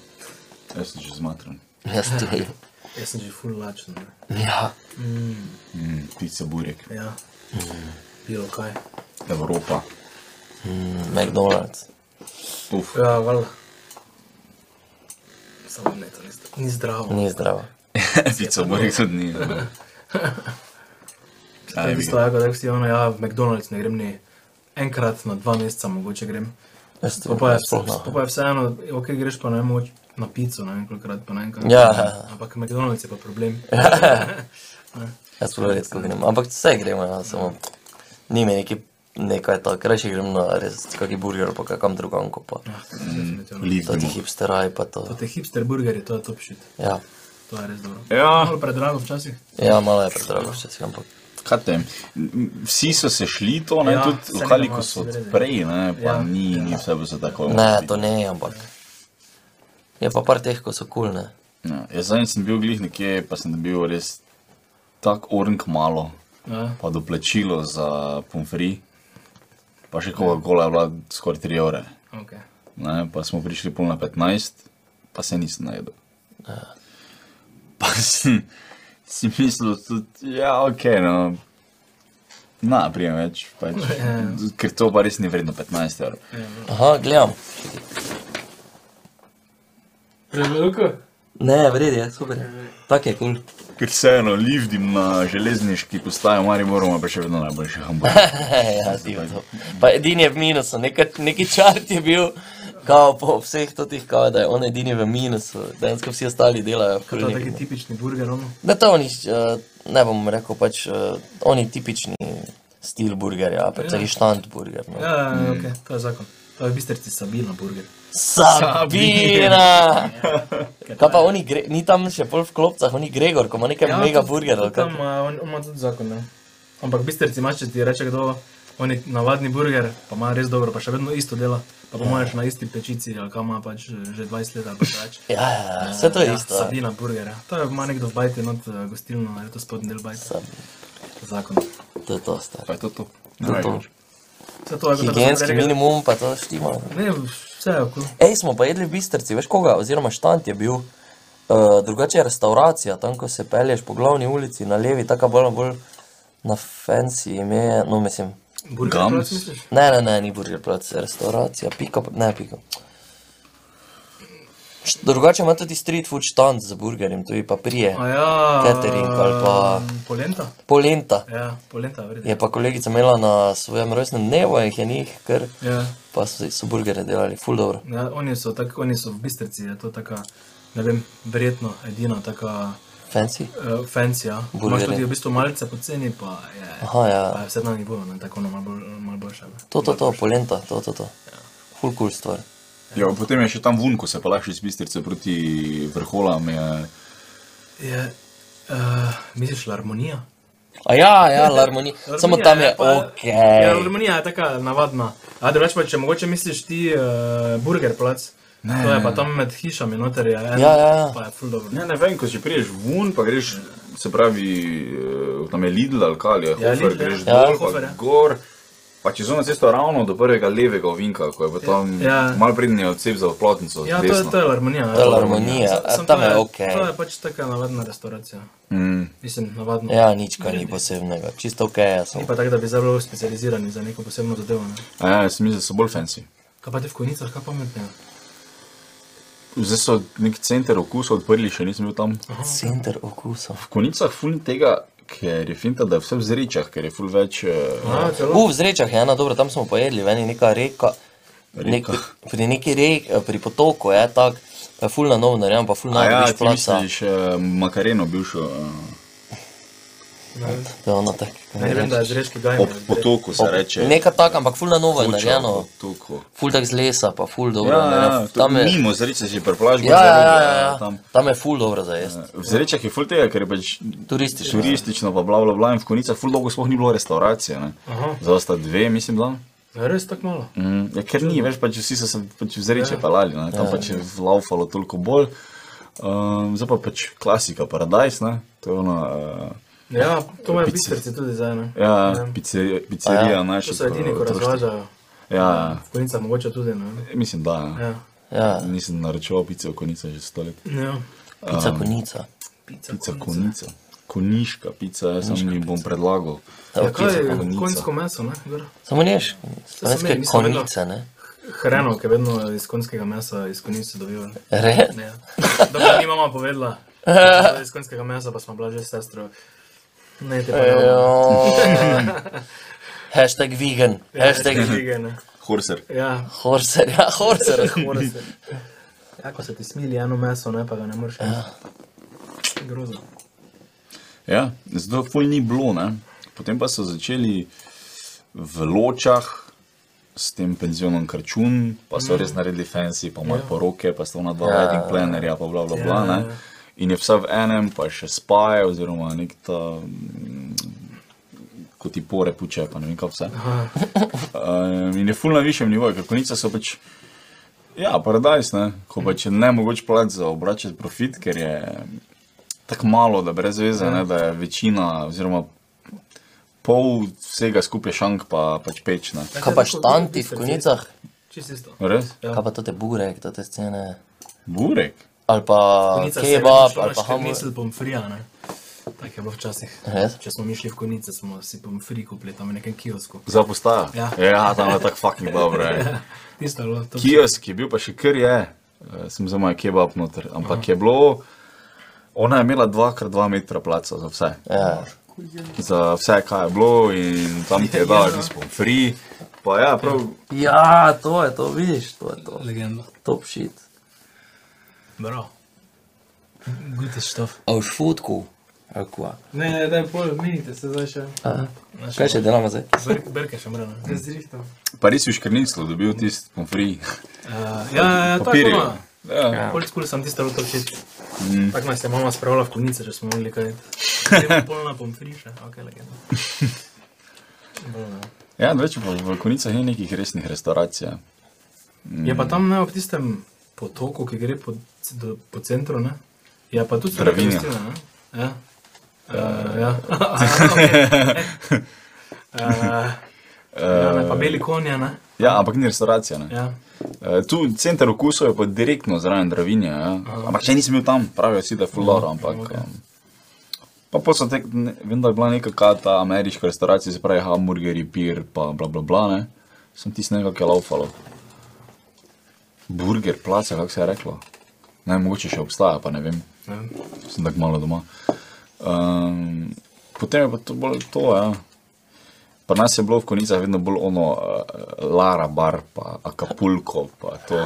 S2: Jaz sem že zmatran.
S3: Jaz tudi.
S4: Jaz sem že full lačen. ne.
S3: Ja.
S2: Mm, Pica burek,
S4: Ja. Bilo kaj.
S2: Evropa.
S3: McDonald's.
S2: Uf.
S4: Ja, valjda. Samo ne, to ni zdravo. Ni zdravo.
S3: Ni zdravo.
S2: Pica burek no. tudi ni. ne.
S4: To je tisto, tako, da vsi ono, ja, v McDonald's ne grem ni. Enkrat na dva meseca mogoče grem.
S3: Jaz
S4: Pa pa je, vse,
S3: sploh ne.
S4: pa je vseeno, ok, greš pa ne moč na pico, ne vem, kolikrat pa naenkrat.
S3: Ja.
S4: Ampak McDonald's je pa problem.
S3: Jaz zelo redko grem, ampak vse gremo, ja, samo ni mi neki, nekaj tako, rajši grem na res kakšen burger, pa kakam drugam, ko pa
S4: Ah, to je definitivno.
S3: to ti
S2: Liftimo.
S3: hipsteraj, pa to.
S4: Pa te hipster burgerje, to je top shit.
S3: Ja,
S4: To je res dobro.
S2: Ja,
S4: Malo predrago včasih.
S3: ja malo je predrago včasih, ampak
S2: kate, vsi so se šli to, ne,
S4: Ja,
S2: tudi
S4: saj ne
S2: lokali, ko
S4: bomo
S2: so
S4: se verjeli.
S2: prej, ne, pa
S4: Ja.
S2: ni, ni vse bilo tako.
S3: ne, to ne, ampak je pa par teh, ko so kul, ne.
S2: Ja, jaz zadnjič sem bil glih nekje, pa sem dobil res tak ornk malo,
S4: Ja.
S2: pa doplačilo za pomfri, pa še Coca-Cola je bila skoraj 3 evre.
S4: Okay.
S2: Ne, pa smo prišli pol na 15, pa se nisem najedel. Pa sem si mislil, tudi, ja, ok, no. Na, prijem več, pač, ker to pa res ni vredno 15 evrov.
S3: Aha, gledam.
S1: Preveliko?
S3: Ne, vredi je, super. je. Tak je kul.
S2: Ker vseeno liftim na železniški postaji, mari moramo pa še vedno najboljše hamburgerje.
S3: ja, ti pa to. Pa edini je v minusu, neka, neki čart je bil, kao po vseh totih, kao da je on edini v minusu, dejansko vsi ostali delajo.
S4: To
S3: ful
S4: je
S3: nekaj.
S4: taki tipični burger, ono.
S3: Da, to oni, eh, ne bom rekel, pač eh, oni tipični stil burgerja, pač taki štant burger. No.
S4: Ja, ja, ja, ok, to je zakon. To je v bistrici Sabina burger.
S3: Sabina! Kaj pa oni, gre, ni tam še pol v klopcah, oni Gregor, ko ima nekaj ja, mega burgerjev.
S4: Tam ima, on, on ima tudi zakon, ne. Ampak v bistrici imaš, če ti reče kdo, on je navadni burger, pa ima res dobro, pa še vedno isto dela. Pa
S3: Ja.
S4: pomagaš na isti pečici, ali kam ima pač že 20 let ali pa še več.
S3: Ja, ja, ja, vse to je
S4: Ja,
S3: isto. ja.
S4: Sabina burger, ja. To je ima nekdo v bajti, not eh, gostilno, ali to spodnji del bajta.
S3: Sab-
S4: Zakon.
S3: To je to, staro.
S2: Pa je to to.
S3: To je to.
S4: Vse to je kot da bi
S3: Higienski
S4: rekel-
S3: minimum, pa to štima.
S4: Ne, vse je okul.
S3: Ej, smo pa jedli v bistrci, veš koga, oziroma štant je bil. Uh, drugače je restauracija, tam ko se pelješ po glavni ulici na levi, taka bolj, bolj na fancy ime, no mislim.
S4: Burger,
S2: Gams?
S4: prav misliš?
S3: Ne, ne, ne, ni burger plac, restauracija, pika, ne, pika. Št- Drugače ima tudi street food štand z burgerjem, tu je pa prije.
S4: A ja, mm,
S3: Catering ali pa-
S4: Polenta?
S3: Polenta
S4: Ja, polenta, verjetno.
S3: je pa kolegica imela na svojem rojstnem dnevu, jih je njih, ker
S4: Ja.
S3: pa so, so burgerje delali, ful dobro.
S4: Ja, oni, so tak, oni so v bistrici, je to taka, ne vem, verjetno edina taka
S3: Fancy?
S4: uh, fencija. Imaš
S3: Burgerje.
S4: tudi v bistvu malce poceni, pa je,
S3: Aha, ja.
S4: pa je vse na nivoju, ne, tako ono malo bolj, malo boljše. ne.
S3: To, to, to, polenta, to, to, to. Ful kul cool stvar.
S2: Ja, potem je še tam vun, ko se pa lahko iz bistrice proti vrholam. Je...
S4: Je, uh, misliš, harmonija?
S3: A ja, ja, larmonija. Samo tam je ok.
S4: Ja, harmonija je taka navadna. A drugače pa, če mogoče misliš ti uh, burger plac, ne, to je pa tam med hišami noter, je, en,
S3: Ja, ja, ja.
S4: pa je ful dobro.
S2: Ne, ne vem, ko že priješ vun, pa greš, se pravi, eh, tam je Lidl ali kaj, je Hofer,
S4: Lidl, ja.
S2: greš
S4: Ja,
S2: dol,
S4: Hofer,
S2: pa
S4: ja.
S2: gor. Pa čez ono cesto ravno do prvega levega ovinka, ko je pa tam
S4: Ja.
S2: malo prednji odsep za oplotnico.
S4: Ja, to je, to je harmonija.
S3: To je larmonija,
S4: Samo
S3: tam
S4: to
S3: je ok.
S4: To je pač taka navadna restauracija.
S2: Mm.
S4: Mislim, navadno.
S3: Ja, nič kaj ni posebnega, čisto ok, jaz sem.
S2: E,
S4: Ni pa tako, da bi zdaj bili specializirani za neko posebno zadevo. Ne?
S2: A Ja, sem mislil, da so bolj fancy.
S4: Kaj pa te v konicah, kaj pametnega?
S2: Zdaj so nek center okusa odprli, še nisem bil tam.
S3: Center okusov.
S2: V konicah ful ni tega, ker je finta, da je vse v zrečah, ker je ful več. eh,
S4: A, celo?
S3: U, v Zrečah je ena dobra, tam smo pojedli, ven je neka reka. Nek,
S2: Reka.
S3: pri neki reki, pri potoku je tako, pa je fulna novinarja, pa fulna
S2: A ja,
S3: najbolj
S2: ti
S3: placa.
S2: misliš eh, Makareno bivšo eh,
S3: To je ono tako. kako
S4: Ne
S3: bi
S4: vem, da
S3: rekel.
S4: je zreški gaj.
S2: ob potoku, se
S3: Ob-
S2: reče.
S3: Neka taka, ampak fulna novo je
S2: Kuča
S3: narejeno,
S2: ob potoku.
S3: ful tak z lesa, pa ful dobro
S2: Ja, ja,
S3: narejeno.
S2: ja, to je mimo zreče, že preplažbo.
S3: ja, ja, ja, ja, ja. tam je ful dobro za jesti.
S2: V Zrečah je ful tega, ker je pač
S3: Turistično.
S2: turistično, pa bla bla bla, in v Konicah ful dolgo sploh ni bilo restauracije. ne.
S4: Aha.
S2: Zdaj sta dve, mislim, da.
S4: Ja, res tako malo.
S2: Mm, ja, ker ni več, pač vsi so se pač v Zreče pelali, ne, tam pač je laufalo toliko bolj. Um, zdaj pa pač klasika Paradise, ne? to je ona uh,
S4: Ja, to imajo
S2: Pice.
S4: bistrici tudi zdaj, ne?
S2: ja, pizzerija, pizzerija ja. naša.
S4: To so edini, ko
S2: otroška.
S4: razvažajo.
S2: Ja, ja.
S4: V konicah mogoče tudi, ne?
S2: mislim, da. Ja.
S4: Ja.
S3: Ja,
S2: Nisem naročil pice v konicah že stoletje.
S4: Ja.
S3: pica konica.
S2: Pica konica. Koniška pica, jaz sem jim bom predlagal.
S3: Evo,
S4: Ja, kaj
S3: pica
S4: je
S2: konica.
S4: konjsko meso, ne? Gor.
S3: Samo neš,
S4: imeli,
S3: slovenske
S4: nisem vedela.
S3: konice, ne?
S4: Hrano, ki vedno iz konjskega mesa, iz konjice dobiva.
S3: Re?
S4: Ja. Dobro, ni mama povedala. da je Iz konjskega mesa pa smo bila že s sestro. Ne, te pa ne. bom.
S3: Joj. Hashtag vegan,
S4: Ja,
S3: hashtag
S4: žige, ne.
S2: Horser.
S4: Ja,
S3: horser, ja, horser.
S4: mora se. Ja, ko se ti smili eno meso, ne pa ga ne moreš. Ja. Grozno.
S2: Ja, zdaj ful ni bilo, ne. Potem pa so začeli v ločah s tem penzionom Krčun, pa so res naredili fancy, pa moje poroke, pa sta ona dva
S3: Ja.
S2: wedding plannerja, pa bla bla bla, ne. In je vse v enem, pa še spaje, oziroma nek ta, mm, ko ti pore puče, pa ne vem kaj vse. Um, in je ful na višjem nivoju, ker konice so pač, ja, paradajz, ne, ko pač je ne mogoče plač za obračati profit, ker je tako malo, da brez veze, ne, da je večina, oziroma pol vsega skupaj šank pa pač pečne.
S3: Kaj pa štanti v konicah?
S4: Čisto isto.
S2: Res?
S3: Kaj pa te burek, te scene?
S2: Burek?
S3: Ali pa kebab, ali pa hamburger.
S4: Misel pomfrija, ne? Tako je bilo včasih.
S3: Res?
S4: Če smo mi šli v konice, smo si pomfri kupili tam v nekem kiosku.
S2: Za postajo?
S4: Ja.
S2: ja, tam je tako fucking dobro. Je.
S4: Tisto je bilo to.
S2: Kiosk je bil pa še kar je, Eh, sem za moj kebab noter, ampak je bilo, ona je imela 2x2 metra placa za vse.
S3: Ja.
S2: za vse, kaj je bilo, in tam ti je dal, da smo free. Pa ja, prav,
S3: ja, to je to, vidiš, to je to.
S7: Legenda.
S3: Top shit.
S7: Bravo. Gute štof.
S3: A už fotku? Ali kva?
S1: Ne, ne, daj pol, minite se zdaj še.
S3: Aha. Kaj še delamo zdaj?
S4: Brk- Brke še mrena.
S1: Ne zrihtam.
S2: pa res je škrniclo dobil tisti pomfri.
S4: Ja, ja, ja, tako
S2: Papirje.
S4: je.
S2: Ja.
S4: Pol skul sem tisto leto všeč. Tako nas je mama spravila v konice, če smo mogli kaj. Polna pomfri še, ok, legenda.
S2: Ja, več pa v konicah ni nekih resnih restauracij. ja.
S4: Je pa tam ne ob tistem potoku, ki gre po, c- do, po centru, ne? Ja, pa tudi
S2: Dravinja.
S4: Dravinja, ne? Ja. Uh, ja. Aha, okej. Eh, ja, ne, pa beli konja, ne?
S2: Ja, ampak ni restauracija. Ne.
S4: Ja.
S2: Eh, Tu center okusov je pa direktno zraven Dravinja. Ja. Ampak še nisem bil tam, pravijo vsi, da je fulano, ampak. em, Pa pa so tek, ne- vem, da je bila neka kata ameriška restauracija, se pravi hamburgeri, pir, pa bla bla bla, ne. Sem tisti nekaj, ki je laufalo. Burger, placa, kako se je reklo. Ne, mogoče še obstaja, pa ne vem.
S4: Ne.
S2: Sem tako malo doma. Um, potem je pa to bolj to, ja. Pri nas je bilo v konicah vedno bolj ono, uh, Lara bar, pa Acapulco, pa to.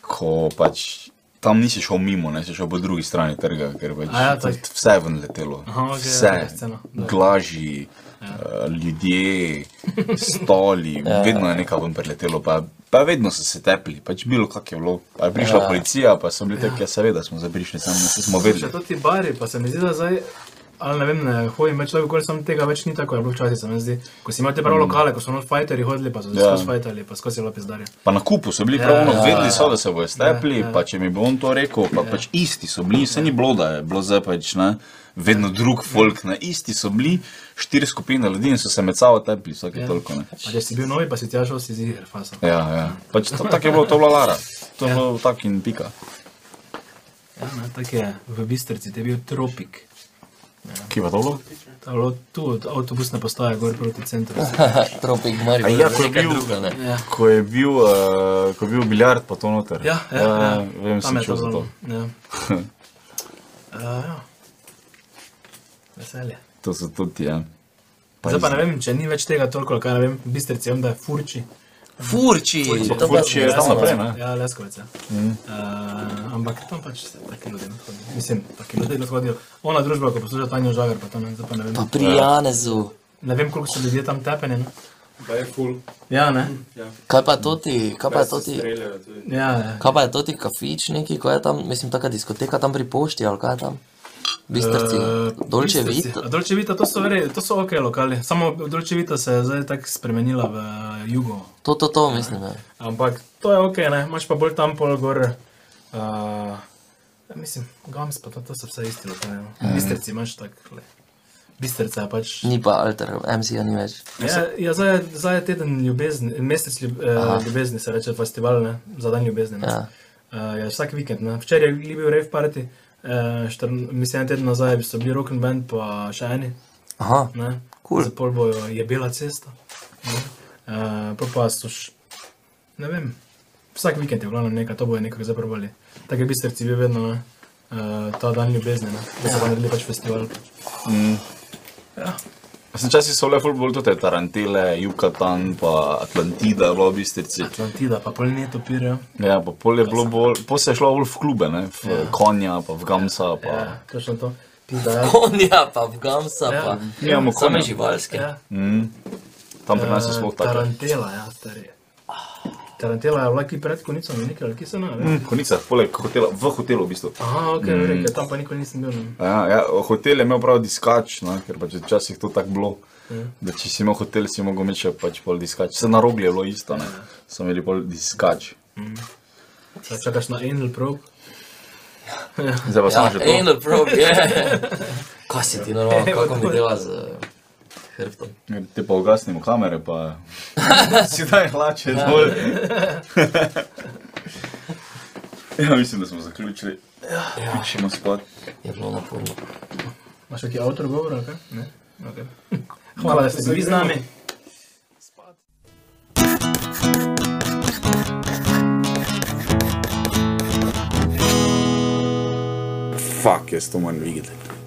S2: Ko pač tam nisi šel mimo, ne, si šel po drugi strani trga, ker pač
S4: A ja,
S2: to je
S4: tako.
S2: vse ven letelo.
S4: Aha, ok, ja,
S2: vse,
S4: taka scena, da.
S2: glaži, ja. ljudje, stoli, ja. vedno je nekaj ven preletelo, pa, pa vedno so se tepli, pač bilo kak je bilo. Pa je prišla ja. policija, pa so bili tako, ja, seveda smo zabrišli, samo nismo smo vedeli.
S4: Še to ti bari, pa se mi zdi, da zdaj, ali ne vem, ne hodim več tako, sem tega več ni tako, je bilo včasih, se mi zdi. Ko si imel te prav lokale, ko so not fighteri hodili, pa so se
S2: Mm. Ja.
S4: skozi fightali, pa skozi lopi zdarje.
S2: Pa na kupu so bili
S4: Ja,
S2: pravno,
S4: ja,
S2: vedeli so, da se bojo stepli, pa če mi bo on to rekel, pa pač isti so bili, se ni bilo, da je bilo zdaj pač ne, vedno drug folk, ne, isti so bili, štiri skupine ljudi in so se med sabo tepli,
S4: Ja.
S2: vsake toliko. Ne.
S4: Pa če si bil novi, pa si tja šel, si ziger, fasa.
S2: Ja, ja. Pač to, tako je bilo, to je bila Lara, to je bilo tako in pika. no,
S4: Ja, ne, tako je, v bistrici te je bil tropik.
S2: Kje pa to bilo?
S4: ali od, tu od avtobusne postaje gor proti centru.
S3: Tropik Maribor,
S2: A ja, ko je
S3: nekaj
S2: bil-
S3: drugega, ne.
S4: Ja,
S2: Ko je bil, uh, ko je bil biljard, pa to noter. Eh,
S4: ja, ja, ja.
S2: vem,
S4: tam
S2: sem
S4: je
S2: čutil za to.
S4: bilo, Ja. Uh, ja. Veselje.
S2: To so tudi, ja.
S4: Zdaj pa ne vem, če ni več tega toliko, ali kaj ne vem, bistrici vem, da je furči.
S3: Furči!
S2: Pa Furči je tam naprej, ne?
S4: Ja, Leskovec. Ja. Mm. Uh, ampak tam pač se taki ljudje ne hodijo. Mislim, taki ljudje ne hodijo. Ona družba, ko posluša Tanja Žagar, pa tam ne, zdaj pa ne vem.
S3: Pa
S2: Ja.
S3: pri Janezu.
S4: Ne vem, koliko so ljudje tam tepeni. No?
S6: Da je ful.
S4: Ja, ne.
S3: Kaj pa je to ti, kaj pa je to ti,
S6: Streljajo tudi.
S4: Ja, ja.
S3: kaj pa je to ti kafič neki, ko je tam, mislim, taka diskoteka tam pri pošti ali kaj je tam? Bistrci,
S2: E,
S4: Eh,
S3: Dolče Vita.
S4: Dolčevita, to so, re, to so ok lokali, samo Dolčevita se je zdaj tako spremenila v eh, jugo.
S3: To, to, to, mislim, ja.
S4: Ampak to je ok, ne? imaš pa bolj tam pol gor. Uh, mislim, Gams pa to, to so vse isti lokali. No? Bistrci imaš tako. glej. Bistrca je pač.
S3: Ni pa alter, MC-ja ni več.
S4: Ja, ja zdaj, je- zdaj je teden ljubezni, mesec ljub, eh, ljubezni se reče festival, ne? za dan ljubezni. Ne?
S3: Ja.
S4: Uh, ja, vsak vikend. Ne? Včeraj je bil rave party, uh, štrn, mislim, en teden nazaj so bili rock and band, pa še eni.
S3: Aha,
S4: Ne?
S3: Cool.
S4: Zapol bojo je bila cesta. Uh, pa pa so š... Ne vem. Vsak vikend je bilo nekaj, to bojo nekako zaprobali. Tako je bistrci bil vedno ne? uh, ta dan ljubezni, ne? da
S3: Ja.
S4: so pa naredili pač festival.
S2: Mm. Ja. Sem včasih so le ful bolj to te eh, Tarantele, Yucatan, pa Atlantida, bilo bistrici.
S4: Atlantida, pa pol ne topirajo.
S2: Ja, pa pol je bilo bolj, pol se je šlo bolj v klube, ne? V konja, pa v gamsa, pa...
S4: Ja, točno to. Pizda, ja.
S3: Konja pa v Gamsa pa.
S2: Mi imamo
S3: Same
S2: konja.
S3: živalske.
S4: ja.
S2: Tam pri
S4: eh,
S2: nas je sploh tako.
S4: Tarantela, ja, stari. Tarantela je bila ki pred konico, ne nekaj, ali ki se ne ve.
S2: Mm, Konica, poleg hotela, v hotelu v bistvu.
S4: Aha, ok, mm. rekel, tam pa nikoli nisem bil. Ne.
S2: Ja, ja, hotel je imel prav diskač, ne, ker pač je včasih to tako bilo.
S4: Ja.
S2: Da če si imel hotel, si mogel imeti še pač pol diskač. Se na rogli je bilo isto, ne.
S4: Ja.
S2: So imeli pol diskač.
S4: Saj Čakaš na Angel Pro,
S2: Zdaj pa samo
S3: Ja,
S2: že to.
S3: anal probe, je. Kaj si ti normalno, kako mi dela z eh, hrbtom?
S2: Ker Te pa Ja, ugasnimo kamere, pa si daj hlače dol. Ja, mislim, da smo zaključili. Ja. Pišemo spod.
S3: Je bilo naporno.
S4: imaš kakšen avtor govor ali kaj? Ne? Okay. Hvala, da ste bili z nami.
S8: Fuck, jaz to moram videti.